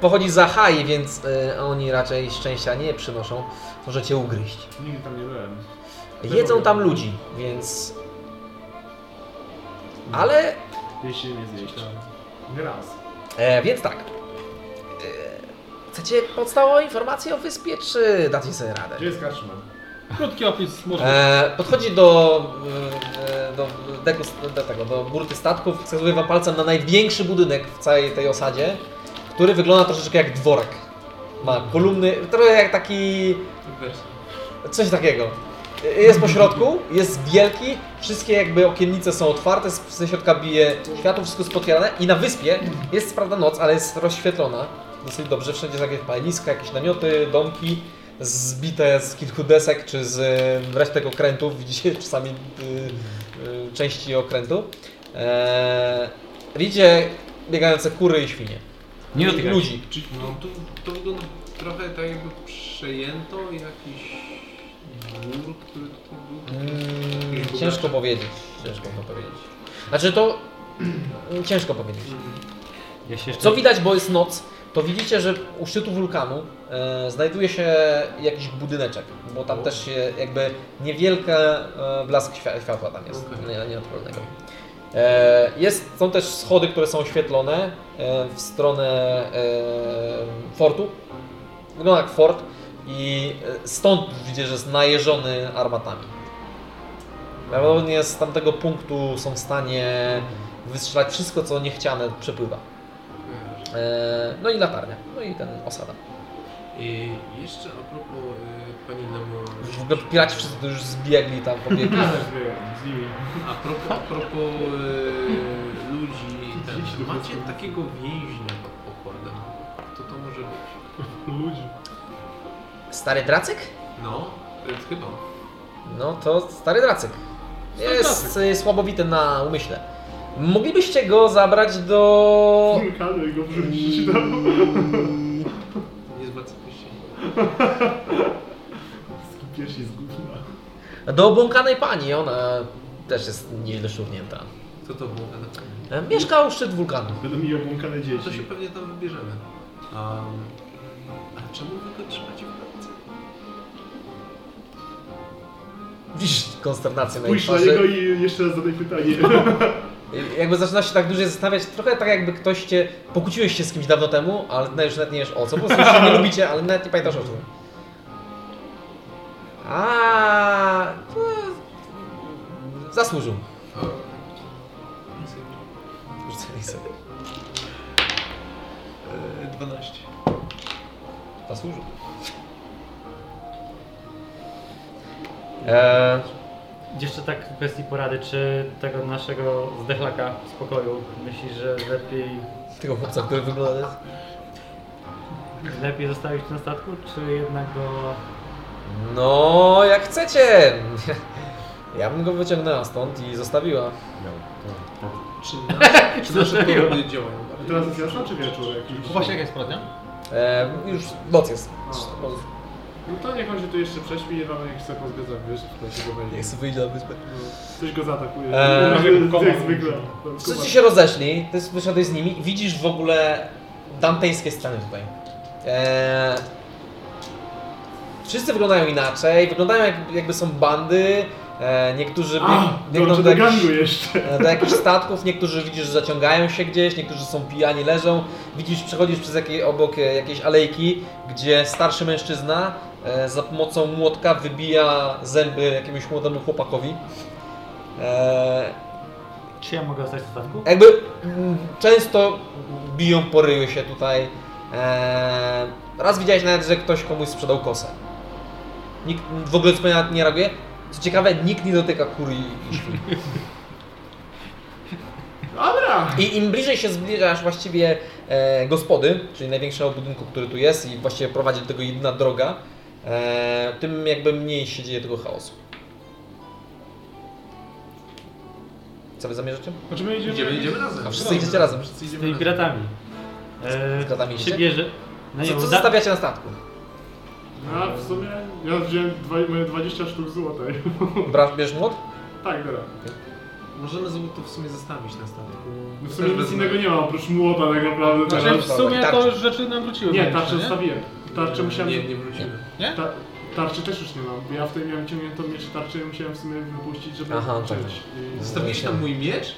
Speaker 1: pochodzi z Ahai, więc y, oni raczej szczęścia nie przynoszą. Możecie ugryźć.
Speaker 2: Nigdy tam nie byłem.
Speaker 1: Jedzą tam ludzi, więc. Ale.
Speaker 2: Jeśli nie zjeść. Nie raz.
Speaker 1: E, więc tak. E, chcecie podstawową informację o wyspie, czy dacie sobie radę?
Speaker 2: Gdzie jest karczman?
Speaker 4: Krótki opis może.
Speaker 1: E, podchodzi do, e, do, deku, do tego, do burty statków, wskazuje wam palcem na największy budynek w całej tej osadzie, który wygląda troszeczkę jak dworek. Ma kolumny, trochę jak taki Coś takiego. Jest po środku, jest wielki, wszystkie jakby okiennice są otwarte, z- ze środka bije światło, wszystko jest potwierane i na wyspie jest co prawda noc, ale jest rozświetlona dosyć dobrze, wszędzie są jakieś paleniska, jakieś namioty, domki, zbite z kilku desek czy z e, resztek okrętów, widzicie czasami y, y, części okrętu. E, widzicie biegające kury i świnie.
Speaker 5: Nie
Speaker 1: I
Speaker 5: dotykać.
Speaker 1: Ludzi.
Speaker 5: Czyli no, to, to wygląda trochę tak jakby przejęto jakiś gór, który tutaj był.
Speaker 1: Mm, ciężko powiedzieć. Ciężko to powiedzieć. Znaczy to... mm, Ciężko powiedzieć. Co widać, bo jest noc, to widzicie, że u szczytu wulkanu e, znajduje się jakiś budyneczek, bo tam też się jakby niewielka e, blask świa- światła tam jest, No nie, nienaturalnego. E, jest, są też schody, które są oświetlone e, w stronę e, fortu. Wygląda jak fort i e, stąd widzicie, że jest najeżony armatami. Prawdopodobnie z tamtego punktu są w stanie wystrzelać wszystko, co niechciane przepływa. E, No i latarnia, no i ten osada.
Speaker 5: I jeszcze a propos y, pani Nemo.
Speaker 1: Już w ogóle piraci wszyscy to już zbiegli tam pobiegli.
Speaker 5: A propos, a propos y, ludzi, ten, macie takiego więźnia pod pokładem. Kto to może być? Ludzi.
Speaker 1: Stary dracyk?
Speaker 5: No, y, chyba.
Speaker 1: No to stary dracyk.
Speaker 5: Stary
Speaker 1: Jest y, słabowity na umyśle. Moglibyście go zabrać do...
Speaker 2: Wulkany go wrzucić tam.
Speaker 5: Nie zwracam się.
Speaker 2: Pierwszy z gówna.
Speaker 1: Do błąkanej pani, ona też jest nieźle szurnięta.
Speaker 5: Co to było?
Speaker 1: E, Mieszkał szczyt wulkanu.
Speaker 2: Będą mi obłąkane dzieci.
Speaker 5: No To się pewnie tam wybierzemy. Um, a czemu wy go trzymacie w pracy?
Speaker 1: Widzisz konsternację na jej
Speaker 2: Pójdź na
Speaker 1: twarzy.
Speaker 2: niego i jeszcze raz zadaj pytanie.
Speaker 1: Jakby zaczyna się tak dłużej zastanawiać, trochę tak jakby ktoś cię... Pokłóciłeś się z kimś dawno temu, ale nawet już nawet nie wiesz o co, po prostu się nie lubicie, ale nawet nie pamiętasz o czym. A, to... Zasłużył. Rzucaj sobie.
Speaker 5: E, 12.
Speaker 1: Zasłużył. Eee,
Speaker 3: Jeszcze tak w kwestii porady, czy tego naszego zdechlaka z pokoju myślisz, że lepiej,
Speaker 1: Tego chłopca, który wygląda...
Speaker 3: lepiej zostawić na statku, czy jednak go...
Speaker 1: No, jak chcecie. Ja bym go wyciągnęła stąd i zostawiła.
Speaker 5: Czy nasze, czy nasze porody działają?
Speaker 2: Teraz jest jasna czy wieczór jakiś?
Speaker 30: Właśnie jaka jest poradnia?
Speaker 1: E, już noc jest.
Speaker 2: No to niech on się tu jeszcze prześpi i wam jak chce pozwiedzać, wiesz, to się go będzie.
Speaker 1: Niech sobie wyjdzie na wyspę.
Speaker 2: Coś go zaatakuje.
Speaker 1: Eee,
Speaker 2: jak zwykle.
Speaker 1: Wszyscy się rozeszli, ty wyszedłeś z nimi i widzisz w ogóle dantejskie sceny tutaj. Eee, wszyscy wyglądają inaczej, wyglądają jak, jakby są bandy, e, niektórzy bieg,
Speaker 2: A,
Speaker 1: biegną do,
Speaker 2: dołączę do
Speaker 1: jakichś,
Speaker 2: gangu jeszcze.
Speaker 1: e, do jakichś statków, niektórzy widzisz, że zaciągają się gdzieś, niektórzy są pijani, leżą. Widzisz, przechodzisz przez jakiej, obok e, jakiejś alejki, gdzie starszy mężczyzna e, za pomocą młotka wybija zęby jakiemuś młodemu chłopakowi. Eee,
Speaker 3: Czy ja mogę zostać na statku?
Speaker 1: jakby mm, często biją po ryju się tutaj. Eee, raz widziałeś nawet, że ktoś komuś sprzedał kosę. Nikt w ogóle zupełnie na to nie reaguje. Co ciekawe, nikt nie dotyka kury i- i świn.
Speaker 2: Dobra!
Speaker 1: I im bliżej się zbliżasz właściwie e, gospody, czyli największego budynku, który tu jest i właściwie prowadzi do tego jedna droga, e, tym jakby mniej się dzieje tego chaosu. Co wy zamierzacie?
Speaker 2: Znaczy my idziemy- Idziemy- idziemy razem.
Speaker 1: A wszyscy idziecie razem.
Speaker 3: Z tymi piratami. Eee,
Speaker 1: Z piratami idziecie?
Speaker 3: się bierze... no
Speaker 1: No co,
Speaker 3: bo
Speaker 1: co
Speaker 3: da-
Speaker 1: zostawiacie na statku?
Speaker 2: No w sumie ja wziąłem dwa, moje 20 sztuk złotej.
Speaker 1: Brasz, bierz młot?
Speaker 2: Tak, dobra.
Speaker 5: Możemy znowu to w sumie zostawić na statku.
Speaker 2: No w sumie nic innego nie ma oprócz młota tak naprawdę.
Speaker 30: Znaczy,
Speaker 2: teraz.
Speaker 30: w sumie to już rzeczy nam wróciły
Speaker 2: Nie,
Speaker 30: wewnętrzne,
Speaker 2: tarczę
Speaker 30: nie?
Speaker 2: zostawiłem. Tarczę musiałem...
Speaker 5: Nie, nie wróciły.
Speaker 30: Nie?
Speaker 2: Ta, tarczy też już nie mam, bo ja wtedy miałem ciągniętą miecz i tarczę i musiałem w sumie wypuścić, żeby
Speaker 1: Aha, tak.
Speaker 2: uczyć. I-
Speaker 5: Zostawiłeś tam mój miecz?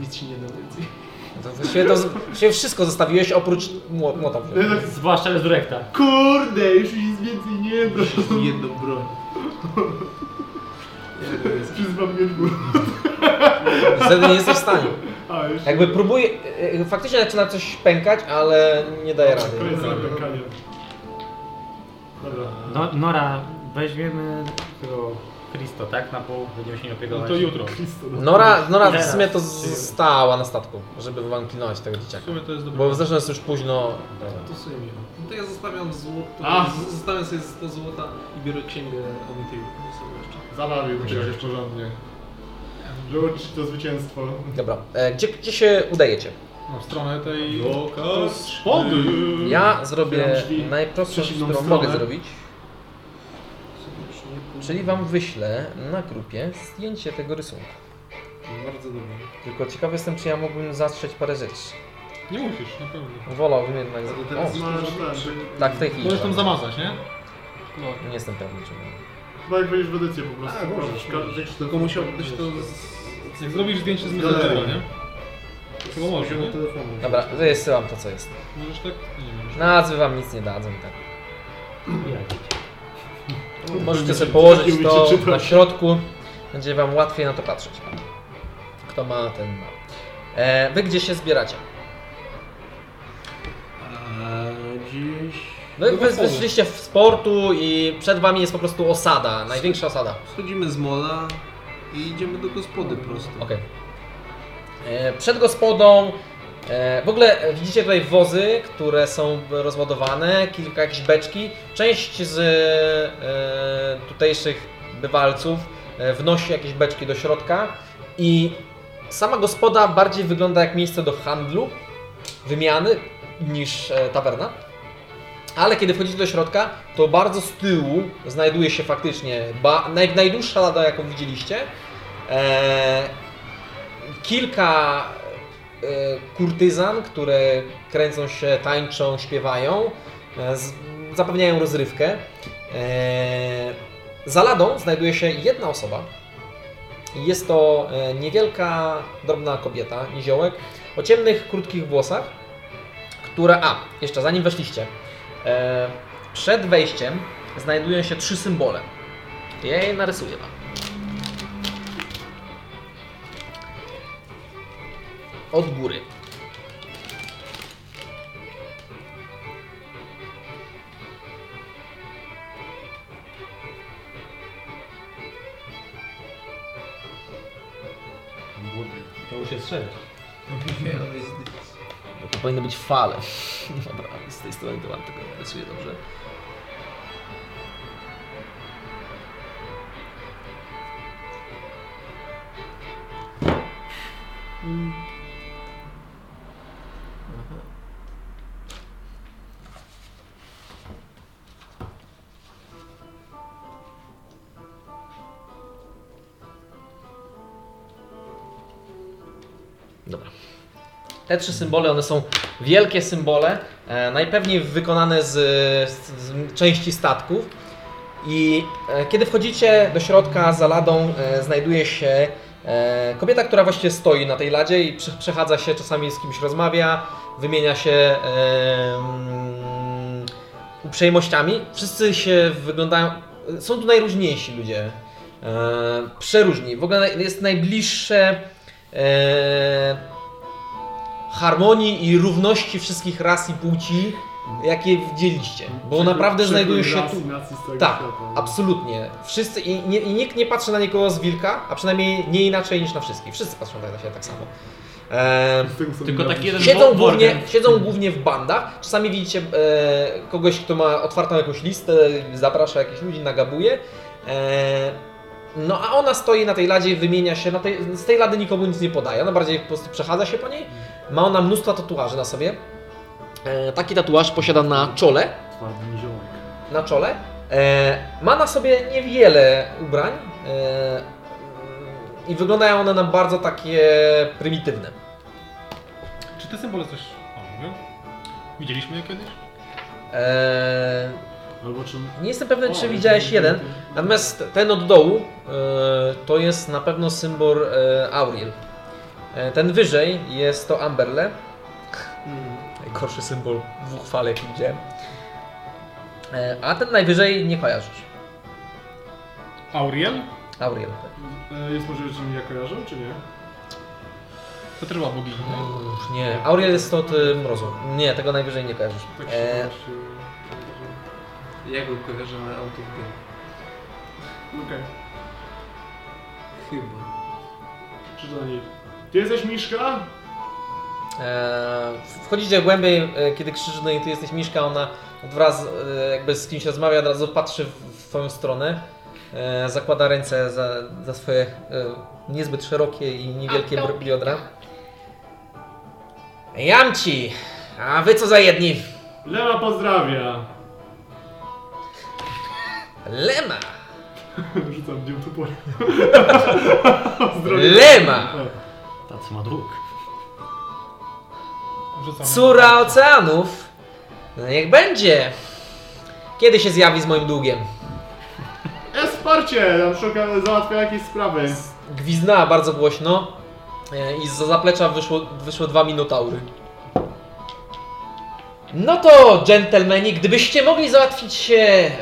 Speaker 5: Nic ci nie da więcej.
Speaker 1: To właściwie, to, właściwie wszystko zostawiłeś oprócz mło- młota.
Speaker 3: Zwłaszcza z rekta.
Speaker 2: Kurde, już mi nic więcej nie da.
Speaker 5: Jedną broń.
Speaker 2: Przyzwam mnie w górę.
Speaker 1: Wtedy nie jesteś w stanie.
Speaker 2: A, już
Speaker 1: Jakby próbuje, e, faktycznie zaczyna coś pękać, ale nie daje rady.
Speaker 2: Koniec zapękania. Dobra.
Speaker 3: No, Nora, weźmiemy tego Christo, tak? Na pół będziemy się nie opiekować.
Speaker 1: No to jutro.
Speaker 3: Christo,
Speaker 1: Nora, Nora w
Speaker 3: Teraz,
Speaker 1: sumie to
Speaker 3: czyli-
Speaker 1: została na statku, żeby wam pilnować tego dzieciaka.
Speaker 2: W sumie to jest dobre.
Speaker 1: Bo zresztą jest już późno.
Speaker 5: To sobie nie. No to ja zostawiam złoto.
Speaker 30: A!
Speaker 5: z- Zostawiam sobie 100 złota i biorę księgę Amityville sobie jeszcze.
Speaker 30: Zabawił cię się porządnie. Lucz to zwycięstwo.
Speaker 1: Dobra, e, gdzie, gdzie się udajecie?
Speaker 2: No, w stronę tej...
Speaker 30: Loka
Speaker 2: To jest szpody.
Speaker 1: Ja zrobię
Speaker 2: Mm. Otwieram drzwi.
Speaker 1: najprostszą rzecz,
Speaker 2: Przeciwną
Speaker 1: którą
Speaker 2: stronę.
Speaker 1: mogę zrobić. Czyli wam wyślę na grupie zdjęcie tego rysunku.
Speaker 5: Bardzo dobrze.
Speaker 1: Tylko ciekawy jestem, czy ja mógłbym zastrzeć parę rzeczy.
Speaker 2: Nie musisz, na pewno.
Speaker 1: Wolałbym jednak...
Speaker 2: Ale teraz masz ten,
Speaker 1: Tak, w tej chwili.
Speaker 2: Możesz tam zamazać, nie?
Speaker 1: Nie jestem pewny, czy nie.
Speaker 30: Chyba
Speaker 2: No
Speaker 30: jak wejdziesz w edycję po prostu.
Speaker 2: A, możesz,
Speaker 30: Każdy-
Speaker 2: możesz.
Speaker 30: każdy-
Speaker 2: Tylko musiałbyś to
Speaker 30: z-
Speaker 2: Jak zrobisz zdjęcie z
Speaker 5: No,
Speaker 30: Galerii.
Speaker 2: Mizerego, nie? Chyba
Speaker 30: Z
Speaker 2: może,
Speaker 30: poziomu
Speaker 2: nie?
Speaker 30: telefonu.
Speaker 1: Dobra, wysyłam to, co jest.
Speaker 2: Możesz tak? Nie wiem.
Speaker 1: Nazwy wam nic nie dadzą, tak.
Speaker 2: O,
Speaker 1: Możecie
Speaker 2: No, to
Speaker 1: sobie
Speaker 2: mi-
Speaker 1: położyć
Speaker 2: to mi się
Speaker 1: to
Speaker 2: czyta.
Speaker 1: na środku. Będzie wam łatwiej na to patrzeć. Kto ma, ten ma. E, wy gdzie się zbieracie?
Speaker 5: Dziś... No
Speaker 1: Wy, No wy wyszliście w sportu i przed wami jest po prostu osada, największa osada.
Speaker 5: Schodzimy z mola i idziemy do gospody prosto.
Speaker 1: Okej. E, Przed gospodą e, w ogóle e, widzicie tutaj wozy, które są rozładowane, kilka jakieś beczki. Część z e, tutejszych bywalców e, wnosi jakieś beczki do środka i sama gospoda bardziej wygląda jak miejsce do handlu, wymiany niż e, tawerna. Ale kiedy wchodzicie do środka, to bardzo z tyłu znajduje się faktycznie ba- naj- najdłuższa lada, jaką widzieliście. E, kilka e, kurtyzan, które kręcą się, tańczą, śpiewają, e, z, zapewniają rozrywkę. E, za ladą znajduje się jedna osoba. Jest to e, niewielka, drobna kobieta, niziołek, o ciemnych, krótkich włosach, która... A, jeszcze zanim weszliście. E, przed wejściem znajdują się trzy symbole. Ja je narysuję Wam. od góry.
Speaker 3: To już jest sześć.
Speaker 1: Bo to powinny być fale. Dobra, z tej strony to wam tego rysuję dobrze. Dobra. Te trzy symbole, one są wielkie symbole, e, najpewniej wykonane z, z, z części statków. I e, kiedy wchodzicie do środka za ladą, e, znajduje się e, kobieta, która właśnie stoi na tej ladzie i prze, przechadza się, czasami z kimś rozmawia, wymienia się e, mm, uprzejmościami. Wszyscy się wyglądają. e, Są tu najróżniejsi ludzie. E, przeróżni. W ogóle jest najbliższe. E, harmonii i równości wszystkich ras i płci, jakie widzieliście. Bo
Speaker 30: Przekrój-
Speaker 1: naprawdę
Speaker 30: przekrój
Speaker 1: znajdują się
Speaker 30: ras
Speaker 1: tu.
Speaker 30: i nacji z całego
Speaker 1: Tak,
Speaker 30: świata.
Speaker 1: absolutnie. Wszyscy i, nie, i nikt nie patrzy na nikogo z wilka, a przynajmniej nie inaczej niż na wszystkich. Wszyscy patrzą tak na siebie tak samo. Eee,
Speaker 3: Tylko taki jeden
Speaker 1: siedzą,
Speaker 3: wo-
Speaker 1: głównie,
Speaker 3: worgen.
Speaker 1: siedzą głównie w bandach. Czasami widzicie e, kogoś, kto ma otwartą jakąś listę, zaprasza jakichś ludzi, nagabuje. E, no a ona stoi na tej ladzie, wymienia się. Na tej, z tej lady nikomu nic nie podaje. Ona bardziej po prostu przechadza się po niej. Ma ona mnóstwo tatuaży na sobie. E, taki tatuaż posiada na czole. Na czole. E, ma na sobie niewiele ubrań. E, I wyglądają one na bardzo takie prymitywne.
Speaker 2: Czy te symbole coś o, mówią? Widzieliśmy je kiedyś?
Speaker 1: Eee, nie jestem pewny,
Speaker 2: O,
Speaker 1: czy widziałeś jeden. Natomiast ten od dołu eee, to jest na pewno symbol e, Auriel. E, ten wyżej jest to Amberle. Najgorszy symbol w uchwale, jaki widziałem. E, a ten najwyżej nie kojarzysz.
Speaker 2: Auriel?
Speaker 1: Auriel. tak.
Speaker 30: E, Jest możliwe, że mi ja kojarzą, czy nie?
Speaker 2: To też była bogini.
Speaker 1: Uff, Nie, Auriel jest od y, mrozu. Nie, tego najwyżej nie kojarzysz. E,
Speaker 5: Ja go kojarzę na autobus.
Speaker 30: Okej.
Speaker 5: Chyba.
Speaker 2: Krzyczę do niej. Ty jesteś Miszka?
Speaker 1: Eee, Wchodzicie głębiej, e, kiedy krzyczy do niej, ty jesteś Miszka, ona wraz e, jakby z kimś rozmawia, od razu patrzy w w twoją stronę, e, zakłada ręce za, za swoje e, niezbyt szerokie i niewielkie br- biodra. Jam ci! A wy co za jedni?
Speaker 2: Lewa pozdrawia.
Speaker 1: Lema!
Speaker 2: Rzucam dziób tu
Speaker 1: Lema!
Speaker 3: Ta co ma dług.
Speaker 1: Córa oceanów! No niech będzie! Kiedy się zjawi z moim długiem?
Speaker 2: E, Esparcie! Na przykład załatwia jakieś sprawy.
Speaker 1: Gwizdnęła bardzo głośno e, i z zaplecza wyszło, wyszły dwa minotaury. No to, dżentelmeni, gdybyście mogli załatwić się em,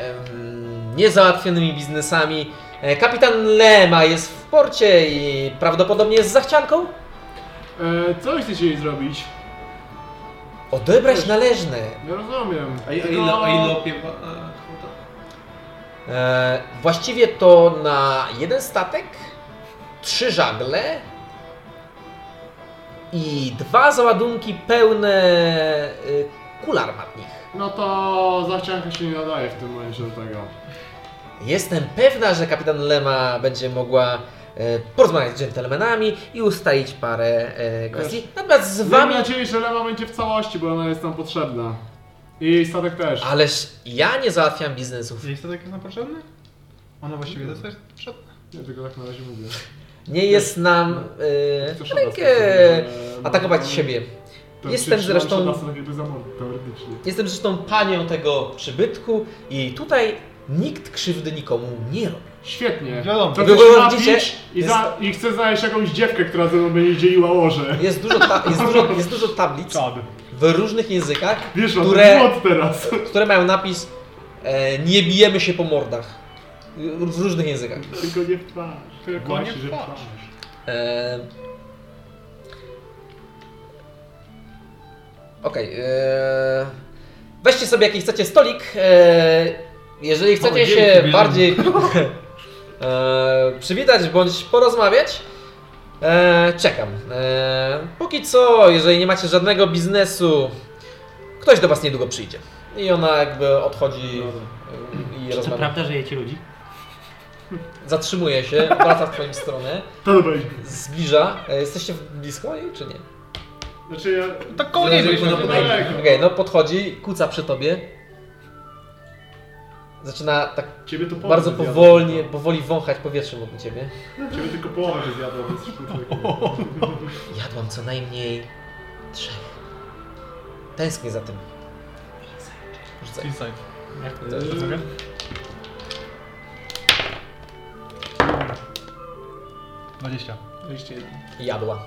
Speaker 1: niezałatwionymi biznesami, e, kapitan Lema jest w porcie i prawdopodobnie jest zachcianką?
Speaker 2: E, co chcecie jej zrobić?
Speaker 1: Odebrać należne.
Speaker 2: Ja rozumiem.
Speaker 5: A, i- a
Speaker 2: Tylko-
Speaker 5: ile, a ile opiewa... A, kwota?
Speaker 1: E, właściwie to na jeden statek, trzy żagle i dwa załadunki pełne y, kul armatnich.
Speaker 2: No to zachcianka się nie nadaje w tym momencie do tego.
Speaker 1: Jestem pewna, że kapitan Lema będzie mogła e, porozmawiać z dżentelmenami i ustalić parę e, kwestii. Natomiast z wami...
Speaker 2: Mam nadzieję, że Lema będzie w całości, bo ona jest nam potrzebna. I jej statek też.
Speaker 1: Ależ ja nie załatwiam biznesów.
Speaker 4: Jej statek jest nam potrzebny? Ona właściwie też jest potrzebna.
Speaker 2: Ja tylko tak na razie mówię.
Speaker 1: Nie jest nam e, rękę
Speaker 5: tak
Speaker 1: atakować siebie.
Speaker 2: tak, e, no, To
Speaker 1: Jestem
Speaker 2: przecież mam
Speaker 1: zresztą...
Speaker 2: szanasę na jakby zamor, teoretycznie.
Speaker 1: Jestem zresztą panią tego przybytku i tutaj nikt krzywdy nikomu nie robi.
Speaker 2: Świetnie.
Speaker 1: Wiadomo.
Speaker 2: To
Speaker 1: Wy
Speaker 2: chcesz
Speaker 1: go
Speaker 2: napić
Speaker 1: widzicie?
Speaker 2: i, za, i chcę znaleźć jakąś dziewkę, która ze mną będzie dzieliła łoże.
Speaker 1: Jest dużo, ta, jest dużo, jest dużo tablic w różnych językach,
Speaker 2: Wiesz, o,
Speaker 1: które,
Speaker 2: to jest mod teraz.
Speaker 1: które mają napis e, nie bijemy się po mordach. W różnych językach.
Speaker 2: Tylko nie w twarz. Tylko
Speaker 4: Właśnie,
Speaker 2: nie
Speaker 4: że
Speaker 2: w
Speaker 4: w
Speaker 2: twarz.
Speaker 1: E, Okej. e, Weźcie sobie jaki chcecie stolik. E, jeżeli chcecie
Speaker 34: dzięki,
Speaker 1: się
Speaker 34: bierzemy.
Speaker 1: bardziej e, przywitać bądź porozmawiać, e, czekam. E, póki co, jeżeli nie macie żadnego biznesu, ktoś do Was niedługo przyjdzie. I ona jakby
Speaker 34: No
Speaker 1: odchodzi e, i
Speaker 3: Czy to
Speaker 1: rozmawia.
Speaker 3: prawda, że jecie ludzi?
Speaker 1: Zatrzymuje się, wraca w Twoim stronę.
Speaker 2: To dobra idź.
Speaker 1: Zbliża. E, Jesteście blisko jej, czy nie?
Speaker 2: Znaczy ja...
Speaker 4: Tak
Speaker 1: Koło niej
Speaker 2: byliśmy,
Speaker 1: Okej,
Speaker 2: daleko.
Speaker 1: no podchodzi, kuca przy tobie. Zaczyna tak
Speaker 2: Ciebie to połowę
Speaker 1: bardzo
Speaker 2: zjadło.
Speaker 1: powolnie, powoli wąchać powietrzem wokół ciebie.
Speaker 2: Ciebie tylko połowę by zjadła, więc szybko człowiekiem.
Speaker 1: Jadłam co najmniej trzech. Tęsknię za tym. Rzucaj.
Speaker 4: Inside.
Speaker 1: Jak
Speaker 4: to jest? Rzucaj. Dwadzieścia.
Speaker 5: 21.
Speaker 1: Jadła.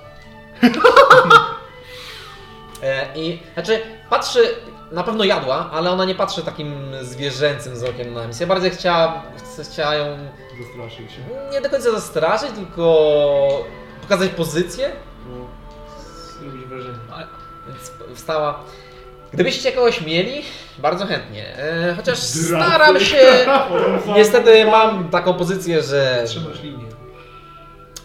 Speaker 1: e, I znaczy patrzy, na pewno jadła, ale ona nie patrzy takim zwierzęcym wzrokiem na misję. Bardziej chciała, chce- chciała ją
Speaker 2: Zastraszył się.
Speaker 1: nie do końca zastraszyć, tylko pokazać pozycję.
Speaker 5: Robić wrażenie.
Speaker 1: Więc wstała. Gdybyście kogoś mieli, bardzo chętnie. E, chociaż
Speaker 5: Drapy.
Speaker 1: staram się. Niestety mam taką pozycję, że
Speaker 5: Trzymasz linię.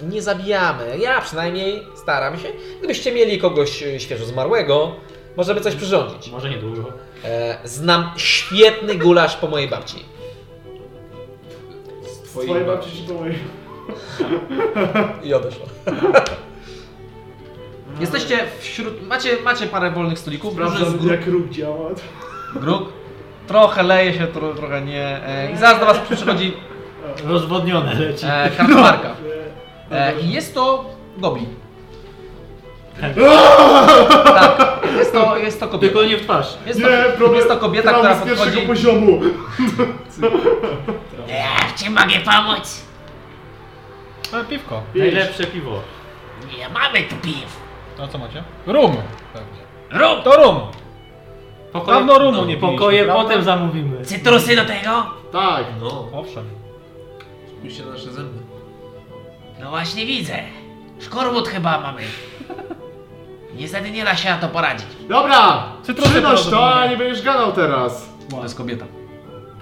Speaker 1: nie zabijamy. Ja przynajmniej staram się. Gdybyście mieli kogoś e, świeżo zmarłego, możemy coś przyrządzić.
Speaker 3: Może niedługo.
Speaker 1: E, znam świetny gulasz po mojej babci.
Speaker 5: Z
Speaker 2: Twojej babci czy to mojej?
Speaker 1: I odeszła. Jesteście wśród. Macie, macie parę wolnych stolików.
Speaker 2: Sprawdzam,
Speaker 1: duży z grup-
Speaker 2: jak róg działa.
Speaker 30: Gruk. Trochę leje się, tro, trochę nie. E, I zaraz do Was przychodzi
Speaker 3: Rozwodnione E, leci.
Speaker 30: e, kartomarka. E, I jest to goblin. Tak, jest to, jest to kobieta.
Speaker 3: Tylko nie w twarz.
Speaker 30: Jest to, jest to
Speaker 1: tak
Speaker 30: kobieta, która
Speaker 2: traumy z
Speaker 30: podchodzi.
Speaker 2: pierwszego poziomu.
Speaker 8: Jak ci mogę pomóc?
Speaker 4: E, piwko.
Speaker 3: Najlepsze piwo.
Speaker 8: Nie mamy tu piw.
Speaker 4: A No, co macie? Rum!
Speaker 8: Rum!
Speaker 4: To rum! Dawno
Speaker 30: no,
Speaker 4: rumu nie piliśmy,
Speaker 3: no, Pokoje
Speaker 4: prawda?
Speaker 3: potem zamówimy.
Speaker 8: Cytrusy do tego?
Speaker 2: Tak.
Speaker 5: No.
Speaker 4: Owszem.
Speaker 5: Spójrzcie na nasze zęby.
Speaker 8: No właśnie widzę. Szkorwód chyba mamy. Niestety nie da się na to poradzić.
Speaker 2: Dobra!
Speaker 4: Cytrusy
Speaker 2: Przynoś to,
Speaker 4: prawdopodobnie.
Speaker 2: a nie będziesz gadał teraz.
Speaker 30: To jest kobieta.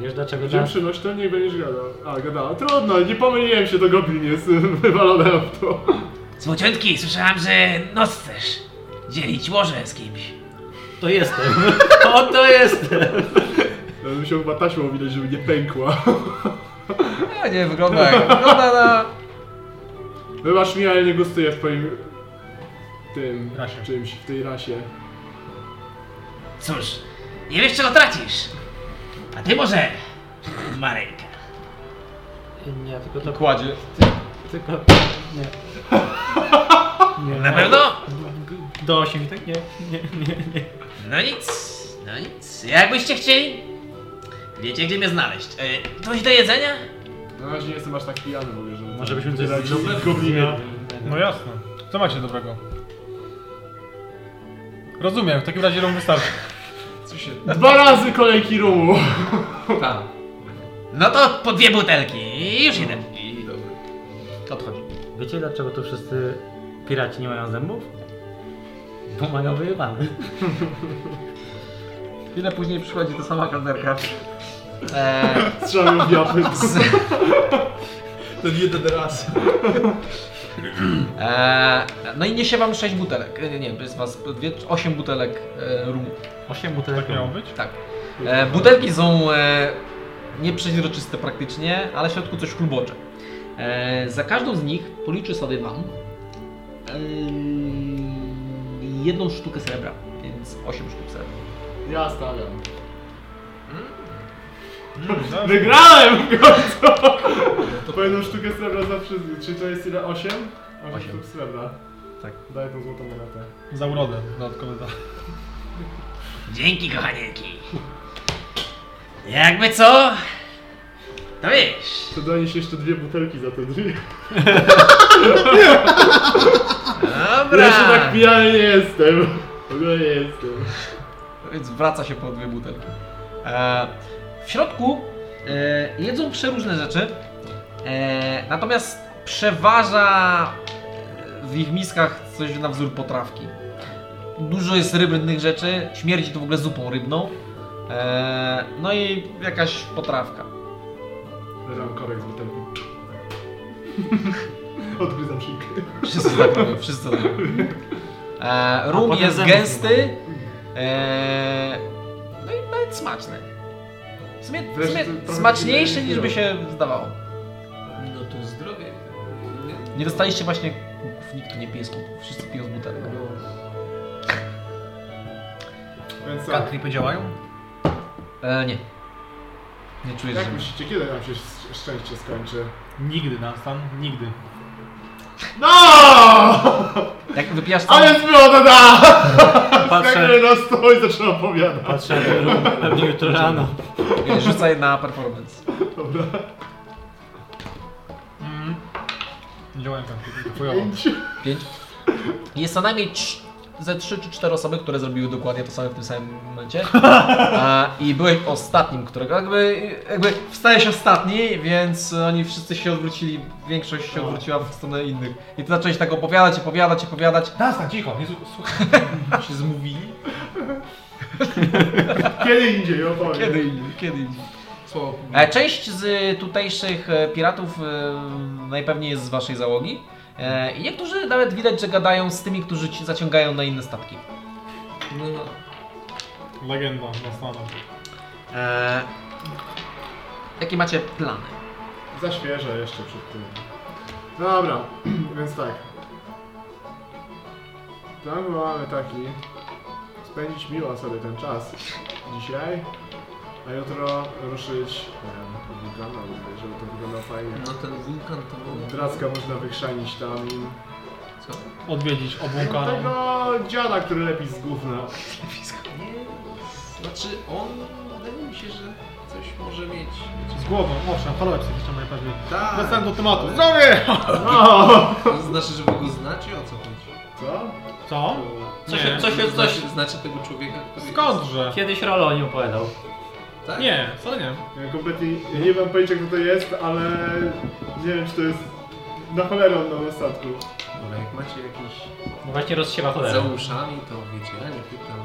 Speaker 3: Wiesz dlaczego
Speaker 30: Gdzie
Speaker 3: nas...
Speaker 30: przynoś, to niech będziesz gadał. A, gadała. Trudno, nie pomyliłem się, to goblin jest wywalone auto.
Speaker 8: Złociutki, słyszałam, że noc chcesz dzielić łoże z kimś.
Speaker 3: To jestem. O, to jestem.
Speaker 30: Ja No, bym się chyba taśmą widać, żeby nie pękła.
Speaker 1: Nie, nie, wygląda jak... Wygląda na...
Speaker 30: Wybacz mi, ale nie gustuję w twoim... tym... czymś, w tej rasie.
Speaker 8: Cóż, nie wiesz czego tracisz. A ty może, Marek.
Speaker 3: Nie, tylko to...
Speaker 1: Kładzie.
Speaker 3: Tylko... Nie. nie.
Speaker 8: Na pewno?
Speaker 3: Do 8 tak? Nie, nie, nie, nie.
Speaker 8: No nic, no nic. Jakbyście chcieli, wiecie gdzie mnie znaleźć. E, coś do jedzenia?
Speaker 30: Na razie nie jestem aż tak pijany w ogóle, żeby...
Speaker 3: Może byśmy coś
Speaker 30: Wydać
Speaker 3: zjedli?
Speaker 30: goblina.
Speaker 4: No jasne. Co macie dobrego? Rozumiem, w takim razie rum wystarczy.
Speaker 30: Dwa razy kolejki rumu.
Speaker 8: Tak. No to po dwie butelki i już idę.
Speaker 1: Odchodzi.
Speaker 3: Wiecie dlaczego tu wszyscy piraci nie mają zębów? Bo mają wyjebane.
Speaker 1: Chwilę później przychodzi ta sama kelnerka.
Speaker 30: Strzały w japy.
Speaker 5: Ten jeden raz.
Speaker 1: Eee, no i niesie wam 6 butelek. E, Nie, bez was 8 butelek e, rumu.
Speaker 3: 8 butelek
Speaker 1: Tak miało
Speaker 3: rumu.
Speaker 1: być? Tak. E, butelki są e, nieprzeźroczyste praktycznie, ale w środku coś klubocze. E, za każdą z nich policzy sobie wam em, jedną sztukę srebra, więc 8 sztuk srebra.
Speaker 30: Ja stawiam.
Speaker 4: dobrze.
Speaker 30: Wygrałem w końcu! To po jedną sztukę srebra za wszystkich. Czyli to jest ile? 8? 8
Speaker 1: Osiem.
Speaker 30: sztuk srebra.
Speaker 1: Tak.
Speaker 30: Daję tą złotą monetę.
Speaker 4: Za urodę dodatkowy za.
Speaker 8: Dzięki kochanieki. Jakby co? To wiesz.
Speaker 30: To dajesz jeszcze dwie butelki za te drzwi.
Speaker 8: Dobra.
Speaker 30: Ja się tak pijany nie jestem. W ogóle nie jestem.
Speaker 1: Więc wraca się po dwie butelki. E, w środku e, jedzą przeróżne rzeczy, e, natomiast przeważa w ich miskach coś na wzór potrawki. Dużo jest rybnych rzeczy, śmierdzi to w ogóle zupą rybną. E, no i jakaś potrawka.
Speaker 30: Leżam korek z butelką. Odgryzam szyjkę.
Speaker 1: Wszyscy tak robią, wszyscy tak robią. E, rum
Speaker 30: potem
Speaker 1: jest
Speaker 30: zębów nie
Speaker 1: gęsty. E, no i nawet smaczny. W sumie, w
Speaker 5: Wreszcie
Speaker 1: sumie
Speaker 5: to trochę
Speaker 1: smaczniejszy
Speaker 5: inny
Speaker 1: niż by się zdawało.
Speaker 5: No to zdrowie.
Speaker 1: Nie dostaliście właśnie kuków, nikt tu nie pije z kuków, wszyscy piją z butelek.
Speaker 5: No.
Speaker 30: Więc co?
Speaker 4: Cantripy działają?
Speaker 1: E, nie. Nie czujesz,
Speaker 30: Jak
Speaker 1: że...
Speaker 30: myślicie, kiedy nam się szcz- szczęście skończy?
Speaker 4: Nigdy na stan, nigdy.
Speaker 30: No!
Speaker 1: Jak wypijasz całą...
Speaker 30: Ale było to da!
Speaker 3: Patrzę-
Speaker 30: Skakuję na stół i zaczynam opowiadać.
Speaker 3: Patrzę na rum, pewnie jutro rano.
Speaker 1: Nie, Rzucaj na performance.
Speaker 30: Dobra.
Speaker 4: Nie działają cantripy, to chujowo.
Speaker 1: Pięć. Jest co najmniej trz- ze trzy czy cztery osoby, które zrobiły dokładnie to samo w tym samym momencie. A, I byłeś ostatnim, którego jakby, jakby wstajesz ostatni, więc oni wszyscy się odwrócili, większość się odwróciła w stronę innych. I ty zacząłeś tak opowiadać, opowiadać, opowiadać.
Speaker 4: Nasta, cicho, nie słuchaj.
Speaker 1: się zmówili.
Speaker 30: Kiedy indziej opowiem.
Speaker 1: Kiedy indziej, kiedy indziej.
Speaker 5: Słowo.
Speaker 1: E, Część z tutejszych e, piratów e, najpewniej jest z waszej załogi. E, I niektórzy nawet widać, że gadają z tymi, którzy ci zaciągają na inne statki.
Speaker 5: No,
Speaker 4: Legenda na stanach.
Speaker 1: E, jakie macie plany?
Speaker 30: Za świeże jeszcze przed tym. Dobra, więc tak. Plan mamy taki. Spędzić miło sobie ten czas dzisiaj, a jutro ruszyć em, wulkana, żeby to wyglądało fajnie.
Speaker 5: no ten wulkan to był...
Speaker 30: Dracka można wychrzanić tam i...
Speaker 5: Co?
Speaker 4: Odwiedzić obłąkaną.
Speaker 30: Tego dziada, który lepi z gówna.
Speaker 5: Znaczy on, wydaje mi się, że coś może mieć.
Speaker 4: Z głową, owszem, falowe psychiczne najpewniej.
Speaker 5: Tak.
Speaker 4: Wracam do tematu. Zdrowie!
Speaker 30: No.
Speaker 5: To znaczy, że wy go znacie? O co chodzi?
Speaker 30: Co?
Speaker 4: Co?
Speaker 5: Co się, co się, co się... Znacie tego człowieka, który...
Speaker 4: Skądże?
Speaker 3: Kiedyś Rolo o nim opowiadał.
Speaker 5: Tak?
Speaker 4: Nie, wcale nie.
Speaker 30: Ja kompletnie ja nie mam pojęcia kto to jest, ale nie wiem czy to jest na cholerę on na statku.
Speaker 5: Dobra, jak macie jakieś
Speaker 3: No właśnie rozsiewa
Speaker 5: za
Speaker 3: cholerę.
Speaker 5: uszami, to wiecie, ja nie pytam.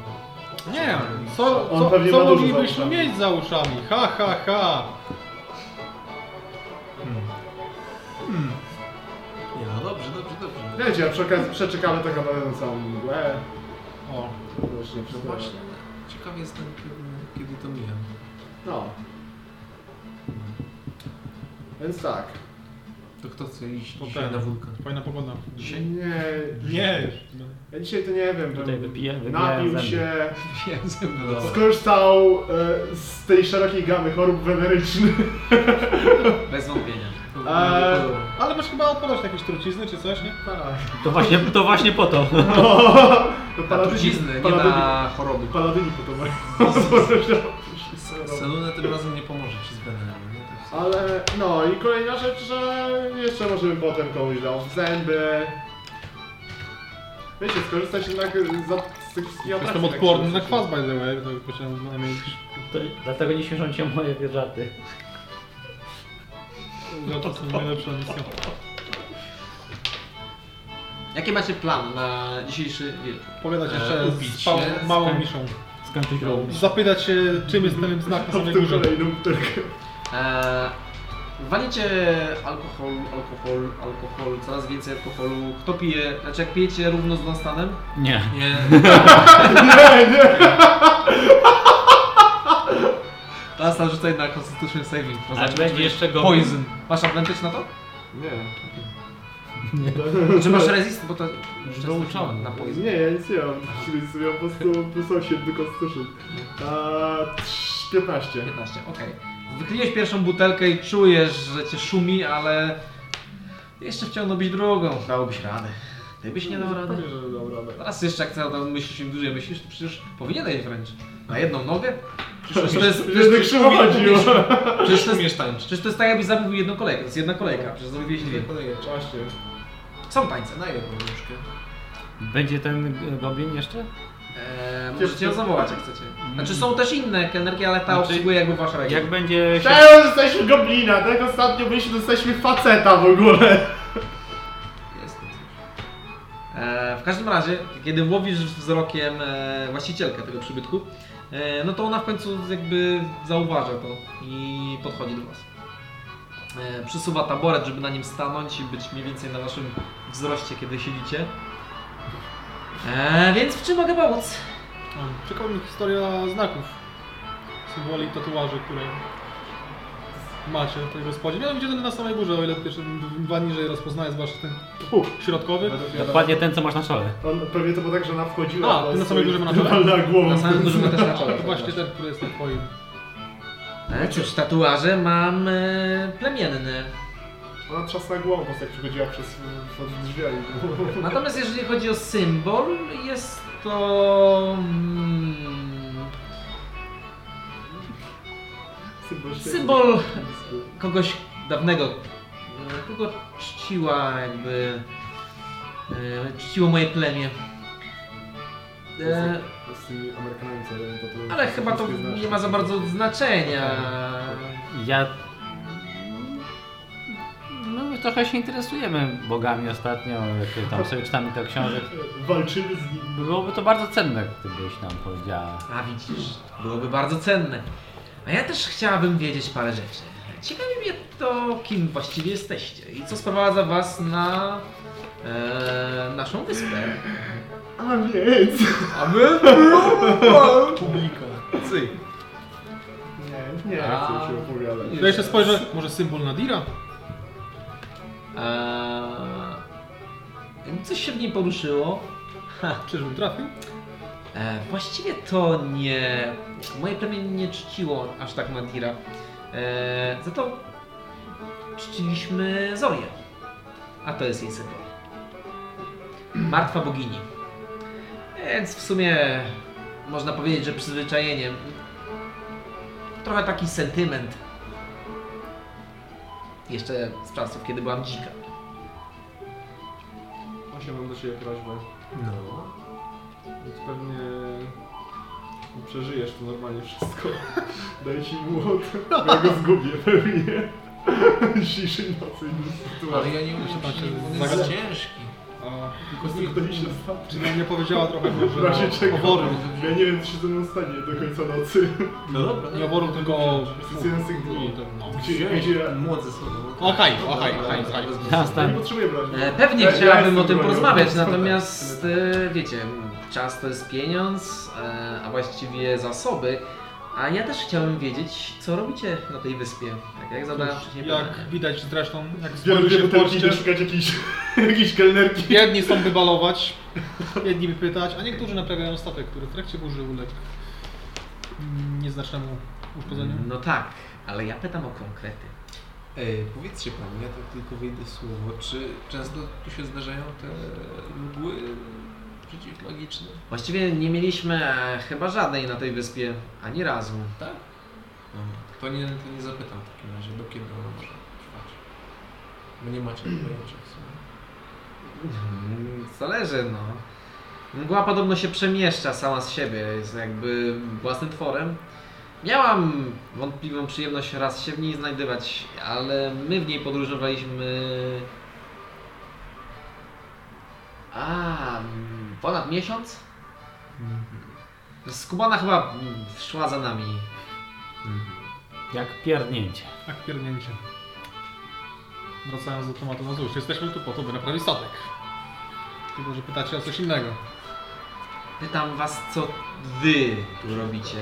Speaker 4: Nie, co,
Speaker 30: On
Speaker 4: co,
Speaker 30: pewnie
Speaker 4: co
Speaker 30: ma dużo za
Speaker 4: moglibyśmy
Speaker 30: uszami.
Speaker 4: mieć za uszami? Ha, ha, ha.
Speaker 30: Hmm.
Speaker 5: Nie no, dobrze, dobrze, dobrze.
Speaker 30: Wiecie, a przy okazji przeczekamy tego na całą mgłę.
Speaker 4: O,
Speaker 30: właśnie,
Speaker 5: No właśnie, ciekaw jestem, kiedy- kiedy to mija.
Speaker 30: No. Więc tak.
Speaker 5: To kto chce iść
Speaker 4: To
Speaker 5: dzisiaj
Speaker 4: ten.
Speaker 5: na wulkan?
Speaker 4: Fajna pogoda.
Speaker 30: Dzisiaj? Nie.
Speaker 4: Nie, już. no.
Speaker 30: Ja dzisiaj to nie wiem,
Speaker 3: Tutaj
Speaker 30: bym
Speaker 3: wypiję- wypijałem
Speaker 30: napił
Speaker 3: zęby.
Speaker 30: się,
Speaker 5: Wiem, ze mną.
Speaker 1: No,
Speaker 30: skorzystał e, z tej szerokiej gamy chorób wenerycznych.
Speaker 1: Bez wątpienia.
Speaker 30: E,
Speaker 4: Ale masz chyba odporność na jakieś trucizny czy coś, nie?
Speaker 30: tak.
Speaker 3: To właśnie, to właśnie po to.
Speaker 30: No. To
Speaker 1: Na
Speaker 30: paladyni-
Speaker 1: trucizny, nie
Speaker 30: paladyni-
Speaker 1: na choroby.
Speaker 30: Paladyni po to mają.
Speaker 5: Saluna tym razem nie pomoże ci z Benerem, nie? To jest-
Speaker 30: Ale no i kolejna rzecz, że jeszcze możemy potem komuś dał w zęby. Wiecie, skorzystać jednak za, z tych wszystkich atrakcji.
Speaker 4: Jestem
Speaker 30: tak
Speaker 4: odporny
Speaker 30: się
Speaker 4: na kwas,
Speaker 30: myśli.
Speaker 4: by the way, to musiałem najmniej
Speaker 3: to dlatego nie śmieszą cię moje wieżaty.
Speaker 4: rzeczy, są najlepsza misja.
Speaker 1: Jaki macie plan na dzisiejszy wieczór?
Speaker 4: Powiadać jeszcze
Speaker 5: upić
Speaker 4: z pał-
Speaker 5: się,
Speaker 4: małą
Speaker 3: skoń-
Speaker 4: miszą.
Speaker 3: Skończyć robić.
Speaker 4: Zapytać się, czym jest ten znak na
Speaker 30: A w
Speaker 4: samej
Speaker 30: tym
Speaker 4: górze.
Speaker 30: kolejną butelkę.
Speaker 1: Eee, walicie alkohol, alkohol, alkohol, coraz więcej alkoholu. Kto pije? Znaczy jak pijecie równo z Dunstanem?
Speaker 3: Nie.
Speaker 5: Nie,
Speaker 30: Nie, nie!
Speaker 1: Dunstan rzucaj na Constitution Saving. throw.
Speaker 30: Tak.
Speaker 3: Ale
Speaker 1: Zobaczymy, czy
Speaker 3: będzie jeszcze go.
Speaker 1: Poison. Masz advantage na to? Czy masz resist? Bo to... Już
Speaker 3: Wyuczony.
Speaker 1: Na poison.
Speaker 30: Nie, ja nic nie mam. Czyli sobie po prostu wysłał się do Constitution. A, trz- 15.
Speaker 1: 15, okej. Wychyliłeś pierwszą butelkę i czujesz, że cię szumi, ale... Jeszcze chciałbym być drugą. Dałobyś radę. Ty byś nie dał rady.
Speaker 30: Powiem, że dał radę.
Speaker 1: Teraz jeszcze jak cały tam myślisz, im dłużej myślisz, to przecież powinieneś wręcz. Na jedną nogę? Przecież to jest...
Speaker 30: Już tak szybko chodziło.
Speaker 1: Przecież to jest, przecież to jest tak jakbyś zamówił jedną kolejkę, to jest jedna kolejka, przecież zamówiłeś dwie.
Speaker 5: Kolejne,
Speaker 30: Właśnie.
Speaker 1: Są tańce.
Speaker 5: na jedną nóżkę.
Speaker 3: Będzie ten e, goblin jeszcze?
Speaker 1: Eee, możecie ją zawołać jak chcecie. Znaczy są też inne energie, ale ta
Speaker 3: Znaczy,
Speaker 1: obsługuje jakby wasz region.
Speaker 3: Jak będzie się...
Speaker 30: Czemu jesteśmy goblina? Tak ostatnio byliśmy, jesteśmy faceta w ogóle.
Speaker 1: Jest to coś. Eee, w każdym razie, kiedy łowisz wzrokiem e, właścicielkę tego przybytku, e, no to ona w końcu jakby zauważa to i podchodzi do was. E, przysuwa taboret, żeby na nim stanąć i być mniej więcej na waszym wzroście, kiedy siedzicie. E, więc w czym mogę pomóc?
Speaker 4: O, Ciekawa mnie historia znaków, symboli i tatuaży, które macie tutaj w gospodzie. Mianowicie ten na samej górze, o ile pierwsze dwa niżej rozpoznaję, zwłaszcza ten puch środkowy.
Speaker 3: Dokładnie ten, co masz na czole.
Speaker 30: On pewnie to było tak, że ona wchodziła.
Speaker 4: A,
Speaker 30: po
Speaker 4: ty na
Speaker 30: prostu
Speaker 4: samej
Speaker 30: i
Speaker 4: górze ma na czole?
Speaker 30: walnęła głową.
Speaker 1: Na samym górze ma też na czole.
Speaker 4: Właśnie ten, który jest na twoim.
Speaker 1: E, cóż, tatuaże mam e, plemienne.
Speaker 30: Ona trzasła głową, po prostu jak przechodziła przez pod drzwiami.
Speaker 1: Natomiast jeżeli chodzi o symbol, jest to... Mm,
Speaker 30: Symbol. święty.
Speaker 1: Symbol kogoś dawnego, e, kogo czciła jakby, e, czciło moje plemię. E,
Speaker 30: Z tymi Amerykanami, co robią to
Speaker 1: ale chyba to
Speaker 30: wszystkie Tak. znasz.
Speaker 1: nie ma za bardzo znaczenia.
Speaker 3: Ja... No my trochę się interesujemy bogami ostatnio, jak tam sobie czytamy te książek.
Speaker 30: Walczymy z nim.
Speaker 3: Byłoby to bardzo cenne, gdybyś nam powiedziała.
Speaker 1: A widzisz, byłoby bardzo cenne. A ja też chciałabym wiedzieć parę rzeczy. Ciekawi mnie to, kim właściwie jesteście i co sprowadza was na e, naszą wyspę.
Speaker 30: A więc.
Speaker 1: A my?
Speaker 5: Publika.
Speaker 1: Cyk.
Speaker 30: Nie, nie chcę się opowiadać.
Speaker 4: Ja jeszcze spojrzę, może symbol Nadira?
Speaker 1: Eee, E, coś się w niej poruszyło.
Speaker 4: Czyżbym trafił?
Speaker 1: Eee, właściwie to nie. Moje plemię nie czciło aż tak Nadira. Eee, za to czciliśmy Zorię. A to jest jej symbol. Martwa bogini. Więc w sumie można powiedzieć, że przyzwyczajeniem. Trochę taki sentyment. Jeszcze z czasów, kiedy byłam dzika.
Speaker 30: Właśnie mam do Ciebie prośbę.
Speaker 5: No.
Speaker 30: Więc pewnie
Speaker 4: Eee,
Speaker 30: przeżyjesz to normalnie wszystko. Daję Ci młot, bo ja go zgubię pewnie. Dzisiejszej nocy i
Speaker 5: Ale
Speaker 30: sytuacji.
Speaker 5: ja nie umiem,
Speaker 4: Muszę patrzeć,
Speaker 5: on
Speaker 4: zagadać.
Speaker 5: jest ciężki.
Speaker 30: Kosmetyczne
Speaker 4: Czy nam nie powiedziała trochę
Speaker 30: W
Speaker 4: może
Speaker 30: razie czego,
Speaker 4: o oboru.
Speaker 30: ja nie wiem co się ze mną stanie do końca nocy.
Speaker 4: No dobra. Nie oboru, tylko o...
Speaker 30: Jest jeden z tych dni.
Speaker 4: No.
Speaker 30: Gdzie, gdzie...
Speaker 5: Młodzy są.
Speaker 4: O haj, o haj, haj, haj.
Speaker 30: Nie potrzebuję broni.
Speaker 1: E, Pewnie
Speaker 30: Ja- ja
Speaker 1: chciałabym o
Speaker 30: jestem
Speaker 1: tym
Speaker 30: bronią.
Speaker 1: porozmawiać, natomiast e, wiecie, czas to jest pieniądz, e, a właściwie zasoby. A ja też chciałem wiedzieć, co robicie na tej wyspie. Tak jak zadałem wcześniej
Speaker 4: Jak widać zresztą, jak
Speaker 30: Biorę
Speaker 4: spojrzy
Speaker 30: się
Speaker 4: w
Speaker 30: w telki,
Speaker 4: porcie,
Speaker 30: idę szukać jakiejś, jakiejś kelnerki.
Speaker 4: jedni są wybalować, jedni pytać, a niektórzy naprawiają statek, który w trakcie burzy uległ nieznacznemu uszkodzeniu.
Speaker 1: No tak, ale ja pytam o konkrety.
Speaker 5: Ej, powiedzcie pan, ja tak tylko wyjdę słowo, czy często tu się zdarzają te mgły przeciwmagiczne?
Speaker 1: Właściwie nie mieliśmy e, chyba żadnej na tej wyspie, ani razu.
Speaker 5: Tak? No, to nie, to nie zapytam w takim razie, do kiedy ono może trwać. Bo nie macie pojęcia w sumie.
Speaker 1: Mm, Zależy, no. Mgła podobno się przemieszcza sama z siebie, jest jakby własnym tworem. Miałam wątpliwą przyjemność raz się w niej znajdywać, ale my w niej podróżowaliśmy. A, mm, ponad miesiąc? Skubana chyba mm, szła za nami.
Speaker 3: Jak pierdnięcie.
Speaker 4: Tak, pierdnięcie. Wracając do tematu, no cóż, jesteśmy tu po to, by naprawić statek. Tylko, że pytacie o coś innego.
Speaker 1: Pytam was, co wy tu robicie.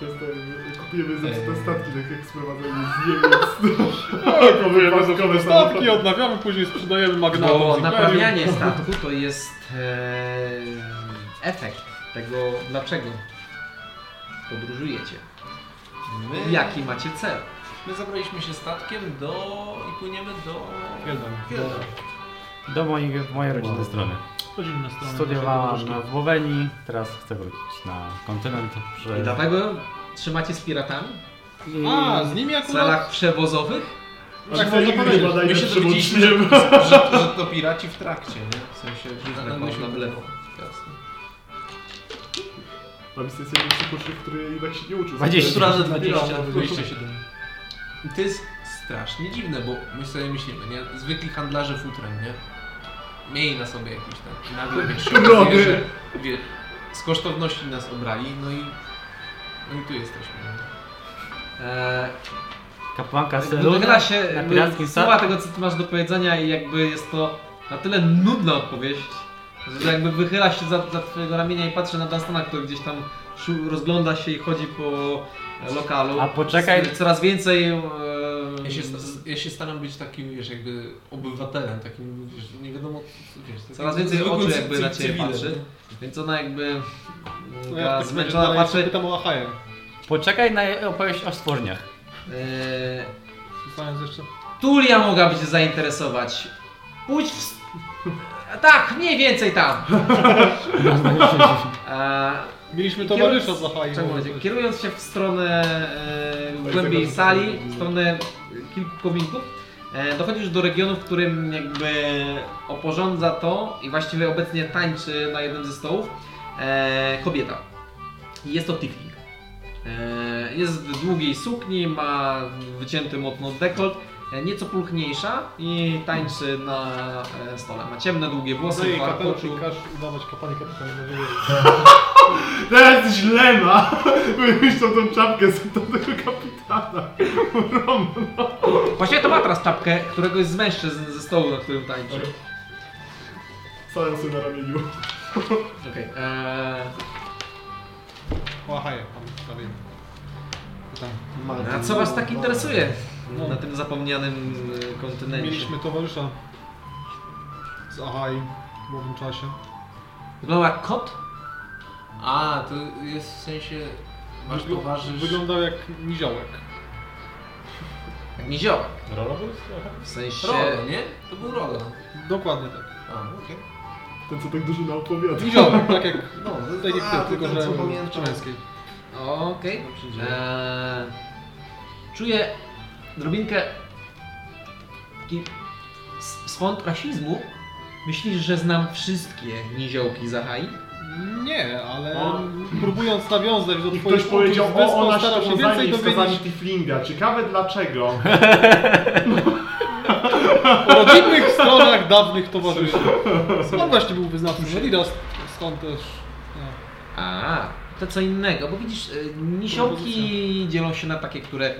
Speaker 30: To jest ten- Kupujemy zepsute statki, tak jak sprowadzamy z Niemiec. No, Kupujemy
Speaker 4: Wypadkowe statki odnawiamy, później sprzedajemy
Speaker 5: No,
Speaker 4: magnatom z
Speaker 1: Bo
Speaker 4: imperium.
Speaker 1: No, naprawianie statku to jest e, efekt tego, dlaczego podróżujecie.
Speaker 5: My,
Speaker 1: Jaki macie cel?
Speaker 5: my zabraliśmy się statkiem do... i płyniemy do...
Speaker 4: Wieldoń.
Speaker 5: Wielda.
Speaker 3: Do mojej, mojej rodzinnej strony.
Speaker 4: Rodzinne strony.
Speaker 3: Studiowałam
Speaker 4: naszego
Speaker 3: na
Speaker 4: dróżka.
Speaker 3: Słowenii, teraz chcę wrócić na kontynent. Że...
Speaker 1: I dlatego trzymacie z piratami?
Speaker 4: A, z nimi
Speaker 1: W
Speaker 4: akurat...
Speaker 1: celach przewozowych?
Speaker 30: Tak, to nigdy badaj
Speaker 5: No. My się dowiedzieliśmy,
Speaker 30: nie
Speaker 5: że, że, że to piraci w trakcie, nie? W sensie, że
Speaker 1: tak
Speaker 5: nagle
Speaker 1: można
Speaker 5: No, się
Speaker 1: było.
Speaker 5: wydawało. Jasne.
Speaker 30: Mam sens jeden przypuszczyk, który i tak się nie uczył.
Speaker 3: 20
Speaker 30: Który-
Speaker 5: razy 20,
Speaker 30: Który-
Speaker 5: 27. I to jest strasznie dziwne, bo my sobie myślimy, nie? Zwykli handlarze futrem, nie? Mieli na sobie jakiś tam. Nagle wiesz, się okazuje, że wie, z kosztowności nas obrali, no i, no i tu jesteśmy. nie?
Speaker 1: E,
Speaker 3: Kapłanka Seluna
Speaker 1: Dogra się, y,
Speaker 3: na
Speaker 1: jakby
Speaker 3: pirackim
Speaker 1: słucha
Speaker 3: statku.
Speaker 1: tego co ty masz do powiedzenia i jakby jest to na tyle nudna odpowiedź, że jakby wychyla się za, za twojego ramienia i patrzy na Dunstana, który gdzieś tam szu- rozgląda się i chodzi po e, lokalu.
Speaker 3: A poczekaj.
Speaker 1: Z, coraz więcej... E,
Speaker 5: Ja się, sta- ja się staram być takim, wiesz, jakby obywatelem, takim, wiesz, nie wiadomo, co- wiesz, takim
Speaker 1: Coraz więcej
Speaker 5: zwykłym
Speaker 1: oczu
Speaker 5: cy-
Speaker 1: jakby
Speaker 5: cy-
Speaker 1: na ciebie
Speaker 5: cywilem,
Speaker 1: patrzy.
Speaker 5: nie?
Speaker 1: Więc ona jakby...
Speaker 4: No
Speaker 1: No
Speaker 4: ja tak
Speaker 1: zmęczona
Speaker 4: zmęczona
Speaker 1: patrzy...
Speaker 4: Pytam o Achaję.
Speaker 3: Poczekaj na opowieść o stworniach.
Speaker 1: E,
Speaker 4: Zostając jeszcze...
Speaker 1: Tulia mogłaby się zainteresować. Pójdź w... s- Tak, mniej więcej tam. E,
Speaker 4: Mieliśmy
Speaker 1: I
Speaker 4: towarzysza
Speaker 1: kierując-
Speaker 4: z Achai.
Speaker 1: czekaj,
Speaker 4: może coś.
Speaker 1: Kierując się w stronę e, w głębiej sali, w stronę kilku kominków, e, dochodzisz do regionu, w którym jakby oporządza to i właściwie obecnie tańczy na jednym ze stołów e, kobieta. I Jest to Tiefling. E, jest w długiej sukni, ma wycięty mocno dekolt, e, nieco pulchniejsza i tańczy na e, stole. Ma ciemne, długie
Speaker 4: Za
Speaker 1: włosy,
Speaker 4: jej kapelusz
Speaker 1: warkoczu.
Speaker 4: No i każ udawać kapłanie kapitana.
Speaker 30: Teraz źle ma! Wyjść tą, tą czapkę z tą tego kapitana. Roman.
Speaker 1: Właściwie to ma teraz czapkę któregoś z mężczyzn ze stołu, na którym tańczy.
Speaker 30: Stają sobie Tak. na ramieniu.
Speaker 1: Okej. eee,
Speaker 4: O Achaję, pan prawie. Pytam. No.
Speaker 1: A co was tak interesuje na tym zapomnianym e, kontynencie?
Speaker 4: Mieliśmy towarzysza z Ahai w owym czasie.
Speaker 1: Wygląda jak kot?
Speaker 5: A, to jest w sensie, masz
Speaker 4: Wygl-
Speaker 5: towarzysz...
Speaker 4: Wyglądał jak niziołek.
Speaker 1: Jak niziołek.
Speaker 35: Rolobus?
Speaker 1: W sensie...
Speaker 5: Rogo, nie? To był Rogo.
Speaker 4: Dokładnie tak.
Speaker 5: A, okej.
Speaker 30: Ten co tak dużo naopowiada.
Speaker 4: Niziołek, tak jak
Speaker 5: No, to-
Speaker 4: tak jak
Speaker 5: a,
Speaker 4: ty,
Speaker 5: to
Speaker 4: tylko
Speaker 5: ten,
Speaker 4: że
Speaker 5: co pamiętam.
Speaker 4: męskiej.
Speaker 1: Okej.
Speaker 5: Dobrze,
Speaker 1: Eee, Czuję drobinkę... Taki s- skąd rasizmu. Myślisz, że znam wszystkie niziołki Zahai?
Speaker 4: Nie, ale
Speaker 30: O.
Speaker 4: próbując nawiązać do
Speaker 30: No. I
Speaker 4: twoich
Speaker 30: ktoś
Speaker 4: uczuć
Speaker 30: powiedział,
Speaker 4: z
Speaker 30: o,
Speaker 4: wyspą,
Speaker 30: ona
Speaker 4: starał
Speaker 30: się
Speaker 4: się więcej
Speaker 30: zajmie
Speaker 4: dowiedzieć.
Speaker 30: wskazami Tiflinga. Ciekawe dlaczego.
Speaker 4: o rodzinnych stronach dawnych towarzyszy. On właśnie był wyznawcą no Adidas, stąd też... Nie.
Speaker 1: A, to co innego, bo widzisz, y, nisiołki dzielą się na takie, które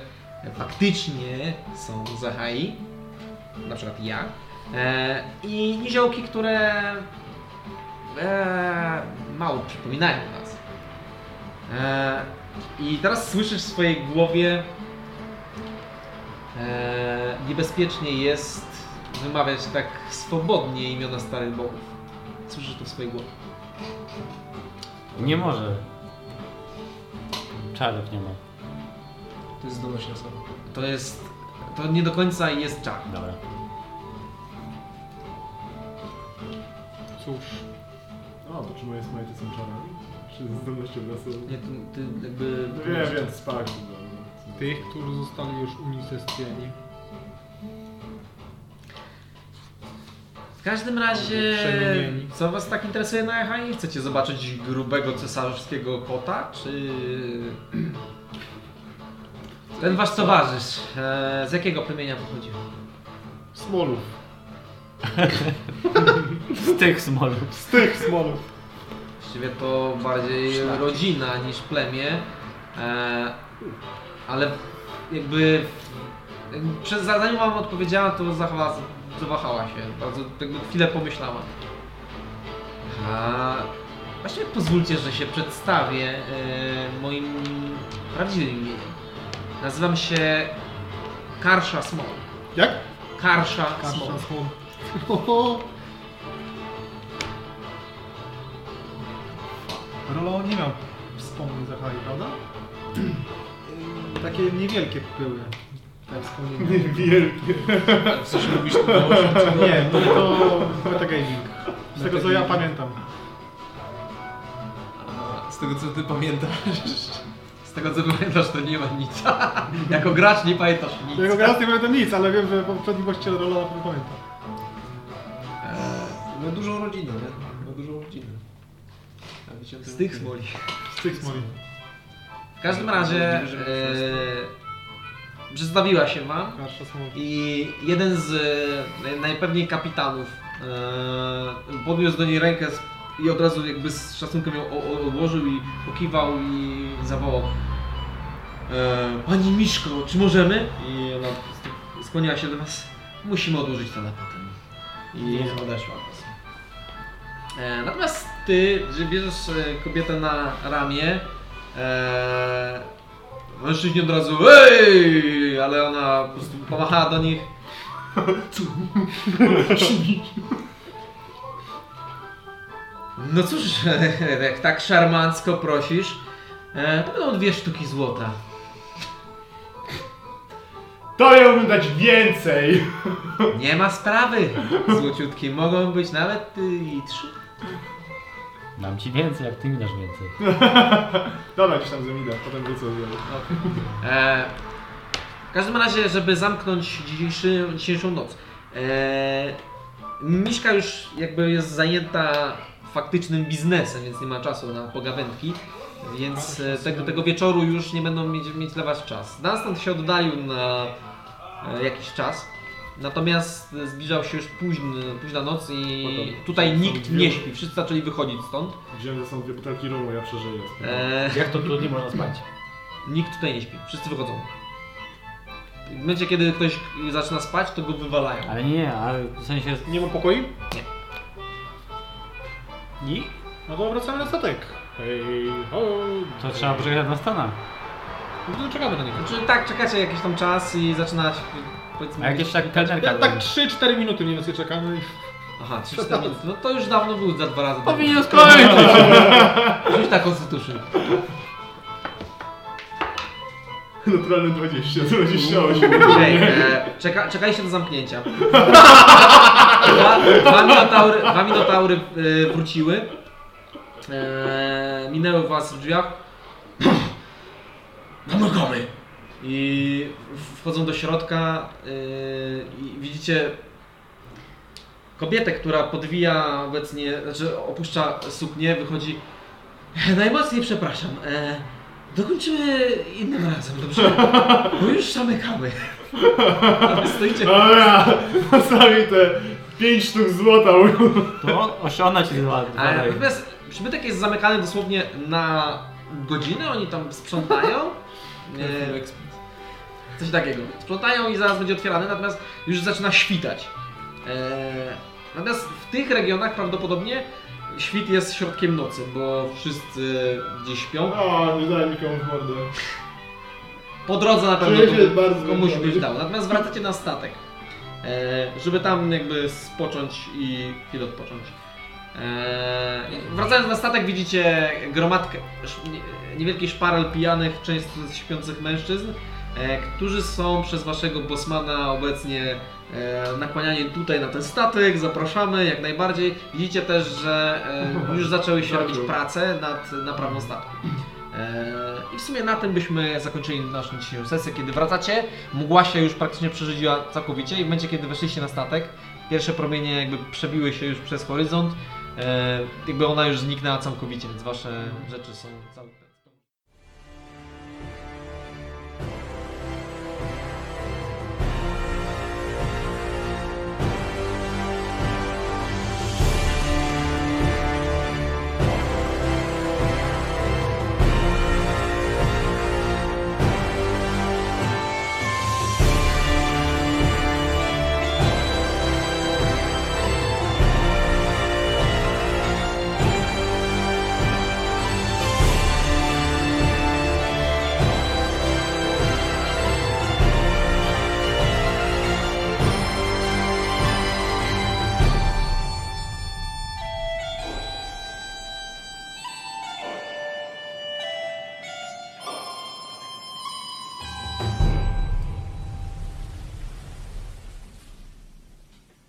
Speaker 1: faktycznie są z Ahai, na przykład ja, e, i niziołki, które e, mało przypominają nas. E, I teraz słyszysz w swojej głowie, e, niebezpiecznie jest wymawiać tak swobodnie imiona starych bogów. Słyszysz to w swojej głowie.
Speaker 3: Nie może. Czarów nie ma.
Speaker 5: To jest zdolność losowa.
Speaker 1: To jest. To nie do końca jest czar.
Speaker 3: Dobra.
Speaker 4: Cóż,
Speaker 30: No, to czy moje smajty są czarne? Czy z zdolnością losu?
Speaker 1: Nie, ty, ty jakby.
Speaker 30: No wiem, wiem, spak.
Speaker 4: tych, którzy zostali już unicestwieni.
Speaker 1: W każdym razie.
Speaker 4: Przemienieni.
Speaker 1: Co was tak interesuje na Echai? Chcecie zobaczyć grubego cesarzowskiego kota? Czy. Ten wasz towarzysz. E, z jakiego plemienia pochodził?
Speaker 30: Smolów.
Speaker 3: Z tych smolów.
Speaker 30: Z tych smolów.
Speaker 1: Właściwie to bardziej rodzina niż plemię. E, ale jakby. jakby Przez zanim wam odpowiedziała, to zachwa, zawahała się. Bardzo jakby chwilę pomyślała. A właściwie pozwólcie, że się przedstawię e, moim prawdziwym imieniem. Nazywam się Karsza Smol.
Speaker 4: Jak?
Speaker 1: Karsza, Smol.
Speaker 4: Karsza Smol. Oho. Rolo nie miał wspomnień za Hai, prawda? Takie niewielkie były te wspomnienia.
Speaker 30: Wielkie.
Speaker 5: Coś mówisz to
Speaker 4: Nie, były to metagaming.
Speaker 30: Z tego co ja pamiętam.
Speaker 5: No, Z tego co ty pamiętasz.
Speaker 1: Z tego co pamiętasz, to nie ma nic. jako gracz nie pamiętasz nic.
Speaker 4: Tego raz nie pamiętam nic, ale wiem, że poprzedni właściciel Rola na pewno pamięta.
Speaker 5: No dużą rodzinę, nie? No dużą rodzinę. A wycięte
Speaker 1: Z tych
Speaker 5: ruchy.
Speaker 1: smoli.
Speaker 4: Z tych smoli.
Speaker 1: W każdym razie e, przedstawiła się wam
Speaker 4: Karsza smoli.
Speaker 1: i jeden z e, najpewniej kapitanów e, podniósł do niej rękę z, i od razu jakby z szacunkiem ją o, o, odłożył i pokiwał i zawołał e, Pani Miszko, czy możemy? I ona st- skłoniła się do was. Musimy odłożyć telepatę. I odeszła. E, natomiast ty, że bierzesz e, kobietę na ramię, e, mężczyźni od razu ej, ale ona po prostu pomachała do nich. No cóż, jak tak szarmancko prosisz, e, to będą dwie sztuki złota.
Speaker 30: To ja bym dać więcej!
Speaker 1: Nie ma sprawy. Złociutki mogą być nawet y, i trzy.
Speaker 3: Dam ci więcej, jak ty mi dasz więcej.
Speaker 30: Dobra, gdzieś tam z nim idę, potem wrócę z niego.
Speaker 1: E, w każdym razie, żeby zamknąć dzisiejszy, dzisiejszą noc. E, Miśka już jakby jest zajęta faktycznym biznesem, więc nie ma czasu na pogawędki. Więc e, tego, tego wieczoru już nie będą mieć, mieć dla Was czas. Dunstan się oddalił na e, jakiś czas. Natomiast e, zbliżał się już późny, późna noc i tutaj nikt nie śpi. Wszyscy zaczęli wychodzić stąd.
Speaker 30: Wziąłem ze sobą dwie butelki rumu, ja przeżyję.
Speaker 1: E,
Speaker 3: Jak to trudniej można spać?
Speaker 1: Nikt tutaj nie śpi, wszyscy wychodzą. W momencie, kiedy ktoś zaczyna spać, to go wywalają.
Speaker 3: Ale nie, ale w sensie...
Speaker 4: Nie ma pokoi?
Speaker 3: I?
Speaker 4: No to wracamy na statek. Hej, ho.
Speaker 3: To trzeba przyjechać na Stanach.
Speaker 4: No to czekamy na niego.
Speaker 1: Znaczy, tak, czekacie jakiś tam czas i zaczyna się,
Speaker 3: A
Speaker 1: powiedzmy...
Speaker 3: jakieś tak
Speaker 4: Ja
Speaker 3: kelnerka...
Speaker 4: tak 3-4 minuty mniej więcej czekamy.
Speaker 1: Aha, 3-4 minuty. No to już dawno był za dwa razy.
Speaker 3: Powinien skończyć!
Speaker 1: Rzuć na Constitution.
Speaker 30: Naturalne 20, 28.
Speaker 1: Ej, e, czeka, czekaliście do zamknięcia. Dwa, dwa minotaury, dwa minotaury e, wróciły. E, minęły was w drzwiach No
Speaker 36: Pomagamy!
Speaker 1: i wchodzą do środka e, i widzicie kobietę, która podwija obecnie, znaczy opuszcza suknię, wychodzi. Najmocniej e, przepraszam. E, dokończymy innym razem, dobrze? Bo już zamykamy. Stoicie.
Speaker 30: Dobra, sami te 5 sztuk złota.
Speaker 3: To oszona ci dwa.
Speaker 1: Ale E, natomiast przybytek jest zamykany dosłownie na godzinę, oni tam sprzątają. E, Coś takiego. Sprzątają i zaraz będzie otwierany, natomiast już zaczyna świtać. E, Natomiast w tych regionach prawdopodobnie świt jest środkiem nocy, bo wszyscy gdzieś śpią.
Speaker 30: O, nie daj nikomu w mordę.
Speaker 1: Po drodze na pewno
Speaker 30: Czuję się
Speaker 1: komu-
Speaker 30: bardzo
Speaker 1: komuś
Speaker 30: dobrze.
Speaker 1: byś dał. Natomiast wracacie na statek, e, żeby tam jakby spocząć i chwilę odpocząć. E, wracając na statek widzicie gromadkę, sz- nie- niewielki szparel pijanych, często śpiących mężczyzn, e, którzy są przez waszego bosmana obecnie e, nakłaniani tutaj na ten statek. Zapraszamy jak najbardziej. Widzicie też, że e, już zaczęły się robić prace nad naprawą statku. E, I w sumie na tym byśmy zakończyli naszą dzisiejszą sesję. Kiedy wracacie, mgła się już praktycznie przerzedziła całkowicie i w momencie, kiedy weszliście na statek, pierwsze promienie jakby przebiły się Eee, już przez horyzont, e, jakby ona już zniknęła całkowicie, więc wasze rzeczy są całkowicie...